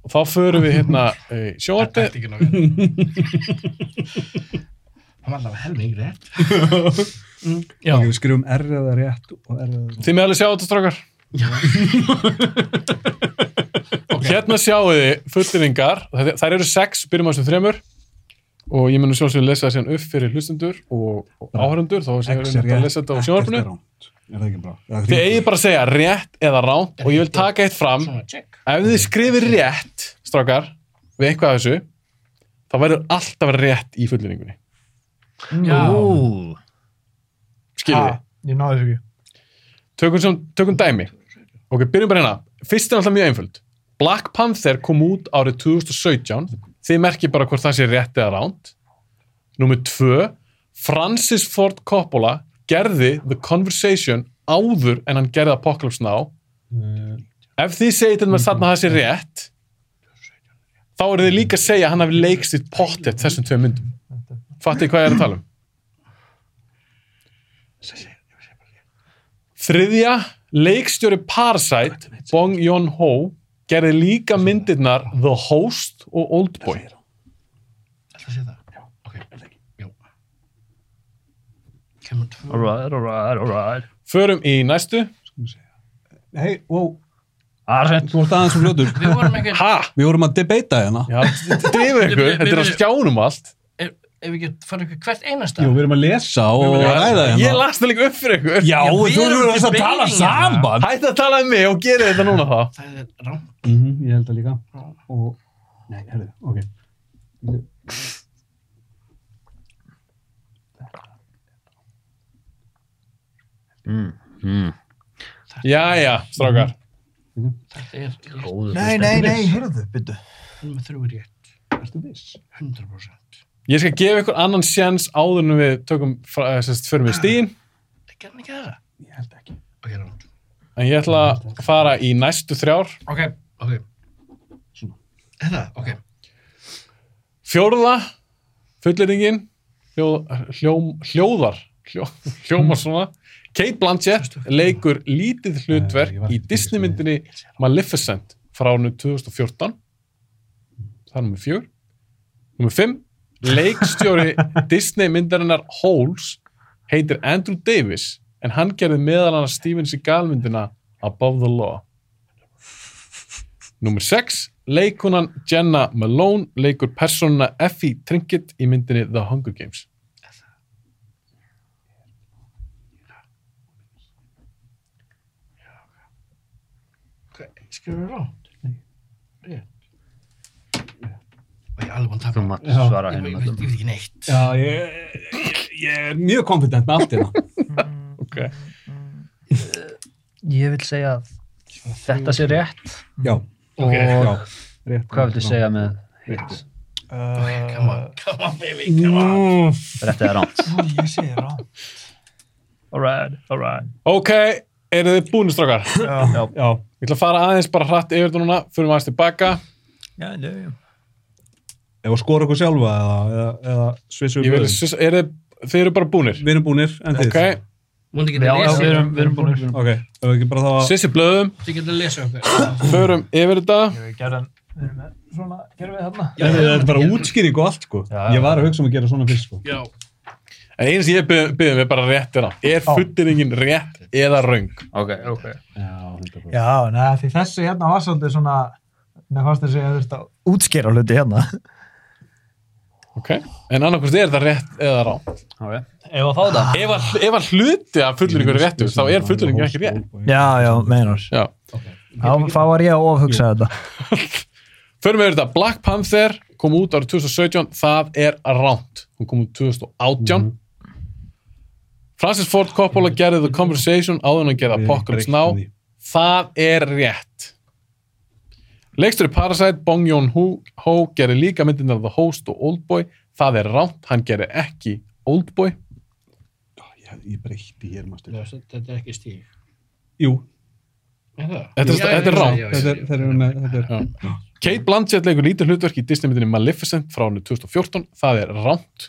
Speaker 1: og þá förum við hérna í sjóarpi
Speaker 7: Þetta er ekki <laughs> nógu. Það var allavega helming rétt. Já.
Speaker 9: Við skrifum R eða rétt og R eða
Speaker 1: þið með alveg sjá þetta strákar og hérna sjáu þið fullinningar, Þetta- þær eru sex byrjum á þessum þremur og ég mun að sjálfsögur lesa það síðan upp fyrir hlustendur og, og áhörendur, þá séum
Speaker 9: X
Speaker 1: við
Speaker 9: er rétt.
Speaker 1: að lesa þetta á
Speaker 9: ekkert
Speaker 1: sjóarpinu
Speaker 9: er rangt. Er það ekki bra? Eða
Speaker 1: Þið
Speaker 9: hringur.
Speaker 1: eigið bara að segja rétt eða ránt og ég vil taka eitt fram.
Speaker 7: Svona, check.
Speaker 1: Ef þið skrifir rétt, strákar, við eitthvað af þessu, þá verður alltaf rétt í fullinningunni.
Speaker 4: Ú,
Speaker 1: Skiljið þið?
Speaker 5: Ah, Ég náði þessu ekki.
Speaker 1: Tökum, sem, tökum dæmi. Ok, byrjum bara hérna. Fyrst er alltaf mjög einföld. Black Panther kom út árið 2017. Þið merkið bara hvort það sé rétt eða ránt. Númer tvö. Francis Ford Coppola gerði The Conversation áður en hann gerði Apocalypse Now. Ef þið segið til maður þarna að það sé rétt, þá eru þið líka að segja að hann hafi leikstitt pottet þessum tvei myndum. Fattið þið hvað ég er að tala um? Þriðja, leikstjóri Parasite, Bong Joon-ho, gerði líka myndirnar The Host og Oldboy.
Speaker 7: Ætli að sé það? Já. Ok, er það ekki? Jú. Kemur tvö.
Speaker 4: alright, alright, alright.
Speaker 1: Förum í næstu.
Speaker 9: Hei, wow,
Speaker 4: Arsett.
Speaker 9: þú ert aðeins um fljótur.
Speaker 7: Við vorum ekki,
Speaker 1: Ha?
Speaker 9: Við vorum að debata hérna.
Speaker 1: Já, drifið ykkur, þetta er á skjánum allt.
Speaker 7: ef ef við getum farið ykkur hvert einasta.
Speaker 9: Jú, við erum að lesa og ræða
Speaker 1: Ég
Speaker 9: hérna.
Speaker 1: las það líka upp fyrir ykkur.
Speaker 9: Já,
Speaker 7: Já,
Speaker 9: þú
Speaker 7: við erum
Speaker 9: erum að
Speaker 7: debating
Speaker 9: tala
Speaker 7: hérna.
Speaker 9: saman.
Speaker 1: Hætti að tala um mig og gera þetta núna þá.
Speaker 7: Það er rámt.
Speaker 9: Mhm, Ég held það líka. Og, nei, herðu, ok.
Speaker 1: Jæja, strákar.
Speaker 7: er, er
Speaker 4: Góður hlustandi.
Speaker 5: Nei, nei, nei, heyrðu, byttu.
Speaker 7: hún með þrjú rétt.
Speaker 9: Ertu viss?
Speaker 7: 100%.
Speaker 1: Ég skal gefa ykkur annan sjans áður en við tökum, fra- eh, sem sagt, förum við stíðin.
Speaker 7: Það gerði hann ekki það.
Speaker 9: Ég held ekki.
Speaker 7: Ok, rámt.
Speaker 1: En ég ætla að fara í næstu þrjár.
Speaker 7: Ok, ok. Þetta, ok.
Speaker 1: Fjórða, fullendingin, hljó, hljóm, hljóðar, hljó, hljómar
Speaker 9: Hmm.
Speaker 1: svona. Kate Blanchett leikur lítið
Speaker 9: Nei, ég
Speaker 1: hlutverk
Speaker 9: var
Speaker 1: í
Speaker 9: ekki
Speaker 1: Disneymyndinni Maleficent frá ánum 2014. Það er nummer fjör. Nummer fimm, leikstjóri
Speaker 9: <laughs>
Speaker 1: Disneymyndarinnar Holes heitir Andrew Davis en hann gerði meðal annars Steven Seagal-myndina Above the Law. Númer 6. Leikunan Jenna Malone leikur persónuna Effie Trinket í myndinni The Hunger Games.
Speaker 7: Hvað, skrifur það rámt? Nei. Rétt. Og ég er alveg búin að tapa.
Speaker 4: Þú mátt svara
Speaker 7: Ég,
Speaker 4: hennum
Speaker 7: ég, veit- ég veit ekki neitt.
Speaker 3: Já, ég, ég er mjög konfident með
Speaker 9: <laughs>
Speaker 3: allt hérna.
Speaker 1: Ok.
Speaker 4: Ég vil segja að þetta sé rétt
Speaker 9: Já.
Speaker 4: og
Speaker 9: Já. Rétt.
Speaker 4: hvað viltu segja með hitt?
Speaker 9: Rétt.
Speaker 5: Eh,
Speaker 7: Come on, come on baby, come on.
Speaker 4: Rétt eða rámt?
Speaker 5: Ég segi rátt. Alright, alright.
Speaker 1: Ok, eru þið búinir strákar?
Speaker 5: Já,
Speaker 1: Já. Ég ætla að fara aðeins bara hratt yfir þetta núna, fyrir aðeins tilbaka.
Speaker 5: já, já, já.
Speaker 9: Ef að skora okkur sjálfa eða, eða, eða svissum
Speaker 1: Ég vil, sus- eru þið, þið eru bara búinir.
Speaker 9: Við erum búnir, en þið.
Speaker 1: Ok,
Speaker 7: Múndi ekki
Speaker 4: Já,
Speaker 7: að
Speaker 4: já,
Speaker 7: lesa.
Speaker 4: við erum, við erum búin
Speaker 9: Ok, ef við ekki bara það að...
Speaker 1: sissi blöðum,
Speaker 7: Þið getur að lesa okkur.
Speaker 1: förum yfir þetta.
Speaker 5: Við gerðum, við erum með svona, gerðum við þarna.
Speaker 9: Já, þetta er bara útskýring og allt, sko.
Speaker 5: Já, já.
Speaker 9: Ég var að hugsa um að gera svona fyrst, sko.
Speaker 7: Já.
Speaker 1: En eins ég byrðum við bara rétt hérna. Er fullendingin rétt eða röng?
Speaker 4: Ok, ok
Speaker 5: Já, neða, því þessi hérna var svolítið svona, mér fannst þessi að þurft að útskýra hluti hérna.
Speaker 1: Ok, en annarkvæmst er þetta rétt eða rámt.
Speaker 4: Ef að fá það?
Speaker 1: Ef að- ef að hluti að fullendingur er réttur, þá er fullendingin ekki rétt.
Speaker 5: Já, já, meinar.
Speaker 1: Já.
Speaker 5: Þá þá var ég að ofhugsa þetta.
Speaker 1: Förum við yfir þetta, Black Panther kom út árið 2017, það er ránt. Hún kom út 2018.
Speaker 9: Mhm.
Speaker 1: Francis Ford Coppola gerði The Conversation áður en að gera Apocalypse Now. Það er rétt. Leikstur í Parasite, Bong Joon-ho gerði líka myndin af The Host og Oldboy. Það er ránt, hann gerði ekki Oldboy.
Speaker 9: Ég, ég breytti hér, maður styrst.
Speaker 7: Þetta er ekki stíg.
Speaker 9: Jú,
Speaker 7: Er það?
Speaker 1: Þetta er-
Speaker 7: Já,
Speaker 1: þetta er
Speaker 7: já,
Speaker 1: rangt.
Speaker 7: já, já,
Speaker 9: þetta er,
Speaker 7: já.
Speaker 9: þeir eru með, þetta er...
Speaker 1: Kate Blanchett leikur lítið hlutverk í Disneymyndinni Maleficent frá hannu 2014, það er rámt.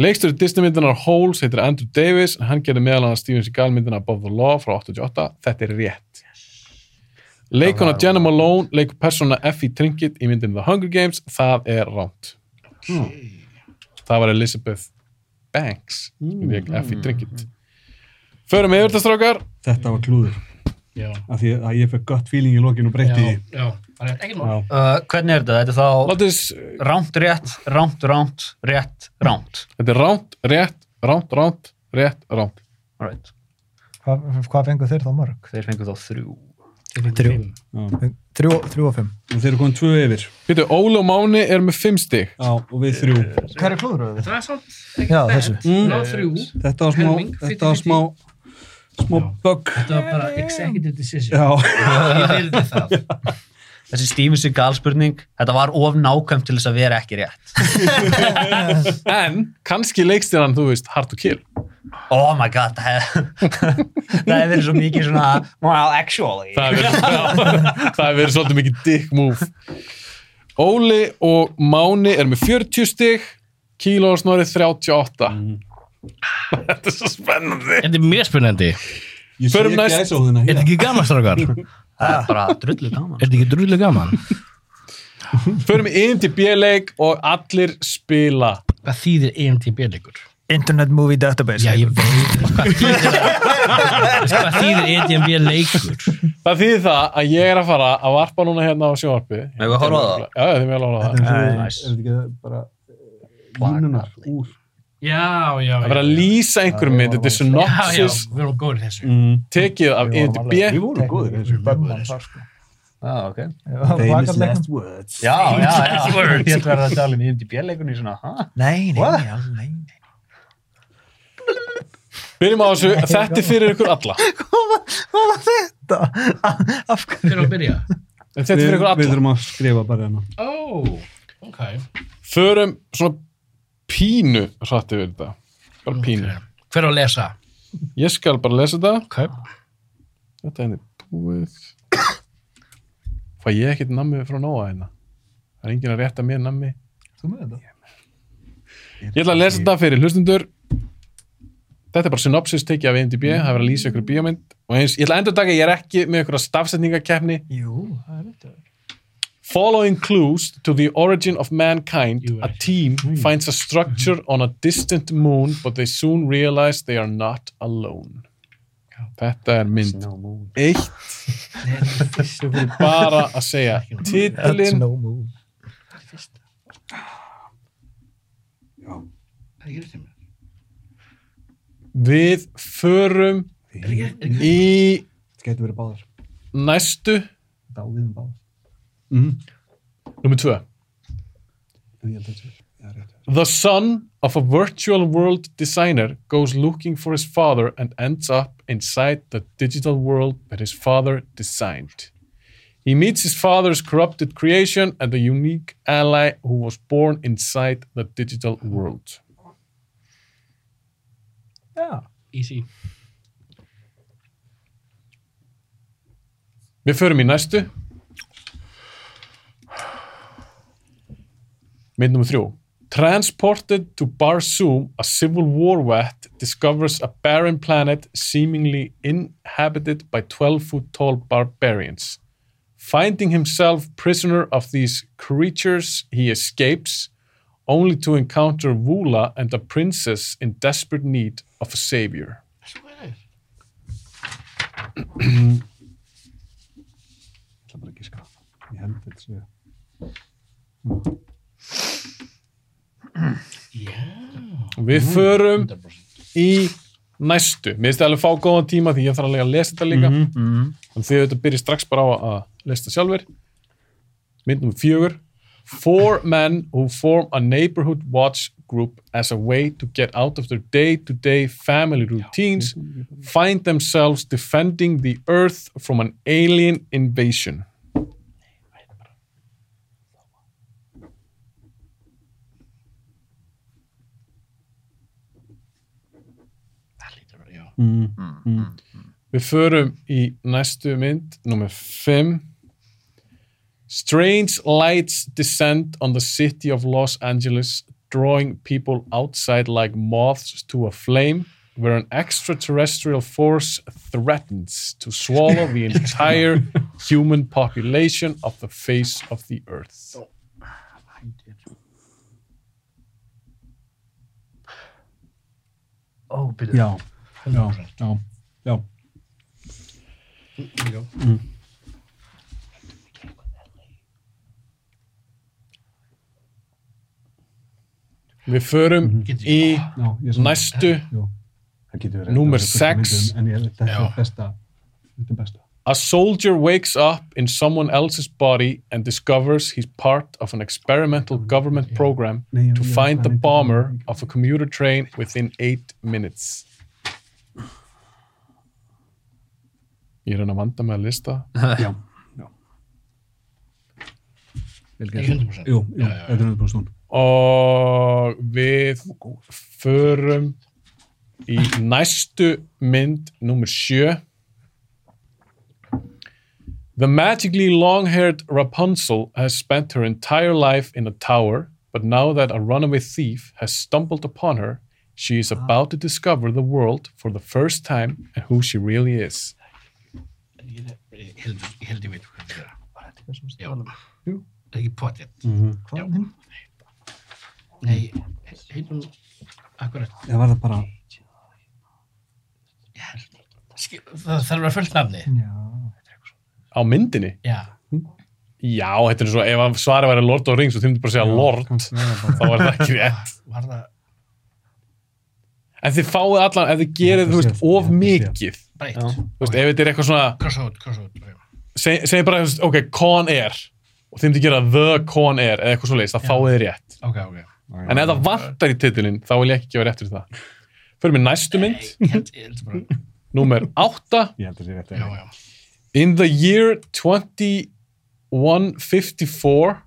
Speaker 1: Leikstur í Disneymyndinar Holes heitir Andrew Davis, en hann gerði meðal annars Steven Seagal myndina Above the Law frá 88, þetta er rétt. Leikona Jenna Malone leikur persóna Effie Trinket í myndinni The Hunger Games, það er rámt. Það var Elizabeth Banks, sem leik Effie Trinket. Förum yfir þetta strákar,
Speaker 9: Þetta var klúður.
Speaker 7: Já.
Speaker 9: Af því að ég fekk gott feeling í lokin og breytti því.
Speaker 7: Já, já. Það er ekkert mál.
Speaker 9: Já.
Speaker 4: Uh, hvernig er þetta? Þetta er þá
Speaker 1: látis,
Speaker 4: rámt rétt, rámt rámt, rétt rámt
Speaker 1: þetta er rámt, rétt, rámt, rámt, rétt, rámt.
Speaker 4: Alright,
Speaker 5: Hvað, hvað fengu þeir þá mörg?
Speaker 4: þeir fengu þá þrjú
Speaker 7: Þið fengur
Speaker 5: Þrjú.
Speaker 7: fimm.
Speaker 5: Þrjú, þrjú og fimm.
Speaker 9: En þeir eru komin tvö yfir.
Speaker 1: Býtu, Óli og Máni er með fimm stig.
Speaker 9: Já, og við þrjú.
Speaker 5: Hver er klúðröðu þið?
Speaker 7: Það er samt.
Speaker 5: Já, þessu.
Speaker 7: Ná þrjú.
Speaker 9: Þetta var smá,
Speaker 7: Helming,
Speaker 9: þetta var smá, smá bug.
Speaker 7: Þetta var bara executive decision.
Speaker 9: Já,
Speaker 7: Ég verði það.
Speaker 4: Þessi Steven Seagal spurning, þetta var of nákvæmt til þess að vera ekki rétt
Speaker 1: En kannski leikstýran, þú veist, hard to kill.
Speaker 4: Oh my god, það hef- <laughs> það hefur verið svo mikið svona Well, actually
Speaker 1: Það hefur verið, <laughs> það hefur verið svolítið mikið dick move. Óli og Máni er með 40 stig, Kíló og Snorri 38. Þetta er svo spennandi.
Speaker 7: <laughs> Þetta er mjög spennandi.
Speaker 9: ég sé
Speaker 1: Förum
Speaker 9: ekki
Speaker 1: næst.
Speaker 9: aðeins á þennan
Speaker 7: Er þetta
Speaker 9: hér.
Speaker 7: ekki gaman, strákar? Er
Speaker 4: Það er bara drullu gaman
Speaker 7: þetta ekki drullu gaman?
Speaker 1: Förum inn til B-leik og allir spila.
Speaker 7: Hvað þýðir E EMTB-leikur?
Speaker 5: Internet Movie Database.
Speaker 7: Já, ég veit. Hvað þýðir, hvað þýðir EMTB-leikur?
Speaker 1: Það þýðir það að ég er að fara að varpa núna hérna á sjónvarpið.
Speaker 4: Megum við horfa á það?
Speaker 1: Já, þið með að horfa á það.
Speaker 9: Þetta er
Speaker 5: Nei.
Speaker 9: eins og- er þetta ekki bara eh, línunar úr
Speaker 7: Já, já,
Speaker 1: Það er að lýsa einhverjum mynd, þetta er
Speaker 7: Já, já,
Speaker 1: synopsis
Speaker 7: við erum góður í þessu.
Speaker 1: tekið af inn til B.
Speaker 9: Við vorum góðir eins og
Speaker 5: Bömman þar sko.
Speaker 4: Já, ok
Speaker 9: Famous last words
Speaker 4: Já, já, já Ég held verið að tala um IMDb-leikunni svona ha?
Speaker 5: Nei, nei,
Speaker 4: What?
Speaker 5: nei, nei, nei.
Speaker 1: Byrjum á þessu, þetta er fyrir ykkur alla.
Speaker 5: Hvað var þetta? þetta? Af
Speaker 7: Hver á
Speaker 5: hverju?
Speaker 7: að byrja?
Speaker 1: En þetta er fyrir
Speaker 9: við, við
Speaker 1: ykkur alla.
Speaker 9: þurfum að skrifa bara hérna
Speaker 7: Ó, ok.
Speaker 1: Förum svona pínu hrætti við þetta. Bara pínu.
Speaker 7: Ok. Hver á að lesa?
Speaker 1: Ég skal bara lesa þetta.
Speaker 7: Ok.
Speaker 1: Þetta er búið. Fæ ég ekkert nammið frá Nóa hérna? Það er enginn að rétta mér nammi.
Speaker 3: Þú með þetta?
Speaker 1: Ég ætla að lesa þetta fyrir hlustundur. Þetta er bara synopsis tekið af IMDb, það er verið að lýsa ykkur bíómynd og eins, ég ætla að endur taka, ég er ekki með ykkur stafsetningakeppni.
Speaker 3: Jú, það er þetta.
Speaker 1: Following clues to the origin of mankind, a team finds a structure on a distant moon but they soon realize they are not alone. Þetta er mynd eitt bara að segja titilinn
Speaker 5: no move.
Speaker 1: við förum í
Speaker 9: þetta getur verið báðar
Speaker 1: næstu
Speaker 9: þetta á við um báðar
Speaker 1: nummer tvö
Speaker 9: en ég held að þetta sé- já, rétt.
Speaker 1: The son of a virtual world designer goes looking for his father and ends up inside the digital world that his father designed. He meets his father's corrupted creation and a unique ally who was born inside the digital world.
Speaker 7: Easy.
Speaker 1: Við förum í næstu. Mynd nummer þrjú. Transported to Barsoom, a civil war vet discovers a barren planet seemingly inhabited by 12-foot-tall barbarians. Finding himself prisoner of these creatures, he escapes, only to encounter Vula and a princess in desperate need of a savior.
Speaker 9: ég ætla bara að giska ég held að þetta sé
Speaker 1: Við förum í næstu. Mér finnst það alveg fá góðan tíma því ég þarf alveg að lesa þetta líka. Mm En þið auðvitað byrjið strax bara á að lesa þetta sjálfur. Mynd nummer fjögur. Four men who form a neighborhood watch group as a way to get out of their day-to-day family routines find themselves defending the earth from an alien invasion. Við förum í næstu mynd, nummer 5. Strange lights descend on the city of Los Angeles, drawing people outside like moths to a flame, where an extraterrestrial force threatens to swallow the entire human population of the face of the earth.
Speaker 4: Ó, byrju.
Speaker 9: já, já, já, já
Speaker 1: Við förum í
Speaker 9: já, ég sammála.
Speaker 1: næstu
Speaker 9: Jú. það getur verið
Speaker 1: Númer
Speaker 9: þetta er bestu
Speaker 1: sex.
Speaker 9: myndin, en ég held að þetta
Speaker 7: Já.
Speaker 9: er besta þetta er besta
Speaker 1: A soldier wakes up in someone else's body and discovers he's part of an experimental government program
Speaker 9: Nei, ég-
Speaker 1: to
Speaker 9: ég-
Speaker 1: find the
Speaker 9: ég-
Speaker 1: bomber of a commuter train within eight minutes. Ég er hann að vanda með að lista.
Speaker 9: já, já vel
Speaker 7: Ekki
Speaker 9: gert
Speaker 7: 100%.
Speaker 9: jú, jú,
Speaker 7: Já, já, já.
Speaker 9: þetta er 100% hún
Speaker 1: Og við förum í næstu mynd, nummer sjö. The magically long-haired Rapunzel has spent her entire life in a tower, but now that a runaway thief has stumbled upon her, she is about to discover the world for the first time and who she really is.
Speaker 7: Ég ég held ég held ég veit hvað það er.
Speaker 3: Var þetta eitthvað sem
Speaker 7: Já.
Speaker 3: stala?
Speaker 7: Það er ekki potið.
Speaker 9: Mhm.
Speaker 7: Já.
Speaker 3: Hvað minn?
Speaker 7: Nei, heitum, akkurat,
Speaker 9: það var það bara
Speaker 7: ég held. Skil- Það þarf að vera fullt nafni.
Speaker 3: Já.
Speaker 1: Á myndinni?
Speaker 7: Já.
Speaker 1: Já, þetta er svo, ef að svarið væri Lord of the Rings og þið myndir bara að segja Lord,
Speaker 9: kannski var það bara
Speaker 1: þá var það ekki rétt.
Speaker 7: Var það
Speaker 1: En þið fáið allan, ef þið gerið,
Speaker 9: þetta
Speaker 1: þú veist,
Speaker 9: sé- ég held
Speaker 1: of
Speaker 9: að sé.
Speaker 1: mikið.
Speaker 7: breytt?
Speaker 1: Þú veist, ef þetta er eitthvað svona,
Speaker 7: Crossroad, crossroad. já.
Speaker 1: seg, segir bara, þú veist, ok, Con Air, og þið myndi gera The Con Air, eða eitthvað svo leiðist, það fáið þið rétt.
Speaker 7: Ok, ok.
Speaker 1: En ef það vantar í titilinn, þá vil ég ekki gefa rétt fyrir það. Förum við næstu mynd,
Speaker 7: Ég held, ég held bara,
Speaker 1: númer 8.
Speaker 9: ég held að þetta sé rétt
Speaker 7: já, já.
Speaker 1: In the year 2154,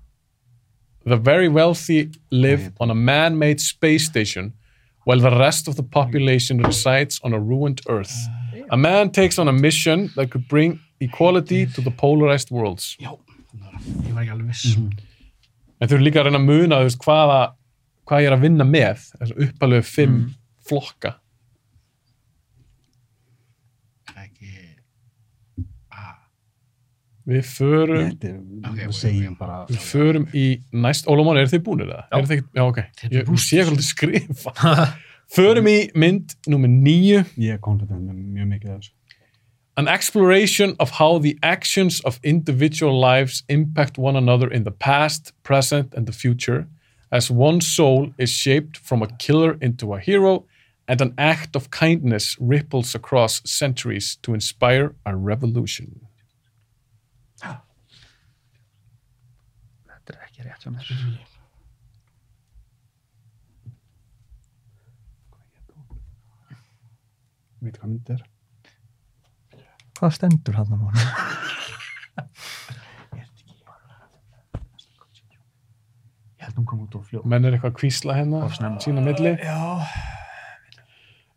Speaker 1: the very wealthy live on a man made space station while the rest of the population resides on a ruined Earth. A man takes on a mission that could bring equality to the polarized worlds.
Speaker 7: Já, ég var ekki alveg viss.
Speaker 9: Mhm.
Speaker 1: En þau eru líka að reyna að muna þú veist, hvaða, hvað ég er að vinna með, þessu uppalegu fimm flokka.
Speaker 7: Ekki...
Speaker 1: Við förum,
Speaker 9: Þetta er,
Speaker 7: Ok,
Speaker 9: við
Speaker 7: ok,
Speaker 9: segjum
Speaker 7: ok.
Speaker 9: bara
Speaker 1: við förum í næst, Ólumar, eru þið búinir það? Já. Þið, já, ok.
Speaker 7: Þetta er
Speaker 1: Ég
Speaker 7: brúst.
Speaker 1: sé hvað þið skrifa. förum í mynd nummer níu.
Speaker 9: Ég er konfident með mjög mikið af þessu
Speaker 1: An exploration of how the actions of individual lives impact one another in the past, present, and the future, as one soul is shaped from a killer into a hero, and an act of kindness ripples across centuries to inspire a revolution.
Speaker 4: Þetta er ekki rétt hjá mér.
Speaker 9: Veit hvað mynd er?
Speaker 5: Hvað stendur hann að mánu?
Speaker 1: Menn er eitthvað að kvísla hérna, sína milli.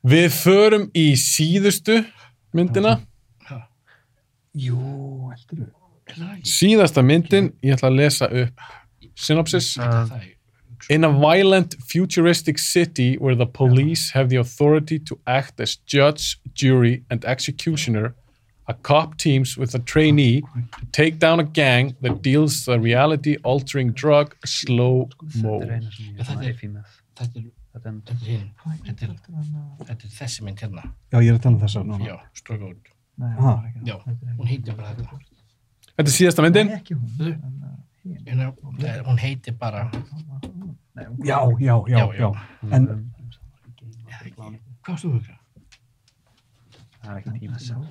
Speaker 1: Við förum í síðustu myndina. Síðasta myndin, ég ætla að lesa upp synopsis.
Speaker 7: Það er...
Speaker 1: In a violent, futuristic city where the police have the authority to act as judge, jury, and executioner, a cop teams with a trainee to take down a gang that deals the reality altering drug slow mo.
Speaker 4: Þetta er eina sem ég
Speaker 7: Þetta
Speaker 4: er
Speaker 7: er-
Speaker 4: ekki með.
Speaker 7: Þetta er...
Speaker 4: Þetta er
Speaker 7: Þetta er hinn. Þetta er... Þetta er þessi mynd hérna.
Speaker 9: Já, ég er að tala um þessa núna
Speaker 7: Já, stroke out.
Speaker 9: Ha,
Speaker 7: Já, hún heitir bara þetta.
Speaker 1: Þetta er síðasta myndin.
Speaker 7: You know, það er- Hérna, Hún heitir bara...
Speaker 9: já, já, já,
Speaker 7: Já, já.
Speaker 9: já. En
Speaker 7: Eða ekki. Hvað varst þú að hugsa?
Speaker 4: það er ekki tíma sem.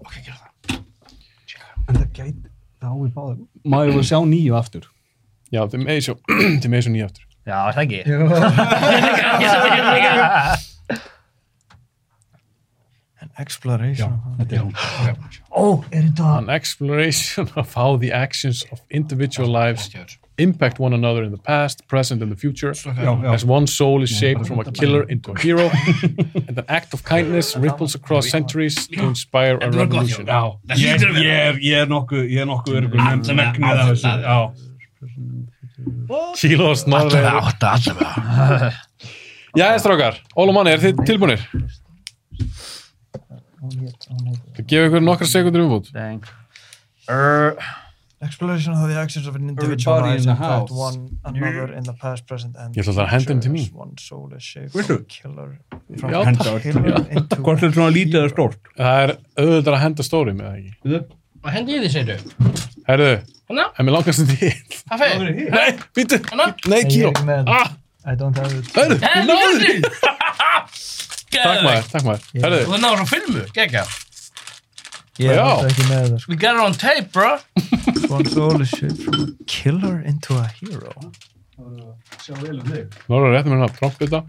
Speaker 7: Ok, gera það.
Speaker 9: En það gæti, það á við báðum. Maður voru að sjá nýju aftur.
Speaker 1: Já, þið meði <clears throat> svo, þið meði svo nýja aftur.
Speaker 4: Já, er það ekki.
Speaker 7: hérna
Speaker 5: Exploration.
Speaker 9: Þetta er hún.
Speaker 1: An exploration <laughs> of how the actions of individual lives impact one another in the past, present, and the future.
Speaker 9: Já, já.
Speaker 1: As one soul is shaped from a killer into a
Speaker 9: <laughs>
Speaker 1: hero, and an act of kindness ripples across centuries to inspire a
Speaker 7: var gott,
Speaker 1: revolution.
Speaker 7: já. Það
Speaker 9: Ég,
Speaker 7: hlýtur að
Speaker 9: ég
Speaker 7: vera.
Speaker 9: er, ég er nokkuð, ég er nokkuð örgur nefnd
Speaker 7: Alla vega,
Speaker 9: megnið af þessu.
Speaker 7: alla vega.
Speaker 9: Já.
Speaker 1: Kíló snorri.
Speaker 7: átta, allavega.
Speaker 1: Jæja, strákar. Ól og manni, er þið tilbúinir? Það gefa ykkur nokkra sekundur umfút.
Speaker 4: Dang.
Speaker 5: Exploration of the actions of an individual
Speaker 9: Everybody in
Speaker 5: lies
Speaker 9: the
Speaker 5: in fact
Speaker 9: house.
Speaker 5: one another in the past, present and
Speaker 1: Ég ætla það að henda þeim til
Speaker 5: future
Speaker 1: mín.
Speaker 5: as One soul is shaped
Speaker 9: Viltu?
Speaker 5: from killer
Speaker 1: Já,
Speaker 5: from
Speaker 9: takk.
Speaker 5: killer into
Speaker 9: Hvort er svona lítið eða stórt?
Speaker 1: Það er auðvitað að henda stóri með það ekki.
Speaker 7: Og hendi ég því, segir þú?
Speaker 1: Herðu,
Speaker 7: Hanna?
Speaker 1: en mér langast um <laughs> því.
Speaker 7: Það fer.
Speaker 1: Nei, býttu.
Speaker 7: Hanna?
Speaker 1: Nei,
Speaker 5: Ég
Speaker 1: kíló.
Speaker 5: er ekki með þetta.
Speaker 1: Ah,
Speaker 5: I don't have it
Speaker 1: herðu,
Speaker 7: Hey,
Speaker 1: náðu því.
Speaker 7: náðu því!
Speaker 1: Takk maður, takk maður.
Speaker 7: Og
Speaker 1: Herðu,
Speaker 7: það náður á filmu, gegga.
Speaker 5: Ég er
Speaker 1: Já.
Speaker 5: alltaf ekki með þetta
Speaker 7: We got it on tape, bro.
Speaker 5: sko. One soul is shaped from a killer into a hero
Speaker 1: Nóra, réttum mér hérna trompita.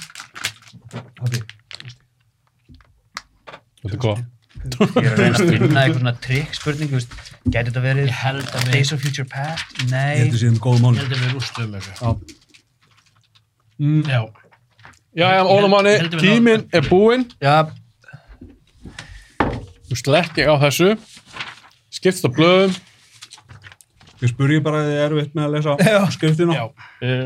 Speaker 1: Þetta er góð.
Speaker 4: Ég er að reyna að finna eitthvað svona trikk spurningu, veist, gæti þetta verið
Speaker 7: Ég held að við...
Speaker 4: Days of Future Past?
Speaker 9: Ég
Speaker 4: Nei.
Speaker 9: heldur síðan góð mál.
Speaker 7: Ég held að við rústum þessu.
Speaker 9: Mm,
Speaker 7: Já.
Speaker 1: Jæja, Ólamanni,
Speaker 7: Heldum við
Speaker 1: tíminn er búinn.
Speaker 4: Já,
Speaker 1: Þú slekki á þessu. Skipst á blöðum.
Speaker 9: Ég spurði bara að þið eru vitt með að lesa skriftina.
Speaker 7: Já.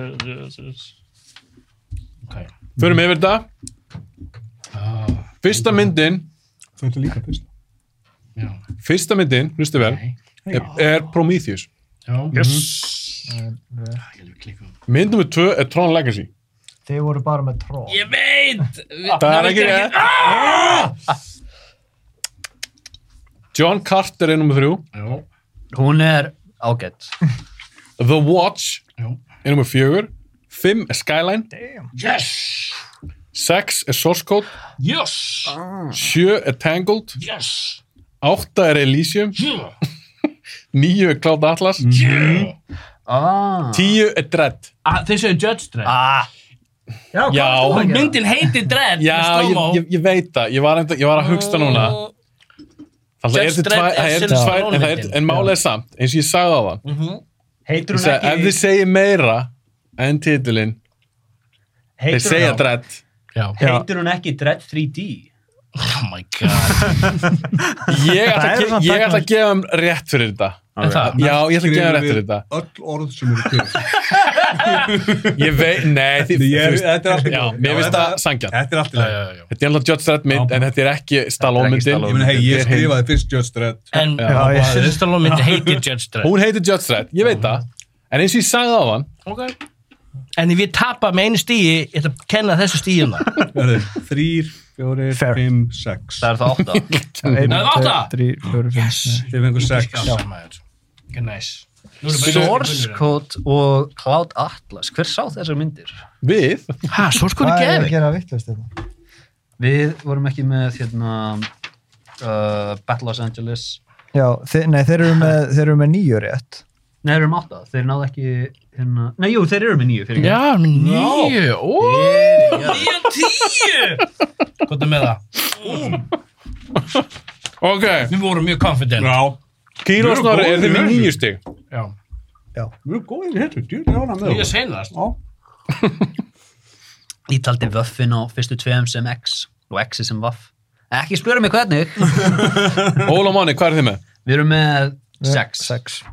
Speaker 7: Ok.
Speaker 1: Förum yfir þetta. Fyrsta
Speaker 7: Ah.
Speaker 1: myndin,
Speaker 9: Þetta er líka fyrst.
Speaker 7: Já.
Speaker 1: fyrsta myndin, hlustu vel,
Speaker 7: Nei.
Speaker 1: er, er Prometheus.
Speaker 7: Já. Yes. Ég held að við klikkum.
Speaker 1: Mynd nummer tvö er Tron Legacy.
Speaker 5: Þeir voru bara með tró
Speaker 7: Ég Ah, veit!
Speaker 1: Það er ekki rétt. John Carter er nummer þrjú.
Speaker 7: Já.
Speaker 4: hún er ágætt.
Speaker 1: The Watch
Speaker 7: Já.
Speaker 1: er nummer fjögur. Fimm er Skyline.
Speaker 7: Yes! Ah.
Speaker 1: Sex er Source Code.
Speaker 7: Yes!
Speaker 1: Sjö er Tangled.
Speaker 7: Yes!
Speaker 1: Átta er Elysium.
Speaker 7: Yeah! Hmm.
Speaker 1: Níu er Cloud Atlas.
Speaker 7: Yeah!
Speaker 4: Ah.
Speaker 1: Tíu er dredd.
Speaker 7: Ah, Þeir segja Judge Dredd.
Speaker 4: Ah.
Speaker 1: Já,
Speaker 7: Og myndin heitir Dredd
Speaker 1: já
Speaker 7: með
Speaker 1: ég,
Speaker 7: slow-mo.
Speaker 1: ég, ég veit það. Ég var, enda, ég var að hugsta núna. Það er
Speaker 7: Judge
Speaker 1: til tvær,
Speaker 7: Dredd er
Speaker 1: það er til tvær, en,
Speaker 7: Sylvester
Speaker 1: það er,
Speaker 7: Stallone-myndin.
Speaker 1: en málið er samt, eins og ég sagði á það.
Speaker 7: Mhm.
Speaker 1: Ég
Speaker 2: Heitur hún
Speaker 1: sagði, ef þið
Speaker 2: ekki...
Speaker 1: segir meira en titilinn, þeir
Speaker 2: Heitir
Speaker 1: segja
Speaker 2: hún, á-
Speaker 1: dredd.
Speaker 2: heitir hún ekki Dread 3D?
Speaker 7: Oh my god.
Speaker 1: Ég ætla að
Speaker 5: Það er
Speaker 1: ge-
Speaker 5: svona
Speaker 1: ég ætla að
Speaker 5: takmark.
Speaker 1: gefa þeim rétt fyrir þetta.
Speaker 7: Er það?
Speaker 1: Já, ég ætla að gefa þeim rétt fyrir þetta.
Speaker 9: Öll orð sem eru til.
Speaker 1: Ég veit, nei, því,
Speaker 9: Ég-
Speaker 1: þú veist,
Speaker 9: Þetta er allt í
Speaker 1: já,
Speaker 9: góðu.
Speaker 1: mér finnst það
Speaker 9: þetta-
Speaker 1: sangjarn.
Speaker 9: Þetta er allt í
Speaker 7: Já,
Speaker 9: lagi.
Speaker 7: já, já.
Speaker 1: Þetta er alveg Judge Dredd mynd, en þetta er ekki Stallone myndin.
Speaker 9: Ég meina, hei, ég skrifaði fyrst Judge Dredd.
Speaker 7: En
Speaker 1: Já,
Speaker 5: Já, ég-
Speaker 7: Stallone myndi heitir Judge Dredd.
Speaker 1: Hún heitir Judge Dredd, ég veit það. En eins og ég sagði á hann,
Speaker 7: Ok. En ef ég tapa með einu stíi, ég ætla að kenna þessu um stíðuna.
Speaker 9: Verður, þrýr, fjórir,
Speaker 5: Fair.
Speaker 9: fimm, sex.
Speaker 4: Það er það átta.
Speaker 5: Einn,
Speaker 7: Það er
Speaker 5: tveir,
Speaker 7: átta.
Speaker 5: þrír, fjórir, fimm, sex.
Speaker 9: Þið fengur sex.
Speaker 7: Ok, nice.
Speaker 4: Source Code og Cloud Atlas. Hver sá þessar myndir?
Speaker 1: við,
Speaker 7: Ha, svo sko
Speaker 5: Hvað
Speaker 7: er
Speaker 5: er ég
Speaker 7: gefið.
Speaker 5: að gera hérna. vittlust þetta?
Speaker 4: Við vorum ekki með hérna, uh, Battle Los Angeles.
Speaker 5: Já, þi- nei, þeir eru með, þeir eru með nýju rétt.
Speaker 4: Nei, þeir eru um átta. Þeir náðu ekki hérna... Nei, jú, þeir eru með nýju fyrir
Speaker 7: Já, nýju. Ó, nýju og tíu. Hvað er með það?
Speaker 1: ok,
Speaker 7: Við vorum mjög confident.
Speaker 9: Já.
Speaker 1: Kínu og
Speaker 9: Mjög
Speaker 1: Snorri,
Speaker 9: góður
Speaker 1: er þið með
Speaker 9: í þessu.
Speaker 1: nýju stig?
Speaker 9: Mjög góðir hérna, djúri ána með
Speaker 7: Nýju
Speaker 9: það.
Speaker 7: senast.
Speaker 9: Já.
Speaker 4: Ég taldi vöffin á fyrstu tveim sem X og X sem vaff. Ekki spjóra mig hvernig. <laughs>
Speaker 1: Óla Máni, hvað er þið með?
Speaker 4: Við erum með sex.
Speaker 5: Sex.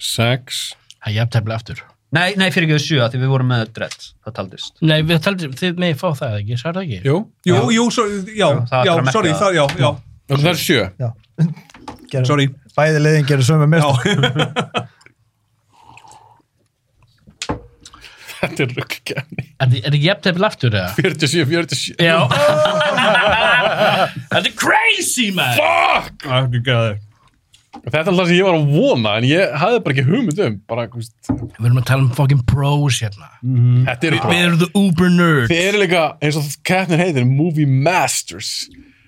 Speaker 1: Sex.
Speaker 7: Það er jafntefnilega aftur.
Speaker 4: Nei, nei, fyrir ekki sjö, af því við vorum með dredd. Það taldist.
Speaker 7: Nei, við taldum, þið meði fá það ekki, sagði það ekki?
Speaker 1: Jú,
Speaker 9: Jú, jú, sorry, já,
Speaker 4: það er
Speaker 9: já,
Speaker 4: bara að
Speaker 9: sorry,
Speaker 4: merka
Speaker 9: það, já, já,
Speaker 1: það er sjö.
Speaker 5: Gerum-
Speaker 9: sorry.
Speaker 5: Bæði liðin gerir sömu mist.
Speaker 9: Já,
Speaker 1: <laughs> Þetta er ruggkjæmni.
Speaker 7: Er þið- er þið jafntefnilega aftur eða?
Speaker 1: 47, 47.
Speaker 7: Já. <laughs> Þetta er crazy, man!
Speaker 1: Fuck!
Speaker 9: það er ekki gæðið.
Speaker 1: Þetta er alltaf sem ég var að vona, en ég hafði bara ekki hugmynd um. Bara, þú veist,
Speaker 7: Við erum að tala um fucking pros hérna.
Speaker 9: Mm.
Speaker 1: þetta eru
Speaker 7: Við erum the uber nerd.
Speaker 1: Þið eru líka, eins og keppnin heitir, Movie Masters.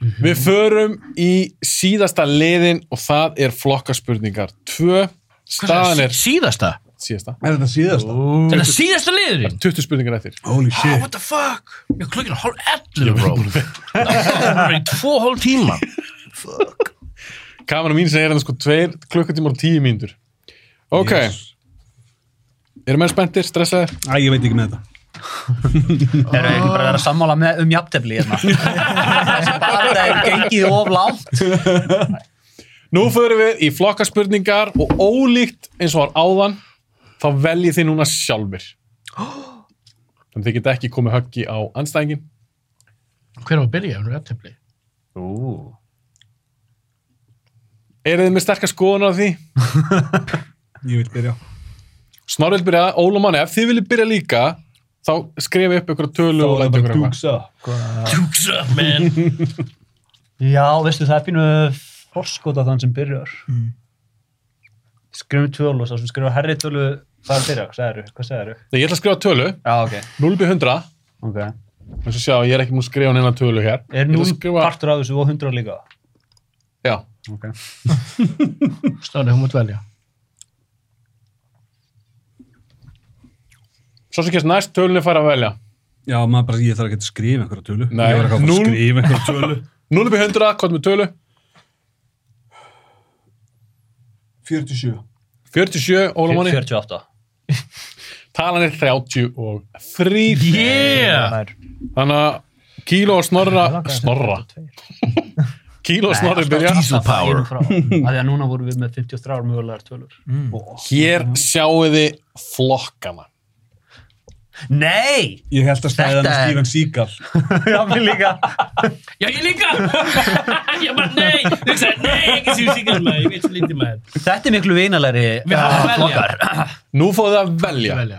Speaker 1: Við förum í síðasta liðin og það er flokkaspurningar. Tvö, staðan er
Speaker 7: Síðasta?
Speaker 1: síðasta.
Speaker 9: Er þetta síðasta?
Speaker 7: Þetta er síðasta liðurinn?
Speaker 1: 20 spurningar eftir.
Speaker 9: Holy
Speaker 7: Oh,
Speaker 9: shit.
Speaker 7: what the fuck? Ég er klukkin hálf 11, bro. <laughs> Það var í tvo hálf tíma.
Speaker 1: Kamera mín segir hérna sko tveir klukkutímar og tíu mínútur. Ok,
Speaker 9: Yes.
Speaker 1: eru menn spenntir, stressaðir?
Speaker 9: Æ, ég veit ekki með þetta.
Speaker 4: Þeir eru ekki bara að vera sammála með um jafntefni
Speaker 2: <laughs>
Speaker 4: hérna. Þessi bara það er gengið of langt.
Speaker 1: Nú förum við í flokkaspurningar og ólíkt eins og var áðan, þá veljið þið núna sjálfur. Þannig þið geta ekki komið höggi á anstæðingin.
Speaker 7: Hver á að byrja? Hún er aftefli.
Speaker 1: Eru þið með sterkar skoðunar á því?
Speaker 9: Ég vil byrja.
Speaker 1: Snorrild byrja, Óla Manni, ef þið viljið byrja líka þá skrifa upp ykkur tölu og læta ykkur eitthvað.
Speaker 7: Dukes up, man.
Speaker 2: Já, veistu, það er pínu forskot á þann sem byrjar. Mm. Skrifum tölu og svo sem skrifum herri tölu, það er byrjar, hvað segirðu? Hvað segirðu?
Speaker 1: Nei, Ég ætla að skrifa tölu,
Speaker 2: Já, ok.
Speaker 1: 0-100
Speaker 2: Ok.
Speaker 1: eins og sjá, ég er ekki múið að skrifa neina tölu hér Ég
Speaker 2: Er
Speaker 1: ætla
Speaker 2: nú
Speaker 1: að skrifa,
Speaker 2: partur af þessu og 100 líka?
Speaker 1: já,
Speaker 7: Snorri, hún mútt velja.
Speaker 1: svo sem kemst næst tölunni fara að velja
Speaker 9: Já, maður bara, ég þarf ekki að skrifa einhverja tölu.
Speaker 1: Nei.
Speaker 9: Ég var ekki að fara
Speaker 1: Núll.
Speaker 9: að skrifa einhverja <laughs> tölu.
Speaker 1: 0-100, hvað er með tölu?
Speaker 9: 47.
Speaker 1: 47, Óla Manni,
Speaker 2: 48.
Speaker 1: talan er 33
Speaker 7: Yeah!
Speaker 1: þannig að kíló og snorra snorra, <laughs> kíló og snorri byrja
Speaker 7: Diesel power.
Speaker 2: frá. Af því að núna vorum við með 53 mögulegar tölur.
Speaker 1: hér sjáu þið flokkana
Speaker 4: Nei!
Speaker 9: Ég held að stæða
Speaker 4: Þetta
Speaker 9: með
Speaker 4: er-
Speaker 9: Steven Seagal.
Speaker 2: Já, mér líka.
Speaker 7: Já, ég líka! <laughs> ég bara, nei! Þú sagði, nei, ekki séu síkast maður. Ég veit svo lítið maður.
Speaker 4: Þetta er miklu vinalegri
Speaker 7: Við þarfum að
Speaker 4: uh,
Speaker 7: velja.
Speaker 4: flokkar.
Speaker 1: nú fóðu það að velja
Speaker 7: Velja.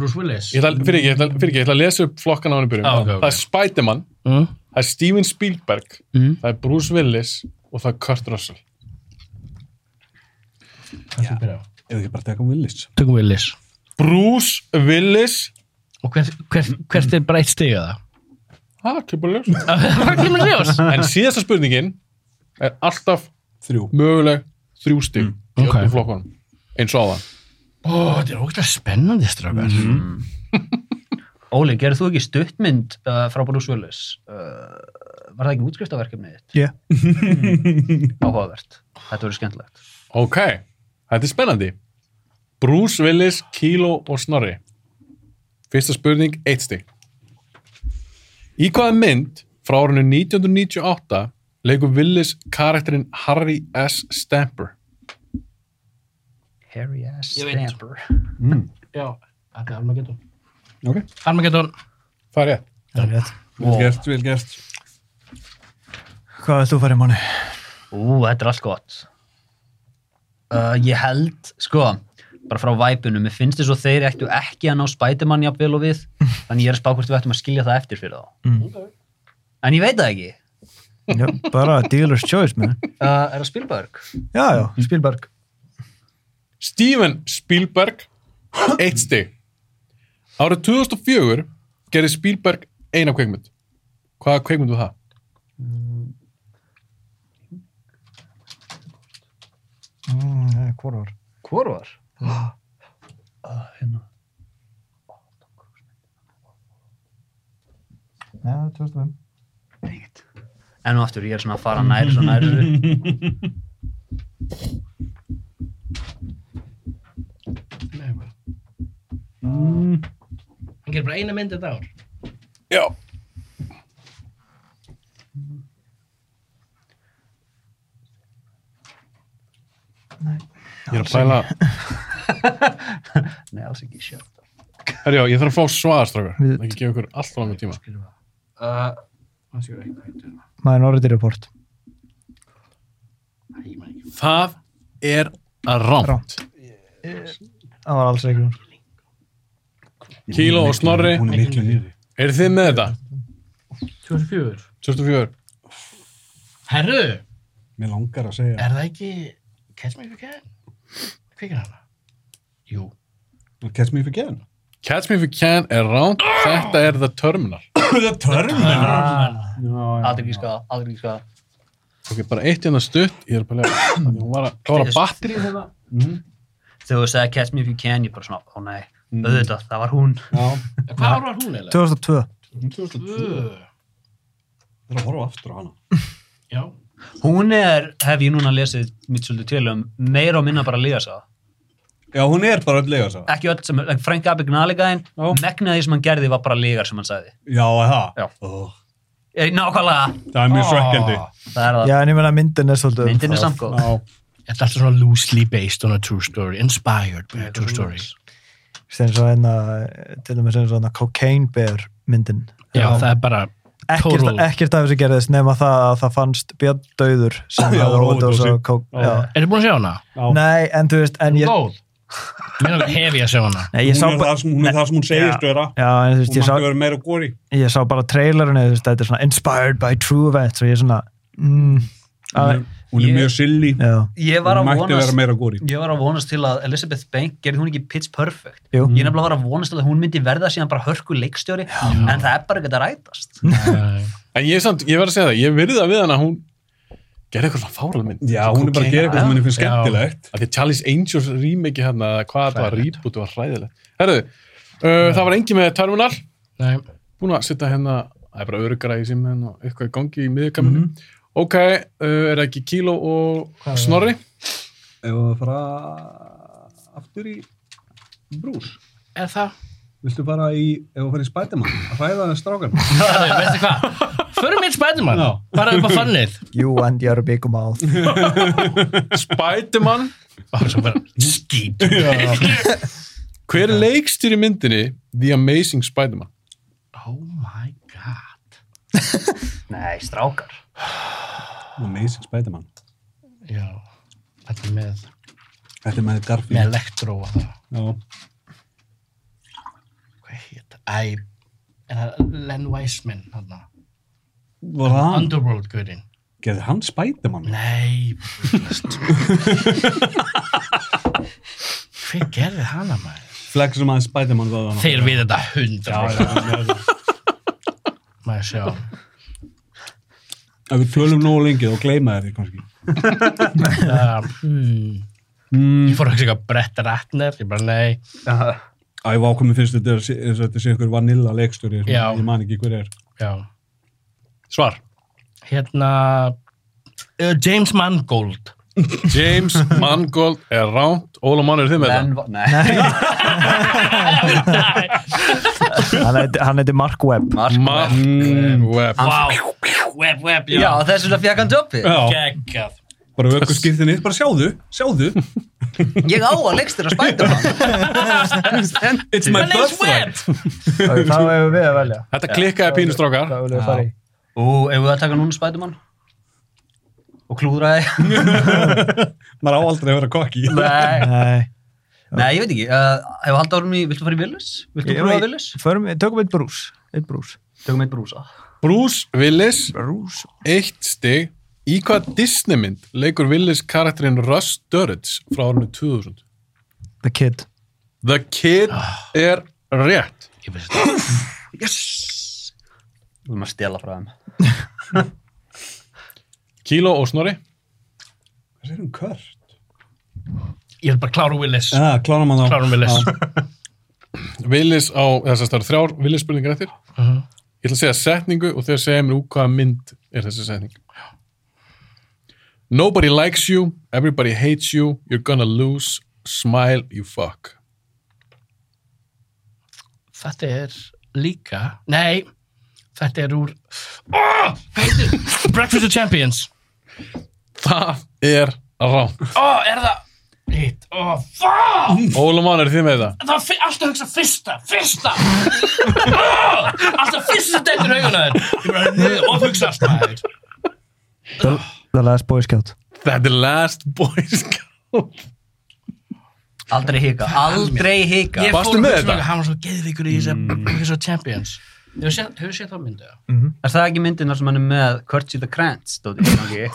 Speaker 7: Bruce Willis.
Speaker 1: Ég ætla, fyrir ekki, ég ætla, fyrir ekki, ég ætla að lesa upp flokkana á hann í byrjun.
Speaker 7: Ah, ok, ok.
Speaker 1: Það er Spiderman,
Speaker 7: Mm.
Speaker 1: það er Steven Spielberg,
Speaker 7: Mm.
Speaker 1: það er Bruce Willis og það er Kurt Russell.
Speaker 7: Hvað þú byrja á?
Speaker 9: Eða ekki bara að teka Willis.
Speaker 7: Tökum Willis.
Speaker 1: Bruce Willis,
Speaker 7: Og hver, hver, hvert er bara eitt stig að það?
Speaker 1: það kemur að
Speaker 7: <laughs>
Speaker 1: lesa.
Speaker 7: Hvað kemur það ljós?
Speaker 1: En síðasta spurningin er alltaf
Speaker 9: Þrjú.
Speaker 1: möguleg þrjú stig í
Speaker 7: Mm. ok.
Speaker 1: öllum flokkunum, eins og aðan.
Speaker 7: Ó, þetta er ógætlega spennandi strafgar.
Speaker 5: Mhm.
Speaker 4: Óli, gerðu þú ekki stuttmynd uh, frá Bruce Willis? Uh, var það ekki útskriftaverkefnið þitt?
Speaker 5: Já.
Speaker 4: Yeah. Áhugavert. Þetta verður skemmtilegt.
Speaker 1: Ok, þetta er spennandi. Bruce Willis, Kilo og Snorri. Fyrsta spurning, eitt stig. Í hvaða mynd frá árinu 1998 leikur Willis karakterinn Harry S. Stamper?
Speaker 4: Harry S.
Speaker 7: Ég veit.
Speaker 4: Stamper.
Speaker 7: Já, þetta er Armageddon.
Speaker 1: Ok.
Speaker 7: Armageddon.
Speaker 1: Það er rétt. Vel gert, vel gert.
Speaker 5: Hvað vilt þú fara í manni?
Speaker 4: Ú, þetta er allt gott. Uh, ég held, sko, bara frá væpunum, mér finnst þess að þeir ættu ekki að ná Spiderman jafnvel og
Speaker 7: <laughs>
Speaker 4: við, þannig ég er að spá hvort við ættum að skilja það eftir fyrir þá.
Speaker 7: Mm.
Speaker 4: En ég veit það ekki.
Speaker 5: Já, bara dealer's choice, man.
Speaker 4: Uh, er það Spielberg?
Speaker 5: Já, já, Spielberg.
Speaker 1: Steven Spielberg, eitt stig. Árið 2004 gerði Spielberg eina kveikmynd. Hvaða kveikmynd var það?
Speaker 5: Mm, nei, hvor var?
Speaker 4: Hvor var?
Speaker 5: Já, 2005.
Speaker 4: Enn og aftur, ég er svona að fara nær og nær. þessu.
Speaker 7: Hann gerir bara eina mynd þetta ár.
Speaker 1: Já. Ég er að pæla,
Speaker 4: <laughs> Nei, alls ekki sjálf.
Speaker 1: herjá, ég þarf að fá svaðarstrákar, ekki gefa ykkur alltaf langar tíma.
Speaker 7: Uh,
Speaker 5: Minority Report.
Speaker 1: Það er rámt.
Speaker 5: Það var alls ekki hún.
Speaker 1: Kíló og Snorri,
Speaker 9: Hún er miklu nýri.
Speaker 1: eru þið með þetta?
Speaker 7: 2004.
Speaker 1: 2004.
Speaker 7: Herru,
Speaker 9: Mér langar að segja.
Speaker 7: er það ekki Catch Me If You Can? Kveikir hana? Jú.
Speaker 9: Catch me if you <laughs> can.
Speaker 1: Catch Me If You Can er rámt, þetta er The Terminal.
Speaker 9: The Terminal.
Speaker 4: Aldrei ekki skaða, aldrei ekki skaða.
Speaker 1: Ok, bara eitt hérna stutt, ég er að pæla, þannig hún var að klára batteri hérna.
Speaker 4: Þegar þú sagði Catch Me If You Can, ég bara svona, ó nei, auðvitað, það var hún.
Speaker 7: En Hvað ár var hún eiginlega?
Speaker 5: 2002.
Speaker 7: Tvö.
Speaker 9: Það er að horfa aftur á hana.
Speaker 7: Já.
Speaker 4: Hún er, hef ég núna lesið mitt svolítið til um, meira og minna bara að liða sá.
Speaker 9: Já, hún er bara öll lega sá.
Speaker 4: Ekki öll sem, Frank Abagnaligaðin, megnaði sem hann gerði var bara lígar sem hann sagði.
Speaker 9: Já, er það.
Speaker 4: Já.
Speaker 9: Oh,
Speaker 4: Eh, Nákvæmlega,
Speaker 9: það er mjög svekkjandi.
Speaker 4: það er það.
Speaker 5: Já, en ég meina myndin er svolítið. um
Speaker 4: Myndin er
Speaker 5: það.
Speaker 4: samgóð.
Speaker 7: Þetta er alltaf svona loosely based on a true story. Inspired by a true story.
Speaker 5: Sem svo hérna, til dæmis sem svo hérna Cocaine Bear myndin.
Speaker 7: Já, það er bara
Speaker 5: Ekkert,
Speaker 7: total.
Speaker 5: ekkert af þessu gerðist nema það að það fannst Björn Dauður sem
Speaker 9: Já,
Speaker 5: hafði
Speaker 9: ódósi.
Speaker 5: overdose á kók. Já.
Speaker 7: Er þið búin að sjá hana?
Speaker 5: Nei, en þú veist, en ég...
Speaker 7: Góð. Mér er alveg hefi að sjá hana.
Speaker 5: <laughs> Nei, ég
Speaker 9: Hún
Speaker 5: sá
Speaker 9: er
Speaker 5: bara...
Speaker 9: það sem- hún er það sem hún segist vera.
Speaker 5: Já, en þú veist,
Speaker 9: Hún
Speaker 5: ég sá,
Speaker 9: mætti vera meira góri.
Speaker 5: ég sá bara trailerinu, þú veist, þetta er svona inspired by true events og ég er svona... Mm, að,
Speaker 9: Hún er
Speaker 4: Ég-
Speaker 9: mjög silly.
Speaker 5: já,
Speaker 4: Ég var
Speaker 9: Hún
Speaker 4: að
Speaker 9: mætti vera
Speaker 4: vonast,
Speaker 9: meira góri.
Speaker 4: ég var að vonast til að Elizabeth Bank, gerði hún ekki Pitch Perfect?
Speaker 5: jú.
Speaker 4: Ég nefnilega var að vonast til að hún myndi verða síðan bara hörku leikstjóri, en það er bara ekki að rætast.
Speaker 1: En ég, samt, ég verð að segja það, ég virði það við hann að hún gerði eitthvað svona fárað mynd.
Speaker 9: Já, hún er bara að gera eitthvað sem henni finnst
Speaker 7: Já.
Speaker 9: skemmtilegt.
Speaker 1: Af því að Charlie's Angels remake hérna, eða hvað þetta var,
Speaker 7: Hræðilegt.
Speaker 1: reboot var hræðilegt. Herðu, uh, það var engin með Terminal,
Speaker 7: Nei.
Speaker 1: búin að setja hérna, það er bara örugra í síminn og eitthvað í gangi í miðurkaminu.
Speaker 7: Mhm.
Speaker 1: Ok, uh, er það ekki Kíló og Snorri?
Speaker 9: Ef það fara aftur í brús.
Speaker 7: Er það?
Speaker 9: Viltu bara í, ef það fara í Spiderman, að hræða það strákan?
Speaker 7: Herru, veistu hvað? Förum við Spiderman.
Speaker 9: Já.
Speaker 7: Bara upp á fannið.
Speaker 5: You and your big mouth.
Speaker 1: Spiderman?
Speaker 7: Og svo <laughs> bara skýt.
Speaker 1: Hver leikstýri myndinni The Amazing Spiderman?
Speaker 7: Oh my god.
Speaker 4: Nei, strákar.
Speaker 9: Amazing Spiderman.
Speaker 7: Já. Þetta er með,
Speaker 9: Þetta er með
Speaker 7: með
Speaker 9: Garfield.
Speaker 7: Electro og það.
Speaker 9: Já.
Speaker 7: Hvað heit? Æ. Er það Len Wiseman þarna?
Speaker 9: Var það hann?
Speaker 7: Underworld-gurinn.
Speaker 9: Gerði hann Spiderman?
Speaker 7: Nei, brúðast. Hver gerði hana maður?
Speaker 9: Flexum að Spiderman það hann.
Speaker 7: Þeir við þetta hundra. Maður sjá.
Speaker 9: Ef við tölum nógu lengi þá gleyma þér því kannski.
Speaker 7: Um, Uh, hmm. Ég fór að hugsa eitthvað Brett Ratner, ég bara nei.
Speaker 9: Æ, vá, hvað mér finnst þetta er- eins og þetta sé einhver vanilla leikstjóri sem
Speaker 7: Já.
Speaker 9: ég man ekki hver er.
Speaker 7: Já.
Speaker 1: Svar.
Speaker 7: Hérna, uh, James Mangold.
Speaker 1: James Mangold er ránt. Óla Mann, eru þið með það?
Speaker 4: Ben, nei,
Speaker 5: <laughs> Hann heiti- hann heiti Mark Webb.
Speaker 4: Mark Webb.
Speaker 1: Mann Webb.
Speaker 7: Vá, web, web,
Speaker 4: Já, þess vegna fekk hann jobbið.
Speaker 1: Já,
Speaker 7: Gekkað.
Speaker 9: Bara vöku skýrðinni, bara sjáðu, sjáðu.
Speaker 4: Ég á að leikstur að spæta
Speaker 9: <laughs>
Speaker 4: hann.
Speaker 9: It's my birthday.
Speaker 5: Það hefur við að velja.
Speaker 1: þetta klikkaði pínustrákar.
Speaker 5: Það viljum við fara í.
Speaker 4: Ú, eigum við að taka núna Spiderman? Og klúðra þig?
Speaker 9: Maður á aldrei að vera kokki.
Speaker 4: Nei.
Speaker 5: Nei.
Speaker 4: Nei, ég veit ekki. Uh, hefur haldið árum í, viltu fara í Willis? Viltu
Speaker 5: Ég-
Speaker 4: prófa
Speaker 5: ég-
Speaker 4: Willis?
Speaker 5: Förum, tökum eitt brús. Eitt brús.
Speaker 4: Tökum eitt brúsa.
Speaker 1: Bruce Willis,
Speaker 5: Brús.
Speaker 1: eitt stig. Í hvað Disneymynd leikur Willis karakterinn Russ Duritz frá árinu 2000?
Speaker 5: The Kid.
Speaker 1: The Kid er rétt.
Speaker 7: Ég veist þetta.
Speaker 4: Við erum að stela frá þeim.
Speaker 1: Kíló og Snorri.
Speaker 9: Hvað er hún kört?
Speaker 7: Ég er bara kláru Willis.
Speaker 9: Já, klárum hann þá.
Speaker 7: Klárum Willis.
Speaker 1: Willis á, eða þess að það eru þrjár Willis spurningar eftir.
Speaker 7: Mhm.
Speaker 1: Ég ætla að segja setningu og þegar segja mér úr hvaða mynd er þessi setning. Nobody likes you, everybody hates you, you're gonna lose, smile, you fuck.
Speaker 7: Þetta er líka, nei, þetta er úr, oh, heitir, Breakfast of Champions.
Speaker 1: Það er rámt.
Speaker 7: Ó, Ah, er það, hitt, ó, fuck!
Speaker 1: Ólamán, eru þið með það?
Speaker 7: Það var fi- alltaf að hugsa fyrsta, fyrsta Ah, Alltaf fyrsta dættur hauguna þér Ég bara, "Nei, of hugsaðst maður
Speaker 5: The Last Boy Scout.
Speaker 1: Þetta er last sko. boys.
Speaker 4: Aldrei hika, aldrei hika.
Speaker 7: Ég
Speaker 1: Varstu
Speaker 7: fór
Speaker 1: með
Speaker 7: að hugsa um
Speaker 1: þetta?
Speaker 7: eitthvað, Hann var svo geðvikur í þessu Breakfast of Champions Hefur séð- hefur séð það myndu?
Speaker 4: Er það ekki myndin þar sem hann er með Curtsy the Krantz, stóði ég gangi?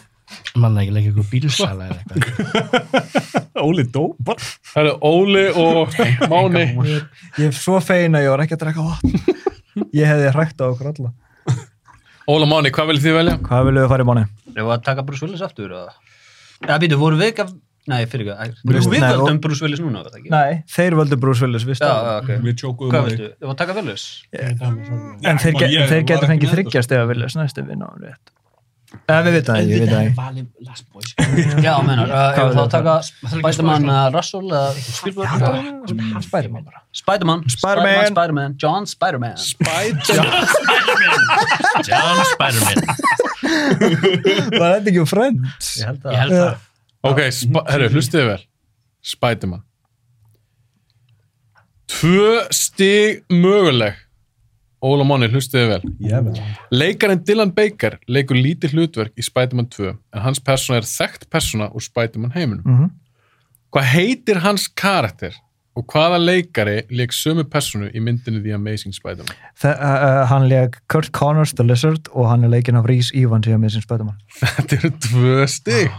Speaker 7: Manna ekki lengi eitthvað bílsala eða eitthvað
Speaker 9: Óli dópar.
Speaker 1: Það eru Óli og Máni.
Speaker 5: Ég er svo fein að ég var ekki að drekka vatn. <laughs> Ég hefði hrækt á okkur alla.
Speaker 1: Ólamáni, hvað viljið þið velja?
Speaker 5: Hvað viljum við fara í mánu?
Speaker 4: Eða að taka Bruce Willis aftur? eða? Eða býtu, voru við ekki af... Nei, fyrir ekki.
Speaker 5: Bruce-
Speaker 4: Við
Speaker 5: Nei,
Speaker 4: völdum Bruce Willis núna, var það ekki?
Speaker 5: Nei. Þeir völdu Bruce Willis, visst
Speaker 4: Já,
Speaker 5: það?
Speaker 4: já, ok.
Speaker 9: Við tjókuðum
Speaker 4: Hvað viltu? Eða að taka Willis?
Speaker 5: En þeir,
Speaker 9: Ég-
Speaker 5: ge
Speaker 9: ég
Speaker 5: þeir
Speaker 9: var
Speaker 5: getur
Speaker 9: ekki
Speaker 5: fengið
Speaker 9: með þetta,
Speaker 5: þryggjast eða Willis næst ef við náum rétt. Ef við vitum það, ekki, ég veit það ekki.
Speaker 7: Valið Last Boys
Speaker 4: Já, menar, uh,
Speaker 5: Hvað
Speaker 4: eða þá
Speaker 5: viltu?
Speaker 4: taka Spiderman uh, Russell eða Spielberg?
Speaker 5: Spiderman bara.
Speaker 4: Spiderman,
Speaker 5: Spiderman.
Speaker 4: Spiderman, John Spiderman.
Speaker 7: John Spiderman
Speaker 5: Var þetta ekki um Friends?
Speaker 4: Ég held
Speaker 7: Ég
Speaker 4: að...
Speaker 7: held það
Speaker 1: Ok, spa- herru, hlustiði vel. Spiderman. Tvö stig möguleg. Ólamáni, hlustiði vel.
Speaker 9: Ég veit það.
Speaker 1: Leikarinn Dylan Baker leikur lítið hlutverk í Spider-Man 2 en hans persóna er þekkt persóna úr Spider-Man heiminum.
Speaker 5: Mhm.
Speaker 1: Hvað heitir hans karakter og hvaða leikari leik sömu persónu í myndinu The Amazing Spider-Man? <laughs>
Speaker 5: Þe- uh, uh, Hann leik Kurt Connors, The Lizard og hann er leikinn af Rhys Evans í að missins Spiderman.
Speaker 1: Þetta eru tvö stig.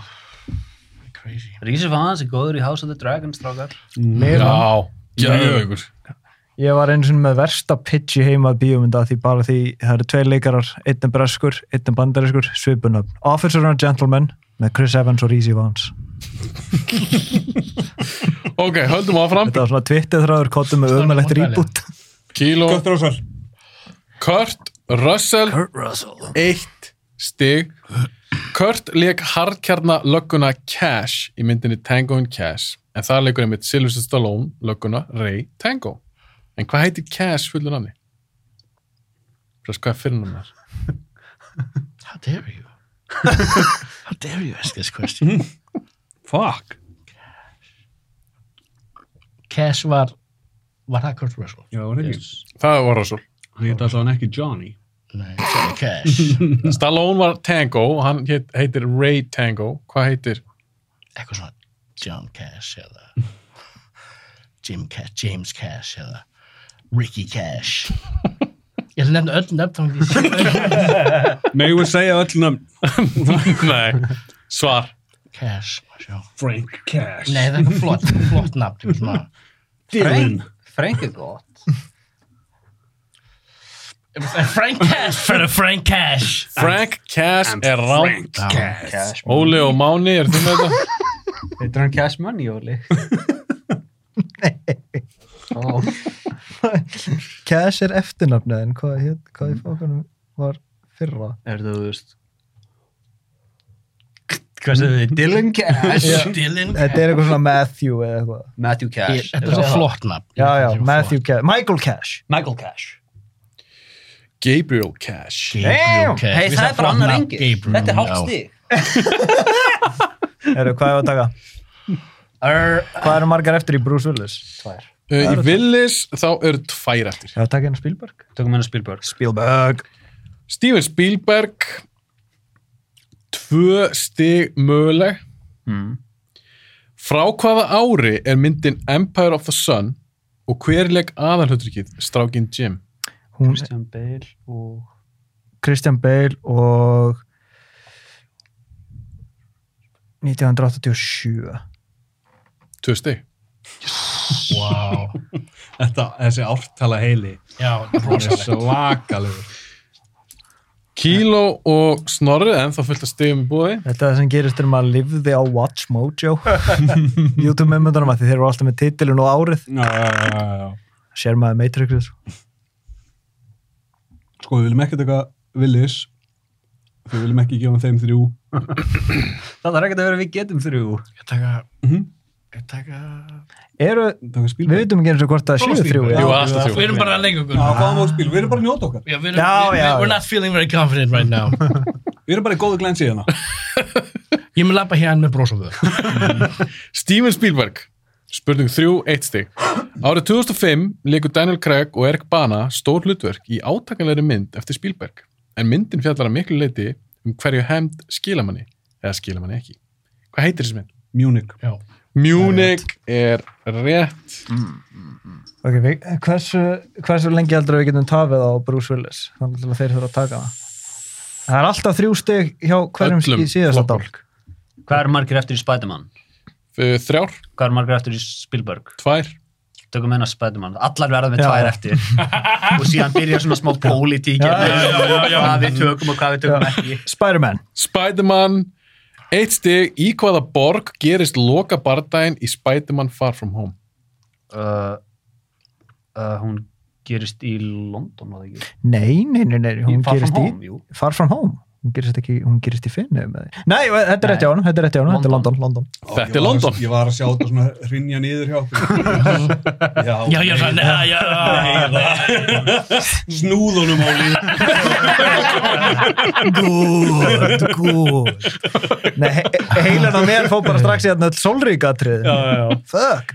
Speaker 7: Crazy
Speaker 4: Rísi Fahans er góður í House of the Dragons, strákar.
Speaker 1: Já, gjöðugur.
Speaker 5: Ég var einu sinni með versta pitch í heima bíómynda því bara því það eru tvei leikarar, einn er breskur, einn er bandariskur, svipunöfn. Officer and Gentleman með Chris Evans og Rhys Evans.
Speaker 1: Ok, höldum áfram.
Speaker 5: Þetta var svona tvittið þráður kottum með
Speaker 7: Stóra
Speaker 5: öðmælætt
Speaker 7: mótmæli.
Speaker 5: rýbút.
Speaker 1: Kíló,
Speaker 9: Kurt Russell.
Speaker 1: Kurt Russell, eitt stig. Kurt leik harkjarna lögguna Cash í myndinni Tango in Cash en það leikur einmitt Sylvester Stallone lögguna Ray Tango. En hvað heitir Cash fullur nafni? Press, hvað er fyrir hann þar?
Speaker 7: How dare you How dare you ask this question
Speaker 9: Fuck.
Speaker 7: Cash var Var það Kurt Russell?
Speaker 9: Já, var ekki.
Speaker 1: Það var Russell.
Speaker 9: Hann geta alltaf ekki Johnny.
Speaker 7: Nei, sorry, Cash
Speaker 1: Stallone var Tango og hann heit, heitir Ray Tango. Hvað heitir?
Speaker 7: eitthvað svona John Cash eða Jim Cash, James Cash eða Ricky Cash ég ætla að nefna öll nefn þá er ég sé-
Speaker 9: Megum við segja öll nöfn.
Speaker 1: <laughs> Nei, svar.
Speaker 7: Cash má sjá.
Speaker 9: Frank Cash.
Speaker 7: nei það er eitthvað flott, flott nafn ég vil svona-
Speaker 9: Dylan.
Speaker 4: Frank er gott.
Speaker 2: <laughs>
Speaker 7: Frank Cash fyrir Frank Cash
Speaker 1: Frank Cash er rátt.
Speaker 7: Frank Cash
Speaker 1: Óli og Máni, er þið með þetta?
Speaker 2: Heitir hann Cash Money, Óli? Ó,
Speaker 5: Cash er eftirnafnið en hvað, hét- hvað í fókunum var fyrra?
Speaker 2: er það, þú veist Hvað segir þið? Dylan Cash?
Speaker 7: Dylan
Speaker 5: Þetta er eitthvað svona Matthew eða eitthvað.
Speaker 2: Matthew Cash
Speaker 7: Þetta er svo flott nafn.
Speaker 5: Já, já,
Speaker 7: Þetta er svo
Speaker 5: Matthew Cash. Michael Cash.
Speaker 2: Michael Cash
Speaker 1: Gabriel Cash.
Speaker 5: Damn!
Speaker 7: flott. Okay.
Speaker 4: Hei,
Speaker 7: við
Speaker 4: það er
Speaker 7: það
Speaker 4: bara
Speaker 7: flott
Speaker 4: annar
Speaker 7: nafn,
Speaker 4: engi.
Speaker 7: Gabriel,
Speaker 4: Þetta er hálft
Speaker 7: já.
Speaker 4: stig.
Speaker 5: Eru, hvað er að taka? Hvað eru margar eftir í Bruce Willis?
Speaker 1: Uh, í Willis þá eru tvær eftir.
Speaker 5: Já, taka hennar Spielberg.
Speaker 2: Tökum hennar Spielberg
Speaker 5: Spielberg.
Speaker 1: Steven Spielberg, tvö stig möguleg. Mm. Frá hvaða ári er myndin Empire of the Sun og hver leik aðalhundrikið Strákin Jim?
Speaker 5: Hún,
Speaker 2: Christian Bale og
Speaker 5: Christian Bale og 1987.
Speaker 1: Tvö stig.
Speaker 10: Wow. Þetta, þessi ártala heili.
Speaker 7: Já,
Speaker 10: Hún er svakalegur.
Speaker 1: Kíló og Snorri, en þá fullt að stigum í búði.
Speaker 5: Þetta er það sem gerist þegar maður lifði á Watch
Speaker 2: <laughs>
Speaker 5: Mojo YouTube meðmyndunum að því þeir eru alltaf með titilin og árið
Speaker 10: Já, já, já, já, já.
Speaker 5: sér maður Matrixið
Speaker 9: Sko, við viljum ekki taka Willis Við viljum ekki gefa þeim þrjú
Speaker 2: Það þarf ekkert að vera við getum þrjú
Speaker 7: Ég taka...
Speaker 9: Mhm.
Speaker 7: Ég taka...
Speaker 5: eru,
Speaker 9: Taka
Speaker 5: við
Speaker 9: Spielberg
Speaker 5: veitum ekki eins og hvort það
Speaker 9: Svona
Speaker 5: séu þrjú
Speaker 9: Spielberg.
Speaker 5: er.
Speaker 1: Jú, alltaf
Speaker 7: Við
Speaker 1: þrjú.
Speaker 7: erum bara að leika okkur.
Speaker 9: Já, fáum á spil, við erum bara að njóta okkar
Speaker 7: Já, við erum,
Speaker 5: Já,
Speaker 7: við,
Speaker 5: já,
Speaker 7: við, we're
Speaker 5: já.
Speaker 7: not feeling very confident right <laughs> now.
Speaker 9: Við erum bara í góðu glensi hérna
Speaker 7: Ég mun lappa hérna með bros á þau.
Speaker 1: Steven Spielberg Spurning 3, 1 stig Árið 2005 leikur Daniel Craig og Eric Bana stór hlutverk í átakanlegri mynd eftir Spielberg en myndin fjallar að miklu leiti um hverju hefnd skilamanni eða skilamanni ekki Hvað heitir þessi mynd?
Speaker 9: Munich
Speaker 7: Já.
Speaker 1: Munich er rétt
Speaker 5: ok, við, hversu, hversu lengi heldur að við getum tafið á Bruce Willis þannig að þeir þurfa að taka það það er alltaf þrjú steg hjá hverjum
Speaker 1: Öllum
Speaker 5: í síðasta
Speaker 1: flokkum.
Speaker 5: dálk
Speaker 4: Hvað er margir eftir í Spiderman?
Speaker 1: F- Þrjár,
Speaker 4: Hvað er margir eftir í Spielberg?
Speaker 1: tvær
Speaker 4: Tökum hennar Spiderman. Allar verða með
Speaker 5: Já.
Speaker 4: tvær eftir. og síðan byrja svona
Speaker 5: <laughs>
Speaker 4: smá pólitík. Hvað við tökum og hvað við tökum ekki.
Speaker 5: Spider-Man,
Speaker 1: Spider-Man, 1 stig Í hvaða borg gerist loka bardaginn í Spider-Man Far From Home?
Speaker 4: Uh, uh, hún gerist í London, var það ekki?
Speaker 5: nei, nei, nei, nei hún
Speaker 4: Far From
Speaker 5: gerist í,
Speaker 4: Home, jú.
Speaker 5: Far From Home hún gerist ekki, hún gerist í Finnum nei, þetta er rétt
Speaker 4: Nei.
Speaker 5: hjá hann, þetta er rétt hjá hann, þetta er
Speaker 4: London.
Speaker 5: London, London
Speaker 1: Þetta er London
Speaker 9: Ég var að sjá þetta svona hrinja niður hjá okkur <laughs> Já,
Speaker 7: Já, já, já, já, já, já, já.
Speaker 10: Snúðunum á líf.
Speaker 5: Good, <laughs> good Nei, he heilan að mér fó bara strax í þarna öll sólríkatriðin Fuck,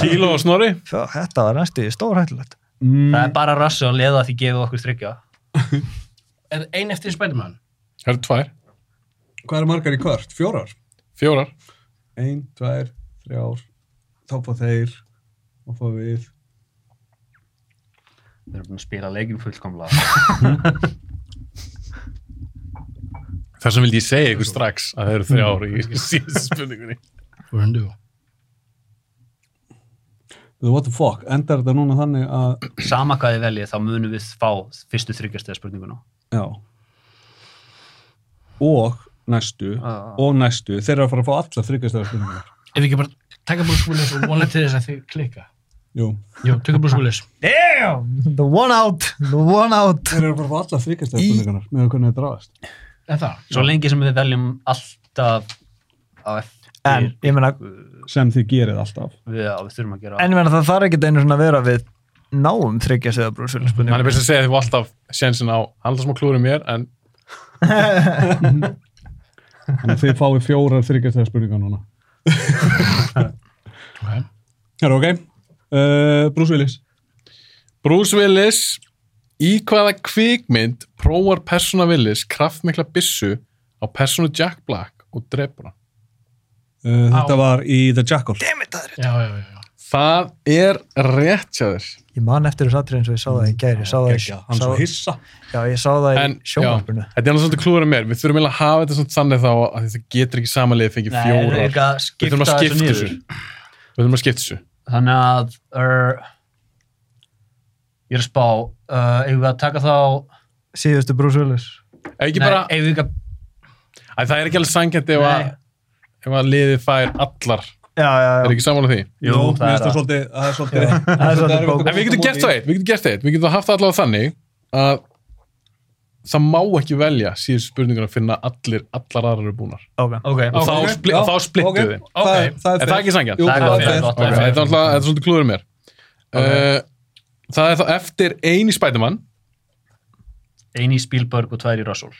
Speaker 1: Kíló og Snorri
Speaker 5: fuck, þetta var næstu stórhættulegt
Speaker 9: Mm.
Speaker 4: Það er bara rassu að leða því gefið okkur þryggja.
Speaker 7: Er ein eftir Spiderman?
Speaker 1: Það eru tvær,
Speaker 9: Hvað eru margar í kvart? Fjórar?
Speaker 1: fjórar
Speaker 9: Ein, tvær, þrjár Þá fá þeir og fá við
Speaker 4: Við erum búin að spila leikin fullkomlega.
Speaker 1: Þar sem vildi ég segja ykkur strax að það eru þrjár í <laughs> síðustu
Speaker 4: <laughs>
Speaker 1: spurningunni.
Speaker 7: We're in duo.
Speaker 9: The what the fuck, endar þetta núna þannig að
Speaker 4: Sama hvað þið veljið, þá munum við fá fyrstu þryggjastega spurninguna.
Speaker 9: Já Og næstu og næstu, þeir eru að fara að fá allar þryggastöðar spurningar
Speaker 7: Ef við ekki bara taka Bruce Willis og vona til þess að þið klikka.
Speaker 9: Jú,
Speaker 7: Jú, taka Bruce Willis.
Speaker 5: The one out, the one out
Speaker 9: þeir eru að fara að fá allar þryggastöðar spurningarnar með að hvernig þetta ráðast
Speaker 7: Er það?
Speaker 4: Svo lengi sem við veljum alltaf á eftir
Speaker 5: En, ég meina,
Speaker 9: sem þið gerið alltaf
Speaker 4: við, að við þurfum að gera.
Speaker 5: en ég meina það þarf ekki einu svona að vera við náum þryggja segja
Speaker 1: Hann er
Speaker 5: brúsilspunni
Speaker 1: best að segja því að alltaf sjensin á, hann er alltaf smá klúrið mér, en
Speaker 9: Þannig að þið fáið fjórar þryggastöðar spurningar <laughs> núna
Speaker 7: Ok.
Speaker 9: Hér, ok uh, Bruce Willis
Speaker 1: Bruce Willis, í hvaða kvikmynd prófar persóna Willis kraftmikla byssu á persónu Jack Black og drefur hann?
Speaker 9: uh, Þetta var í The Jackal
Speaker 7: Já, já, já, já.
Speaker 1: Það er rétt hjá þér.
Speaker 5: Ég man eftir þessu atrið eins og ég sá það í gæri Ég sá það í,
Speaker 9: Gekja, hann svo
Speaker 5: sá,
Speaker 9: hissa
Speaker 5: já, ég sá það í
Speaker 1: En,
Speaker 5: sjónvarpinu
Speaker 1: þetta er alveg svolítið klúrið mér. Við þurfum eiginlega að hafa þetta svona þannig þá að þetta getur ekki samanlega fengið
Speaker 4: Nei, við erum
Speaker 1: fjórar.
Speaker 4: ekki að
Speaker 1: Við þurfum
Speaker 4: skipta
Speaker 1: að
Speaker 4: þessu
Speaker 1: skipta
Speaker 4: niður.
Speaker 1: þessu. Við þurfum að skipta þessu.
Speaker 4: Þannig að er, ég er að spá, uh, eigum við að taka þá,
Speaker 5: Síðustu brúsilis
Speaker 1: Ef Ekki
Speaker 4: nei,
Speaker 1: bara,
Speaker 4: eigum við ekki að,
Speaker 1: Æ, það er ekki alveg sangjandi ef að
Speaker 4: Nei.
Speaker 1: ef að liðið fær allar
Speaker 5: já, já,
Speaker 1: er
Speaker 5: já.
Speaker 1: ekki saman á því
Speaker 10: Jú, mér
Speaker 5: það
Speaker 10: finnst það
Speaker 5: er að-
Speaker 10: svolítið, það er svolítið
Speaker 5: Það er svolítið bók.
Speaker 1: en við getum gert það eitt við getum gert það eitt við getum haft það allavega þannig að það má ekki velja síðustu spurninguna fyrir en að allir allar aðrar eru búnar
Speaker 5: Ok.
Speaker 4: Ok,
Speaker 1: og þá,
Speaker 10: Ok,
Speaker 1: spli,
Speaker 10: já,
Speaker 1: þá splittum
Speaker 10: ok,
Speaker 1: við þeim
Speaker 10: það er- það er
Speaker 1: en það er ekki sangjan
Speaker 10: Jú,
Speaker 1: þetta er
Speaker 4: það er
Speaker 10: það
Speaker 4: gott,
Speaker 10: er
Speaker 4: það
Speaker 10: fair.
Speaker 4: er gott, það er fair.
Speaker 1: náttúrulega- þetta er svolítið klúður mér uh, það er þá eftir eini spætumann
Speaker 4: Einn í Spielberg og tvær í Russell.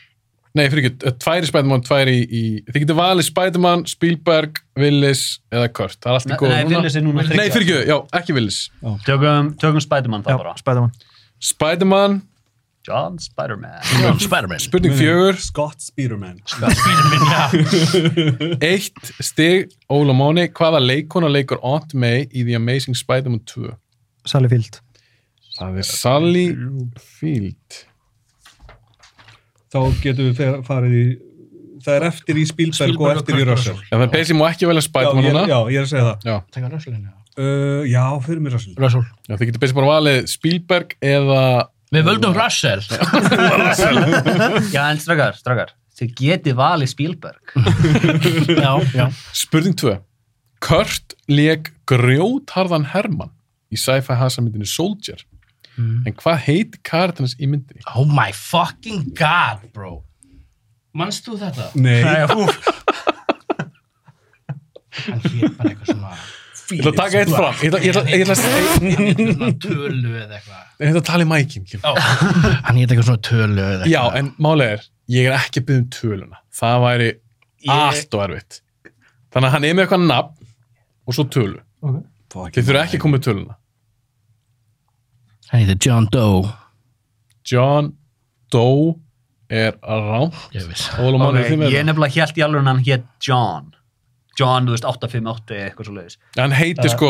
Speaker 1: Nei, fyrir ekki, tværi Spiderman, tværi í... Þið getur valið Spiderman, Spielberg, Willis eða Kurt. Það er allt í
Speaker 4: Nei,
Speaker 1: góð.
Speaker 4: nei, Willis er
Speaker 1: Nei,
Speaker 4: núna þriggja.
Speaker 1: fyrir ekki, já, ekki Willis.
Speaker 4: Tökum, tökum Spider-Man það bara.
Speaker 5: Já, Spiderman.
Speaker 1: Spiderman,
Speaker 4: John Spider-Man. <laughs>
Speaker 7: Spider-Man.
Speaker 1: spurning fjögur,
Speaker 10: Scott Spearman
Speaker 1: eitt stig, Óla Móni, hvaða leikona leikur Aunt May í The Amazing Spiderman 2?
Speaker 5: Sally Field.
Speaker 1: Það er Sally Field.
Speaker 10: þá getum við fer- farið í það er eftir í Spielberg og eftir í Russell
Speaker 1: Já, það er Beysi má ekki velja
Speaker 10: já,
Speaker 1: Spiderman
Speaker 10: ég,
Speaker 1: núna.
Speaker 10: já, ég er að segja það
Speaker 7: Taka Russell inn, já.
Speaker 10: uh, já, fyrir mér Russell
Speaker 7: Russell.
Speaker 1: Já, þið getur Beysi bara valið Spielberg eða...
Speaker 7: Við völdum Russell.
Speaker 4: Já, en strakar, strakar. Þið getið valið Spielberg.
Speaker 7: <laughs> já, já.
Speaker 1: Spurning 2. Kurt leik grjótharðan Herman í sci-fi hasamyndinu Soldier.
Speaker 5: Mm.
Speaker 1: En hvað heiti karakterins í myndinni?
Speaker 7: Oh my fucking god, bro. Manst þú þetta?
Speaker 10: nei,
Speaker 7: Hann hér bara eitthvað svona...
Speaker 1: Ég ætla að taka eitt fram. Ég ætla, ég ætla, ég ætla, ég ætla,
Speaker 7: Hann hét eitthvað svona tölu eða eitthvað.
Speaker 1: ég ætla að tala í mækinn. Kim.
Speaker 7: Ó, Hann hér eitthvað svona tölu eða eitthvað.
Speaker 1: Já, en málega er, ég er ekki að byggja um töluna. Það væri allt og erfitt. Þannig að hann er með eitthvað nafn og svo tölu.
Speaker 10: Fucking
Speaker 1: Þið þurfa ekki að koma með töluna.
Speaker 7: Hann hér John Doe.
Speaker 1: John Doe er rám.
Speaker 7: Ég veist.
Speaker 1: Óla
Speaker 4: Ok,
Speaker 1: Máni, þið með
Speaker 4: ég
Speaker 1: það.
Speaker 4: nefnilega hélt í alveg hann hétt John. John, þú veist, 858 eða eitthvað svo leiðis.
Speaker 1: Hann heitir sko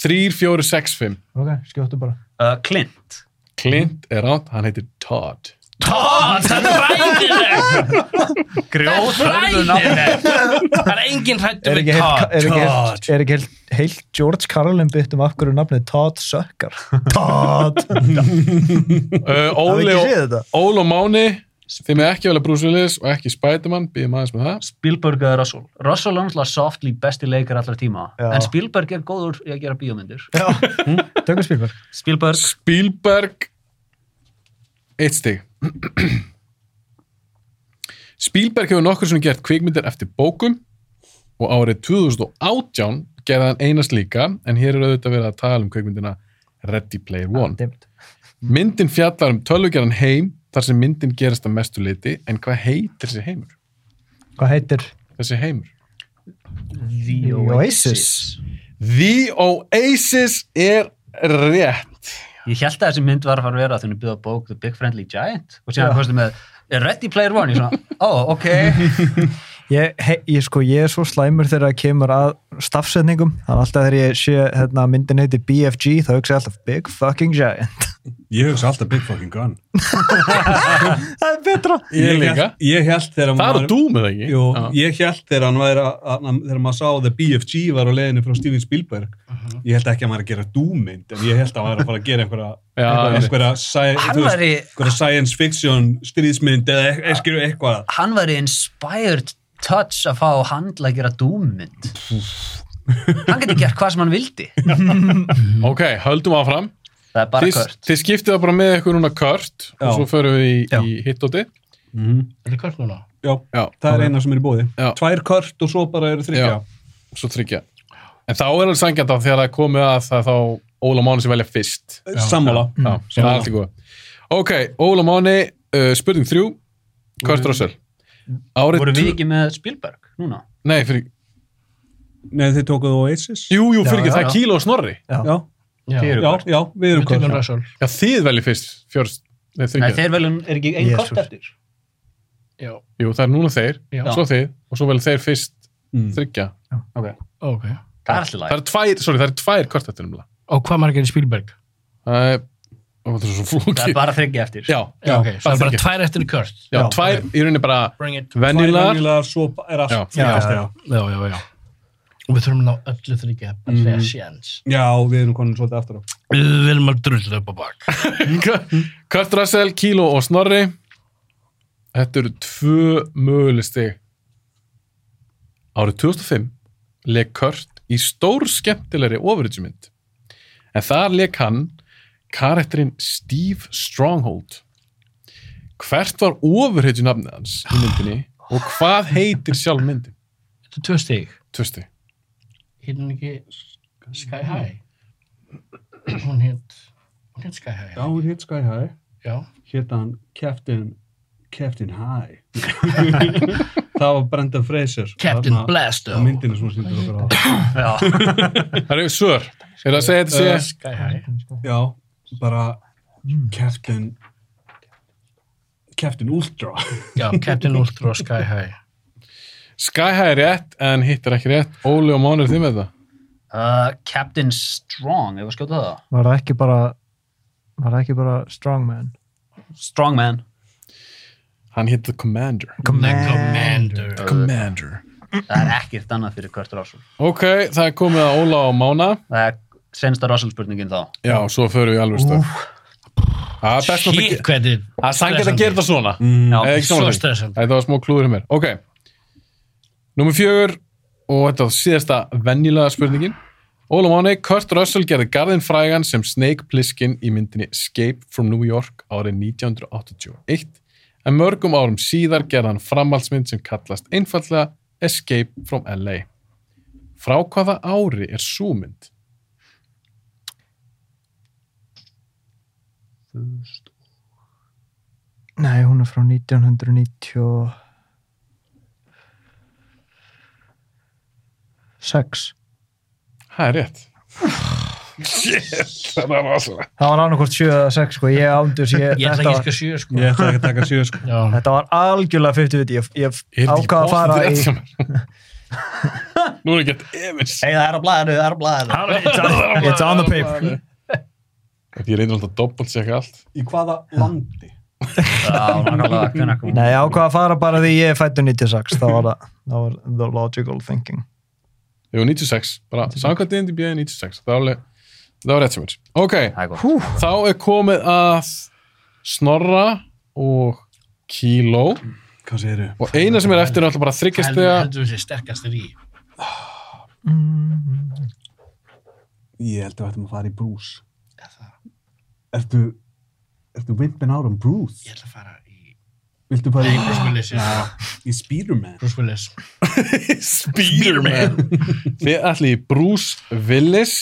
Speaker 1: 3465.
Speaker 3: Ok, skjóttu bara.
Speaker 4: Uh, Clint.
Speaker 1: Clint er rámt, hann heitir Todd.
Speaker 7: Todd, það er ræðilegt!
Speaker 4: Grjót,
Speaker 7: Það er ræðilegt! Það er enginn
Speaker 5: Er
Speaker 7: hrættu
Speaker 5: ekki
Speaker 7: við
Speaker 5: heilt-
Speaker 7: Todd.
Speaker 5: er ekki heilt- er ekki heilt- heilt George Carlin bytt um af hverju nafnið Todd Sökkar? Todd!
Speaker 1: Uh,
Speaker 5: Það er
Speaker 1: Óli,
Speaker 5: ekki
Speaker 1: og,
Speaker 5: séð þetta.
Speaker 1: Óli og Máni, þið með ekki velja Bruce Willis og ekki Spiderman, býðum aðeins með það.
Speaker 4: Spielberg eða Russell. Russell er náttúrulega softly besti leikar allra tíma.
Speaker 5: Já.
Speaker 4: En Spielberg er góður í að gera bíómyndir.
Speaker 5: Tökum Spielberg.
Speaker 4: Spielberg.
Speaker 1: Spielberg, eitt stig. Spielberg hefur nokkur sem gert kvikmyndir eftir bókum og árið 2018 gerði hann einast líka, en hér er auðvitað verið að tala um kvikmyndina Ready Player One.
Speaker 5: Ah, Dimmt.
Speaker 1: Myndin fjallar um tölvugerðan heim þar sem myndin gerist að mestu liti, en hvað heitir þessi heimur?
Speaker 5: Hvað heitir?
Speaker 1: Þessi heimur?
Speaker 5: The Oasis.
Speaker 1: The Oasis er rétt.
Speaker 4: Ég held að þessi mynd var að fara að vera að þenni byggða bók The Big Friendly Giant og síðan komstu með er Ready Player One, ég svona, ó,
Speaker 1: <laughs>
Speaker 4: ok
Speaker 5: Ég, he, ég, sko, ég er svo slæmur þegar það kemur að stafsetningum. Þannig að alltaf þegar ég sé hérna, myndin heiti BFG, þá hugsa ég alltaf Big Fucking Giant. <laughs>
Speaker 10: ég hugsa alltaf Big Fucking Gun
Speaker 5: það er betra.
Speaker 1: Ég líka.
Speaker 10: hélt- ég held þegar
Speaker 1: Það
Speaker 10: maður-
Speaker 1: eru Doom eða ekki?
Speaker 10: Jú,
Speaker 1: Já.
Speaker 10: ég held þegar hann væri að, að, að- þegar maður sá að The BFG var á leiðinu frá Steven Spielberg ég held ekki að maður er að gera dúmynd en ég held að maður er að fara að gera einhverja
Speaker 1: Já,
Speaker 10: einhverja,
Speaker 1: einmitt.
Speaker 10: einhverja, sci-
Speaker 4: Hann
Speaker 10: þú veist,
Speaker 4: væri-
Speaker 10: einhverja science fiction stríðsmynd eða e- e- skilur eitthvað
Speaker 4: Hann var í inspired touch að fá handla að gera dúmmynd Hann geti gert hvað sem hann vildi
Speaker 1: Ok, höldum áfram.
Speaker 4: Það er bara
Speaker 1: Þið,
Speaker 4: kvört
Speaker 1: þið skiptið það bara með ykkur núna kört og
Speaker 10: Já.
Speaker 1: svo förum við í, í hitdóti.
Speaker 7: Er það kvöld núna?
Speaker 10: já,
Speaker 1: Mhm. Já,
Speaker 10: það er eina sem er í bóði
Speaker 1: Já.
Speaker 10: tvær kört og svo bara eru þryggja
Speaker 1: Já. svo tryggja. En þá er alveg sangjant að þegar það er komið að það er þá Óla Máni sem velja fyrst.
Speaker 10: Eh, sammála
Speaker 4: Mm.
Speaker 1: Já, það er allt í góð. Ok, Óla Máni, uh, spurning þrjú, Kurt Russell. Árið...
Speaker 4: Mm. Voru við
Speaker 1: tvö-
Speaker 4: ekki með Spielberg núna?
Speaker 1: Nei, fyrir...
Speaker 10: Nei, þið tókuðu Oasis
Speaker 1: Jú, jú, fyrir ekki,
Speaker 4: Já,
Speaker 1: það
Speaker 4: já,
Speaker 1: er Kíla og Snorri.
Speaker 10: já,
Speaker 7: Já.
Speaker 10: já, já, við erum
Speaker 7: Við tökum
Speaker 10: kört
Speaker 7: Russell.
Speaker 1: Já, þið velja fyrst, fjörst. Nei,
Speaker 4: Nei,
Speaker 1: þryggja.
Speaker 4: þeir veljum, er ekki einn
Speaker 5: Jesus.
Speaker 4: kort eftir?
Speaker 7: Já.
Speaker 1: Jú, það er núna þeir,
Speaker 7: Já.
Speaker 1: svo þið og svo vel þeir fyrst
Speaker 10: Mm.
Speaker 1: þryggja.
Speaker 7: Ok.
Speaker 4: Það er alltaf
Speaker 1: Það
Speaker 4: læg
Speaker 1: eru tvær, sorry, það eru tvær kvartættir umla.
Speaker 7: Og hvað margir í Spielberg?
Speaker 1: Það er, ó, það er svo
Speaker 4: Það er
Speaker 1: flókið.
Speaker 4: bara þryggja eftir
Speaker 1: Já,
Speaker 7: Já, ok.
Speaker 1: það
Speaker 7: Svo er bara
Speaker 1: þriggja.
Speaker 7: tvær eftir í Kurt.
Speaker 1: já, tvær í rauninni bara
Speaker 7: Bring it.
Speaker 1: venjulegar.
Speaker 10: Venjulegar, svo er
Speaker 1: Já.
Speaker 10: allt þryggjast,
Speaker 5: Já,
Speaker 10: já.
Speaker 7: Já, já, já. Og við þurfum að ná öllu þryggja að segja sjens.
Speaker 10: já, við erum konin svolítið aftur á
Speaker 7: Við viljum að drullu upp á bak.
Speaker 1: <laughs> Kurt Russell, Kilo og Snorri. Þetta eru tvö möguleg stig. Árið 2005 leik Kurt í stór skemmtilegri ofurinsmynd. En þar leik hann karakterinn Steve Stronghold. Hvert var ofurheitju nafnið hans í myndinni og hvað heitir sjálf myndin?
Speaker 7: Þetta er tvö stig.
Speaker 1: Tvösti.
Speaker 7: Hittin hún ekki Sky High? Hún hitt, hún hitt Sky High.
Speaker 3: Já, hún hitt Sky High.
Speaker 7: Já.
Speaker 3: Hétt hann Captain, Captain High. <laughs> það var Brendan Fraser.
Speaker 7: Captain
Speaker 3: Þarna-
Speaker 7: Blasto.
Speaker 3: á myndinni sem hún sýndur okkur á.
Speaker 1: Það eru svör. Er það að segja þetta sé?
Speaker 7: Sky High.
Speaker 3: Já, bara Captain, Captain Ultra.
Speaker 7: Já, Captain Ultra og Sky High.
Speaker 1: Sky High er rétt en hitt er ekki rétt. Óli og Máni er þið með það.
Speaker 4: Uh, Captain Strong, ef að skjóta það.
Speaker 5: Var það ekki bara, var það ekki bara Strongman?
Speaker 4: Strongman.
Speaker 1: Hann hitt The Commander.
Speaker 7: Commander. Commander.
Speaker 1: Commander.
Speaker 4: Það er ekkert annað fyrir hvert Russell.
Speaker 1: Ok, það er komið að Óla og Mána.
Speaker 4: Það er sensta Russell spurningin þá.
Speaker 1: Já, svo förum við alveg stöð. Það er best að það
Speaker 7: Shit,
Speaker 1: gera.
Speaker 7: hvað þetta
Speaker 1: Það er sangið að gera þetta svona.
Speaker 4: Já,
Speaker 1: Eða ekki
Speaker 7: Svo
Speaker 1: samanlega.
Speaker 7: stressandi.
Speaker 1: Þetta var smá klúður í mér. Ok. Númer fjögur og þetta var síðasta venjulega spurningin. Óla Máni, Kurt Russell gerði garðin frægan sem Snake Plissken í myndinni Escape from New York árið 1981 en mörgum árum síðar gerði hann framhaldsmynd sem kallast einfallega Escape from LA. Frá hvaða ári er svo mynd?
Speaker 5: Nei, hún er frá 1996.
Speaker 1: Það er rétt. Shit, það var rosalega.
Speaker 5: Það var annarkort 7 eða 6 sko, ég ándus, ég,
Speaker 7: Ég ætla
Speaker 5: þetta,
Speaker 7: ekki að
Speaker 5: var,
Speaker 7: skilja sjö, sko.
Speaker 3: Ég ætla ekki að taka sjö, sko.
Speaker 7: Já.
Speaker 5: þetta var algjörlega 50-50, ég, ég
Speaker 1: Er þetta
Speaker 5: ákvað að fara
Speaker 1: ekki
Speaker 5: í...
Speaker 1: bóttið rétt hjá mér? <laughs> Nú er ekki eitthvað efins.
Speaker 4: Hey, það er á blæðinu, það er á blæðinu.
Speaker 5: <laughs> It's on the paper.
Speaker 1: Ég reynir alltaf að doppeltseka allt.
Speaker 3: Í hvaða landi?
Speaker 4: Já, nákvæmlega, hvernig kom.
Speaker 5: Nei, ég ákvað að fara bara því ég er fættu 96, það var, það- það var the logical thinking.
Speaker 1: Jú, 96. Bara samkvæmt IMDb 96. Það var alveg, það var rétt sem er. Ok,
Speaker 4: Það er gott.
Speaker 5: Hú,
Speaker 1: þá er komið að Snorra og Kíló
Speaker 3: Hvað segir þau?
Speaker 1: og eina sem er eftir er alltaf bara þryggjast
Speaker 7: Heldur
Speaker 1: þegar
Speaker 7: heldur þessi sterkastir í.
Speaker 5: Mm.
Speaker 3: Ég held að við ættum að fara í Bruce. Ertu, ertu vimpin árum Bruce?
Speaker 7: Ég ætla að fara í
Speaker 3: Viltu fara
Speaker 7: Nei,
Speaker 3: í
Speaker 7: Bruce Willis, já.
Speaker 3: Í Spiderman?
Speaker 7: Bruce Willis.
Speaker 1: <laughs> Spearman Þið ætli í Bruce Willis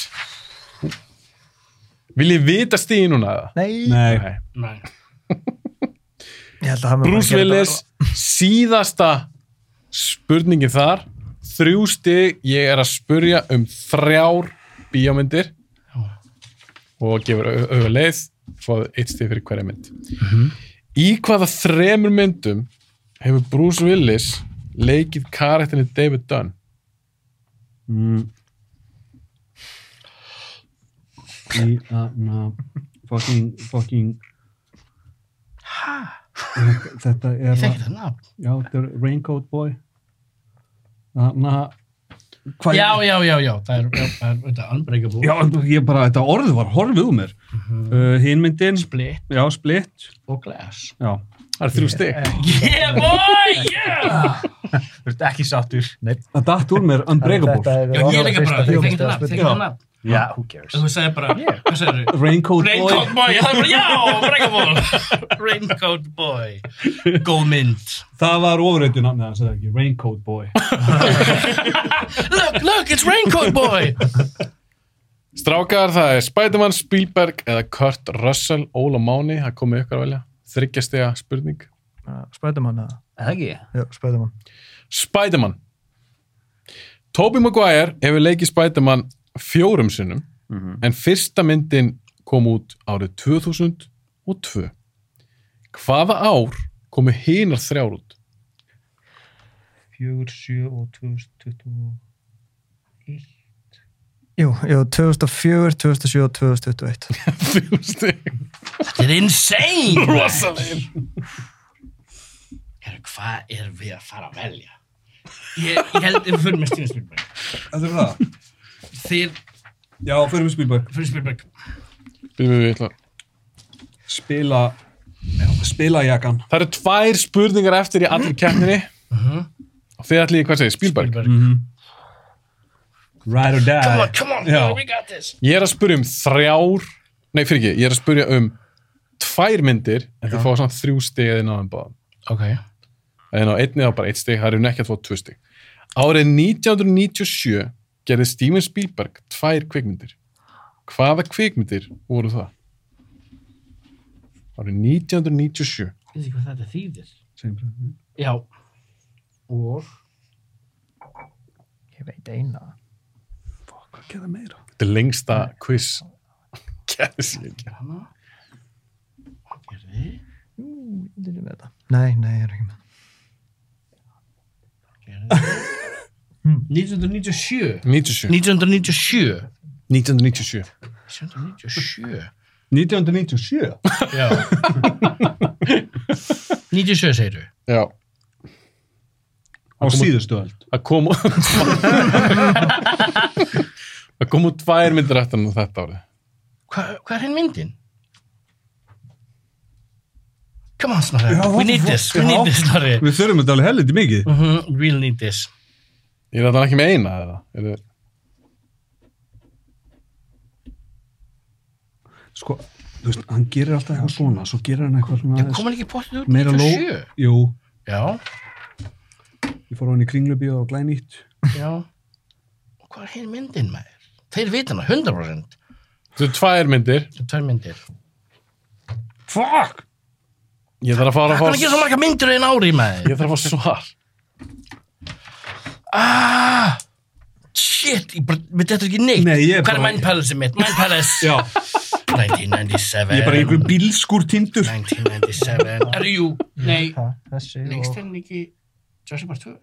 Speaker 1: Viljið vita stíði núna eða?
Speaker 5: nei.
Speaker 3: Nei,
Speaker 1: Nei.
Speaker 7: Nei.
Speaker 5: Ég held að hann
Speaker 1: Bruce Willis síðasta spurningin þar þrjú stig ég er að spurja um þrjár bíómyndir og gefur au- auga leið fóðu eitt stig fyrir hverja mynd í hvaða þremur myndum hefur Bruce Willis leikið karakterinu David Dunn
Speaker 3: Mm. í þarna fucking, fucking Þetta er
Speaker 7: Ég þekki
Speaker 3: já,
Speaker 7: það nafn.
Speaker 3: þetta er Raincoat Boy Þarna hvað
Speaker 7: Já, já, já, já. Það er, já, það er, þetta er unbreakable.
Speaker 3: Já, ég bara, þetta orð var horfið úr mér
Speaker 7: Mhm.
Speaker 3: uh, Hinmyndin
Speaker 7: Split
Speaker 3: Já, Split
Speaker 7: og Glass.
Speaker 3: Já,
Speaker 1: það er þrjú stig
Speaker 7: Yeah, boy, yeah!
Speaker 4: Þú ert ekki sáttur.
Speaker 3: það datt úr mér Unbreakable
Speaker 7: Já, ég er líka bara, ég þekki það nafn, þekki það nafn.
Speaker 4: Já, who cares.
Speaker 7: Þú sagði bara, hvað sagði þau?
Speaker 3: Raincoat Boy
Speaker 7: Raincoat boy, ég þarf bara, já, <laughs> breakable. Raincoat boy. Góð mynd.
Speaker 3: Það var ofreitjun af neðan, segði ekki Raincoat Boy
Speaker 7: Look, look, it's Raincoat boy.
Speaker 1: Strákar, það er Spiderman, Spielberg eða Kurt Russell, Óla Máni það komið ykkur að velja, þryggjastega spurning
Speaker 5: Spöðumann eða?
Speaker 4: Er Það ekki?
Speaker 5: Já, Spöðumann.
Speaker 1: Spiderman Tobey Maguire hefur leikið Spiderman fjórum sinnum en fyrsta myndin kom út árið 2002 hvaða ár komu hinar þrjár út? <laughs>
Speaker 11: 4, 7 og 2020
Speaker 5: Jú, jú, 2004, 2007 og 2021.
Speaker 1: Þrjú stig.
Speaker 7: Þetta er insane. Rosalegir. Hvað er við að fara að velja? Ég, ég held, við fyrir með Steven Spielberg.
Speaker 3: Þetta er það
Speaker 7: Þið,
Speaker 3: Já, fyrir við Spielberg
Speaker 7: fyrir Spielberg.
Speaker 1: Bíddu, bíddu, ég ætla-
Speaker 3: Spila Spila jakkan
Speaker 1: Það eru tvær spurningar eftir í allir keppninni Þið ætlið, í, hvað segir, Spielberg?
Speaker 10: Ride or die.
Speaker 7: Come on, come on,
Speaker 10: Já.
Speaker 7: we got this.
Speaker 1: Ég er að spyrja um þrjár, nei fyrir ekki, ég er að spyrja um tvær myndir, en þið um fáið svona þrjú stig eða inn á þeim báðum.
Speaker 7: Ok.
Speaker 1: En hérna á einni þá bara eitt stig, það eru ekki að fá tvö stig. Árið 1997 gerði Steven Spielberg tvær kvikmyndir. Hvaða kvikmyndir voru það? Árið 1997.
Speaker 7: Ég veit ekki hvað þetta þýðir. Segjum það. Já. Og?
Speaker 6: Ég veit eina.
Speaker 1: Þetta er lengsta quiz. <laughs> Gerðis ég ekki.
Speaker 7: Hana? Gerði?
Speaker 6: Þetta er með þetta.
Speaker 5: Nei, nei, ég er ekki með.
Speaker 7: Gerði? 1997.
Speaker 1: 97.
Speaker 7: 1997.
Speaker 1: 1997.
Speaker 7: 1997.
Speaker 10: 1997?
Speaker 7: Já. <laughs> 97 segir þú.
Speaker 1: Já.
Speaker 10: Á síðustu öld.
Speaker 1: að koma að koma út tvær myndir eftir hann þetta árið
Speaker 7: Hva, hvað er henn myndin? Come on, Snorri. We need this. We need this, Snorri.
Speaker 10: Við þurfum þetta alveg helviti mikið.
Speaker 7: Mm -hmm, we'll need this.
Speaker 1: ég er þetta ekki með eina eða er þið
Speaker 10: Sko, þú veist, hann gerir alltaf eitthvað svona, svo gerir hann eitthvað svona
Speaker 7: Já,
Speaker 10: aðeins
Speaker 7: kom hann ekki pottið út
Speaker 10: meira ló.
Speaker 7: 97?
Speaker 10: Jú,
Speaker 7: Já,
Speaker 10: ég fór á hann í kringlubíu og glænýtt.
Speaker 7: já. Og hvað er henn myndin, maður? Þeir vita hana, 100%.
Speaker 1: þetta eru tvær myndir
Speaker 7: Þetta er tvær myndir.
Speaker 10: Fuck!
Speaker 1: ég þarf að fara að
Speaker 7: Hvað er að gera
Speaker 1: fá
Speaker 7: svo marga myndir einn ári, maður?
Speaker 1: ég þarf að fá svar
Speaker 7: Ah! Shit, ég bara, við þetta ekki neitt.
Speaker 10: Nei, ég er
Speaker 7: Hvað er
Speaker 10: bara-
Speaker 7: Mind Palace mitt? Mind Palace.
Speaker 10: Já,
Speaker 7: 1997.
Speaker 10: ég er bara einhver bílskur tindur.
Speaker 7: 1997. Er jú? Nei,
Speaker 6: Þessi
Speaker 7: leikst henn ekki Jurassic Park 2?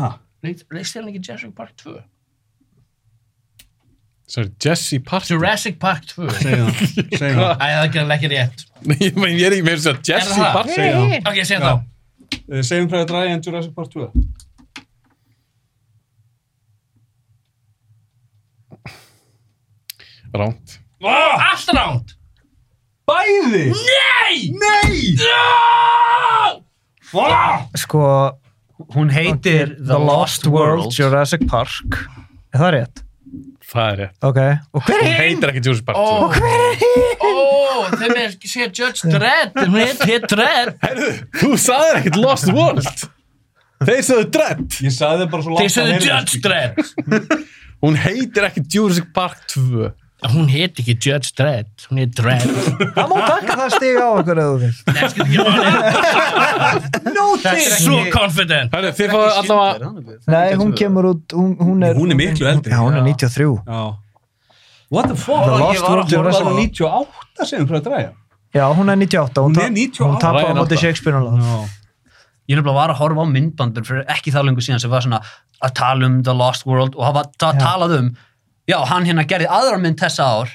Speaker 10: Ha,
Speaker 7: Leik- Leikst henn ekki Jurassic Park 2?
Speaker 1: Sorry, Jesse Parker
Speaker 7: Jurassic Park 2. Æ,
Speaker 10: segja <laughs> það, segja það.
Speaker 7: það er ekki ekki rétt.
Speaker 1: Nei, <laughs> ég meina, ég er ekki með þess að
Speaker 7: Er
Speaker 1: Jesse
Speaker 7: það?
Speaker 1: Parker
Speaker 10: Segja
Speaker 7: Ok, segjum
Speaker 10: það.
Speaker 7: þá.
Speaker 10: Já. Eh, Segjum frá að draga enn Jurassic Park 2.
Speaker 1: ránt
Speaker 7: Allt ránt.
Speaker 10: Bæði!
Speaker 7: Nei!
Speaker 10: Nei!
Speaker 7: No!
Speaker 5: Sko,
Speaker 4: Hún heitir
Speaker 5: The Lost World Jurassic Park. Er það rétt?
Speaker 1: það er rétt
Speaker 5: Ok. Og hver
Speaker 1: hún heitir ekki Jurassic Park
Speaker 7: Ó,
Speaker 1: 2
Speaker 7: ó, þeim er ekki segja Judge Dredd, þeim er hitt Dredd.
Speaker 1: þú sagðir ekkert Lost World þeir sagðu Dredd
Speaker 10: Ég sagði bara svo langt.
Speaker 7: Þeir sögðu Judge Dredd.
Speaker 1: hún heitir ekki Jurassic Park 2
Speaker 7: Hún hitt ekki Judge Dredd, hún er Dredd.
Speaker 5: Það má taka það stig á okkur eða þú veist.
Speaker 7: Nei, skil ekki máli.
Speaker 5: <laughs> Nóti!
Speaker 7: Svo confident.
Speaker 1: Herri, þið fáið allavega
Speaker 5: Nei, hún kemur út, hún, hún er...
Speaker 10: Hún er miklu eldri.
Speaker 5: Já, hún er 93.
Speaker 10: Já. What the fuck?
Speaker 5: The Lost
Speaker 10: Ég var
Speaker 5: World
Speaker 10: að horfa á
Speaker 5: Jurassic-
Speaker 10: 98 segjum frá að draga.
Speaker 5: Já, hún er 98.
Speaker 10: Hún
Speaker 5: ta-
Speaker 10: er 98.
Speaker 5: Hún tapar á
Speaker 1: Ryan
Speaker 5: móti
Speaker 1: átta.
Speaker 5: Shakespeare og
Speaker 10: Já.
Speaker 4: Ég nefnilega var að horfa á myndbandur fyrir ekki þá lengur síðan sem var svona að tala um The Lost World og hafa ta talað um já, hann hérna gerði aðra mynd þessa ár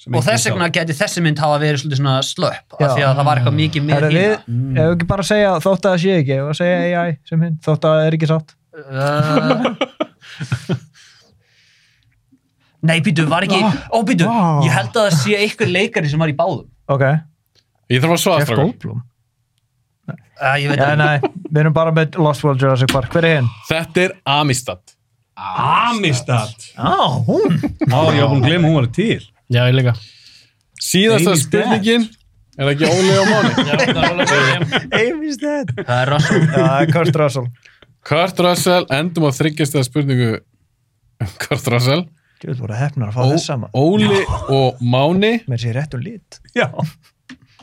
Speaker 10: Sem
Speaker 4: og
Speaker 10: enginn
Speaker 4: þess
Speaker 10: sá.
Speaker 4: vegna geti þessi mynd hafa verið svolítið svona slöpp af
Speaker 5: Já.
Speaker 4: því að það var eitthvað mikið með
Speaker 5: Herra,
Speaker 4: hérna
Speaker 5: við, ef við ekki bara segja þótt að það sé ekki, ef við að segja AI sem hinn, þótt að það er ekki satt.
Speaker 4: Uh, Nei, býtu, var ekki Ó, býtu,
Speaker 5: Ah, Vá.
Speaker 4: ég held að það sé einhver leikari sem var í báðum
Speaker 5: Ok,
Speaker 1: ég þarf að svara
Speaker 5: Jeff
Speaker 1: strákar.
Speaker 5: Goldblum.
Speaker 4: uh, Ég veit
Speaker 5: Já,
Speaker 4: ekki
Speaker 5: nei, við erum bara með Lost World Jurassic Park. Hver <laughs> er hinn?
Speaker 1: þetta er Amistad
Speaker 10: Amistad.
Speaker 5: Já, hún.
Speaker 10: Já, ég var búin að gleyma hún var til.
Speaker 7: Já, ég líka.
Speaker 1: síðasta
Speaker 10: Amy's
Speaker 1: spurningin er það ekki Óli og Máni
Speaker 7: Já, það var alveg bara,
Speaker 5: Amy's dead. Já,
Speaker 4: Það er rossum
Speaker 5: það er Kurt Russell.
Speaker 1: Kurt Russell, endum á þryggjast eða spurningu um Kurt Russell
Speaker 5: Þú voru hefnar að fá
Speaker 1: Ó,
Speaker 5: þess saman.
Speaker 1: Óli og Máni
Speaker 5: Mér sé rétt um lít.
Speaker 10: Já.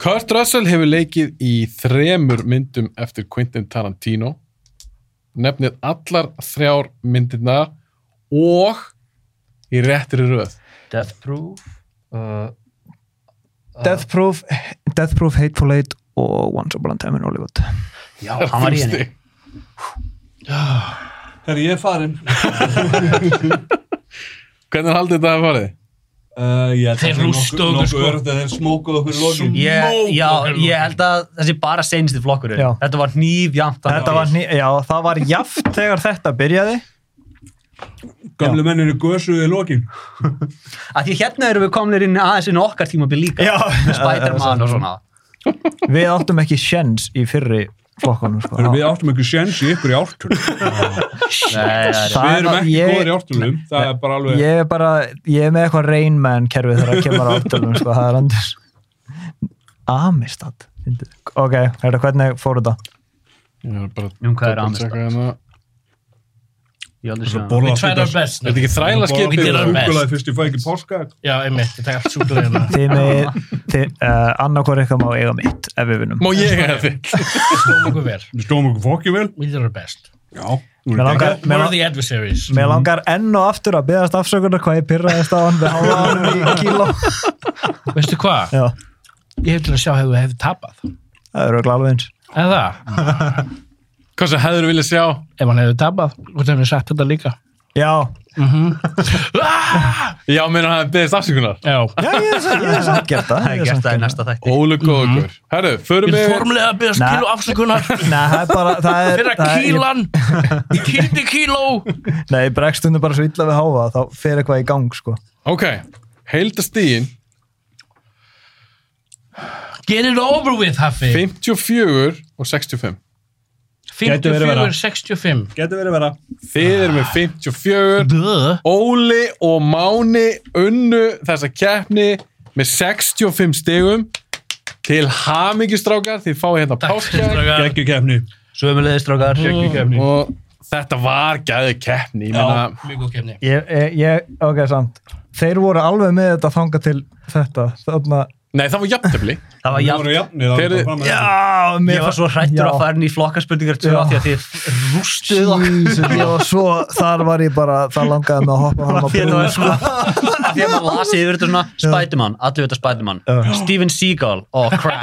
Speaker 1: Kurt Russell hefur leikið í þremur myndum eftir Quentin Tarantino nefnir allar þrjár myndirna og í réttri röð
Speaker 6: Death Proof. Uh,
Speaker 5: Death Proof, Death Proof, Hateful Eight og Once Upon a Time in Hollywood.
Speaker 4: Já, hann var í henni
Speaker 1: Stig.
Speaker 10: Herri, ég er farin.
Speaker 1: Hvernig haldið þetta að farið?
Speaker 10: Uh, ég held að
Speaker 7: Þeir
Speaker 10: það sé nokkuð-
Speaker 7: rústuðu okkur,
Speaker 10: nokkuð
Speaker 7: sko.
Speaker 10: öruggt að Þeir smókuðu okkur í lokin.
Speaker 4: ég, Já, ég held að þessi bara seinstu flokkur
Speaker 5: Já.
Speaker 4: Þetta var nýfjamt
Speaker 5: Þetta var, ný- já, það var jaft þegar þetta byrjaði.
Speaker 10: Gamlu menninu gösuðu í lokin.
Speaker 4: að Því hérna erum við komnir inn aðeins inn á okkar tímabil líka
Speaker 5: Já.
Speaker 4: Spiderman og svona
Speaker 5: Við áttum ekki sjens í fyrri flokkanum sko.
Speaker 10: Erum við áttum einhver sjens í ykkur í ártunum.
Speaker 4: Nei,
Speaker 10: Við erum
Speaker 5: Það-
Speaker 10: ekki
Speaker 5: ég-
Speaker 10: góðir í ártunum. Það er bara alveg...
Speaker 5: ég er bara, ég er með eitthvað reynmenn kerfið þegar það kemur á áttunum sko, það er andur Amistad fyndið. ok, hérna, hvernig fór þetta?
Speaker 1: Ég er bara hérna.
Speaker 4: Um hvað er Amistad?
Speaker 1: Amistad?
Speaker 4: ég aldrei sé það.
Speaker 10: Borða
Speaker 7: We tried our best.
Speaker 1: Þetta er ekki þræla
Speaker 7: We did
Speaker 1: skipið
Speaker 7: our best.
Speaker 10: Súkulaði fyrst ég fæ ekki páska.
Speaker 7: Já, einmitt, ég tek allt hérna. súkulegina.
Speaker 5: þið með, þið, uh, annarkvar eitthvað má eiga mitt ef við vinnum
Speaker 1: Má ég <laughs> hef þitt?
Speaker 7: Stóðum okkur vel.
Speaker 10: Við stóðum okkur fokkið vel.
Speaker 7: We did our best.
Speaker 10: Já.
Speaker 5: Mér langar, mér
Speaker 7: We're
Speaker 5: langar,
Speaker 7: the adversaries.
Speaker 5: mér langar enn og aftur að beðast afsökunar hvað ég pyrraðist á hann við hála hann í kíló
Speaker 7: Veistu hvað?
Speaker 5: Já,
Speaker 7: Ég hef til að sjá hefur hefði tapað.
Speaker 5: það eru örugglega alveg eins
Speaker 7: Eða það?
Speaker 1: Hvað sem hefur viljað sjá?
Speaker 7: Ef hann hefði tapað, hvort hefði sagt þetta líka.
Speaker 5: Já,
Speaker 1: Já, meina hann beðist afsökunar.
Speaker 7: Já.
Speaker 5: já ég hef ég hef samt gert það
Speaker 4: Ég gert það í næsta þætti.
Speaker 1: Ólu góður. Herru, förum
Speaker 7: Við
Speaker 1: við...
Speaker 7: formlega að byrja
Speaker 5: Nei.
Speaker 7: kíló afsökunar.
Speaker 5: Nei, það er bara það er,
Speaker 7: Fyrra
Speaker 5: það er, ég-
Speaker 7: kílan. Ég kýldi kíló.
Speaker 5: Nei, bregstunum bara svo illa við háfa þá fer eitthvað í gang sko
Speaker 1: Ok, heildastíin
Speaker 7: Get it over with, Hafi.
Speaker 1: 54 og 65.
Speaker 10: Gæti verið verra.
Speaker 7: 54, 65.
Speaker 10: Getur verið vera.
Speaker 1: Þið eru með 54.
Speaker 7: Duh.
Speaker 1: Óli og Máni unnu þessa keppni með 65 stegum til hamingistrákar. Þið fáið hérna
Speaker 7: Takk fyrir
Speaker 1: páskar
Speaker 7: draga.
Speaker 10: Gekkju kefni.
Speaker 4: Sömulegðis, drókar.
Speaker 10: Gekkju kefni.
Speaker 1: og þetta var gæði keppni. Ég meina,
Speaker 7: Mjög góð kemni.
Speaker 5: Ég, ég, ég, ok, samt. Þeir voru alveg með þetta þanga til þetta. Þarna,
Speaker 1: nei, það var
Speaker 10: <laughs>
Speaker 1: jafntefli.
Speaker 4: Það var
Speaker 10: Það
Speaker 4: jafn.
Speaker 10: voru jafnir.
Speaker 1: Þeir-
Speaker 10: Já.
Speaker 4: Ég var svo hrættur að fara inn í flokkarspurningar 2
Speaker 5: Já.
Speaker 4: því að þið rústuð okkur.
Speaker 5: Jesus, ég var svo, þar var ég bara, það langaði mig að hoppa hann á
Speaker 4: Því að það
Speaker 5: brúna.
Speaker 4: var sko Því að maður lasið yfir þetta svona Spiderman, allir veit að Spiderman Steven Seagal, oh crap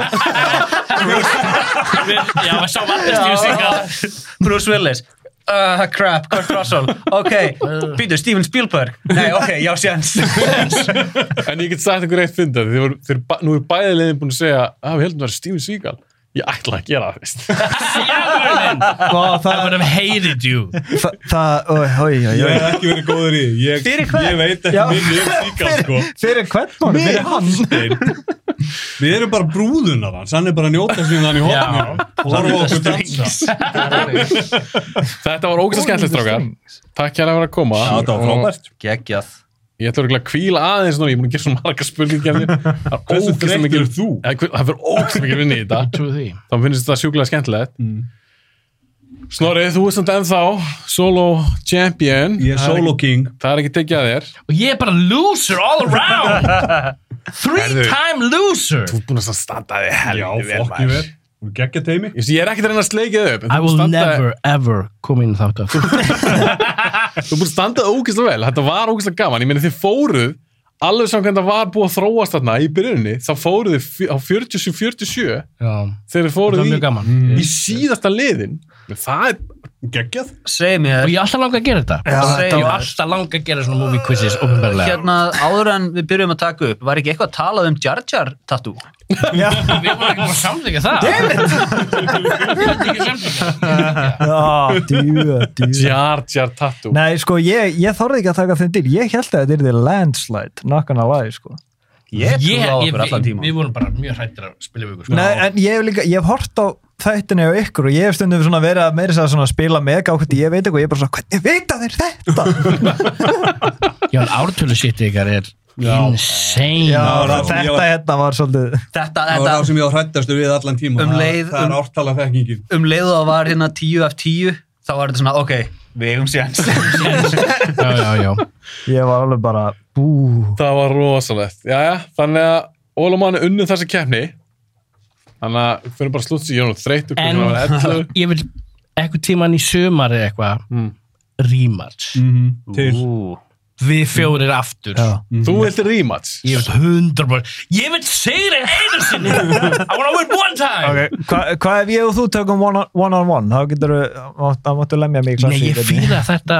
Speaker 7: <laughs> Já, við sáum allir stíðu sigað.
Speaker 4: Bruce Willis Uh, crap, Kurt Russell ok,
Speaker 7: Uh.
Speaker 4: býtu, Steven Spielberg nei, ok, já, sjans
Speaker 1: En ég get sagt ykkur eitt fyndið. Þið voru, þið, eru ba- nú er bæði leiðin búin að segja að við heldum að það er Steven Seagal. Ég ætla að gera það, veist.
Speaker 10: <laughs>
Speaker 4: <laughs>
Speaker 5: Vá,
Speaker 7: I
Speaker 5: Það,
Speaker 7: would have hated you.
Speaker 5: það, það, oi, oi, oi,
Speaker 10: Ég
Speaker 5: oi.
Speaker 10: hef ekki verið góður í. því. Ég,
Speaker 5: Fyrir hvern?
Speaker 10: ég veit ekki
Speaker 5: Já.
Speaker 10: minni um síkal sko.
Speaker 5: Fyrir hvern var það? Fyrir hann?
Speaker 10: Stein. Við erum bara brúðunar hans. Hann er bara að njóta síðan hann í hóttinu. Horfa á okkur dansa.
Speaker 1: Þetta var ógæsta skemmtilegt, strákar. Takk hérna fyrir að koma.
Speaker 10: Já, þetta var frábært.
Speaker 4: geggjað
Speaker 1: Ég ætla örugglega að kvíla aðeins núna, ég er búin að gera svo marga
Speaker 10: <laughs>
Speaker 1: spurningar Það er
Speaker 10: Hversu
Speaker 1: ógæst
Speaker 10: þreyttur
Speaker 1: mikið
Speaker 10: er þú?
Speaker 1: Eða, hver- Það fyrir ógæst mikið vinni
Speaker 10: <laughs>
Speaker 1: í þetta
Speaker 7: Trú því.
Speaker 1: Þá finnst þetta sjúklega skemmtilegt
Speaker 7: Mm.
Speaker 1: Snorri, þú ert samt ennþá solo champion
Speaker 10: Ég er solo king.
Speaker 1: Það er ekki tekið að þér Þú
Speaker 7: Og ég er bara loser all around. <laughs> Three time loser.
Speaker 1: ert búin að standa þig
Speaker 10: Já,
Speaker 1: helviti vel,
Speaker 10: fokk
Speaker 1: maður.
Speaker 10: ég verð. Og geggja teimi.
Speaker 1: Ég ég er ekkert að reyna að sleikið upp en
Speaker 7: I
Speaker 1: þú ert
Speaker 7: will
Speaker 1: búin að standa-
Speaker 7: never ever koma inn þátt að
Speaker 1: Þú
Speaker 7: <laughs>
Speaker 1: er búin að standa ógæslega vel Þetta var ógæslega gaman Ég meina þið fóruð Alveg samkvæmt að var búið að þróast þarna í byrjunni Þá fóruð þið fjö- á 47-47
Speaker 7: Það
Speaker 1: Þegar þið
Speaker 7: var
Speaker 1: fóruð
Speaker 7: mjög
Speaker 1: í,
Speaker 7: gaman
Speaker 1: í síðasta liðin Það er
Speaker 10: Geggjað.
Speaker 4: segi
Speaker 7: Og
Speaker 4: mér,
Speaker 7: ég er alltaf langa að gera þetta
Speaker 5: Já,
Speaker 7: Ég
Speaker 4: þetta
Speaker 7: er
Speaker 4: var-
Speaker 7: alltaf langa að gera svona movie quizzes Opinbarlega
Speaker 4: hérna áður en við byrjum að taka upp var ekki eitthvað að tala um Jar Jar tattoo
Speaker 7: Við vorum ekki bara samþykja það Við vorum ekki samþykja
Speaker 5: Já, djú, djú.
Speaker 1: Jar Jar Tattoo
Speaker 5: Nei, sko, ég, ég þorði ekki að taka þeim til. Ég held að þetta er þið landslide, not gonna lie, sko.
Speaker 4: ég trúði á okkur allan
Speaker 7: við,
Speaker 4: tíma
Speaker 7: við vorum bara mjög hrættir að spila við ykkur sko.
Speaker 5: Nei, en ég hef líka, ég hef hort á þættinni á ykkur og ég hef stundum svona verið að meira segja svona spila með gátt, ég veit eitthvað, ég er bara svona, hvernig veit að þeir þetta?
Speaker 7: Já, en ártölu sitt ykkar er insane
Speaker 5: Já,
Speaker 10: Já, já,
Speaker 5: þetta
Speaker 10: ég var-
Speaker 5: hérna var svolítið,
Speaker 4: þetta,
Speaker 10: Það var það
Speaker 4: þetta,
Speaker 10: sem ég var hrættastu við allan tíma.
Speaker 4: Um
Speaker 10: Það-
Speaker 4: leið-
Speaker 10: Það
Speaker 4: um-
Speaker 10: er ártala þekkingin.
Speaker 4: um leiðu að var hérna 10 af 10 þá var þetta svona, ok, við eigum sjans <laughs>
Speaker 7: já, já, já
Speaker 5: ég var alveg bara, bú,
Speaker 1: Það var rosalegt Jæja, þannig að Ólumann er unnið þessa keppni Þannig að við fyrir bara slútt sér, ég er nú þreytt
Speaker 7: En <laughs> ég vil eitthvað tíman í sömar eða eitthvað
Speaker 1: Mm.
Speaker 7: Rematch
Speaker 5: Mm.
Speaker 10: Til.
Speaker 7: Við fjórir aftur
Speaker 1: Þú vilt rematch
Speaker 7: Ég vil hundra bara Ég vil segja þig einu sinni I wanna win one time
Speaker 5: ok, hvað hva ef ég og þú tökum one on one, on one? þá getur þú, þá máttu lemja mig
Speaker 7: Nei,
Speaker 5: í klassi.
Speaker 7: ég fýla þetta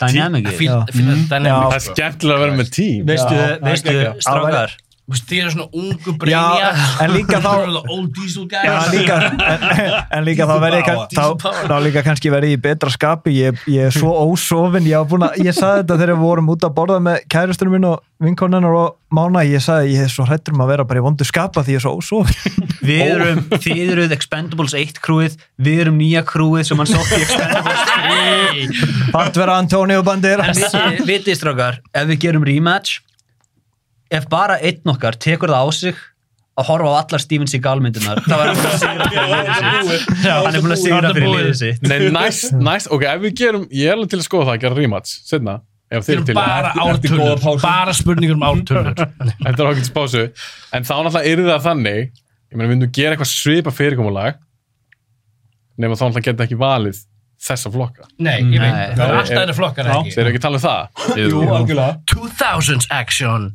Speaker 4: dynamic
Speaker 7: Fýla fýla þetta
Speaker 5: Já. Mm.
Speaker 1: Það er skemmtilega að vera með tím
Speaker 4: Veistu,
Speaker 5: Já, það er
Speaker 4: veistu,
Speaker 5: geggjað.
Speaker 4: strákar
Speaker 7: Þú veist, þið eru svona ungu breyja
Speaker 5: en líka þá-
Speaker 7: Old diesel guys
Speaker 5: Já, <laughs> líka, en, en líka þá verði kann, þá, þá líka kannski verði í betra skapi ég, ég er svo ósofin ég, á búin að- ég saði þetta þegar við vorum út að borða með kærustunum minn og vinkonennar og mána ég saði ég er svo hrættur um að vera bara í vondu skapa því ég er svo ósofin <laughs>
Speaker 4: Við erum, þið eruð Expendables 1 krúið, við erum nýja krúið sem hann sótti í Expendables 3.
Speaker 5: Pant vera Antonio Bandera
Speaker 4: En vitið- vitið strákar, ef við gerum rematch, ef bara einn okkar tekur það á sig að horfa á allar Steven Seagal myndunar, þá er hann búin að sigra fyrir liðið sitt. Hann er búin að sigra fyrir liðið sitt.
Speaker 1: Nei, næst, næst, ok, ef við gerum, ég er alveg til að skoða það, að gera rematch, setna, ef
Speaker 7: Þið
Speaker 1: þeir
Speaker 7: eru
Speaker 1: til.
Speaker 7: bara ártölur Bara spurningur um
Speaker 4: <laughs>
Speaker 7: ártölur
Speaker 1: Þetta er ákveðtis pásu. En þá náttúrulega yrði það þannig, ég meina, við myndum gera eitthvað svipa fyrirkomulag, nema þá náttúrulega geta ekki valið þessa flokka.
Speaker 7: Nei, ég veit
Speaker 4: Nei.
Speaker 7: Það er alltaf þeirra flokkar
Speaker 1: Þeir
Speaker 7: ekki
Speaker 1: eru ekki að tala um það. Jú,
Speaker 7: 2000s action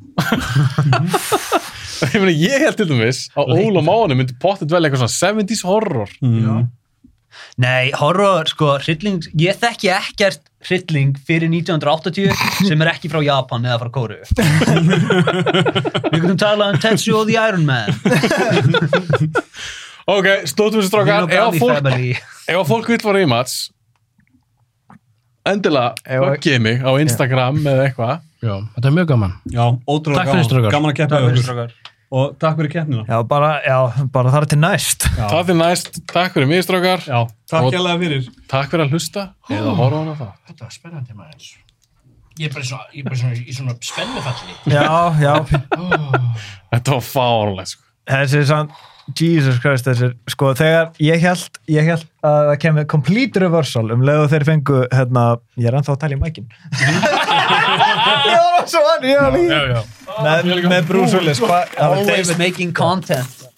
Speaker 1: ég meina, ég held til dæmis að Óla Máni myndi pottet vel eitthvað svona 70s horror.
Speaker 4: Nei, horror, sko, hrylling, ég þekki ekkert hrylling fyrir 1980 sem er ekki frá Japan eða frá Kóru. Við getum talað um Tetsu og The Iron Man.
Speaker 1: Ok, slótum þessu
Speaker 4: Við
Speaker 1: strákar, ef
Speaker 4: erum
Speaker 1: að
Speaker 4: Brownie
Speaker 1: fólk,
Speaker 4: Family.
Speaker 1: ef að fólk vil fara í mats, endilega, buggið mig á Instagram eða eitthvað.
Speaker 7: Já, þetta er mjög gaman
Speaker 10: Já, ótrúlega
Speaker 7: Takk fyrir, strákar.
Speaker 10: gaman, gaman að keppa við okkur og takk fyrir keppnina
Speaker 5: já bara, já, bara þar til næst
Speaker 1: Það er næst, takk fyrir mig strákar
Speaker 10: Já, takk
Speaker 1: Og-
Speaker 10: hérlega fyrir
Speaker 1: Takk fyrir að hlusta eða horfa hann á það
Speaker 7: Þetta var spennandi maður Ég er bara svona, ég er bara svona í svona spennufalli
Speaker 5: já, já,
Speaker 1: Þetta var fárlega sko.
Speaker 5: þessi er sann Jesus Christ, þessi, er- sko þegar ég held, ég held að það kemur complete reversal um leiðu þeir fengu hérna, ég er ennþá að tala í mækin <laughs> ég var á svo hann, ég var líka
Speaker 7: Mhm. já
Speaker 5: með, með Bruce Willis hva, það var
Speaker 4: Always
Speaker 5: David,
Speaker 4: making content.